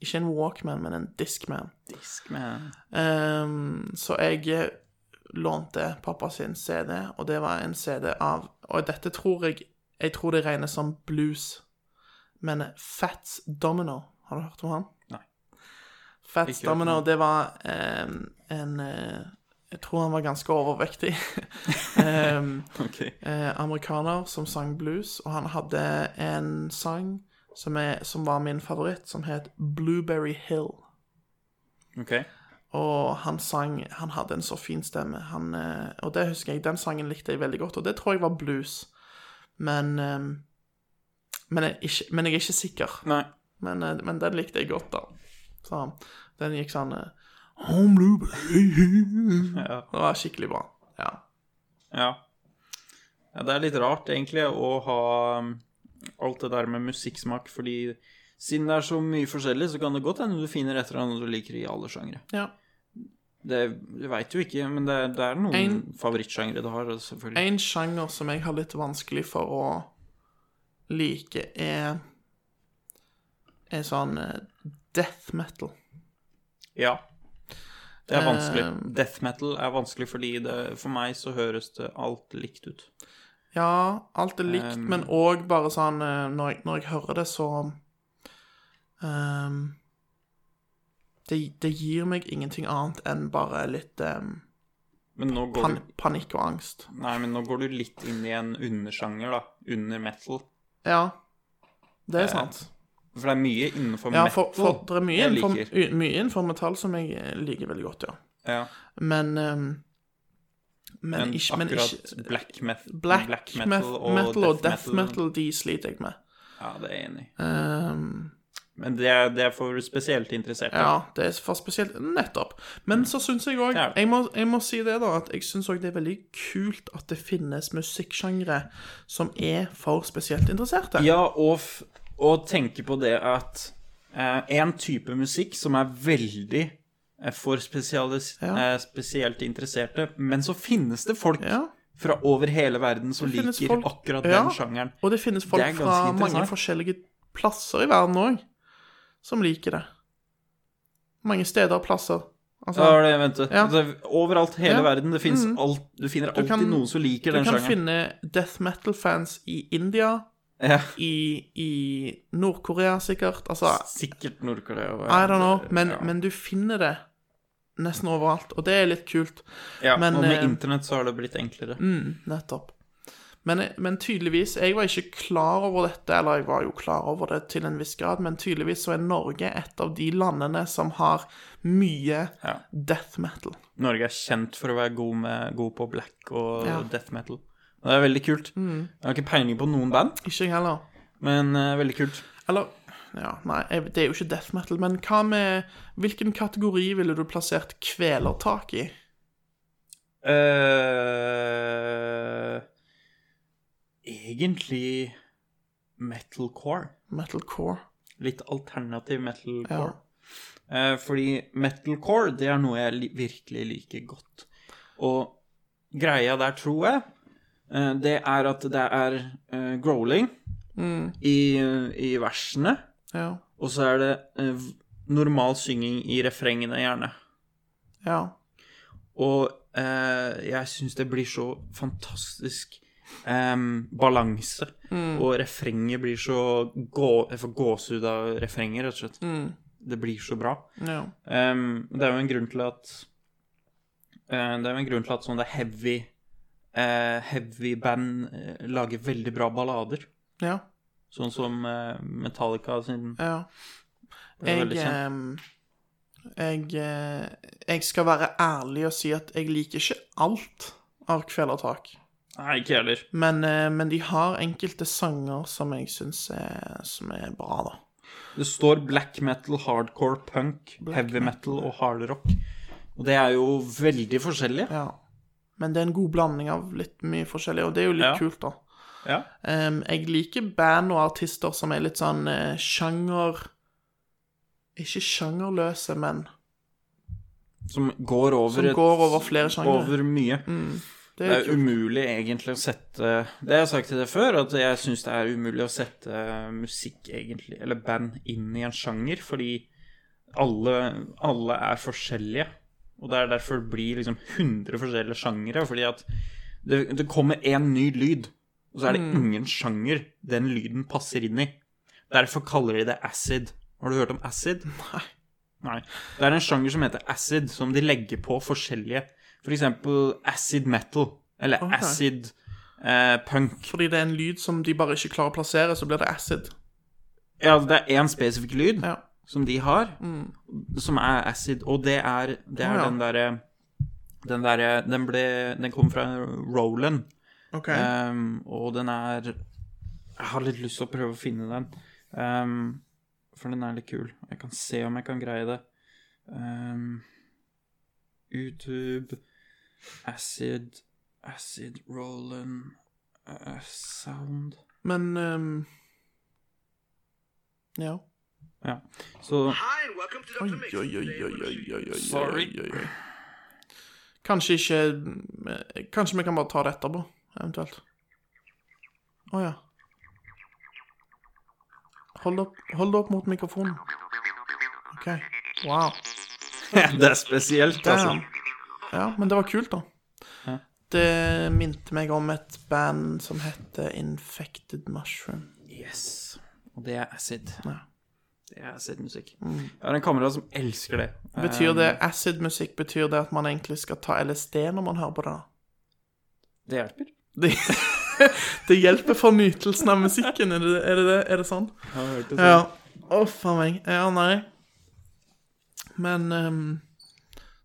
Speaker 6: Ikke en Walkman, men en Discman.
Speaker 3: Disk med
Speaker 6: Ehm, så jeg lånte pappa sin CD, og det var en CD av Og dette tror jeg Jeg tror det regnes som blues, men Fats Domino Har du hørt om han?
Speaker 3: Nei.
Speaker 6: Fats
Speaker 3: Ikke hørt om
Speaker 6: Domino,
Speaker 3: han.
Speaker 6: det var ehm, en eh, Jeg tror han var ganske overvektig. Ehm,
Speaker 3: Ok.
Speaker 6: eh, amerikaner som sang blues, og han hadde en sang som, er, som var min favoritt, som het Blueberry Hill.
Speaker 3: Ok.
Speaker 6: Og han sang Han hadde en så fin stemme. Han, eh, og det husker jeg. Den sangen likte jeg veldig godt, og det tror jeg var blues. Men eh, men, jeg, er ikke, men jeg er ikke sikker.
Speaker 3: Nei.
Speaker 6: Men, eh, men den likte jeg godt, da. Så den gikk sånn eh, «I'm blue, baby».
Speaker 3: Ja.
Speaker 6: Det var skikkelig bra. Ja.
Speaker 3: Ja. ja. Det er litt rart, egentlig, å ha um, alt det der med musikksmak, fordi siden det er så mye forskjellig, så kan det godt hende du finner et eller annet du liker i alle sjangre.
Speaker 6: ja.
Speaker 3: Det du veit jo ikke, men det, er- det er noen
Speaker 6: En-
Speaker 3: favorittsjangre du har, altså, selvfølgelig.
Speaker 6: En sjanger som jeg har litt vanskelig for å like, er Er sånn eh, death metal.
Speaker 3: Ja. Det er vanskelig.
Speaker 6: Eh,
Speaker 3: Death metal er vanskelig fordi det, for meg så høres det alt likt ut.
Speaker 6: Ja, alt er likt,
Speaker 3: Um,
Speaker 6: men òg bare sånn eh, når jeg, når jeg hører det, så ehm, det, det gir meg ingenting annet enn bare litt ehm,
Speaker 3: Men nå går,
Speaker 6: pan,
Speaker 3: du,
Speaker 6: panikk og angst.
Speaker 3: nei, men nå går du litt inn i en undersjanger, da. Under metal.
Speaker 6: Ja, det er
Speaker 3: Eh,
Speaker 6: sant.
Speaker 3: For det er mye innenfor
Speaker 6: Ja,
Speaker 3: metal
Speaker 6: for, for det er mye
Speaker 3: jeg
Speaker 6: innenfor,
Speaker 3: liker.
Speaker 6: u- mye innenfor metall som jeg eh, liker veldig godt, ja.
Speaker 3: Ja.
Speaker 6: Men ehm, men,
Speaker 3: Men
Speaker 6: ikke, men
Speaker 3: akkurat
Speaker 6: ikke
Speaker 3: black, meth-
Speaker 6: Black,
Speaker 3: black
Speaker 6: meth- metal, og, death metal, de sliter jeg med.
Speaker 3: Ja, det er jeg enig i.
Speaker 6: Um,
Speaker 3: Men det er, det er for spesielt interesserte.
Speaker 6: Ja, det er for spesielt Nettopp. Men så syns jeg òg
Speaker 3: Det er det.
Speaker 6: jeg, må- jeg må si det, da, at jeg syns òg det er veldig kult at det finnes musikksjangre som er for spesielt interesserte.
Speaker 3: Ja, og, f og tenke på det at eh, en type musikk som er veldig eh, for spesialis-
Speaker 6: Ja.
Speaker 3: eh, spesielt interesserte, men så finnes det folk
Speaker 6: Ja.
Speaker 3: fra over hele verden som
Speaker 6: Det finnes
Speaker 3: liker
Speaker 6: folk-
Speaker 3: akkurat
Speaker 6: Ja.
Speaker 3: den sjangeren.
Speaker 6: Og det finnes folk
Speaker 3: Det er ganske
Speaker 6: fra mange
Speaker 3: interessant.
Speaker 6: forskjellige plasser i verden òg som liker det. Mange steder og plasser.
Speaker 3: Ja,
Speaker 6: Altså,
Speaker 3: det, vent,
Speaker 6: Ja.
Speaker 3: det- Overalt, hele
Speaker 6: Ja.
Speaker 3: verden, det finnes
Speaker 6: Mm.
Speaker 3: alt, du finner alltid
Speaker 6: kan-
Speaker 3: noen som liker
Speaker 6: du
Speaker 3: den
Speaker 6: kan
Speaker 3: sjangeren.
Speaker 6: finne death metal-fans i India,
Speaker 3: Ja,
Speaker 6: i, i Nord-Korea sikkert. Altså,
Speaker 3: sikkert Nord-Korea. og-
Speaker 6: I don't know, men,
Speaker 3: ja.
Speaker 6: men du finner det nesten overalt, og det er litt kult.
Speaker 3: ja,
Speaker 6: men,
Speaker 3: Og med
Speaker 6: eh,
Speaker 3: internett så har det blitt enklere.
Speaker 6: Mm, nettopp. Men, men tydeligvis Jeg var ikke klar over dette, eller jeg var jo klar over det til en viss grad, men tydeligvis så er Norge et av de landene som har mye
Speaker 3: Ja.
Speaker 6: death metal.
Speaker 3: Norge er kjent for å være god, med, god på black og
Speaker 6: Ja. Mm.
Speaker 3: death metal. Det er veldig kult. Jeg har ikke peiling på noen band,
Speaker 6: Ikke jeg heller.
Speaker 3: men eh, veldig kult.
Speaker 6: Eller ja, Nei, jeg- det er jo ikke death metal, men hva med Hvilken kategori ville du plassert kvelertak i?
Speaker 3: eh egentlig metalcore.
Speaker 6: Metalcore?
Speaker 3: Litt alternativ metalcore.
Speaker 6: Ja.
Speaker 3: Eh, fordi metalcore, det er noe jeg li virkelig liker godt. Og greia der, tror jeg, eh, det er at det er eh, growling i, eh, i versene,
Speaker 6: Ja.
Speaker 3: og så er det eh, v- normal synging i refrengene, gjerne.
Speaker 6: Ja.
Speaker 3: Og eh, jeg syns det blir så fantastisk em, balanse. Og refrenget blir så gå, Jeg får gåsehud av refrenget, rett og slett. Det blir så bra.
Speaker 6: ja.
Speaker 3: Em, det er jo en grunn til at eh, Det er jo en grunn til at sånne heavy eh, Heavy band eh, lager veldig bra ballader.
Speaker 6: ja.
Speaker 3: Sånn som eh, Metallica sin
Speaker 6: Ja.
Speaker 3: Det er
Speaker 6: Jeg,
Speaker 3: veldig kjent.
Speaker 6: ehm, jeg, eh, jeg skal være ærlig og si at jeg liker ikke alt av Kvelertak.
Speaker 3: Nei, ikke jeg heller.
Speaker 6: Men, eh, men de har enkelte sanger som jeg syns er, som er bra, da.
Speaker 3: Det står black metal, hardcore, punk, heavy metal og hardrock. Og det er jo veldig forskjellig.
Speaker 6: Ja. Men det er en god blanding av litt mye forskjellig, og det er jo litt
Speaker 3: Ja.
Speaker 6: kult, da.
Speaker 3: Ja.
Speaker 6: Ehm, jeg liker band og artister som er litt sånn eh, sjanger Ikke sjangerløse, men
Speaker 3: Som går over
Speaker 6: Som går over flere Mm. sjangre.
Speaker 3: Over mye.
Speaker 6: det
Speaker 3: Det
Speaker 6: er
Speaker 3: er
Speaker 6: kult.
Speaker 3: umulig egentlig å sette Det har jeg sagt til deg før, at jeg syns det er umulig å sette musikk, egentlig, eller band, inn i en sjanger, fordi alle, alle er forskjellige. Og det er derfor det blir liksom 100 forskjellige sjangere, fordi at det, det kommer én ny lyd, og så er det
Speaker 6: Mm.
Speaker 3: ingen sjanger den lyden passer inn i. Derfor kaller de det acid. Har du hørt om acid? Nei. Nei. Det er en sjanger som heter acid, som de legger på forskjellige. For eksempel acid metal, eller
Speaker 6: Ok.
Speaker 3: acid eh, punk.
Speaker 6: Fordi det er en lyd som de bare ikke klarer å plassere, så blir det acid.
Speaker 3: Ja, det er én spesifikk lyd
Speaker 6: Ja. Mm.
Speaker 3: som de har, som er acid, og det er, det er
Speaker 6: Å, ja.
Speaker 3: den derre den derre den, ble- den kom fra Roland,
Speaker 6: Ok.
Speaker 3: ehm, og den er Jeg har litt lyst til å prøve å finne den, ehm, for den er litt kul. Jeg kan se om jeg kan greie det. Ehm, YouTube Acid Acid Roland eh, Sound
Speaker 6: Men ehm, Ja.
Speaker 3: Ja. Så
Speaker 6: Oi, oi, oi, oi, oi, oi, oi, oi,
Speaker 3: Sorry.
Speaker 6: oi, oi. Kanskje ikke eh, Kanskje vi kan bare ta det etterpå, eventuelt. Å ja. Hold det opp, hold det opp mot mikrofonen. OK. Wow.
Speaker 3: Det er spesielt, altså.
Speaker 6: Damn. Ja, men det var kult, da. Det minte meg om et band som heter Infected Mushroom.
Speaker 3: Yes. Og det er acid.
Speaker 6: Ja.
Speaker 3: Det er acid-musikk. Jeg har en kamerat som elsker det.
Speaker 6: Betyr
Speaker 3: Um,
Speaker 6: det acid-musikk? Betyr det at man egentlig skal ta LSD når man hører på det? da?
Speaker 3: Det hjelper.
Speaker 6: Det, det hjelper for nytelsen av musikken, er det er det, det? Er det sånn? Ja. Å, faen meg. Ja, nei. Men ehm,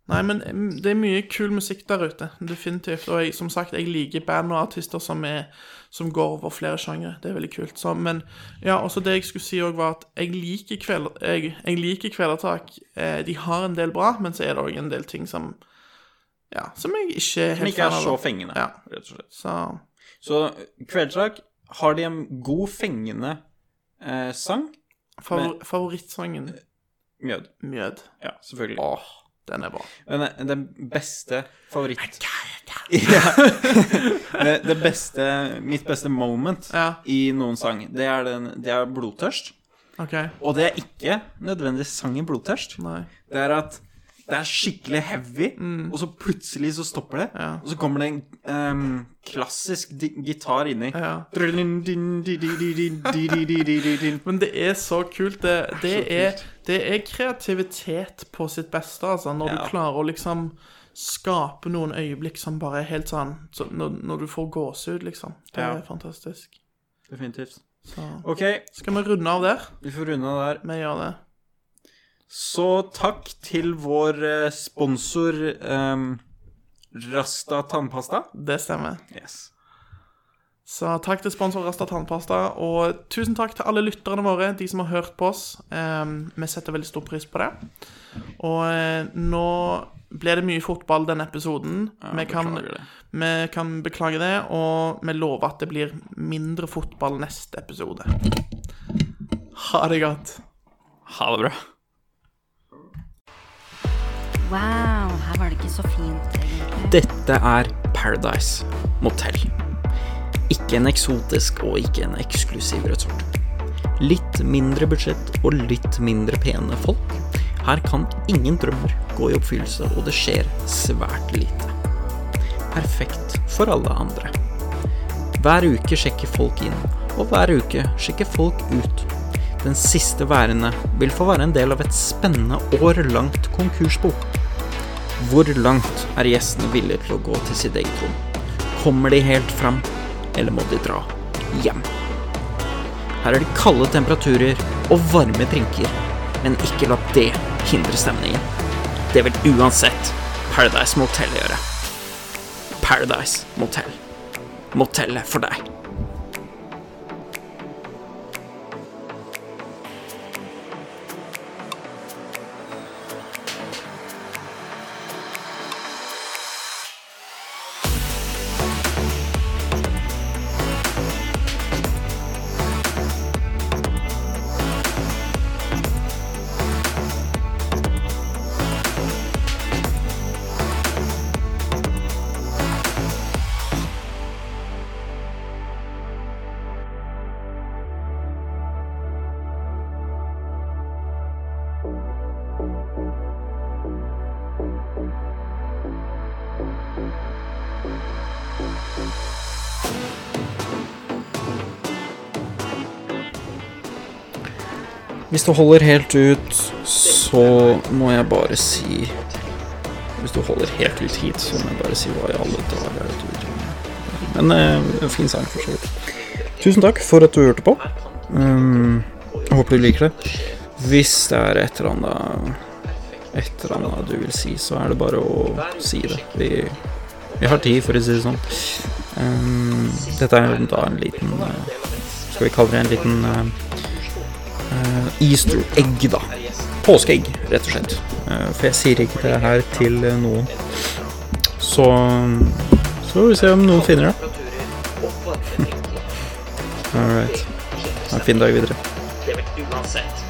Speaker 6: Nei, men ehm, det er mye kul musikk der ute. Definitivt. Og jeg, som sagt, jeg liker band og artister som, er, som går over flere sjangre. Det er veldig kult. Så, men ja, også det jeg skulle si òg, var at jeg liker, kveld, jeg, jeg liker Kvelertak. Eh, de har en del bra, men så er det òg en del ting som Ja, som jeg ikke er
Speaker 3: Som
Speaker 6: helt
Speaker 3: ikke er
Speaker 6: fan
Speaker 3: så
Speaker 6: av.
Speaker 3: fengende,
Speaker 6: Ja.
Speaker 3: rett og slett.
Speaker 6: Så
Speaker 3: Så Kveldslag har de en god fengende eh, sang.
Speaker 6: Favor
Speaker 3: Men-
Speaker 6: favorittsangen
Speaker 3: Mjød.
Speaker 6: Mjød.
Speaker 3: Ja, selvfølgelig.
Speaker 6: Åh, den er bra.
Speaker 3: Men den beste favoritt...
Speaker 8: Eh, Det beste, mitt beste moment
Speaker 6: Ja.
Speaker 8: i noen sang, det er, den, det er blodtørst.
Speaker 6: OK.
Speaker 8: Og det er ikke nødvendigvis sangen Blodtørst.
Speaker 6: Nei.
Speaker 8: Det er at det er skikkelig heavy, og så plutselig så stopper det.
Speaker 6: Ja.
Speaker 8: Og så kommer det en em, klassisk di gitar inni.
Speaker 6: Ja.
Speaker 8: Ja.
Speaker 6: Men det er så kult. Det, det, er, det er kreativitet på sitt beste, altså. Når
Speaker 8: Ja.
Speaker 6: du klarer å liksom skape noen øyeblikk som bare er helt sånn så når, når du får gåsehud, liksom. Det
Speaker 8: Ja.
Speaker 6: er fantastisk.
Speaker 8: Definitivt.
Speaker 6: Så
Speaker 8: OK,
Speaker 6: skal vi runde av der.
Speaker 8: vi får runde av der.
Speaker 6: Vi gjør det.
Speaker 8: Så takk til vår eh, sponsor em, Rasta tannpasta.
Speaker 6: Det stemmer.
Speaker 8: Yes.
Speaker 6: Så takk til sponsor Rasta Tannpasta, og tusen takk til alle lytterne våre, de som har hørt på oss. Ehm, vi setter veldig stor pris på det. Og eh, nå ble det mye fotball denne episoden. vi, kan,
Speaker 8: beklager det.
Speaker 6: vi kan beklage det, og vi lover at det blir mindre fotball neste episode. Ha det godt.
Speaker 8: Ha det bra.
Speaker 9: Wow, her var det ikke så fint, egentlig.
Speaker 8: Dette er Paradise Motel. Ikke en eksotisk og ikke en eksklusiv resort. Litt mindre budsjett og litt mindre pene folk. Her kan ingen drømmer gå i oppfyllelse, og det skjer svært lite. Perfekt for alle andre. Hver uke sjekker folk inn, og hver uke sjekker folk ut. Den siste værende vil få være en del av et spennende årlangt konkursbo. Hvor langt er gjestene villige til å gå til sitt eget rom? Kommer de helt fram, eller må de dra hjem? Her er det kalde temperaturer og varme drinker, men ikke la det hindre stemningen. Det vil uansett Paradise Motel gjøre. Paradise Motel. Motellet for deg. Hvis du holder helt ut, så må jeg bare si Hvis du holder helt ut hit, så må jeg bare si hva i alle dager er det du driver med. Men eh, en fin sang, for så vidt. Tusen takk for at du hørte på. Um, jeg håper du liker det. Hvis det er et eller annet Et eller annet du vil si, så er det bare å si det. Vi, vi har tid, for å si det sånn. Um, dette er da en liten eh, Skal vi kalle det en liten eh, eh, Easter egg, da. Påskeegg, rett og slett. Eh, for jeg sier ikke det her til eh, noen. Så Så får vi se om noen finner det. All right. Ha en fin dag videre.
Speaker 10: uansett.